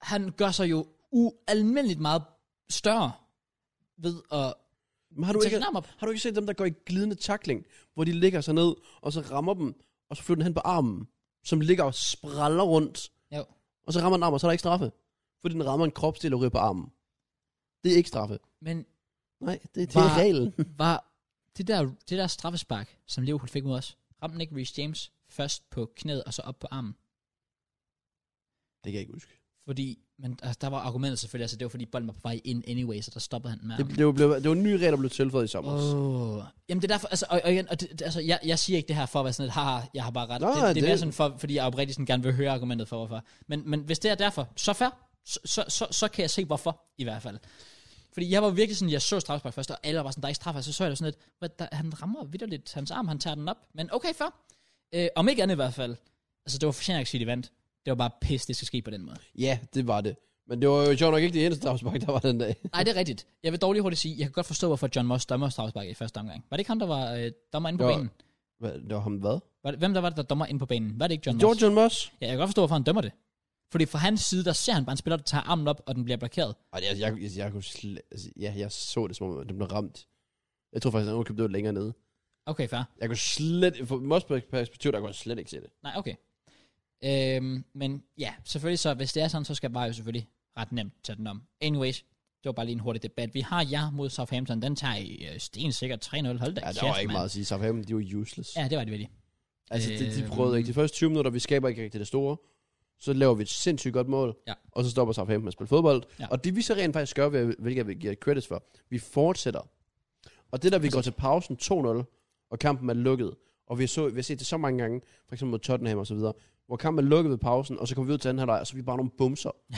S1: Han gør sig jo ualmindeligt meget større ved at
S2: Men har du
S1: tage
S2: ikke...
S1: sin arm op.
S2: Har du ikke set dem, der går i glidende takling, hvor de ligger sig ned, og så rammer dem, og så flytter den hen på armen, som ligger og spraller rundt,
S1: Jo.
S2: og så rammer den armen, og så er der ikke straffe. Fordi den rammer en kropsdel og ryger på armen. Det er ikke straffe.
S1: Men
S2: Nej, det, det er
S1: Var-
S2: reglen.
S1: var det der, det der straffespark, som Liverpool fik mod os, ramte den ikke Reece James først på knæet og så op på armen?
S2: Det kan jeg ikke huske.
S1: Fordi, men altså, der var argumentet selvfølgelig, altså det var fordi bolden var på vej ind anyway, så der stoppede han med
S2: Det, det, var blevet, det var en ny regel, der blev tilføjet i sommer. Oh.
S1: Oh. Jamen det er derfor, altså, og, og, igen, og det, det- altså, jeg, jeg siger ikke det her for at være sådan et, haha, jeg har bare ret.
S2: Nå,
S1: det, det, er
S2: det-
S1: mere sådan, for, fordi jeg oprigtigt sådan gerne vil høre argumentet for, hvorfor. Men, men hvis det er derfor, så fair, så, så, så, så kan jeg se hvorfor, i hvert fald. Fordi jeg var virkelig sådan, jeg så straffespark først, og alle var sådan, der er ikke straf, og så så jeg det sådan lidt, hvad, der, han rammer vidderligt hans arm, han tager den op. Men okay, fair. Øh, om ikke andet i hvert fald. Altså, det var fortjent, at City vandt. Det var bare pis, det skal ske på den måde.
S2: Ja, det var det. Men det var jo sjovt nok ikke det eneste afspark, der var den dag.
S1: Nej, det er rigtigt. Jeg vil dårligt hurtigt sige, jeg kan godt forstå, hvorfor John Moss dømmer straffespark i første omgang. Var det ikke ham, der var øh, dommer inde på
S2: Jo.
S1: banen?
S2: Hvad, det var ham hvad?
S1: Var det, hvem der var det, der dommer ind på banen? Var det ikke John Moss?
S2: George John Moss.
S1: Ja, jeg kan godt forstå, hvorfor han dømmer det. Fordi fra hans side, der ser han bare en spiller, der tager armen op, og den bliver blokeret.
S2: Ej, jeg, jeg, jeg, jeg, kunne slet, altså, ja, jeg så det, som om at den blev ramt. Jeg tror faktisk, at han købte det længere nede.
S1: Okay, fair.
S2: Jeg kunne slet, fra Moss perspektiv, der kunne jeg slet ikke se det.
S1: Nej, okay. Øhm, men ja, selvfølgelig så, hvis det er sådan, så skal bare jo selvfølgelig ret nemt tage den om. Anyways, det var bare lige en hurtig debat. Vi har jer mod Southampton. Den tager I øh, sten sikkert 3-0. Hold da
S2: Ja, der
S1: kæft,
S2: var ikke
S1: mand.
S2: meget at sige. Southampton, de var useless. Ja.
S1: Ja, det var det virkelig.
S2: Altså, de, de
S1: Øhm.
S2: prøvede ikke. De første 20 minutter, vi skaber ikke rigtig det store. Så laver vi et sindssygt godt mål.
S1: Ja.
S2: Og så stopper Southampton med at spille fodbold.
S1: Ja.
S2: Ja. Og det vi så rent faktisk gør, hvad- hvilket vi giver credits for, vi fortsætter. Og det der, vi
S1: Altså-
S2: går til pausen 2-0, og kampen er lukket. Og vi, så, vi har set det så mange gange, for eksempel mod Tottenham og så videre, hvor kampen er lukket ved pausen, og så kommer vi ud til anden halvleg, og så er vi bare nogle bumser. Ja.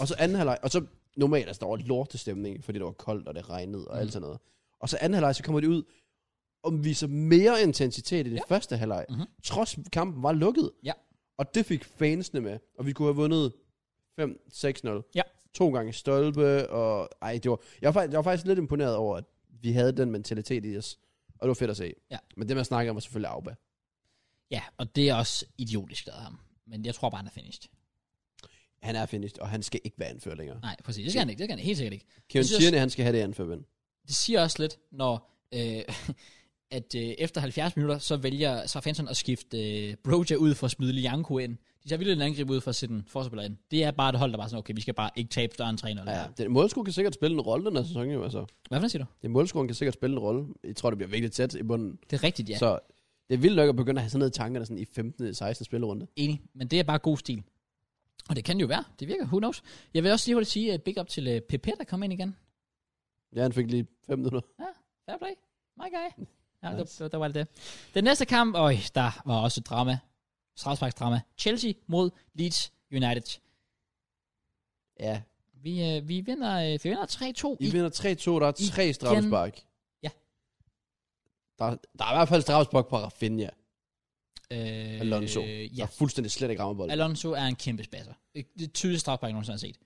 S2: Og så anden halvleg, og så normalt, altså der var lortestemning, fordi det var koldt, og det regnede, og
S1: Mhm.
S2: mm. alt sådan noget. Og så anden halvleg, så kommer de ud, og viser mere intensitet i det ja. første halvleg,
S1: Mhm.
S2: mm-hmm. trods kampen var lukket.
S1: Ja.
S2: Og det fik fansene med, og vi kunne have vundet 5-6-0.
S1: Ja.
S2: To gange stolpe, og ej, det var, jeg, var, fak- jeg var faktisk lidt imponeret over, at vi havde den mentalitet i os, og det var fedt at se.
S1: Ja.
S2: Men det, man snakker om, var selvfølgelig Auba.
S1: Ja, og det er også idiotisk lavet af ham. Men jeg tror bare, han er finished.
S2: Han er finished, og han skal ikke være anfører længere.
S1: Nej, præcis. Det skal han ikke. Det skal han helt sikkert ikke.
S2: Kevin
S1: synes-
S2: Tierney, han skal have det anførvind.
S1: det siger også lidt, når øh, at øh, efter 70 minutter, så vælger Southampton at skifte øh, Broja ud for at smide Lianko ind. De tager vildt en angreb ud for at sætte en forsvarsspiller ind. Det er bare et hold, der bare sådan, okay, vi skal bare ikke tabe større end 3-0.
S2: Ja,
S1: Ja.
S2: den målscore kan sikkert spille en rolle den her sæson, jo. Altså.
S1: Hvad for noget siger du?
S2: Den målscore kan sikkert spille en rolle. Jeg tror, det bliver virkelig tæt i bunden.
S1: Det er rigtigt, ja.
S2: Ja.
S1: Så.
S2: Så det er vildt nok at begynde at have sådan noget i tankerne sådan i 15. 16. spillerunde.
S1: Enig. Men det er bare god stil. Og det kan det jo være. Det virker. Who knows? Jeg vil også lige hurtigt sige uh, big up til uh, Pepe, der kom ind igen.
S2: Ja, han fik lige 5 minutter.
S1: Fair play. My guy. Ja, nice.
S2: Nice.
S1: der, der, var det det. Den næste kamp, og der var også et drama. Strafsparksdrama. Chelsea mod Leeds United.
S2: Ja.
S1: Vi, øh, vi vinder, øh, vi vinder 3-2
S2: I
S1: i,
S2: vinder 3-2, der er tre straffespark.
S1: Ja.
S2: Der, der er i hvert fald straffespark på Rafinha.
S1: øh,
S2: Alonso. Ja.
S1: Ja.
S2: Der fuldstændig slet ikke rammer bolden.
S1: Alonso er en kæmpe spasser. Øh, Det er tydeligt strafspark, jeg nogensinde har set.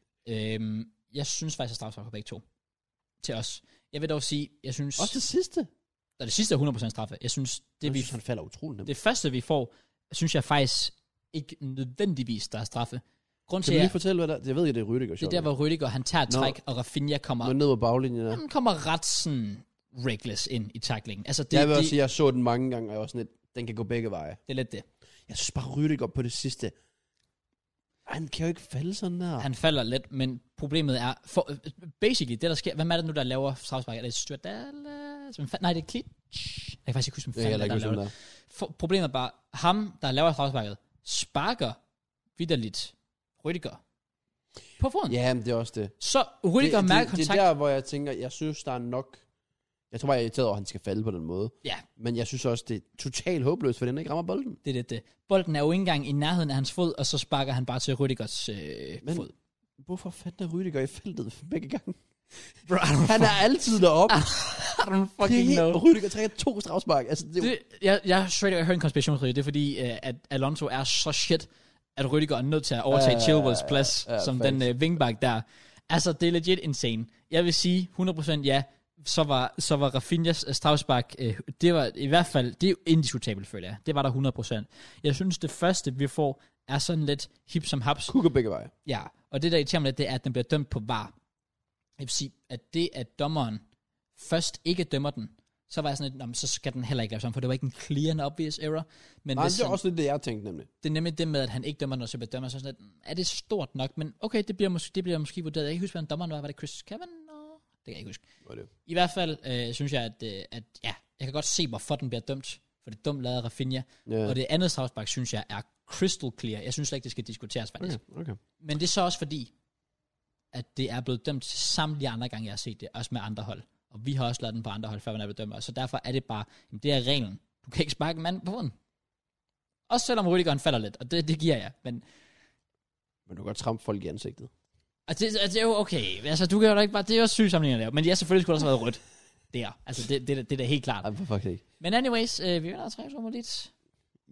S1: Øhm, jeg synes faktisk, at strafspark på begge to. Til os. Jeg vil dog sige, jeg synes...
S2: Også det sidste.
S1: Og det sidste er 100% straffe. Jeg synes, det,
S2: Det
S1: vi,
S2: synes, han falder utrolig nemt.
S1: det første, vi får, synes jeg faktisk ikke nødvendigvis, der er straffe. Grund
S2: Kan
S1: til,
S2: du
S1: at
S2: lige fortælle, hvad der Jeg ved ikke, det er Rydiger.
S1: det er der, hvor Rüdiger, han tager et
S2: Nå.
S1: træk, og Rafinha kommer,
S2: Nå, ned på baglinjen der.
S1: han kommer ret sådan reckless ind i tacklingen. Altså, det,
S2: jeg vil
S1: det,
S2: også sige, jeg så den mange gange, og jeg var sådan lidt, den kan gå begge veje.
S1: det er lidt det.
S2: Jeg synes bare, Rydiger på det sidste. Ej, Han kan jo ikke falde sådan der. Han,
S1: Han falder lidt, men problemet er, for, basically, det der sker, hvem er det nu, der laver straffespark? Er det Stjørdal? øh, som fa- Nej, det er Klitsch. Jeg kan faktisk ikke huske, hvem
S2: det
S1: fanden
S2: kan jeg
S1: det er,
S2: ikke
S1: der laver
S2: huske,
S1: det.
S2: der.
S1: For, problemet er bare, ham, der laver straffesparket, sparker vidderligt Rüdiger på foden.
S2: Ja, men det er også det.
S1: Så Rüdiger mærker
S2: det,
S1: kontakt.
S2: det er der, hvor jeg tænker, jeg synes, der er nok... Jeg tror bare, jeg er irriteret over, at han skal falde på den måde.
S1: Ja,
S2: Men jeg synes også, det er totalt håbløst, fordi han ikke rammer bolden.
S1: det er lidt det. Bolden er jo ikke engang i nærheden af hans fod, og så sparker han bare til Rüdigers øh,
S2: Men
S1: fod.
S2: hvorfor fanden er Rydiger i feltet begge gange?
S1: Bro, I don't,
S2: Han er altid deroppe.
S1: I don't
S2: det er
S1: fucking
S2: helt,
S1: know.
S2: og Rydiger trækker to strafspark. Altså, det, det,
S1: Det, jeg, jeg, er straight, up- jeg hører en konspirationsteori. Det er fordi, øh, at Alonso er så shit, at Rüdiger er nødt til at overtage
S2: Ja,
S1: uh,
S2: ja,
S1: Chilwells
S2: ja,
S1: plads,
S2: ja,
S1: som
S2: facts.
S1: den øh, wingback der. Altså, det er legit insane. Jeg vil sige 100% ja, så var, så var Rafinhas øh, strafspark, øh, det var i hvert fald, det er jo indiskutabelt, føler jeg. Det var der 100%. Jeg synes, det første, vi får, er sådan lidt hip som haps.
S2: kunne gå begge veje.
S1: Ja, og det der irriterer mig lidt, det er, at den bliver dømt på var. Jeg vil sige, at det, at dommeren først ikke dømmer den, så var jeg sådan lidt, "Nå, men så skal den heller ikke laves om, for det var ikke en clear and obvious error. Men
S2: Nej,
S1: Nej, hvis
S2: det er
S1: han,
S2: også lidt det, jeg tænkte nemlig.
S1: det er nemlig det med, at han ikke dømmer den, og så bliver dømmer, så er jeg sådan lidt, "Mm, er det stort nok? Men okay, det bliver måske, det bliver måske vurderet. Jeg kan ikke huske, hvad dommeren var. Var det Chris Kevin? Det kan jeg ikke huske.
S2: Var det.
S1: I hvert fald øh, synes jeg, at, øh, at ja, jeg kan godt se, hvorfor den bliver dømt, for det er dumt lavet af Rafinha.
S2: Ja.
S1: Og det andet strafspark, synes jeg, er crystal clear. Jeg synes slet ikke, det skal diskuteres faktisk.
S2: Okay, okay.
S1: Men det er så også fordi, at det er blevet dømt samtlige andre gange, jeg har set det, også med andre hold. Og vi har også lavet den på andre hold, før man er blevet dømt. Og så derfor er det bare, jamen, det er reglen. Du kan ikke sparke en mand på bunden. Også selvom Rüdiger falder lidt, og det, det giver jeg. Men
S2: Men du kan godt trampe folk i ansigtet.
S1: altså, det, altså, det er jo okay. Altså, du kan jo da ikke bare, det er jo også syg sammenligning at lave. Men ja, selvfølgelig skulle der også have været rødt. Der. Altså, det, det, er da- det er da helt klart.
S2: for fuck ikke.
S1: Men anyways, øh, vi vinder 3 mod lidt.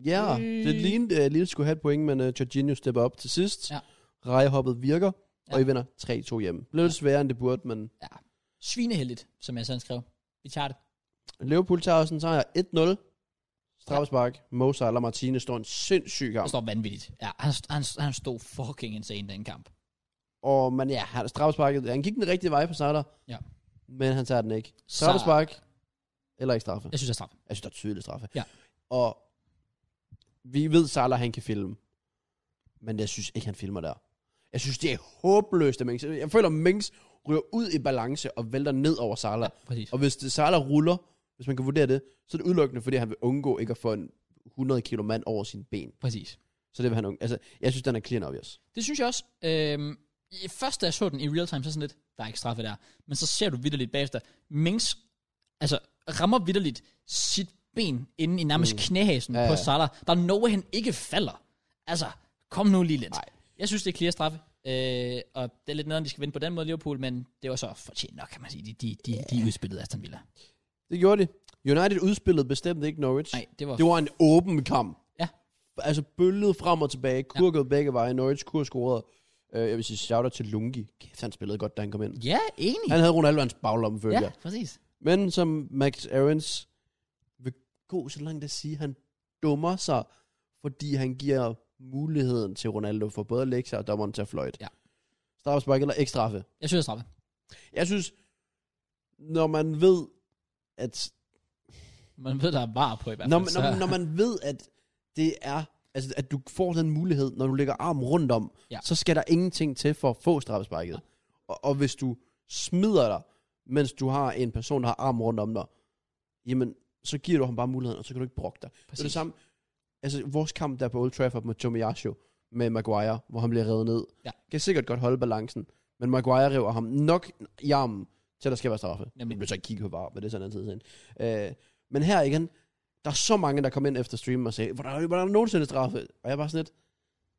S2: Ja, yeah, det
S1: Øh.
S2: lignede, at Lille skulle have et point, men uh, Jorginho stepper op til sidst.
S1: Ja.
S2: Rejehoppet virker, ja. og
S1: Ja.
S2: I vinder 3-2 hjemme. Blev lidt sværere, end det burde, men
S1: Svineheldigt, som jeg sådan skrev. Vi tager det.
S2: Liverpool tager også en sejr 1-0. Straffespark, Mo Salah Martinez står en sindssyg
S1: Det
S2: kamp.
S1: står vanvittigt. Ja, han, han, han stod fucking insane den kamp.
S2: Og man, ja, han straffesparket, han gik den rigtige vej på Salah.
S1: Ja.
S2: Men han tager den ikke.
S1: Så-
S2: Straffespark, eller ikke straffe.
S1: Jeg synes, det er straf.
S2: Jeg synes, Altså, der er tydeligt straffe.
S1: Ja.
S2: Og vi ved, Salah han kan filme. Men jeg synes ikke, han filmer der. Jeg synes, det er håbløst af Minks. Jeg føler, at Minks ryger ud i balance og vælter ned over Salah. Ja.
S1: Præcis.
S2: Og hvis det, Salah ruller, hvis man kan vurdere det, så er det udelukkende, fordi han vil undgå ikke at få en 100 kilo mand over sine ben.
S1: Præcis.
S2: Så det vil han undgå. Altså, jeg synes, den er clean obvious.
S1: Det synes jeg også. Øhm, i- først da jeg så den i real time, så sådan lidt, der er ikke straffe der. Men så ser du vidderligt bagefter, Minks altså, rammer vidderligt sit ben inde i nærmest mm. knæhasen
S2: Ja,
S1: ja, ja. på
S2: ja.
S1: Salah. Der er no way, han ikke falder. Altså, kom nu lige lidt.
S2: Nej.
S1: Jeg synes, det er clear straffe. Øh, og det er lidt nederen, de skal vinde på den måde, Liverpool, men det var så fortjent nok, kan man sige. De, de, de, yeah. de udspillede Aston Villa.
S2: Det gjorde de. United udspillede bestemt ikke Norwich.
S1: Nej, det var...
S2: Det var en åben kamp.
S1: Ja.
S2: Altså bøllet frem og tilbage, kurket ja. begge veje, Norwich kur scorede. Uh, jeg vil sige shout til Lungi. Kæft, han spillede godt, da han kom ind.
S1: Ja, enig.
S2: Han havde Ronaldo i hans baglomme, følger.
S1: Ja,
S2: Ja.
S1: præcis.
S2: Men som Max Aarons vil gå så langt at sige, han dummer sig, fordi han giver muligheden til Ronaldo for både at lægge sig og dommeren til at fløjte.
S1: Ja.
S2: Straffespark eller ikke straffe?
S1: Jeg synes, det er straffe.
S2: Jeg synes, når man ved, at
S1: Man ved, der er var på i hvert fald.
S2: når, man-
S1: så-
S2: når, man- når man ved, at det er, altså, at du får den mulighed, når du lægger armen rundt om,
S1: Ja.
S2: ja. så skal der ingenting til for at få straffesparket. Ja. Og, og hvis du smider dig, mens du har en person, der har armen rundt om dig, jamen, så giver du ham bare muligheden, og så kan du ikke brokke dig. Det er det
S1: Præcis.
S2: samme. Altså, vores kamp der på Old Trafford mod Tomiasio, med Maguire, hvor han bliver revet ned,
S1: Ja.
S2: kan sikkert godt holde balancen, men Maguire river ham nok i armen, til der skal være straffe.
S1: Nemlig.
S2: Nemlig. Jeg blev så ikke kigge på var, men det er sådan en tid siden. Øh, men her igen, der er så mange, der kom ind efter streamen og sagde, hvordan hvordan er der nogensinde straffe? Og jeg er bare sådan lidt,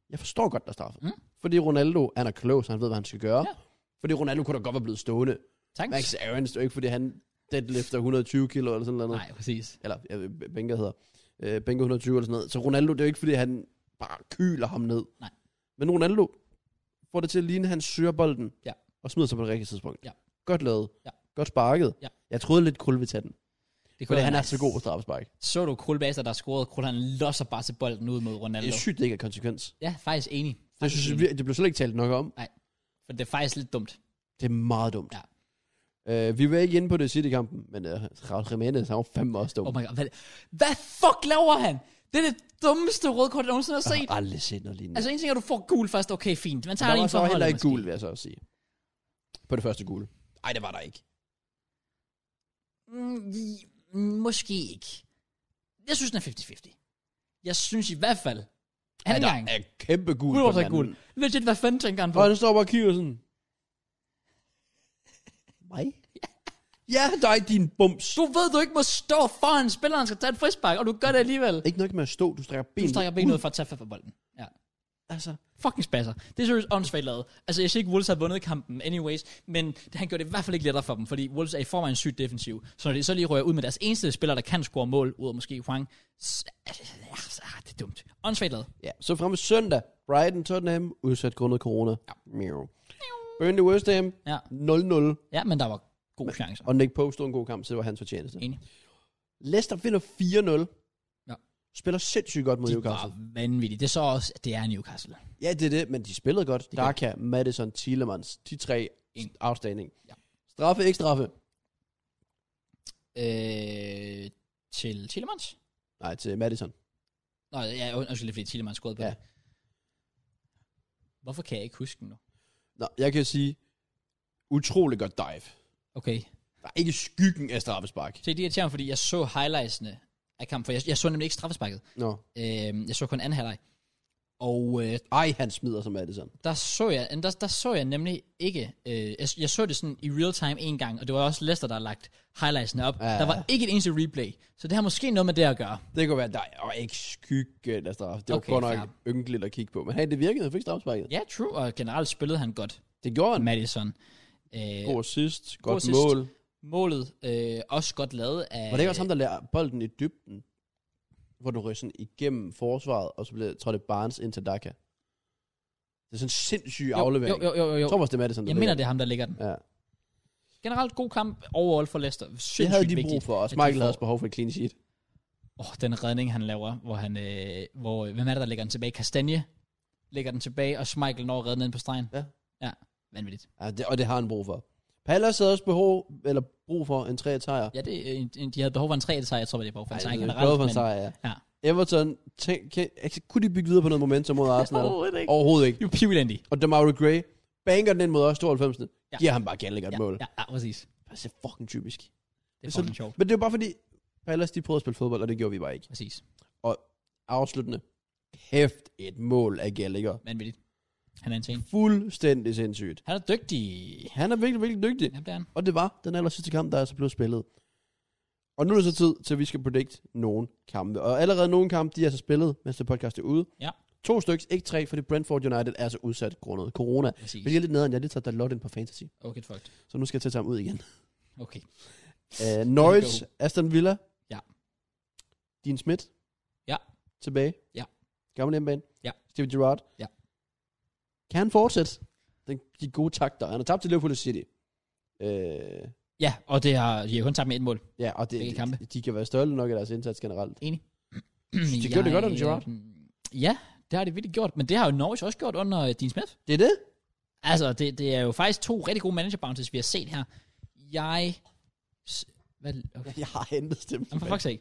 S2: jeg forstår godt, der er straffe.
S1: Mm.
S2: Mm. Fordi Ronaldo, han er klog, så han ved, hvad han skal gøre.
S1: Ja.
S2: Ja. Fordi Ronaldo kunne da godt være blevet stående.
S1: Tak.
S2: Max Aarons, det er jo ikke, fordi han deadlifter 120 kilo eller sådan noget.
S1: Nej, præcis.
S2: Eller, jeg ved, Benga hedder. Øh, Benga 120 eller sådan noget. Så Ronaldo, det er jo ikke, fordi han bare kyler ham ned.
S1: Nej.
S2: Men Ronaldo får det til at ligne, at han søger bolden.
S1: Ja.
S2: Og smider sig på det rigtige tidspunkt.
S1: Ja.
S2: Godt lavet.
S1: Ja.
S2: Godt sparket.
S1: Ja.
S2: Jeg troede lidt, Krul ville tage den.
S1: Det kunne
S2: Fordi
S1: være
S2: han er
S1: nice.
S2: så god på straffespark.
S1: Så du Krul Baser, der scorede. Krul, han losser bare til bolden ud mod
S2: Det
S1: Ronaldo.
S2: er sygt, det ikke er konsekvens.
S1: Ja, faktisk enig.
S2: Det,
S1: Faktisk
S2: synes jeg,
S1: enig.
S2: vir- det blev slet ikke talt nok om.
S1: For det er faktisk lidt dumt.
S2: Det er meget dumt. Ja. Øh, vi var ikke inde på det i City-kampen, men uh, Raul Jimenez, han var fandme også dum.
S1: Oh my god. Hvad, hvad fuck laver han? Det er det dummeste røde kort, jeg nogensinde har
S2: jeg
S1: set.
S2: har aldrig set noget lignende.
S1: Altså en ting er, du får gul først. Okay, fint. Man tager
S2: der
S1: lige
S2: var
S1: en
S2: så
S1: forhold.
S2: heller ikke gul, vil jeg så også sige. På det første gule. Nej, det var der ikke.
S1: Mm, i- mm, måske ikke. Jeg synes, den er 50-50. Jeg synes i hvert fald. Han
S2: Han
S1: er gang.
S2: der er kæmpe gul.
S1: Gul
S2: på
S1: var
S2: den
S1: så gul.
S2: anden.
S1: Legit, hvad fanden tænker han på?
S2: Og han står bare og kigger sådan. Mig? ja, dig din bums.
S1: Du ved, du ikke må stå foran spilleren, skal tage et frispark, og du gør det alligevel.
S2: Ikke nok med at stå, du strækker
S1: Du
S2: benet
S1: strækker benet ud for at tage fat på bolden. Ja.
S2: Altså,
S1: Fucking spasser. Det er seriøst åndssvagt lavet. Altså, jeg siger ikke, Wolves har vundet kampen anyways, men han gjorde det i hvert fald ikke lettere for dem, fordi Wolves er i forvejen sygt defensiv. Så når de så lige rører ud med deres eneste spiller, der kan score mål, ud af måske Huang, så, ja, så er det dumt. Åndssvagt lavet.
S2: ja. Så frem til søndag. Brighton, Tottenham, udsat grundet corona. Ja. Meow. Burnley West Ham,
S1: Ja.
S2: 0-0.
S1: Ja, men der var gode chancer.
S2: Og Nick Pope stod en god kamp, så det var hans fortjeneste.
S1: Enig.
S2: Leicester vinder 4-0.
S1: Ja.
S2: Spiller sindssygt godt mod
S1: De
S2: Newcastle.
S1: var vanvittige. Det er så også, at det er Newcastle.
S2: Ja, det er det, men de spillede godt. De Daka, Madison, Thielemans, de tre
S1: En.
S2: afstanding.
S1: Ja.
S2: Ja. Straffe, ikke straffe?
S1: Øh, til Tillemans?
S2: Nej, til Madison.
S1: Nå, ja, und- undskyld, det er fordi Tillemans scorede på ja.
S2: Ja.
S1: det. Hvorfor kan jeg ikke huske den nu?
S2: Nå, jeg kan sige, utrolig godt dive.
S1: Okay.
S2: Der er ikke skyggen af straffespark.
S1: Se, det er irriterende, fordi jeg så highlightsene af kampen, for jeg, jeg så nemlig ikke straffesparket.
S2: Nå,
S1: Øh, jeg så kun anden halvleg.
S2: Og øh, ej, han smider sig med det sådan.
S1: der så jeg, der, der så jeg nemlig ikke, øh, jeg, jeg så det sådan i real time en gang, og det var også Lester, der har lagt highlightsene op. Ja. Der var ikke et eneste replay, så det har måske noget med det at gøre.
S2: Det kunne være, at der er ikke skygge af straf. Det var
S1: Okay,
S2: okay, godt nok
S1: fair.
S2: ynkeligt at kigge på. Men hey, det virkede, han fik strafsparket.
S1: Ja, true, og generelt spillede han godt,
S2: Det gjorde han.
S1: Madison. Øh,
S2: God assist, godt
S1: assist.
S2: mål.
S1: målet øh, også godt lavet af...
S2: Var det ikke også ham, der lærer bolden i dybden? Hvor du ryger sådan igennem forsvaret, og så bliver, tror det Barnes ind til Daka. Det er sådan en sindssyg
S1: jo,
S2: aflevering.
S1: Jo, jo, jo, jo.
S2: Jeg
S1: jo.
S2: tror også, det er Madison, der
S1: Jeg
S2: ligger
S1: mener, det er ham, der ligger den.
S2: den. Ja.
S1: Generelt god kamp overall for Leicester.
S2: Det havde de brug
S1: vigtigt.
S2: for, og
S1: at de
S2: Michael
S1: får-
S2: havde også behov for et clean sheet.
S1: Åh, oh, den redning, han laver, hvor han... Øh, hvor, øh, hvem er det, der lægger den tilbage? Kastanje lægger den tilbage, og Schmeichel når at redde den ind på stregen.
S2: Ja.
S1: Ja, vanvittigt.
S2: Ja, det, og det har han brug for. Pallas havde også behov, eller brug for en tre træer.
S1: Ja, det, øh, en- en- de havde behov for en 3 sejr, jeg tror, det var behov for en sejr generelt.
S2: for en sejr, ja.
S1: Ja.
S2: Everton, tænk, kan, altså, kunne de bygge videre på noget momentum mod Arsenal?
S1: Overhovedet ikke. Oh,
S2: Overhovedet ikke.
S1: Jo, Pivilendi.
S2: Og Demario Gray banker den ind mod os 92.
S1: Ja.
S2: Ja. Giver ham bare galt godt
S1: Ja,
S2: mål.
S1: ja, ja, præcis.
S2: Det er fucking typisk.
S1: Det er
S2: Så-
S1: fucking sjovt.
S2: Men det er bare fordi, Pallas de prøvede at spille fodbold, og det gjorde vi bare ikke.
S1: Præcis.
S2: Afsluttende. Hæft et mål af Gallagher.
S1: Vanvittigt. Han er en ting.
S2: Fuldstændig sindssygt.
S1: Han er dygtig.
S2: Han er virkelig, virkelig dygtig.
S1: Ja, det er han.
S2: Og det var den aller sidste kamp, der altså blev spillet. Og nu er det så tid til, at vi skal predict nogle kampe. Og allerede nogle kampe, de er så spillet, mens det podcast er ude.
S1: Ja.
S2: To stykker, ikke tre, fordi Brentford United er så udsat grundet corona.
S1: Præcis.
S2: Men jeg er lidt nederen, jeg har lige taget Dalot ind på fantasy.
S1: Okay, fucked.
S2: Så nu skal jeg til at tage ham ud igen.
S1: Okay.
S2: Uh, Norwich, Aston Villa.
S1: Ja.
S2: Dean Smith.
S1: Ja.
S2: Tilbage.
S1: Ja.
S2: Gammel hjemmebane.
S1: Ja.
S2: Steven Gerrard.
S1: Ja.
S2: Kan han fortsætte? Den, de gode takter. Han har tabt til Liverpool City. Øh,
S1: Ja, og det har de har kun tabt med et mål.
S2: Ja, og det,
S1: Begge
S2: de,
S1: kampe.
S2: de, de kan være stolte nok af deres indsats generelt.
S1: De
S2: gjorde det godt under Gerrard.
S1: Øh, Ja, det har de virkelig gjort. Men det har jo Norwich også gjort under øh, Dean Smith.
S2: Det er det?
S1: Altså, det, det er jo faktisk to rigtig gode manager bounces, vi har set her. Jeg... s- Hvad, okay.
S2: Jeg har hentet stemme.
S1: Jamen, for fuck's sake.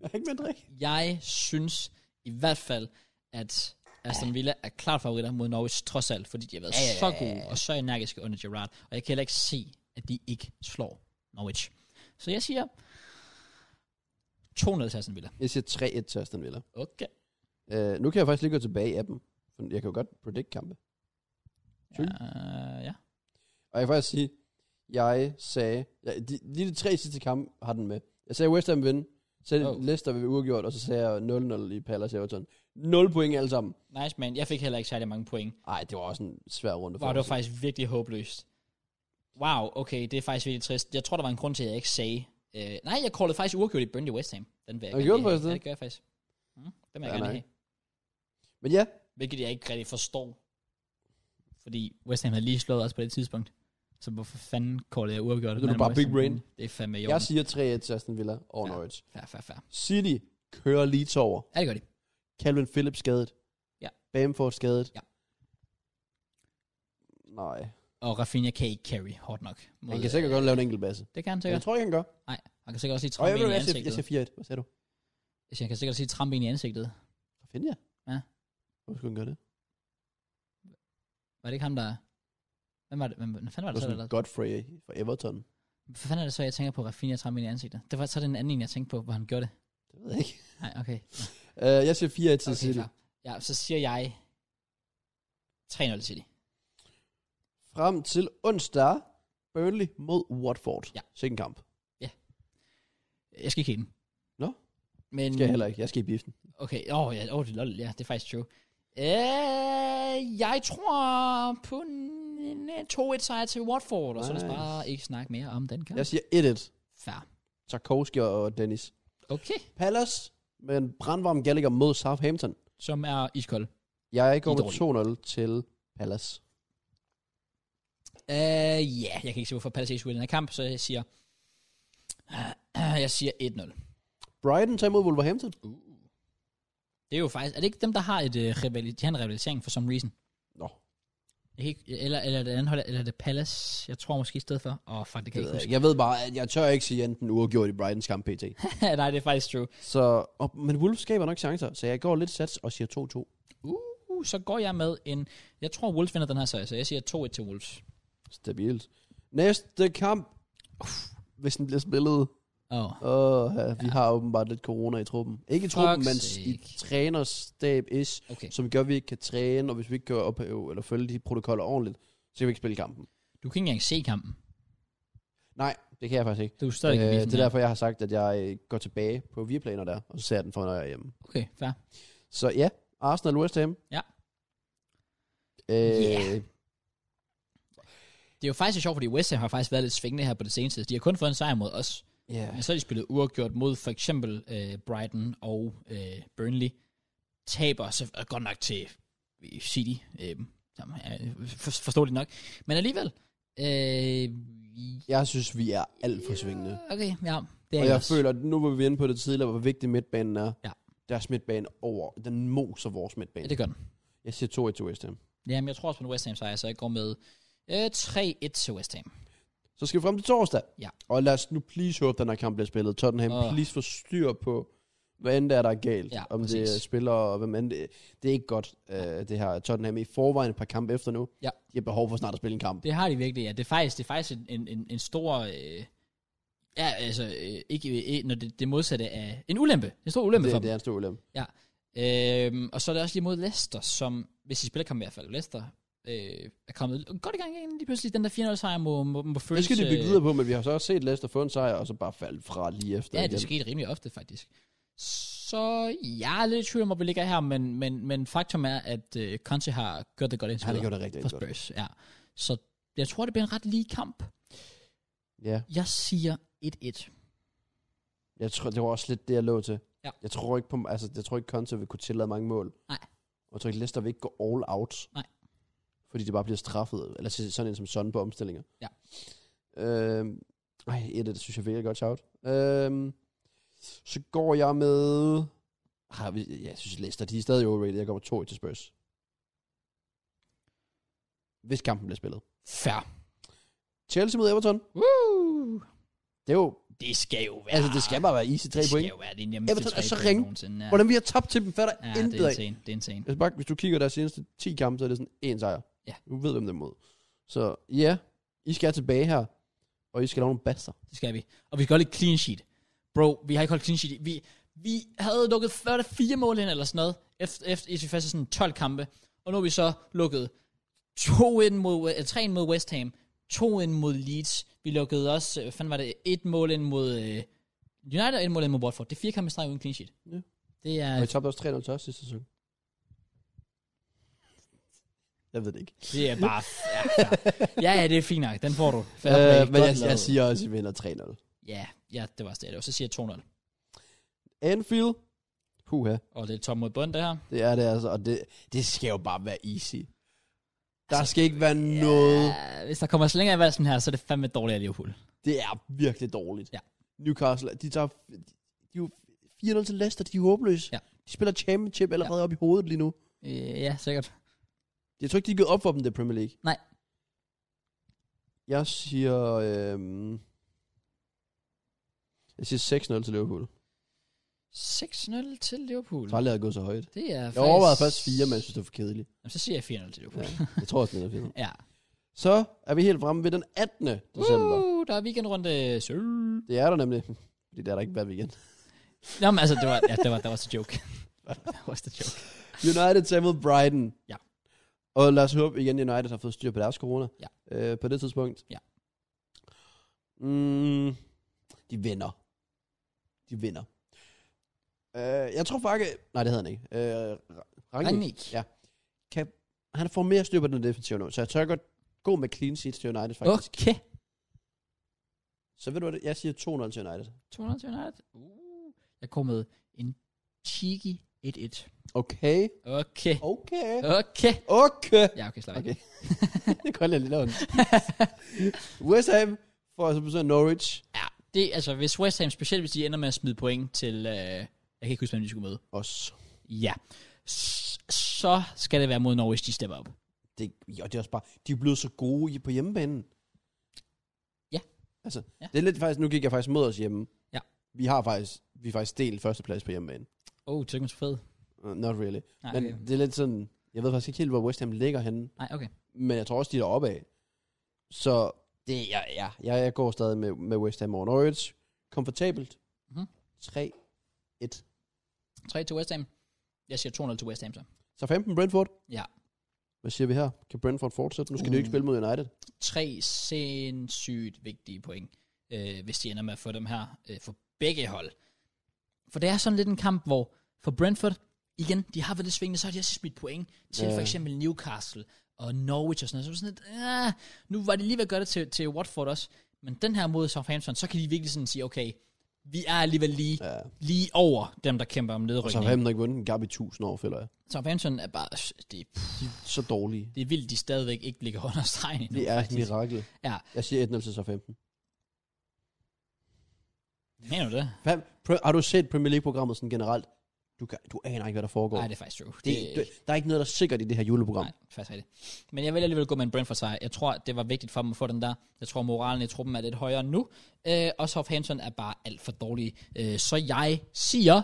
S2: Jeg har ikke med drik.
S1: Jeg synes i hvert fald, at Aston Villa er klart favoritter mod Norwich, trods alt, fordi de har været
S2: Ja, ja, ja,
S1: så
S2: ja,
S1: gode og så energiske under Gerrard, og jeg kan heller ikke se, at de ikke slår Norwich. Så jeg siger 2-0 til Aston Villa.
S2: Jeg siger 3-1 til Aston Villa.
S1: Okay.
S2: Uh, nu kan jeg faktisk lige gå tilbage af dem. For jeg kan jo godt predict kampe.
S1: Ja,
S2: Sure.
S1: ja.
S2: Og jeg kan faktisk sige, jeg sagde... Ja, de, lige de tre sidste kampe har den med. Jeg sagde West Ham vinde. Så sagde
S1: Oh.
S2: oh. Leicester vil uafgjort, og så sagde jeg 0-0 i Palace Everton. 0 point alle sammen.
S1: Nice, man. Jeg fik heller ikke særlig mange point.
S2: Ej, det var også en svær runde for
S1: Wow, det var
S2: os.
S1: faktisk virkelig håbløst. Wow, okay, det er faktisk virkelig trist. Jeg tror, der var en grund til, at jeg ikke sagde... Øh, nej, jeg callede faktisk uafgjort i Burnley West Ham. Den vil jeg
S2: Og
S1: gerne
S2: gjorde
S1: lige
S2: du
S1: have.
S2: faktisk
S1: Ja, det
S2: det?
S1: gør jeg faktisk. Mm, den vil jeg
S2: Ja,
S1: gerne lige
S2: nej.
S1: have.
S2: Men ja,
S1: Hvilket jeg ikke rigtig forstår. Fordi West Ham havde lige slået os på det tidspunkt. Så hvorfor fanden callede jeg uafgjort?
S2: Det er du
S1: mellem
S2: bare
S1: West
S2: big
S1: Ham?
S2: brain.
S1: Det er fandme jo.
S2: jeg siger 3-1 til Aston Villa over
S1: Ja.
S2: ja. Norwich.
S1: Fair, fair, fair.
S2: City kører lige over.
S1: Ja, det gør de.
S2: Calvin Phillips skadet.
S1: Ja.
S2: Bamford skadet.
S1: Ja.
S2: Nej.
S1: Og Rafinha kan ikke carry hårdt nok. Mod, øh,
S2: Han kan sikkert godt lave en enkelt basse.
S1: Det kan han
S2: Men jeg
S1: sikkert.
S2: tror ikke, han gør.
S1: Nej, han kan sikkert også lige
S2: Og
S1: trampe
S2: jeg
S1: en
S2: ved,
S1: i
S2: jeg siger, jeg
S1: ansigtet.
S2: siger 4-1. Hvad sagde du?
S1: Jeg siger, han kan sikkert også lige trampe en i ansigtet.
S2: Hvad finder jeg?
S1: Ja.
S2: Hvorfor skulle han gøre det?
S1: Var det ikke ham, der... Hvem var det? Hvem, hvem fanden var
S2: Det
S1: det, så,
S2: var
S1: der
S2: sådan Godfrey fra Everton.
S1: Hvad fanden er det så, jeg tænker på Rafinha trampe ind i ansigtet? Det var så den anden en, jeg tænkte på, hvor han gjorde det.
S2: Det ved jeg ikke.
S1: Nej, okay.
S2: Uh, jeg siger 4-1 til
S1: okay
S2: City.
S1: klar. Ja, så siger jeg 3-0 til City.
S2: Frem til onsdag. Burnley mod Watford.
S1: Ja.
S2: Sikke en kamp.
S1: Jeg skal ikke have den.
S2: Nå.
S1: Men,
S2: Skal jeg heller ikke. Jeg skal i biffen.
S1: Okay, åh, oh, ja, oh, det er lol, ja, det er faktisk true. Øh, jeg tror på en en 2-1 sejr til Watford, og så lad os
S2: Nice.
S1: bare ikke snakke mere om den kamp.
S2: Jeg
S1: Yes.
S2: siger 1-1.
S1: Fair.
S2: Tarkovski og Dennis.
S1: Okay,
S2: Palace med en brandvarm Gallagher mod Southampton.
S1: som er iskold.
S2: Jeg går
S1: I er
S2: med 2-0 til Palace.
S1: Øh, ja, jeg kan ikke se, hvorfor Palace ikke skulle i den her kamp, så jeg siger, øh, jeg siger 1-0.
S2: Brighton tager imod Wolverhampton.
S1: Uh. Det er jo faktisk... Er det ikke dem, der har et, øh, rivali- de har en rivalisering for some reason?
S2: Nå,
S1: Jeg kan ikke, eller, eller er det andet hold, eller er det Palace? Jeg tror måske i stedet for. Åh, oh, fuck, det kan
S2: Jeg
S1: jeg
S2: ved,
S1: ikke
S2: ikke. jeg ved bare, at jeg tør ikke sige enten uafgjort i Brightons kamp pt.
S1: huske. Nej, det er faktisk true.
S2: Så, og, men Wolves skaber nok chancer, så jeg går lidt sats og siger 2-2.
S1: Uh, så går jeg med en... Jeg tror, Wolves vinder den her sejr, så jeg siger 2-1 til Wolves.
S2: Stabilt. Næste kamp, hvis den bliver spillet,
S1: Åh.
S2: Åh, ja, vi har åbenbart lidt corona i truppen. Ikke i
S1: Fuck's
S2: truppen, men
S1: sake.
S2: i trænerstab-ish,
S1: Okay.
S2: som gør, at vi ikke kan træne, og hvis vi ikke kan ophæve eller følge de protokoller ordentligt, så kan vi ikke spille kampen.
S1: Du kan ikke engang se kampen.
S2: Nej, det kan jeg faktisk ikke.
S1: Du er stadig øh,
S2: det er derfor, jeg har sagt, at jeg øh, går tilbage på Viaplaner der, og så ser jeg den for, når jeg er hjemme.
S1: Okay, fair.
S2: Så ja, Arsenal West Ham.
S1: Ja.
S2: Øh,
S1: Yeah. Det er jo faktisk sjovt, fordi West Ham har faktisk været lidt svingende her på det seneste. De har kun fået en sejr mod os.
S2: yeah.
S1: Men så har de spillet uafgjort mod for eksempel øh, Brighton og øh, Burnley. Taber så øh, godt nok til City. Øh, som er- for, forståeligt nok. Men alligevel. Øh,
S2: Jeg synes, vi er alt for svingende.
S1: okay, ja. Det er
S2: Og jeg
S1: også.
S2: føler, at nu var vi inde på det tidligere, hvor vigtig midtbanen er.
S1: Ja.
S2: Deres midtbane over. Den moser vores
S1: Ja,
S2: midtbane.
S1: det gør den.
S2: Jeg siger 2-1 til West Ham.
S1: Jamen, jeg tror også på en West Ham sejr, så jeg går med øh, 3-1 til West Ham.
S2: Så skal vi frem til torsdag.
S1: Ja.
S2: Og lad os nu please håbe, at den her kamp bliver spillet. Tottenham,
S1: Åh.
S2: oh. please få styr på, hvad end der er, der er galt.
S1: Ja,
S2: om
S1: præcis.
S2: det er spillere, og hvem end det, det er ikke godt, øh, det her Tottenham. I forvejen et par kampe efter nu.
S1: Ja.
S2: De har behov for snart at spille en kamp.
S1: Det har de virkelig, ja. Det er faktisk, det er faktisk en- en, en, en stor... Øh, ja, altså, øh, ikke, øh, når det, det modsatte af... En ulempe. En stor ulempe det, for
S2: det,
S1: dem.
S2: det er en stor ulempe.
S1: Øhm, og så er det også lige mod Leicester, som, hvis de spiller kampen i hvert fald, Leicester øh, er kommet godt i gang igen lige pludselig. Den der 4-0 sejr må, må, må føles...
S2: Det skal de bygge
S1: øh,
S2: videre på, men vi har så også set Leicester få en sejr, og så bare falde fra lige efter.
S1: Ja,
S2: igen.
S1: det skete rimelig ofte, faktisk. Så jeg er lidt i tvivl om, hvor vi ligger her, men, men, men faktum er, at øh, Conte har gjort det godt indtil
S2: Han har
S1: videre
S2: gjort det rigtig,
S1: for
S2: rigtig godt.
S1: Spurs. Ja. Så jeg tror, det bliver en ret lige kamp.
S2: Ja.
S1: Jeg siger 1-1.
S2: Jeg tror, det var også lidt det, jeg lå til.
S1: Ja.
S2: Jeg tror ikke, på, altså, jeg tror ikke Conte vil kunne tillade mange mål.
S1: Nej.
S2: Og jeg tror ikke, Leicester vil ikke gå all out.
S1: Nej.
S2: Fordi det bare bliver straffet. Eller så- sådan en som sådan på omstillinger.
S1: Ja.
S2: Øhm, ej, et det synes jeg virkelig er godt shout. Øhm, så går jeg med... Har vi, jeg synes, Leicester, de er stadig overrated. Jeg går med 2 til Spurs. Hvis kampen bliver spillet.
S1: Fair.
S2: Chelsea mod Everton.
S1: Woo!
S2: Det er jo...
S1: Det skal jo være...
S2: Altså, det skal bare være easy 3
S1: det
S2: point.
S1: skal jo være det nemmeste
S2: Everton
S1: tre
S2: er så
S1: point
S2: ringe.
S1: nogensinde. Ja.
S2: Hvordan vi har tabt til dem, fatter
S1: Ja,
S2: ja, intet
S1: det er
S2: af.
S1: insane. Det er insane.
S2: Altså bare, hvis du kigger deres seneste 10 kampe, så er det sådan en sejr.
S1: Ja.
S2: Du ved, hvem det er mod. Så ja, I skal tilbage her, og I skal lave nogle baster.
S1: Det skal vi. Og vi skal holde et clean sheet. Bro, vi har ikke holdt clean sheet. i- Vi, vi havde lukket før der fire mål ind eller sådan noget, efter, efter, efter første sådan 12 kampe. Og nu har vi så lukket to ind mod, eh, tre ind mod West Ham, to ind mod Leeds. Vi lukkede også, eh, hvad fanden var det, et mål ind mod øh, United og et mål ind mod Watford. Det er fire kampe i streg uden clean sheet.
S2: Ja.
S1: Det er,
S2: Og I tabte også 3-0 til os sidste sæson. Jeg ved det ikke.
S1: det er bare... Ja, fair. ja, ja, det er fint nok. Den får du. Fair play.
S2: Øh, men
S1: Godt
S2: jeg, jeg,
S1: lavet.
S2: siger også, at I vinder 3-0.
S1: Ja, ja, det var også det. Og så siger jeg 2-0.
S2: Anfield. Puha,
S1: Og det er tom mod bund, det her.
S2: det er det altså. Og det, det skal jo bare være easy. Der
S1: Altså,
S2: skal ikke være noget.
S1: Ja, hvis der kommer slinger i valsen her, så er det fandme dårligt af Liverpool.
S2: Det er virkelig dårligt.
S1: Ja.
S2: Newcastle, de tager... De er jo 4-0 til Leicester, de er håbløse.
S1: Ja.
S2: De spiller championship allerede ja. op i hovedet lige nu.
S1: Øh, ja, sikkert.
S2: Jeg tror ikke, de er gået op for dem, det er Premier League.
S1: Nej.
S2: Jeg siger... Øhm, jeg siger 6-0 til Liverpool.
S1: 6-0 til Liverpool.
S2: Jeg har aldrig jeg har gået så højt.
S1: Det er
S2: Jeg overvejede først 4, men jeg synes, det var for kedeligt.
S1: Jamen, så siger jeg 4-0 til Liverpool.
S2: Ja. Jeg tror også, det er 4.
S1: Ja.
S2: Så er vi helt fremme ved den 18. december.
S1: Uh, der er weekendrunde. Søl.
S2: Det er der nemlig. Fordi det er der ikke hver weekend.
S1: Nå, men altså, det var, ja, det var, der var så joke. der var så joke.
S2: United tager mod Brighton.
S1: Ja.
S2: Og lad os håbe igen, United har fået styr på deres corona.
S1: Ja.
S2: Øh, på det tidspunkt.
S1: Ja.
S2: Mm, de vinder. De vinder. Øh, jeg tror faktisk... Nej, det hedder han ikke. Øh, Ra- Rangnick.
S1: Rangnick.
S2: Ja. Kan, han får mere styr på den defensive nu, så jeg tør godt gå med clean sheet til United faktisk.
S1: Okay.
S2: Så ved du hvad, det- jeg siger 2-0 til United.
S1: 200 til United. Uh. Jeg kom med en cheeky 1-1.
S2: Okay.
S1: Okay.
S2: Okay.
S1: Okay.
S2: Okay.
S1: Ja, okay, slap af.
S2: Okay. det kan jeg lige lave en. West Ham får altså besøg af Norwich.
S1: Ja, det, altså, hvis West Ham, specielt hvis de ender med at smide point til... Øh, jeg kan ikke huske, hvem de skulle møde.
S2: Os.
S1: Ja. S- Så skal det være mod Norwich, de stepper op.
S2: Det, jo, det er også bare, de er blevet så gode i- på hjemmebanen.
S1: Ja.
S2: Altså,
S1: Ja.
S2: ja. det er lidt faktisk, nu gik jeg faktisk mod os hjemme.
S1: Ja.
S2: Vi har faktisk, vi er faktisk delt førsteplads på hjemmebane.
S1: Oh, det er så fed.
S2: Uh, not really.
S1: Nej,
S2: men
S1: okay.
S2: det er lidt sådan, jeg ved faktisk ikke helt, hvor West Ham ligger henne,
S1: Nej, okay.
S2: men jeg tror også, de er deroppe af. Så det, ja, ja, jeg, jeg går stadig med, med West Ham over Norwich. Komfortabelt.
S1: Mhm.
S2: 3-1.
S1: 3 til West Ham. Jeg siger 2-0 til West Ham så.
S2: Så 15 Brentford.
S1: Ja.
S2: Hvad siger vi her? Kan Brentford fortsætte? Nu skal uh. de jo ikke
S1: Uh.
S2: spille mod United.
S1: Tre sindssygt vigtige point, øh, hvis de ender med at få dem her øh, for begge hold. For det er sådan lidt en kamp, hvor for Brentford, igen, de har været lidt svingende, så har de også smidt point til
S2: Ja.
S1: ja. for eksempel Newcastle og Norwich og sådan noget. Så er det sådan lidt, ah, nu var det lige ved at gøre det til, til Watford også, men den her mod Southampton, så kan de virkelig sådan sige, okay, vi er alligevel lige, ja.
S2: Ja.
S1: lige over dem, der kæmper om
S2: Og
S1: nedrykning.
S2: så har han ikke vundet en gap i 1000 år, føler jeg.
S1: Southampton er bare, det,
S2: De er så dårlige.
S1: det er vildt, de stadigvæk ikke ligger under stregen endnu.
S2: Det er et
S1: faktisk.
S2: mirakel.
S1: Ja.
S2: Jeg siger 1-0 til så 15.
S1: Mener du det?
S2: Hvad, Pre- har du set Premier League-programmet sådan generelt? Du, kan, du aner ikke, hvad der foregår.
S1: Nej,
S2: det,
S1: det er faktisk true. Det,
S2: det, der er ikke noget, der er sikkert i det her juleprogram.
S1: nej, det er faktisk rigtigt. Men jeg vil alligevel gå med en Brentford sejr. Jeg tror, det var vigtigt for dem at få den der. Jeg tror, moralen i truppen er lidt højere nu. Øh, og Southampton er bare alt for dårlig. Øh, så jeg siger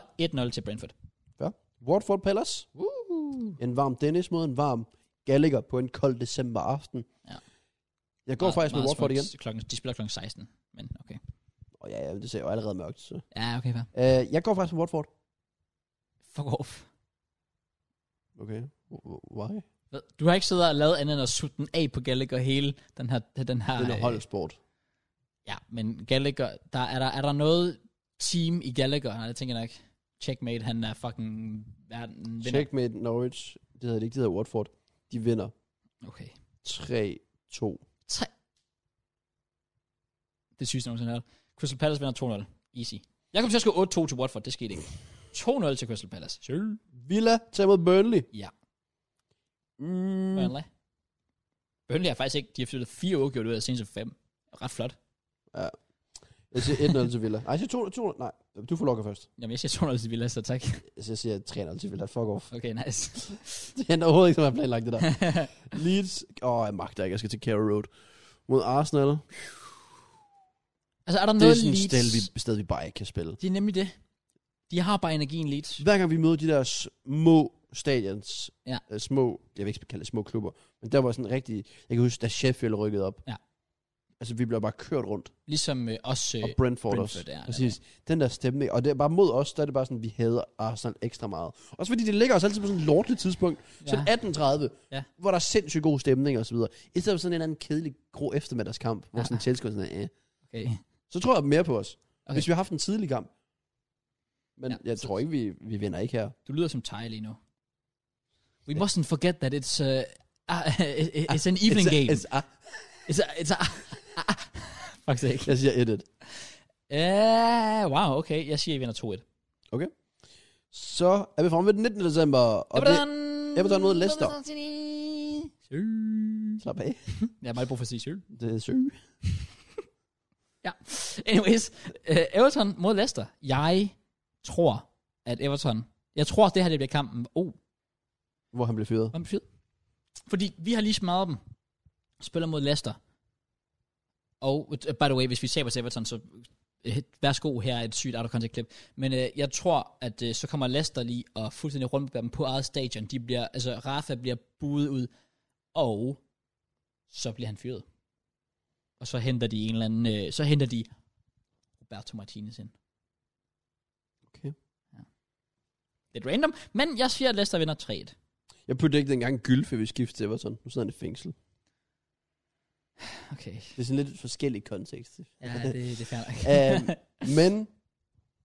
S1: 1-0 til Brentford.
S2: Hvad? Watford Palace.
S1: Uh.
S2: En varm Dennis mod en varm Gallagher på en kold december aften.
S1: Ja.
S2: Jeg går faktisk med Watford igen.
S1: Klokken, de spiller klokken 16. Men okay.
S2: Oh, ja, ja, det ser jo allerede mørkt. Så.
S1: Ja, okay, hvad?
S2: Uh, jeg går faktisk med Watford.
S1: Fuck off.
S2: Okay. Why?
S1: Hvad? Du har ikke siddet og lavet andet end at sutte den af på Gallagher hele den her... Den her
S2: Den er
S1: øh,
S2: holdsport.
S1: Ja, men Gallagher, der er, der, er der noget team i Gallagher? Nej, det tænker jeg nok. Checkmate, han er fucking verden vinder.
S2: Check med Norwich. Det hedder det ikke, det hedder Watford. De vinder
S1: Okay.
S2: 3-2.
S1: Tre. Det synes jeg nogensinde har hørt. Crystal Palace vinder 2-0. Easy. Jeg kommer til at skrive 8-2 til Watford, det skete ikke. 2-0 til Crystal Palace. Sure.
S2: Villa tager mod Burnley.
S1: Ja.
S2: Mm.
S1: Burnley. Burnley har faktisk ikke, de har flyttet fire uafgjort ud af de seneste fem. Ret flot.
S2: Jeg siger 1-0 til Villa. Nej, jeg siger 2-0. Nej, du får lokker først.
S1: Jamen, jeg siger 2-0 til Villa, så tak.
S2: Så jeg siger 3-0 til Villa. Fuck off.
S1: Okay, nice.
S2: Det er overhovedet ikke, som jeg har planlagt det der. Leeds. Åh, oh, jeg magter ikke. Jeg skal til Carrow Road. Mod Arsenal. Det
S1: altså, er der
S2: er
S1: noget
S2: sådan et sted,
S1: Leeds?
S2: vi, sted, vi bare ikke kan spille.
S1: Det er nemlig det. De har bare energien Leeds.
S2: Hver gang vi møder de der små stadions,
S1: Ja.
S2: øh, små, jeg vil ikke kalde det små klubber, men der var sådan rigtig, jeg kan huske, da Sheffield rykkede op.
S1: Ja.
S2: Altså, vi blev bare kørt rundt.
S1: Ligesom øh, også... Øh,
S2: Og Brentford,
S1: Brentford,
S2: også.
S1: ja, ja,
S2: Præcis. Den der stemme. Og det er bare mod os, der er det bare sådan, vi hader Arsenal ekstra meget. Også fordi det ligger os altid på sådan et lortet tidspunkt. Ja. Sådan 18.30,
S1: Ja.
S2: hvor der er sindssygt god stemning og så videre. I stedet for sådan en eller anden kedelig, grå eftermiddagskamp, hvor
S1: Ja.
S2: sådan Chelsea var sådan, eh.
S1: okay.
S2: Så tror jeg mere på os. Okay.
S1: Okay.
S2: Hvis vi har haft en tidlig kamp. Men ja,
S1: Ja,
S2: jeg
S1: så-
S2: tror ikke, vi, vi vinder ikke her.
S1: Du lyder som Thai lige nu. We mustn't forget that it's... Uh, uh, it's an evening
S2: Ah, It's a-
S1: game.
S2: It's a,
S1: It's a, it's a, fuck sake.
S2: jeg siger 1-1.
S1: Uh, wow, okay. Jeg siger, I vinder 2-1.
S2: Så er vi fremme ved den 19. december, og det, Everton mod Leicester. slap af,
S1: Jeg har meget brug for at sige syv.
S2: det er syg.
S1: Ja. Anyways, uh, Everton mod Leicester. Jeg tror, at Everton... Jeg tror, det her det bliver kampen. Oh,
S2: Hvor han blev fyret.
S1: hvad betyder Fordi vi har lige smadret dem. Spiller mod Leicester. Og, uh, by the way, hvis vi taber til Everton, så uh, værsgo, her er et sygt out of context klip. Men øh, jeg tror, at øh, så kommer Leicester lige og fuldstændig rundt dem på eget stadion. De bliver, altså Rafa bliver buet ud, og så bliver han fyret. Og så henter de en eller anden, øh, så henter de Roberto Martinez ind.
S2: Okay.
S1: Ja. Lidt random, men jeg siger, at Leicester vinder 3
S2: Jeg putte ikke dengang Gylfe ved skifte til Everton. Nu sidder han i fængsel.
S1: Okay.
S2: Det er sådan lidt forskellig kontekst.
S1: Ja, det, det er fair nok.
S2: øhm, men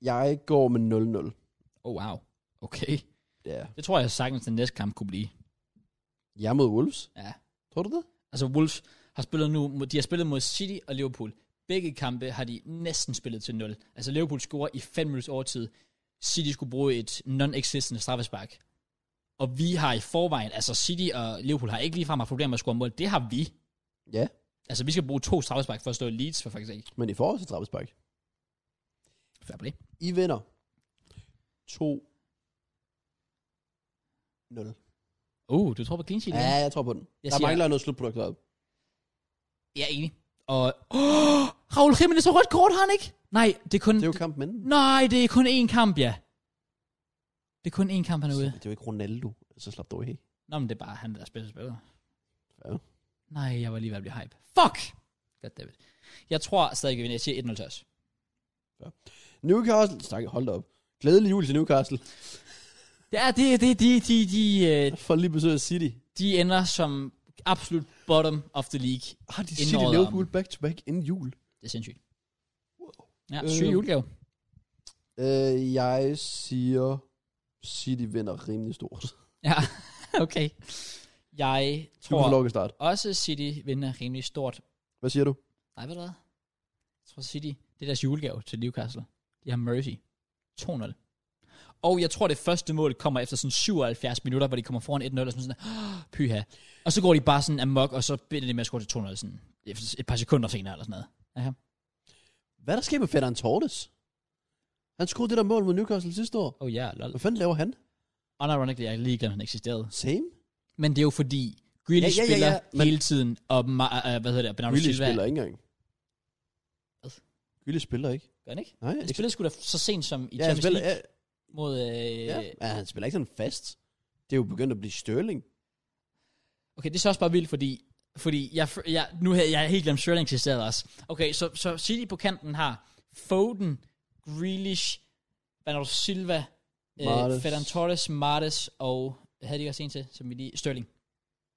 S2: jeg går med 0-0.
S1: Oh, wow. Okay.
S2: Ja.
S1: Det tror jeg sagtens, den næste kamp kunne blive.
S2: Jeg er mod Wolves.
S1: Ja.
S2: Tror du det?
S1: Altså, Wolves har spillet nu, mod- de har spillet mod City og Liverpool. Begge kampe har de næsten spillet til 0. Altså, Liverpool scorer i 5 minutters overtid. City skulle bruge et non-existent straffespark. Og vi har i forvejen, altså City og Liverpool har ikke ligefrem haft problemer med at score mål. Det har vi.
S2: Ja.
S1: Altså, vi skal bruge to straffespark for at slå Leeds, for faktisk ikke.
S2: Men i forhold til straffespark.
S1: Fair play.
S2: I vinder. 2 0.
S1: Uh, du tror på clean sheet igen?
S2: Ja, jeg tror på den. Jeg der
S1: siger- Mm.
S2: mangler noget slutprodukt deroppe.
S1: Jeg er enig. Og... Oh, Raul Jimenez har rødt kort, har han ikke? Nej, det er kun...
S2: Det er jo kampen inden.
S1: Nej, det er kun én kamp, ja. Det er kun én kamp, han er ude.
S2: Det er jo ikke Ronaldo. Så slap dog af.
S1: Nå, men det er bare han, der er spiller spiller.
S2: Ja.
S1: Nej, jeg var lige ved at blive hype. Fuck! Goddammit. Jeg tror stadig, at vi vinder. Jeg siger 1-0 til os.
S2: Ja. Newcastle, stak, hold da op. Glædelig jul til Newcastle.
S1: Det er, det, det, de, de, de, øh,
S2: For lige besøg af City.
S1: de ender som absolut bottom of the league.
S2: Har de
S1: Inden
S2: City
S1: året er
S2: Liverpool back to back inden jul?
S1: Det er sindssygt.
S2: Wow.
S1: Ja,
S2: Øh.
S1: syg julegave.
S2: Øh, jeg siger, City vinder rimelig stort.
S1: Ja, okay. Jeg
S2: Du kan få
S1: tror
S2: lov at starte.
S1: også City vinder rimelig stort.
S2: Hvad siger du?
S1: Nej, ved du hvad? Jeg tror City, det er deres julegave til Newcastle. De har Mercy. 2-0. Og jeg tror, det første mål kommer efter sådan 77 minutter, hvor de kommer foran 1-0, og sådan sådan, "Åh, pyha. Og så går de bare sådan amok, og så binder de med at score til 2-0, sådan efter et par sekunder senere, eller sådan noget.
S2: Hvad er der sker med Ferdinand Torres? Han scorede det der mål mod Newcastle sidste år.
S1: Oh ja, yeah, lol.
S2: Hvad fanden laver han?
S1: Unironically, jeg er lige glemt, at han eksisterede.
S2: Same?
S1: Men det er jo fordi, Grealish
S2: Ja,
S1: ja,
S2: ja, ja,
S1: ja,
S2: ja,
S1: spiller
S2: men-
S1: hele tiden, og Ma- uh, hvad hedder det, Bernardo
S2: Grealish
S1: Silva.
S2: spiller ikke engang.
S1: Hvad?
S2: Grealish spiller ikke.
S1: Gør han ikke?
S2: Nej,
S1: Han
S2: ikke-
S1: spillede sgu da så sent som i
S2: ja, han
S1: Champions
S2: spiller,
S1: League
S2: ja,
S1: mod... Øh,
S2: ja. ja, han spiller ikke sådan fast. Det er jo begyndt at blive Sterling.
S1: Okay, det er så også bare vildt, fordi, fordi jeg, jeg, nu havde jeg helt glemt Sterling eksisterede også. Okay, så, så City på kanten har Foden, Grealish, Bernardo Silva,
S2: Mahrez.
S1: øh, Ferdinand Torres, Martes og havde de ikke også en til, som vi lige... Sterling.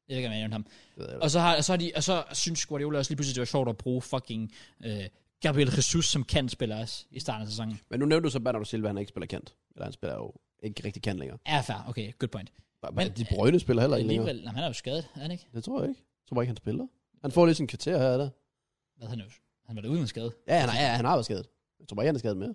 S1: Jeg ved ikke, om jeg nævnte ham.
S2: Det ved jeg
S1: Og så, har, og så, har de, og så synes Guardiola også lige pludselig, det var sjovt at bruge fucking øh, Gabriel Jesus som kantspiller også i starten af sæsonen.
S2: Men nu nævnte du så Bernardo Silva, han ikke spiller kant. Eller han spiller jo ikke rigtig kant længere.
S1: Er fair, okay, good point.
S2: Bare-
S1: Men-
S2: bare de brøgne spiller heller ikke længere.
S1: Alligevel, nej, han er jo skadet, er han ikke?
S2: Det tror jeg ikke. Jeg tror bare ikke, han spiller. Han får lige sin kvarter her og der.
S1: Hvad han nu? Han var da uden skade.
S2: Ja, han er, ja, han har været skadet. Jeg tror bare ikke, han er skadet mere.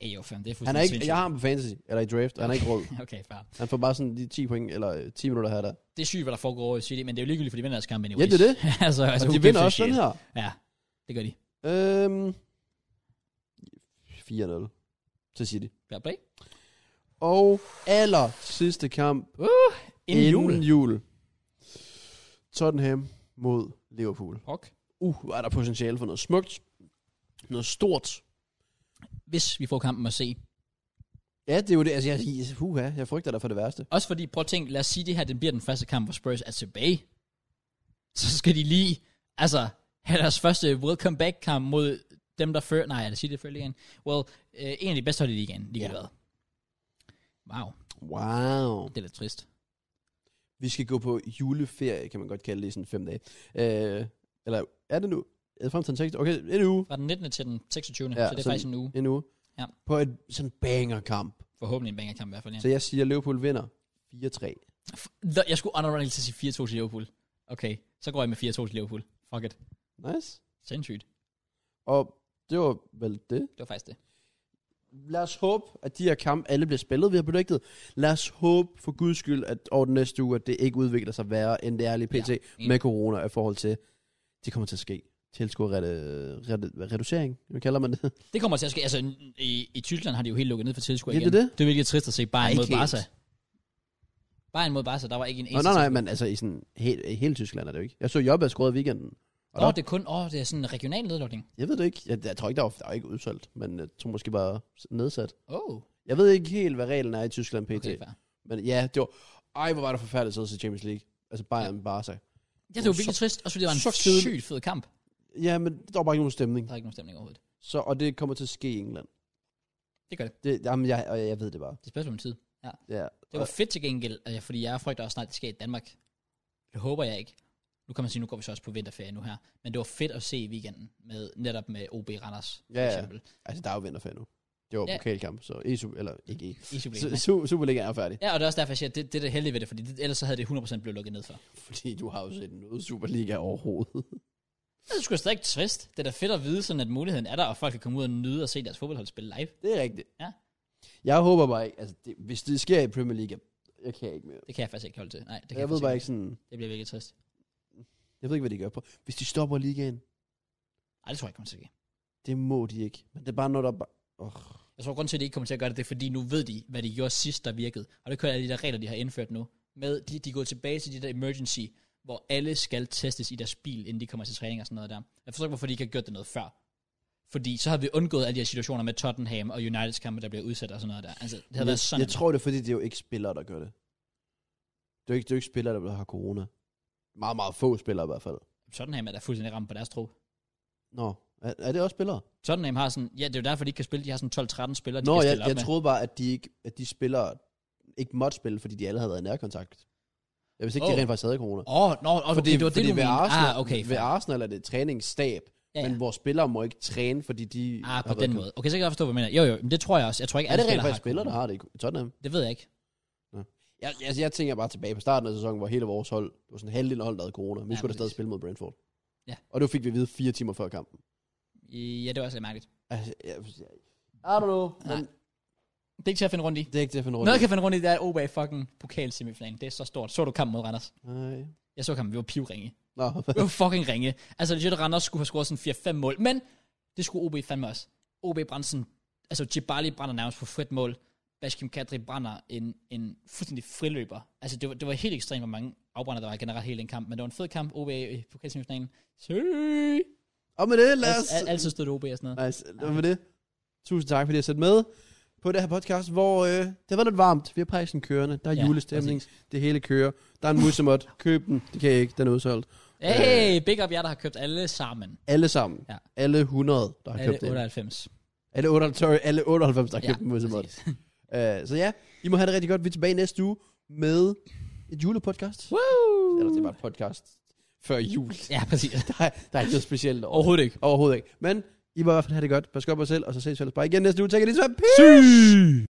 S1: Ej, jo, fam, det er
S2: Han er
S1: fuldstændig
S2: ikke, jeg har ham på fantasy, eller i draft, og han er ikke rød.
S1: sindssygt. Okay, fair.
S2: Han får bare sådan de 10 point, eller øh, 10 minutter her og der.
S1: det er sygt, hvad der foregår over i City, men det er jo ligegyldigt, for de vinder deres kamp anyways.
S2: Ja, det er det.
S1: altså, altså,
S2: Og de
S1: who
S2: vinder
S1: gives a
S2: også
S1: shit?
S2: den her.
S1: Ja, det gør de.
S2: Øhm, 4-0 til City.
S1: Fair play.
S2: Og aller sidste kamp
S1: Inden jul.
S2: inden jul. Tottenham mod Liverpool.
S1: Fuck.
S2: Uh, hvor er der potentiale for noget smukt. Noget stort.
S1: Hvis vi får kampen at se.
S2: Ja, det er jo det. Altså, jeg, huha, jeg frygter dig for det værste.
S1: Også fordi, prøv at tænke, lad os sige det her, den bliver den første kamp, hvor Spurs er tilbage. Så skal de lige, altså, have deres første welcome back kamp mod dem, der før, nej, er det City før ligaen? Well, øh, en af de bedste hold i ligaen, lige
S2: Ja.
S1: yeah. Wow,
S2: Wow.
S1: det er lidt trist.
S2: Vi skal gå på juleferie, kan man godt kalde det, i sådan fem dage. Øh, eller er det nu? Er det frem til den 6. Okay, en uge.
S1: Fra den 19. til den 26.
S2: Ja,
S1: Ja, så det er
S2: så-
S1: faktisk en uge.
S2: En uge.
S1: Ja.
S2: På et sådan bangerkamp.
S1: Forhåbentlig en bangerkamp i hvert fald, ja.
S2: Så jeg siger, at Liverpool vinder 4-3.
S1: F- Nå, Jeg skulle honorable til at sige 4-2 til Liverpool. Okay, så går jeg med 4-2 til Liverpool. Fuck it.
S2: Nice.
S1: Sindssygt.
S2: Og det var vel det.
S1: Det var faktisk det.
S2: Lad os håbe, at de her kampe alle bliver spillet. Vi har benægtet. Lad os håbe for guds skyld, at over den næste uge, at det ikke udvikler sig værre, end det er lige pt.
S1: Ja,
S2: Ja, med corona i forhold til, det kommer til at ske. Tilskuerreducering, hvad kalder man det?
S1: Det kommer til at ske. Altså, n- i, i Tyskland har de jo helt lukket ned for tilskuere
S2: Ja,
S1: igen.
S2: det er det.
S1: Det er virkelig trist at se
S2: Ej,
S1: Bayern mod
S2: ikke
S1: Barca.
S2: helt.
S1: Bayern mod Barca, der var ikke en
S2: Nå,
S1: eneste.
S2: nej, nej, men altså i sådan helt, i hele Tyskland er det jo ikke. Jeg så Jobba skåret i weekenden. Og
S1: Åh,
S2: der,
S1: oh, det er kun, åh, oh, det er sådan en regional nedlukning.
S2: Jeg ved det ikke. Jeg, jeg tror ikke, der var, der var ikke udsolgt, men jeg tror måske bare nedsat.
S1: Åh, oh,
S2: Jeg ved ikke helt, hvad reglen er i Tyskland pt.
S1: okay,
S2: Okay,
S1: fair.
S2: men ja, det var... Ej, hvor var det forfærdeligt at sidde til Champions League. Altså Bayern, ja. Barca.
S1: Ja, det var
S2: Så-
S1: virkelig trist, også fordi det var en
S2: så
S1: så
S2: kedeligt.
S1: sygt fed kamp.
S2: Ja, men der var bare ikke nogen stemning.
S1: Der er ikke nogen stemning overhovedet.
S2: Så, og det kommer til at ske i England.
S1: Det gør det.
S2: Det, jamen, jeg, og jeg ved det bare.
S1: Det er spørgsmål om tid.
S2: Ja.
S1: Det var fedt til gengæld, øh, fordi jeg frygter også snart, det sker i Danmark. Det håber jeg ikke. Nu kan man sige, nu går vi så også på vinterferie nu her. Men det var fedt at se i weekenden, med, netop med OB Randers,
S2: Ja,
S1: for
S2: ja.
S1: eksempel.
S2: Altså, der er jo vinterferie nu. Det var
S1: Ja.
S2: pokalkamp, så e -super, eller ikke e.
S1: I Superligaen.
S2: Su- Su- Superligaen er færdig.
S1: Ja, og det er også derfor, jeg siger, at det, det er det heldige ved det, fordi det, ellers så havde det 100% blevet lukket ned for.
S2: Fordi du har jo set noget Superliga overhovedet.
S1: Det er sgu stadig trist. Det er da fedt at vide, sådan at muligheden er der, og folk kan komme ud og nyde og se deres fodboldhold spille live.
S2: Det er rigtigt.
S1: Ja.
S2: Jeg håber bare ikke, altså det, hvis det sker i Premier League, jeg- jeg kan ikke mere.
S1: Det kan jeg faktisk ikke holde til. Nej, det kan
S2: jeg ved
S1: faktisk
S2: bare ikke sådan,
S1: Det bliver virkelig trist.
S2: jeg ved ikke, hvad de gør på. Hvis de stopper ligaen,
S1: Nej, det tror jeg ikke kommer til at ske.
S2: det må de ikke. Men det er bare noget, der bare, oh,
S1: Jeg tror, grund til, at de ikke kommer til at gøre det, det er, fordi nu ved de, hvad de gjorde sidst, der virkede. Og det kører alle de der regler, de har indført nu. Med, de, de går tilbage til de der emergency, hvor alle skal testes i deres bil, inden de kommer til træning og sådan noget der. Jeg forstår ikke, hvorfor de ikke har gjort det noget før. Fordi så havde vi undgået alle de her situationer med Tottenham og Uniteds kampe, der bliver udsat og sådan noget der. Altså, det havde
S2: jeg,
S1: været sådan.
S2: jeg tror det er, fordi det er jo ikke spillere, der gør det. Det er jo ikke, det er jo ikke spillere, der har corona. Meget, meget få spillere i hvert fald.
S1: Tottenham er da fuldstændig ramt på deres tro.
S2: Nå, Er, er det også spillere?
S1: Tottenham har sådan, ja, det er jo derfor, de ikke kan spille. De har sådan 12-13 spillere, de
S2: Nå,
S1: kan
S2: jeg,
S1: stille op
S2: jeg
S1: med.
S2: troede bare, at de, ikke, at de spillere ikke måtte spille, fordi de alle havde været i nærkontakt. Jeg vidste ikke, oh.
S1: Åh.
S2: de rent faktisk havde corona.
S1: Åh, oh, no, okay, det var det, du
S2: ved
S1: mente.
S2: Arsenal,
S1: Ah, okay.
S2: ved
S1: fair.
S2: Arsenal er det træningsstab,
S1: Ja, ja.
S2: ja, ja. men hvor spillere må ikke træne, fordi de...
S1: Ah, på
S2: har været
S1: den
S2: købt.
S1: måde. Okay, så kan jeg godt forstå, hvad du mener. Jo, jo, men det tror jeg også. Jeg tror ikke,
S2: Er
S1: alle
S2: det rent faktisk
S1: har corona.
S2: spillere, der har det i Tottenham?
S1: Det ved jeg ikke.
S2: Jeg, jeg, jeg tænker bare tilbage på starten af sæsonen, hvor hele vores hold, det var sådan halvdelen af holdet, der havde corona, men vi
S1: Ja,
S2: skulle da stadig
S1: præcis.
S2: spille mod Brentford.
S1: Ja.
S2: Og det fik vi at vide fire timer før kampen.
S1: I- Ja, det var også lidt mærkeligt.
S2: Altså, jeg, jeg, I don't know, men
S1: Nej. Det er ikke til at finde rundt i.
S2: det er ikke til at finde rundt.
S1: Noget, jeg kan
S2: i.
S1: finde rundt i, det er OBA fucking pokalsemifinalen. Det er så stort. Så du kampen mod Randers?
S2: Nej.
S1: Jeg så kampen, vi var pivringe.
S2: Nå,
S1: Vi var fucking ringe. Altså, legit Randers skulle have scoret sådan 4-5 mål, men det skulle OB fandme også. OB brændte sådan, altså Djibali brænder nærmest på frit mål. Bashkim Kadri brænder en, en fuldstændig friløber. Altså, det var, det var helt ekstremt, hvor mange afbrænder der var generelt hele den kamp, men det var en fed kamp, OB i pokalsemifinalen. Søj!
S2: og med det, lad os...
S1: Al, al, altid stod det OB og sådan noget.
S2: Nice. Det var det. Tusind tak, fordi I har set med på det her podcast, hvor øh, det har været lidt varmt. Vi har pejsen kørende. Der er
S1: Ja,
S2: ja, julestemning. Det hele kører. Der er en musemot. Køb den. Det kan jeg ikke. Den er udsolgt.
S1: Hey, big up jer, der har købt alle sammen.
S2: Alle sammen.
S1: Ja.
S2: Alle 100, der har
S1: Alle
S2: købt det.
S1: 98.
S2: Alle 98, sorry, alle 98 der har købt ja, en musemot.
S1: præcis.
S2: Uh, så ja, I må have det rigtig godt. Vi er tilbage næste uge med et julepodcast.
S1: Woo!
S2: Eller det er bare et podcast før jul.
S1: Ja, præcis.
S2: Der er, der er ikke noget specielt over.
S1: Overhovedet ikke.
S2: Overhovedet ikke. Men I må i hvert fald have det godt. Pas godt på jer selv, og så ses vi ellers bare igen næste uge. Tak, Elisabeth. Peace!